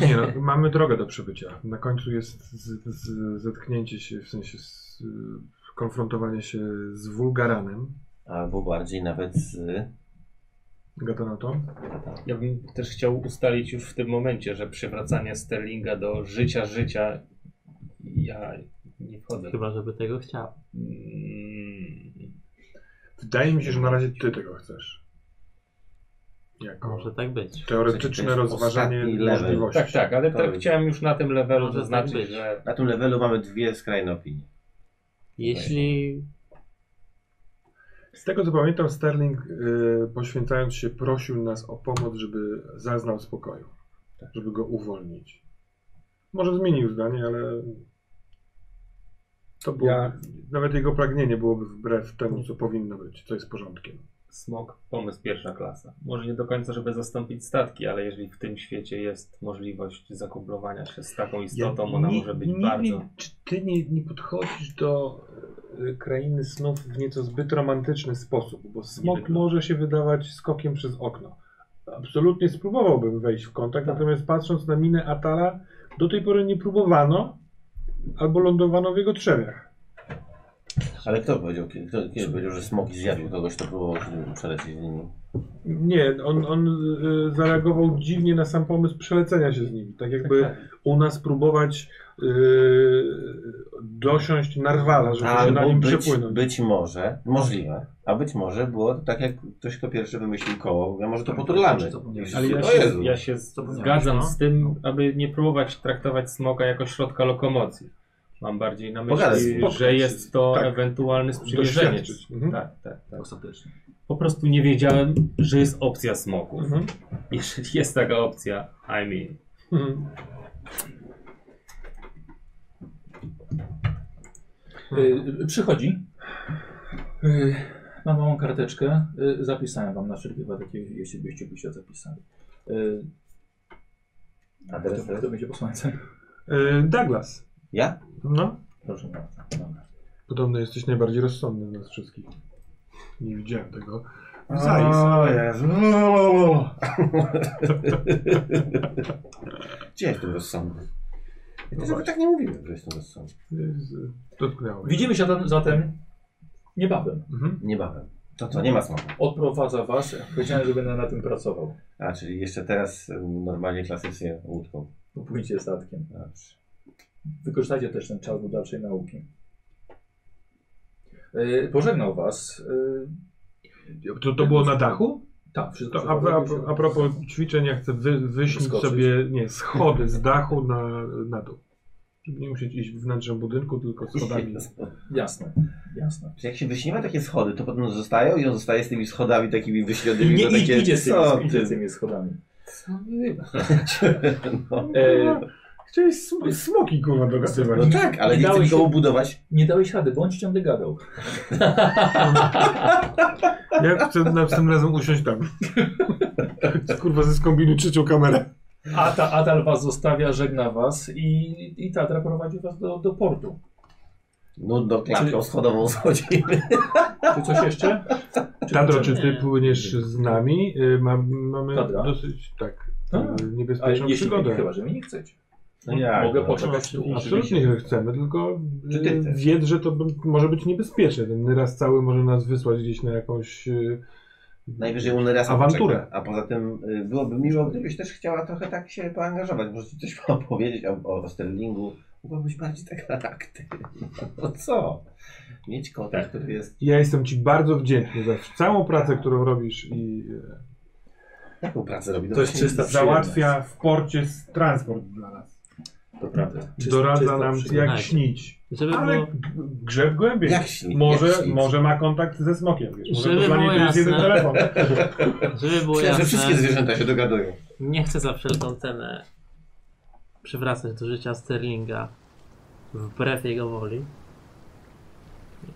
Nie no, mamy drogę do przebycia. Na końcu jest z, z, zetknięcie się, w sensie z, konfrontowanie się z wulgaranem.
Albo bardziej nawet z...
Gatonatą.
Ja bym też chciał ustalić już w tym momencie, że przywracanie Sterlinga do życia, życia ja nie wchodzę.
Chyba, żeby tego chciał.
Mm,
Wydaje mi się, że na razie ty tego chcesz.
No.
Jako
Może tak być.
Czyli
teoretyczne
to jest
rozważanie
ostatni level.
możliwości.
Tak, tak, ale
To
tak
jest-
chciałem już na tym levelu
Może tak
zaznaczyć,
być.
że
Na tym levelu mamy dwie skrajne opinie.
Jeśli
Z tego co pamiętam, Sterling y, poświęcając się prosił nas o pomoc, żeby zaznał spokoju. Żeby go uwolnić. Może zmienił zdanie, ale to było,
Ja-
nawet jego pragnienie byłoby wbrew temu, co powinno być, co jest porządkiem.
smok pomysł pierwsza klasa. Może nie do końca, żeby zastąpić statki, ale jeżeli w tym świecie jest możliwość zakublowania się z taką istotą, ona
nie-
może być
nie
bardzo...
Wiem, czy ty nie, nie podchodzisz do y, krainy snów w nieco zbyt romantyczny sposób, bo smok
Niby.
może się wydawać skokiem przez okno. Absolutnie spróbowałbym wejść w kontakt,
Tak.
natomiast patrząc na minę Atala, do tej pory nie próbowano albo lądowano w jego trzewiach.
Ale kto powiedział, ki- kto, kiedy powiedział, że smoki zjadły kogoś, to próbował się nim przelecieć z nimi?
Nie, on, on y, zareagował dziwnie na sam pomysł przelecenia się z nimi. Tak jakby u nas próbować y, dosiąść narwala, żeby się na
Albo
nim
być,
przepłynąć.
być może, możliwe, a być może było tak jak ktoś, kto pierwszy wymyślił koło, a
Tak,
może to poturlamy.
Ale ja
O Jezu.
się, ja się
Zapomniałeś,
zgadzam
no.
z tym, aby nie próbować traktować smoka jako środka lokomocji. Mam bardziej na myśli,
Pogadać,
że
spotkać
jest to
tak.
ewentualny sprzymierzeniec.
Doświadczyć. Mhm.
Tak, tak, tak.
Ostatecznie.
Po prostu nie wiedziałem, że jest opcja smoków.
Mhm.
Jeżeli jest taka opcja, I mean.
Mhm.
Y, przychodzi. Y, mam małą karteczkę. Y, zapisałem wam na wszelki wypadek, jeśli byście by się zapisali. Y,
Adres
kto,
jest?
kto będzie posłańcem?
Y, Douglas.
Ja?
No.
Proszę bardzo. Dobra.
Podobno jesteś najbardziej rozsądny z nas wszystkich. Nie widziałem tego.
O Jezu.
No,
Gdzie jestem rozsądny? Ja też nawet tak nie mówiłem, że jestem rozsądny.
Zajs. Dotknęło. mnie.
Widzimy się zatem, zatem niebawem.
Mhm.
Niebawem. To co, nie ma smoku.
Odprowadza was. Powiedziałem, że będę na tym pracował.
A, czyli jeszcze teraz em, normalnie klasycznie łódką.
Popłyńcie statkiem.
Dobrze.
Wykorzystajcie też ten czas do dalszej nauki. Y, pożegnał was. Y,
To, to było na dachu?
tak, wszystko.
To, a, a, a propos ćwiczeń, ja chcę wy, wyśnić
Wyskoczyć.
sobie nie, schody z dachu na, na dół. Nie musieć iść w wnętrze budynku, tylko schodami.
Jasne, jasne.
Czy jak się wyśniewa takie schody, to potem zostają i on zostaje z tymi schodami takimi wyśnionymi.
Nie
to takie,
idzie z tymi,
co
idzie
ty?
z tymi schodami.
no.
E,
Chciałeś sm smoki kurwa dogadywać.
no tak, ale nie chcę
Dałeś-
nikomu budować.
nie dałeś rady, bądź ciągle gadał.
Ja chcę następnym razem usiąść tam. Kurwa, ze skombinu trzecią kamerę.
Ata, Atal was zostawia, żegna was i, i Tatra prowadzi was do, do portu.
No do klatką
Czyli-
schodową schodzimy.
Czy coś jeszcze?
Tadro, czy
Nie.
ty płyniesz z nami? Y, ma- mamy
Tadra?
dosyć, tak,
Tak.
y,
A,
niebezpieczną
jeśli
przygodę.
chyba, że mnie nie chcecie.
No jak,
Mogę
no.
poczekać tu.
Absolutnie nie chcemy, tylko
Czy ty
y,
chcesz?
wiedz, że to b- może być niebezpieczne. Ten raz cały może nas wysłać gdzieś na jakąś... y,
Najwyżej on raz
Awanturę.
poczeka. A poza tym y, byłoby miło, gdybyś też chciała trochę tak się poangażować. Może ci coś opowiedzieć o, o Sterlingu. Mogłabyś bardziej taka aktywna. No co? Mieć kota,
Tak.
który jest...
Ja jestem ci bardzo wdzięczny za całą pracę, którą robisz i y,
Jaką pracę robi? No
To jest
właśnie
czysta
załatwia w porcie s- transport dla nas.
To prawda.
Doradza nam jak
przyjemność.
śnić.
Tak. Żeby
Ale
było,
g- grzeb głębiej.
Jak śni- jak
Może,
śni-
może ma kontakt ze smokiem, wiesz, może
Żeby
to dla
było
niej to jest
jasne.
jeden telefon.
żeby było
Myślałem, że wszystkie
jasne,
zwierzęta się dogadują.
nie chcę za wszelką cenę przywracać do życia Sterlinga wbrew jego woli.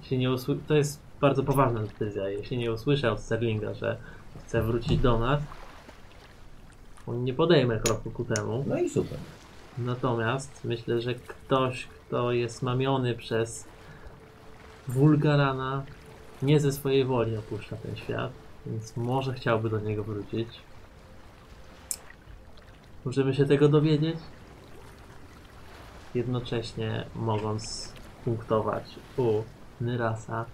Jeśli nie usły... To jest bardzo poważna decyzja. Jeśli nie usłyszę od Sterlinga, że chce wrócić do nas, on nie podejmie kroku ku temu.
No i super.
Natomiast myślę, że ktoś, kto jest mamiony przez wulgarana, nie ze swojej woli opuszcza ten świat, więc może chciałby do niego wrócić. Możemy się tego dowiedzieć, jednocześnie mogąc punktować u Nyrasa,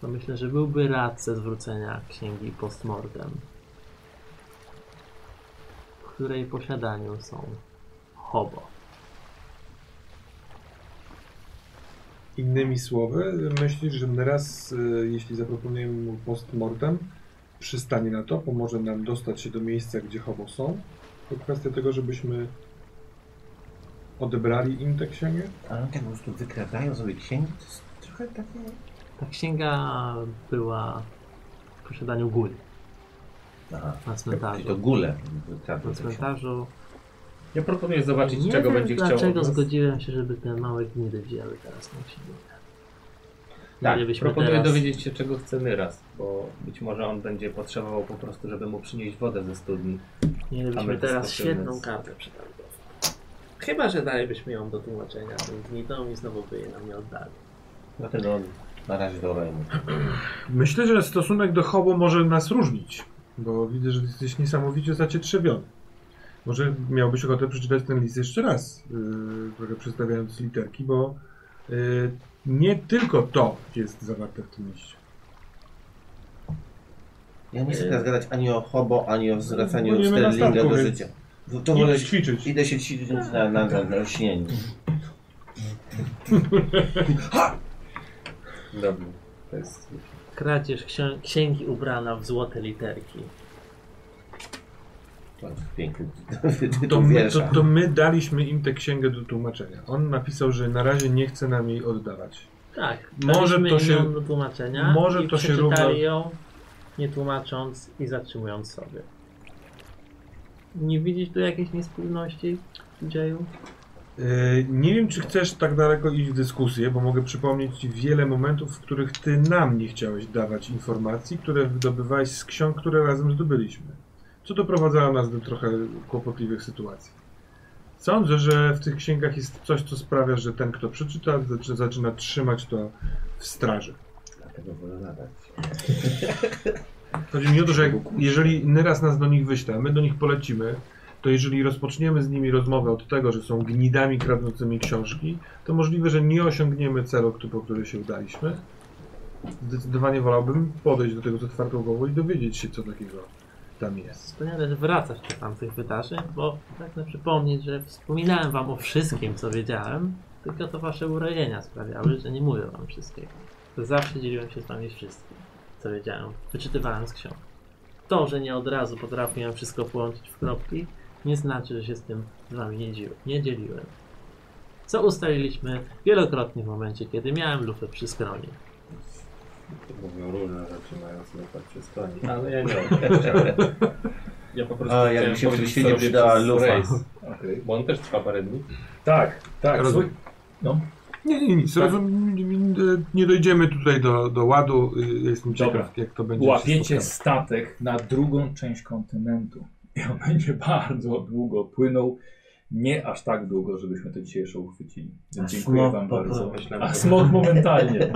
to myślę, że byłby rad ze zwrócenia księgi postmortem, w której posiadaniu są hobo.
Innymi słowy, myślisz, że teraz, y, jeśli zaproponujemy mu postmortem, przystanie na to, pomoże nam dostać się do miejsca, gdzie hobo są? To kwestia tego, żebyśmy odebrali im tę księgę?
Ale oni tak po prostu wykradają sobie księgi, to jest trochę takie...
Ta księga była w posiadaniu góry
Aha.
na
Czyli No, to
cmentarzu.
gule.
Na cmentarzu.
Ja proponuję zobaczyć,
Nie
czego
wiem,
będzie chciał.
dlaczego
od nas.
zgodziłem się, żeby te małe gnidy wzięły teraz na księgę.
Tak,
Mielibyśmy
proponuję
teraz-
dowiedzieć się, czego chce Nyras, bo być może on będzie potrzebował po prostu, żeby mu przynieść wodę ze studni.
Mielibyśmy
Ametyst
teraz
to
świetną
więc-
kartę przetargową. Chyba, że dalibyśmy ją do tłumaczenia tym gnidą i znowu by jej nam nie oddali.
Dlatego on na razie do Oremu.
Myślę, że stosunek do hobo może nas różnić, bo widzę, że jesteś niesamowicie zacietrzewiony. Może miałbyś ochotę przeczytać ten list jeszcze raz, yy, trochę przedstawiając literki, bo yy, nie tylko to jest zawarte w tym liście.
Ja nie chcę
Nie.
teraz gadać ani o hobo, ani o zwracaniu
Płyniemy na
Sterlinga
No statku,
do
więc-
życia. To, to
Możesz
wolę...
ćwiczyć.
Idę się ćwiczyć na, na, na, na lśnieniu.
Dobra. To jest...
Kradzież księ- księgi ubrana w złote literki.
To jest Piękny ty- ty-
To
tytuł
my, to,
wiersza.
to my daliśmy im tę księgę do tłumaczenia. On napisał, że na razie nie chce nam jej oddawać.
Tak,
Może
daliśmy
to się-
ją do tłumaczenia
może
i
to się
przeczytali
równa-
ją, nie tłumacząc i zatrzymując sobie. Nie widzisz tu jakiejś niespójności, dzieju?
Yy, nie wiem, czy chcesz tak daleko iść w dyskusję, bo mogę przypomnieć Ci wiele momentów, w których Ty nam nie chciałeś dawać informacji, które wydobywałeś z ksiąg, które razem zdobyliśmy. Co doprowadzało nas do trochę kłopotliwych sytuacji. Sądzę, że w tych księgach jest coś, co sprawia, że ten, kto przeczyta, zaczy- zaczyna trzymać to w straży.
Dlatego wolę nadać.
Chodzi mi o to, że jak, jeżeli Nyras nas do nich wyśle, a my do nich polecimy, to jeżeli rozpoczniemy z nimi rozmowę od tego, że są gnidami kradnącymi książki, to możliwe, że nie osiągniemy celu, kto- po który się udaliśmy. Zdecydowanie wolałbym podejść do tego z otwartą głową i dowiedzieć się, co takiego tam jest.
Wspaniale, że wracasz do tamtych wydarzeń, bo pragnę przypomnieć, że wspominałem wam o wszystkim, co wiedziałem, tylko to wasze urojenia sprawiały, że nie mówię wam wszystkiego. Zawsze dzieliłem się z wami wszystkim, co wiedziałem. Wyczytywałem z ksiąg. To, że nie od razu potrafiłem wszystko połączyć w kropki, nie znaczy, że się z tym z wami nie, dziel- nie dzieliłem. co ustaliliśmy wielokrotnie w momencie, kiedy miałem lufę przy skronie.
Mówią różne rzeczy, mając lufę przy stronie. Ale no ja nie wiem. Ja po prostu.
A, jakby
chciałem
się w tym
powiedzieć,
świecie
co robi
przydała
przez
lufa.
rejs,
Okej.
Bo on też trwa parę dni.
Tak, tak.
Rozumiem.
słuchaj- No,
Nie, nie, nic. Rozum, nie dojdziemy tutaj do, do ładu. y, Jestem ciekaw,
Dobra.
jak to będzie. się
łapiecie
spotkało.
statek na drugą część kontynentu. I on będzie bardzo długo płynął. Nie aż tak długo, żebyśmy to dzisiejsze uchwycili. Więc
A
dziękuję
smok
Wam
po-
bardzo.
Myślałem,
A
że-
smok momentalnie.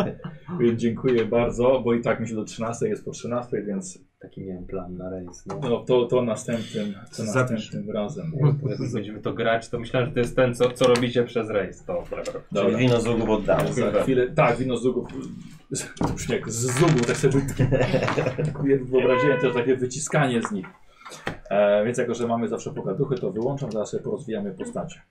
Więc dziękuję bardzo, bo i tak myślę do 13 jest po 13, więc
Taki miałem plan na rejs. No.
no, to, to następnym, to
Zapisz.
następnym razem.
Jak będziemy to grać, to myślałem, że to jest ten, co, co robicie przez rejs. To
Czyli
Dobra.
wino z lugów oddamy.
Za chwilę, tak, wino z zugów. To brzmi jak z zugów, tak sobie wyobraziłem to takie wyciskanie z nich. E, więc jako, że mamy zawsze pogaduchy, to wyłączam, zaraz sobie porozwijamy postacie.